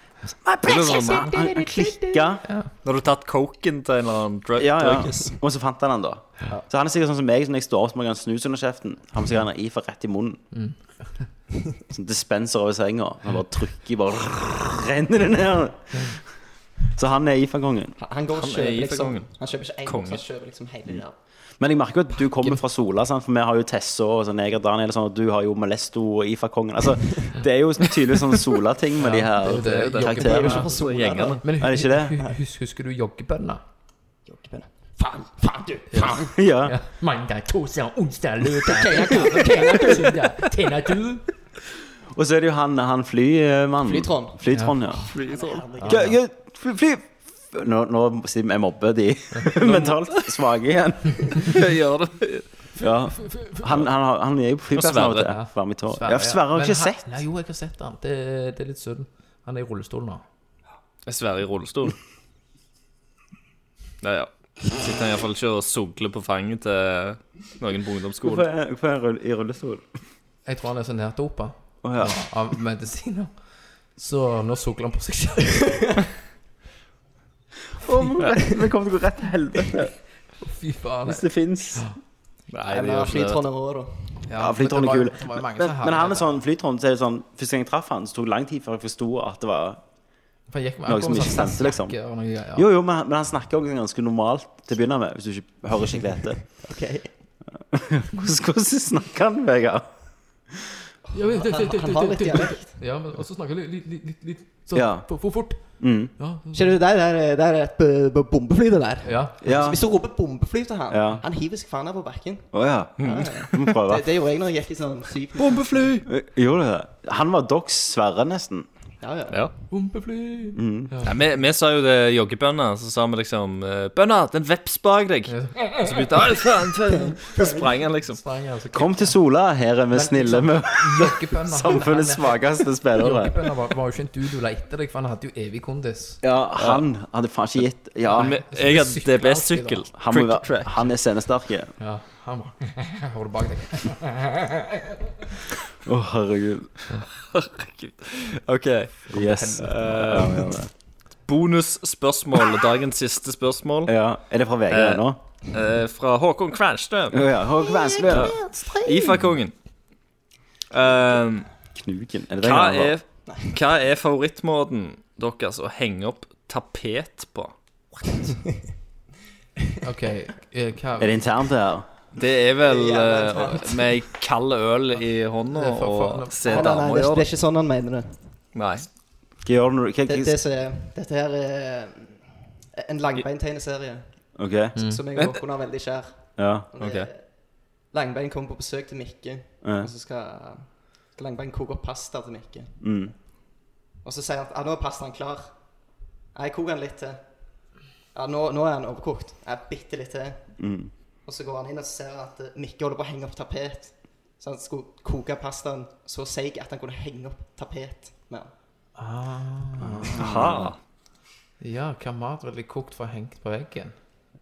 Speaker 1: My precious Han,
Speaker 3: sånn,
Speaker 1: han klikka.
Speaker 3: Når du har tatt coken til en eller annen drug
Speaker 1: Ja, ja.
Speaker 3: druggis.
Speaker 1: Og så fant han den, da. Så han er sikkert sånn som meg, som når jeg står opp, så må jeg ha en snus under kjeften. Han må sikkert ha en IFA rett i munnen. Sånn dispenser over senga. Han bare trykker, bare renner det ned. Så han er IFA-kongen.
Speaker 4: Han, han går og
Speaker 3: Han er
Speaker 4: kjøper liksom
Speaker 3: IFA-kongen.
Speaker 4: Han kjøper ikke én,
Speaker 3: Konge.
Speaker 4: han kjøper liksom hele den der.
Speaker 1: Men jeg merker jo at du kommer fra Sola, sant? for vi har jo Tesso og sånn, jeg og Daniel og sånn, og du har jo Molesto og IFA-kongen. Altså, det er jo tydeligvis sånn Sola-ting med de her
Speaker 2: det er jo det.
Speaker 4: Jeg er jo
Speaker 1: karakterene.
Speaker 4: ikke fra Sola,
Speaker 3: Gjengene.
Speaker 2: Men
Speaker 1: Er det ikke det?
Speaker 2: hu- hus- husker du joggebønna?
Speaker 4: da. Joggebønne.
Speaker 2: Faen, faen, du! Faen!
Speaker 1: Ja.
Speaker 2: Ja. Mandag, torsdag, onsdag, lørdag Fredag, søndag Tjener du?
Speaker 1: Og så er det jo han, han flymannen.
Speaker 4: Flytrond.
Speaker 1: Flytrond, ja. Gøy, gøy, Fly, fly. Nå, nå siden jeg mobber de mentalt svake igjen.
Speaker 3: Gjør det.
Speaker 1: Ja. Han, han, har- han er jo på flyplassen av og til.
Speaker 3: Sverre.
Speaker 1: Varm i tårer.
Speaker 2: Sverre,
Speaker 1: Ja, Sverre har
Speaker 2: Men
Speaker 1: jeg ikke
Speaker 2: han-
Speaker 1: sett.
Speaker 2: Nei, jo, jeg har sett han. Det, det er litt synd. Han er i rullestol nå.
Speaker 3: Jeg sverger i rullestol. Ja, ja. Sitter han iallfall ikke og sugler på fanget til noen
Speaker 1: Hvorfor
Speaker 3: på ungdomsskolen.
Speaker 1: er hvorfor er han i rullestol?
Speaker 2: Jeg tror han er sånn så nærdopa
Speaker 1: Å ja.
Speaker 2: av medisiner. Så nå sugler han på seg selv.
Speaker 1: Å, men Vi kommer til å gå rett til helvete
Speaker 2: Fy faen.
Speaker 1: hvis det fins.
Speaker 3: Nei, det
Speaker 4: Eller
Speaker 3: gjør ikke det.
Speaker 4: flytrådene òg, da.
Speaker 1: Ja, flytråden er
Speaker 2: men
Speaker 1: kul.
Speaker 2: det var- det var jo mange
Speaker 1: Men,
Speaker 2: som
Speaker 1: men
Speaker 2: hadde
Speaker 1: han er
Speaker 2: det.
Speaker 1: sånn flytråden, så er det sånn Første gang jeg traff han, så tok det lang tid før jeg forsto at det var
Speaker 2: For han gikk med
Speaker 1: noe som
Speaker 2: akkurat
Speaker 1: ikke
Speaker 2: sånn
Speaker 1: stemte, liksom.
Speaker 2: snakke og noe greier.
Speaker 1: Jo, jo, men, men han snakker også ganske normalt til å begynne med, hvis du ikke hører skikkelig etter.
Speaker 4: Ok.
Speaker 1: Hvordan, hvordan snakker han, Vegard?
Speaker 2: Ja, men-
Speaker 4: Han- han- han har litt dialekt.
Speaker 2: Ja, men også snakker litt, litt, litt, litt sånn
Speaker 1: Ja.
Speaker 2: for, for fort.
Speaker 1: Mm.
Speaker 2: Ja,
Speaker 4: Ser du, der, der, der er et b- b- bombefly, det der.
Speaker 2: ja.
Speaker 1: Ja.
Speaker 4: Hvis du roper 'bombefly' til han,
Speaker 1: Ja. Mm.
Speaker 4: han hiver seg faen ned på bakken.
Speaker 1: Å ja. Vi må prøve.
Speaker 4: Mm. Det, det gjorde jeg når jeg gikk i sånn syv
Speaker 3: Bombefly!
Speaker 1: Gjorde du det? Han var doks Sverre, nesten.
Speaker 4: Ja, ja.
Speaker 3: Ja.
Speaker 2: Bombefly.
Speaker 1: Mm.
Speaker 3: Nei, vi, vi sa jo det joggebønna, så sa vi liksom eh, 'Bønna, det er en veps bak deg!' Så begynte han faen, faen. Så sprang han, liksom.
Speaker 2: Streng, altså.
Speaker 1: Kom til Sola, her er vi snille med
Speaker 2: Jokkebønner, han-
Speaker 1: samfunnets
Speaker 2: han-
Speaker 1: svakeste spillere.
Speaker 2: Jokkebønner var, var jo ikke en dude du lette deg, for han hadde jo evig kondis.
Speaker 1: Ja, han hadde faen ikke gitt Ja,
Speaker 3: Men jeg hadde DBS-sykkel.
Speaker 1: han, må
Speaker 3: Cricket
Speaker 1: være,
Speaker 3: track.
Speaker 1: han er scenesterk. ja.
Speaker 2: Ja, han var Hold det bak deg.
Speaker 1: Å, herregud.
Speaker 3: OK.
Speaker 1: Yes.
Speaker 3: Eh, Bonusspørsmål. Dagens siste spørsmål
Speaker 1: Ja, Er det fra VG
Speaker 3: Eh,
Speaker 1: nå?
Speaker 3: eh, fra Håkon Kvernstø.
Speaker 1: Å ja. Håk Vansbø.
Speaker 3: IFA-kongen. Eh,
Speaker 1: Knuken. Er det det
Speaker 3: hva,
Speaker 1: han har?
Speaker 3: er, hva er favorittmåten deres å henge opp tapet på?
Speaker 2: OK, eh, hva
Speaker 1: Er det internt, det her?
Speaker 3: Det er vel
Speaker 4: Jævla
Speaker 3: eh, med ei kald øl i hånda
Speaker 2: Det er for-
Speaker 3: og
Speaker 2: for-
Speaker 3: se
Speaker 4: Nei, nei, nei,
Speaker 3: damer
Speaker 4: det, er-
Speaker 3: gjøre
Speaker 4: det
Speaker 3: det.
Speaker 4: er ikke sånn han mener det.
Speaker 3: Nei.
Speaker 1: Hva gjør du når du
Speaker 4: det,
Speaker 1: hva-
Speaker 4: det
Speaker 1: hva-
Speaker 4: som er, dette her er en langbeintegneserie
Speaker 1: OK.
Speaker 3: Mm.
Speaker 4: som jeg og Håkon har veldig kjær.
Speaker 1: Ja.
Speaker 4: Og det er- Langbein kommer på besøk til Mikke,
Speaker 1: Ja.
Speaker 4: og så skal, skal Langbein koke opp pasta til Mikke.
Speaker 1: Mm.
Speaker 4: Og så sier han at ja, nå er pastaen klar. Jeg koker den litt til. Ja, nå, nå er den overkokt. Jeg bitte litt til.
Speaker 1: Mm.
Speaker 4: Og så går han inn og ser at eh, Mikke holder på å henge opp tapet. Så han skulle koke pastaen så seig at han kunne henge opp tapet med den.
Speaker 3: Aha.
Speaker 2: Ah. Ja, hva mat ville jeg kokt for hengt på veggen?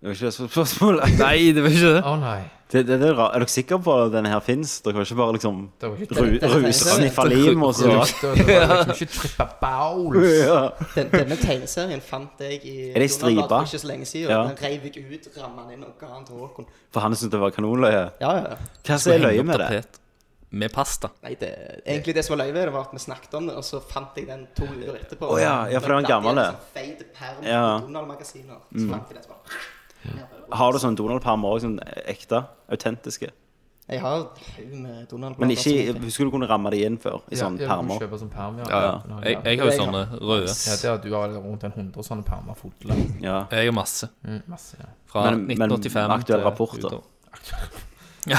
Speaker 1: Det var ikke det som var spørsmålet.
Speaker 3: Nei, det var
Speaker 2: Å
Speaker 3: ikke det.
Speaker 2: nei.
Speaker 1: Det, det, det er, rart. er dere sikre på at denne her fins? Dere har ikke bare liksom
Speaker 2: Det var ikke
Speaker 1: ru- russniffa lim og så
Speaker 2: Det var- det var liksom ikke trippa bowls.
Speaker 1: ja.
Speaker 4: Den, Denne tegneserien fant jeg i
Speaker 1: Er det i
Speaker 4: Donald-bladet
Speaker 1: stripa?
Speaker 4: for ikke så lenge siden.
Speaker 1: Ja.
Speaker 4: Den reiv jeg ut, ramma den inn og ga den til Håkon.
Speaker 1: For han syntes det var kanonløye.
Speaker 4: Ja, ja.
Speaker 1: Hva som er
Speaker 3: Henge
Speaker 1: løye
Speaker 3: opp
Speaker 1: med det?
Speaker 3: tapet Med pasta.
Speaker 4: Nei, det, egentlig det som var løye ved det, var at vi snakket om det, og så fant jeg den to uker etterpå.
Speaker 1: Å ja, ja, for det var en gammel, det.
Speaker 4: Feit liksom perm ja.
Speaker 1: Ja. Mm.
Speaker 4: Donald-magasiner. Så fant jeg den så bare
Speaker 1: Har du sånn Donald-perm òg? Sånn ekte? Autentiske?
Speaker 4: Jeg har en haug med Donald
Speaker 1: Men ikke i- Husker du kunne ramme de inn før? I sånne
Speaker 2: ja, ja, du
Speaker 1: permer?
Speaker 2: kjøper sånn perm, ja.
Speaker 3: Ja, ja.
Speaker 2: Nå,
Speaker 3: Jeg, jeg har jo sånne røde.
Speaker 2: Ja, det at du har rundt en hundre sånne permer fulle.
Speaker 1: Ja.
Speaker 3: Jeg har masse.
Speaker 2: Mm, masse, ja.
Speaker 3: Fra
Speaker 1: Men- men
Speaker 3: 1985
Speaker 1: aktuelle
Speaker 3: til
Speaker 1: rapporter.
Speaker 3: utover. Ja.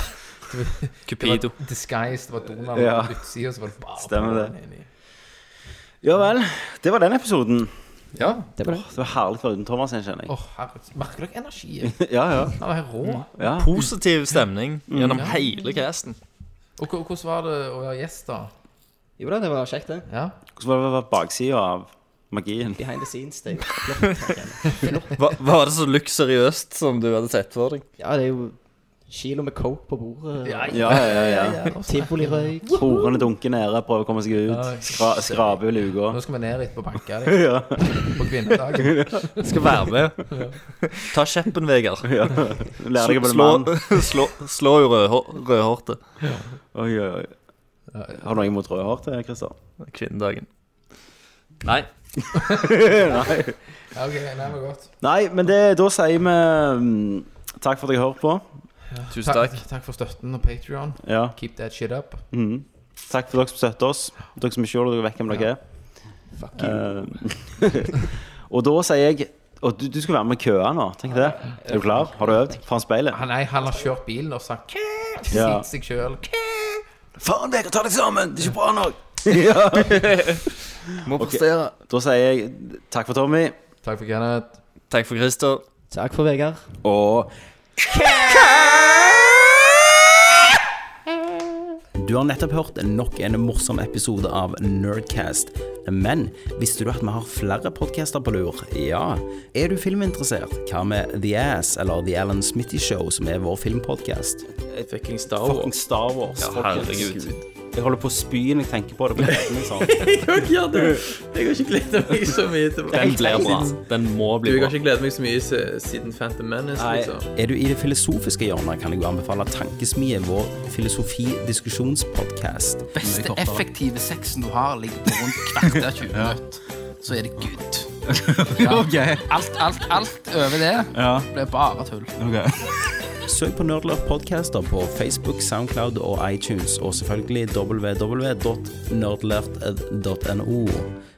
Speaker 3: Cupido.
Speaker 2: Det var Disguised det var Donald
Speaker 1: Ja.
Speaker 2: på utsida, så var det bare
Speaker 1: Stemmer det.
Speaker 2: Donald inni.
Speaker 1: ja vel. Det var den episoden.
Speaker 3: Ja.
Speaker 4: Det var det.
Speaker 1: Det var herlig for uten Thomas, jeg kjenner jeg.
Speaker 2: Åh, herregud. Merker dere energien?
Speaker 1: Ja, ja.
Speaker 2: Han var helt rå.
Speaker 1: ja.
Speaker 3: Positiv stemning
Speaker 1: Mm.
Speaker 3: gjennom hele casten.
Speaker 2: Og hvor- hvordan var det å være gjest, da?
Speaker 4: Jo da, det var kjekt, det.
Speaker 2: Ja.
Speaker 1: Hvordan var det baksida av magien?
Speaker 4: Behind the scenes. Det er jo
Speaker 3: Var, var det så luksuriøst som du hadde sett for deg?
Speaker 4: Ja, det er jo kilo med coke på bordet.
Speaker 2: Ja,
Speaker 1: Ja, ja, ja.
Speaker 4: Tivolirøyk.
Speaker 1: Horene dunker nede, prøver å komme seg ut. Skra, skraper i luka.
Speaker 2: Nå skal vi ned litt på banka deg
Speaker 1: Ja.
Speaker 2: på kvinnedagen.
Speaker 3: Skal være med. Ta kjeppen, Vegard.
Speaker 1: ja. Lærer deg å bli
Speaker 3: Slå,
Speaker 1: mann.
Speaker 3: slå, slå jo rødhå- rødhårte.
Speaker 1: Oi, oi, oi. Har du noe imot rødhårte, Christer?
Speaker 3: Kvinnedagen. Nei.
Speaker 2: Ja, ok, nei, men godt.
Speaker 1: Nei, men det, da sier vi mm, takk for at dere hører på.
Speaker 3: Tusen takk.
Speaker 2: Takk for støtten og Patreon
Speaker 1: Ja.
Speaker 2: Keep that shit up.
Speaker 1: Mm. Takk for dere som støtter oss. Dere som ikke gjorde det, dere vet hvem dere er.
Speaker 4: Fuck you.
Speaker 1: Eh, og da sier jeg Og du, du skal være med i køa nå. Tenk det. Er du klar? Har du øvd? Foran speilet?
Speaker 2: Han, nei, han har kjørt bilen og sagt Kæ!
Speaker 1: Ja.
Speaker 2: Sitt seg sjøl.
Speaker 1: Faen, Vegard, ta deg sammen! Det er ikke bra nok! ja.
Speaker 3: Må
Speaker 1: Ok.
Speaker 3: prestere.
Speaker 1: Da sier jeg takk for Tommy,
Speaker 2: Takk for Kenneth.
Speaker 3: Takk for Christer.
Speaker 4: Takk for Vegard.
Speaker 1: og Du har nettopp hørt nok en morsom episode av Nerdcast. Men visste du at vi har flere podcaster på lur? Ja. Er du filminteressert? Hva med The Ass eller The Alan Smitty Show, som er vår filmpodcast?
Speaker 6: Fucking Star Wars.
Speaker 1: Fucking Star Wars.
Speaker 3: Ja,
Speaker 1: folkens.
Speaker 3: herregud.
Speaker 1: Jeg holder på å spy når jeg tenker på det. på kvelden, sånn.
Speaker 6: Ja, du, jeg har ikke gledet meg så mye til
Speaker 3: Den blir bra. Den må
Speaker 6: Du,
Speaker 3: bli
Speaker 6: jeg har
Speaker 3: bra.
Speaker 6: ikke gledet meg så mye se- siden Phantom Menace, liksom.
Speaker 1: Er du i det filosofiske hjørnet, kan jeg jo anbefale Tankesmie, vår filosofi-diskusjonspodcast.
Speaker 2: beste
Speaker 1: Mye kortere.
Speaker 2: effektive sexen du har, ligger på rundt kvarter 20 minutter. Så er det good. Alt, alt, alt over det blir bare tull.
Speaker 1: Søk på Nerdlurf Podcaster på Facebook, Soundcloud og iTunes, og selvfølgelig www.nerdlurf.no.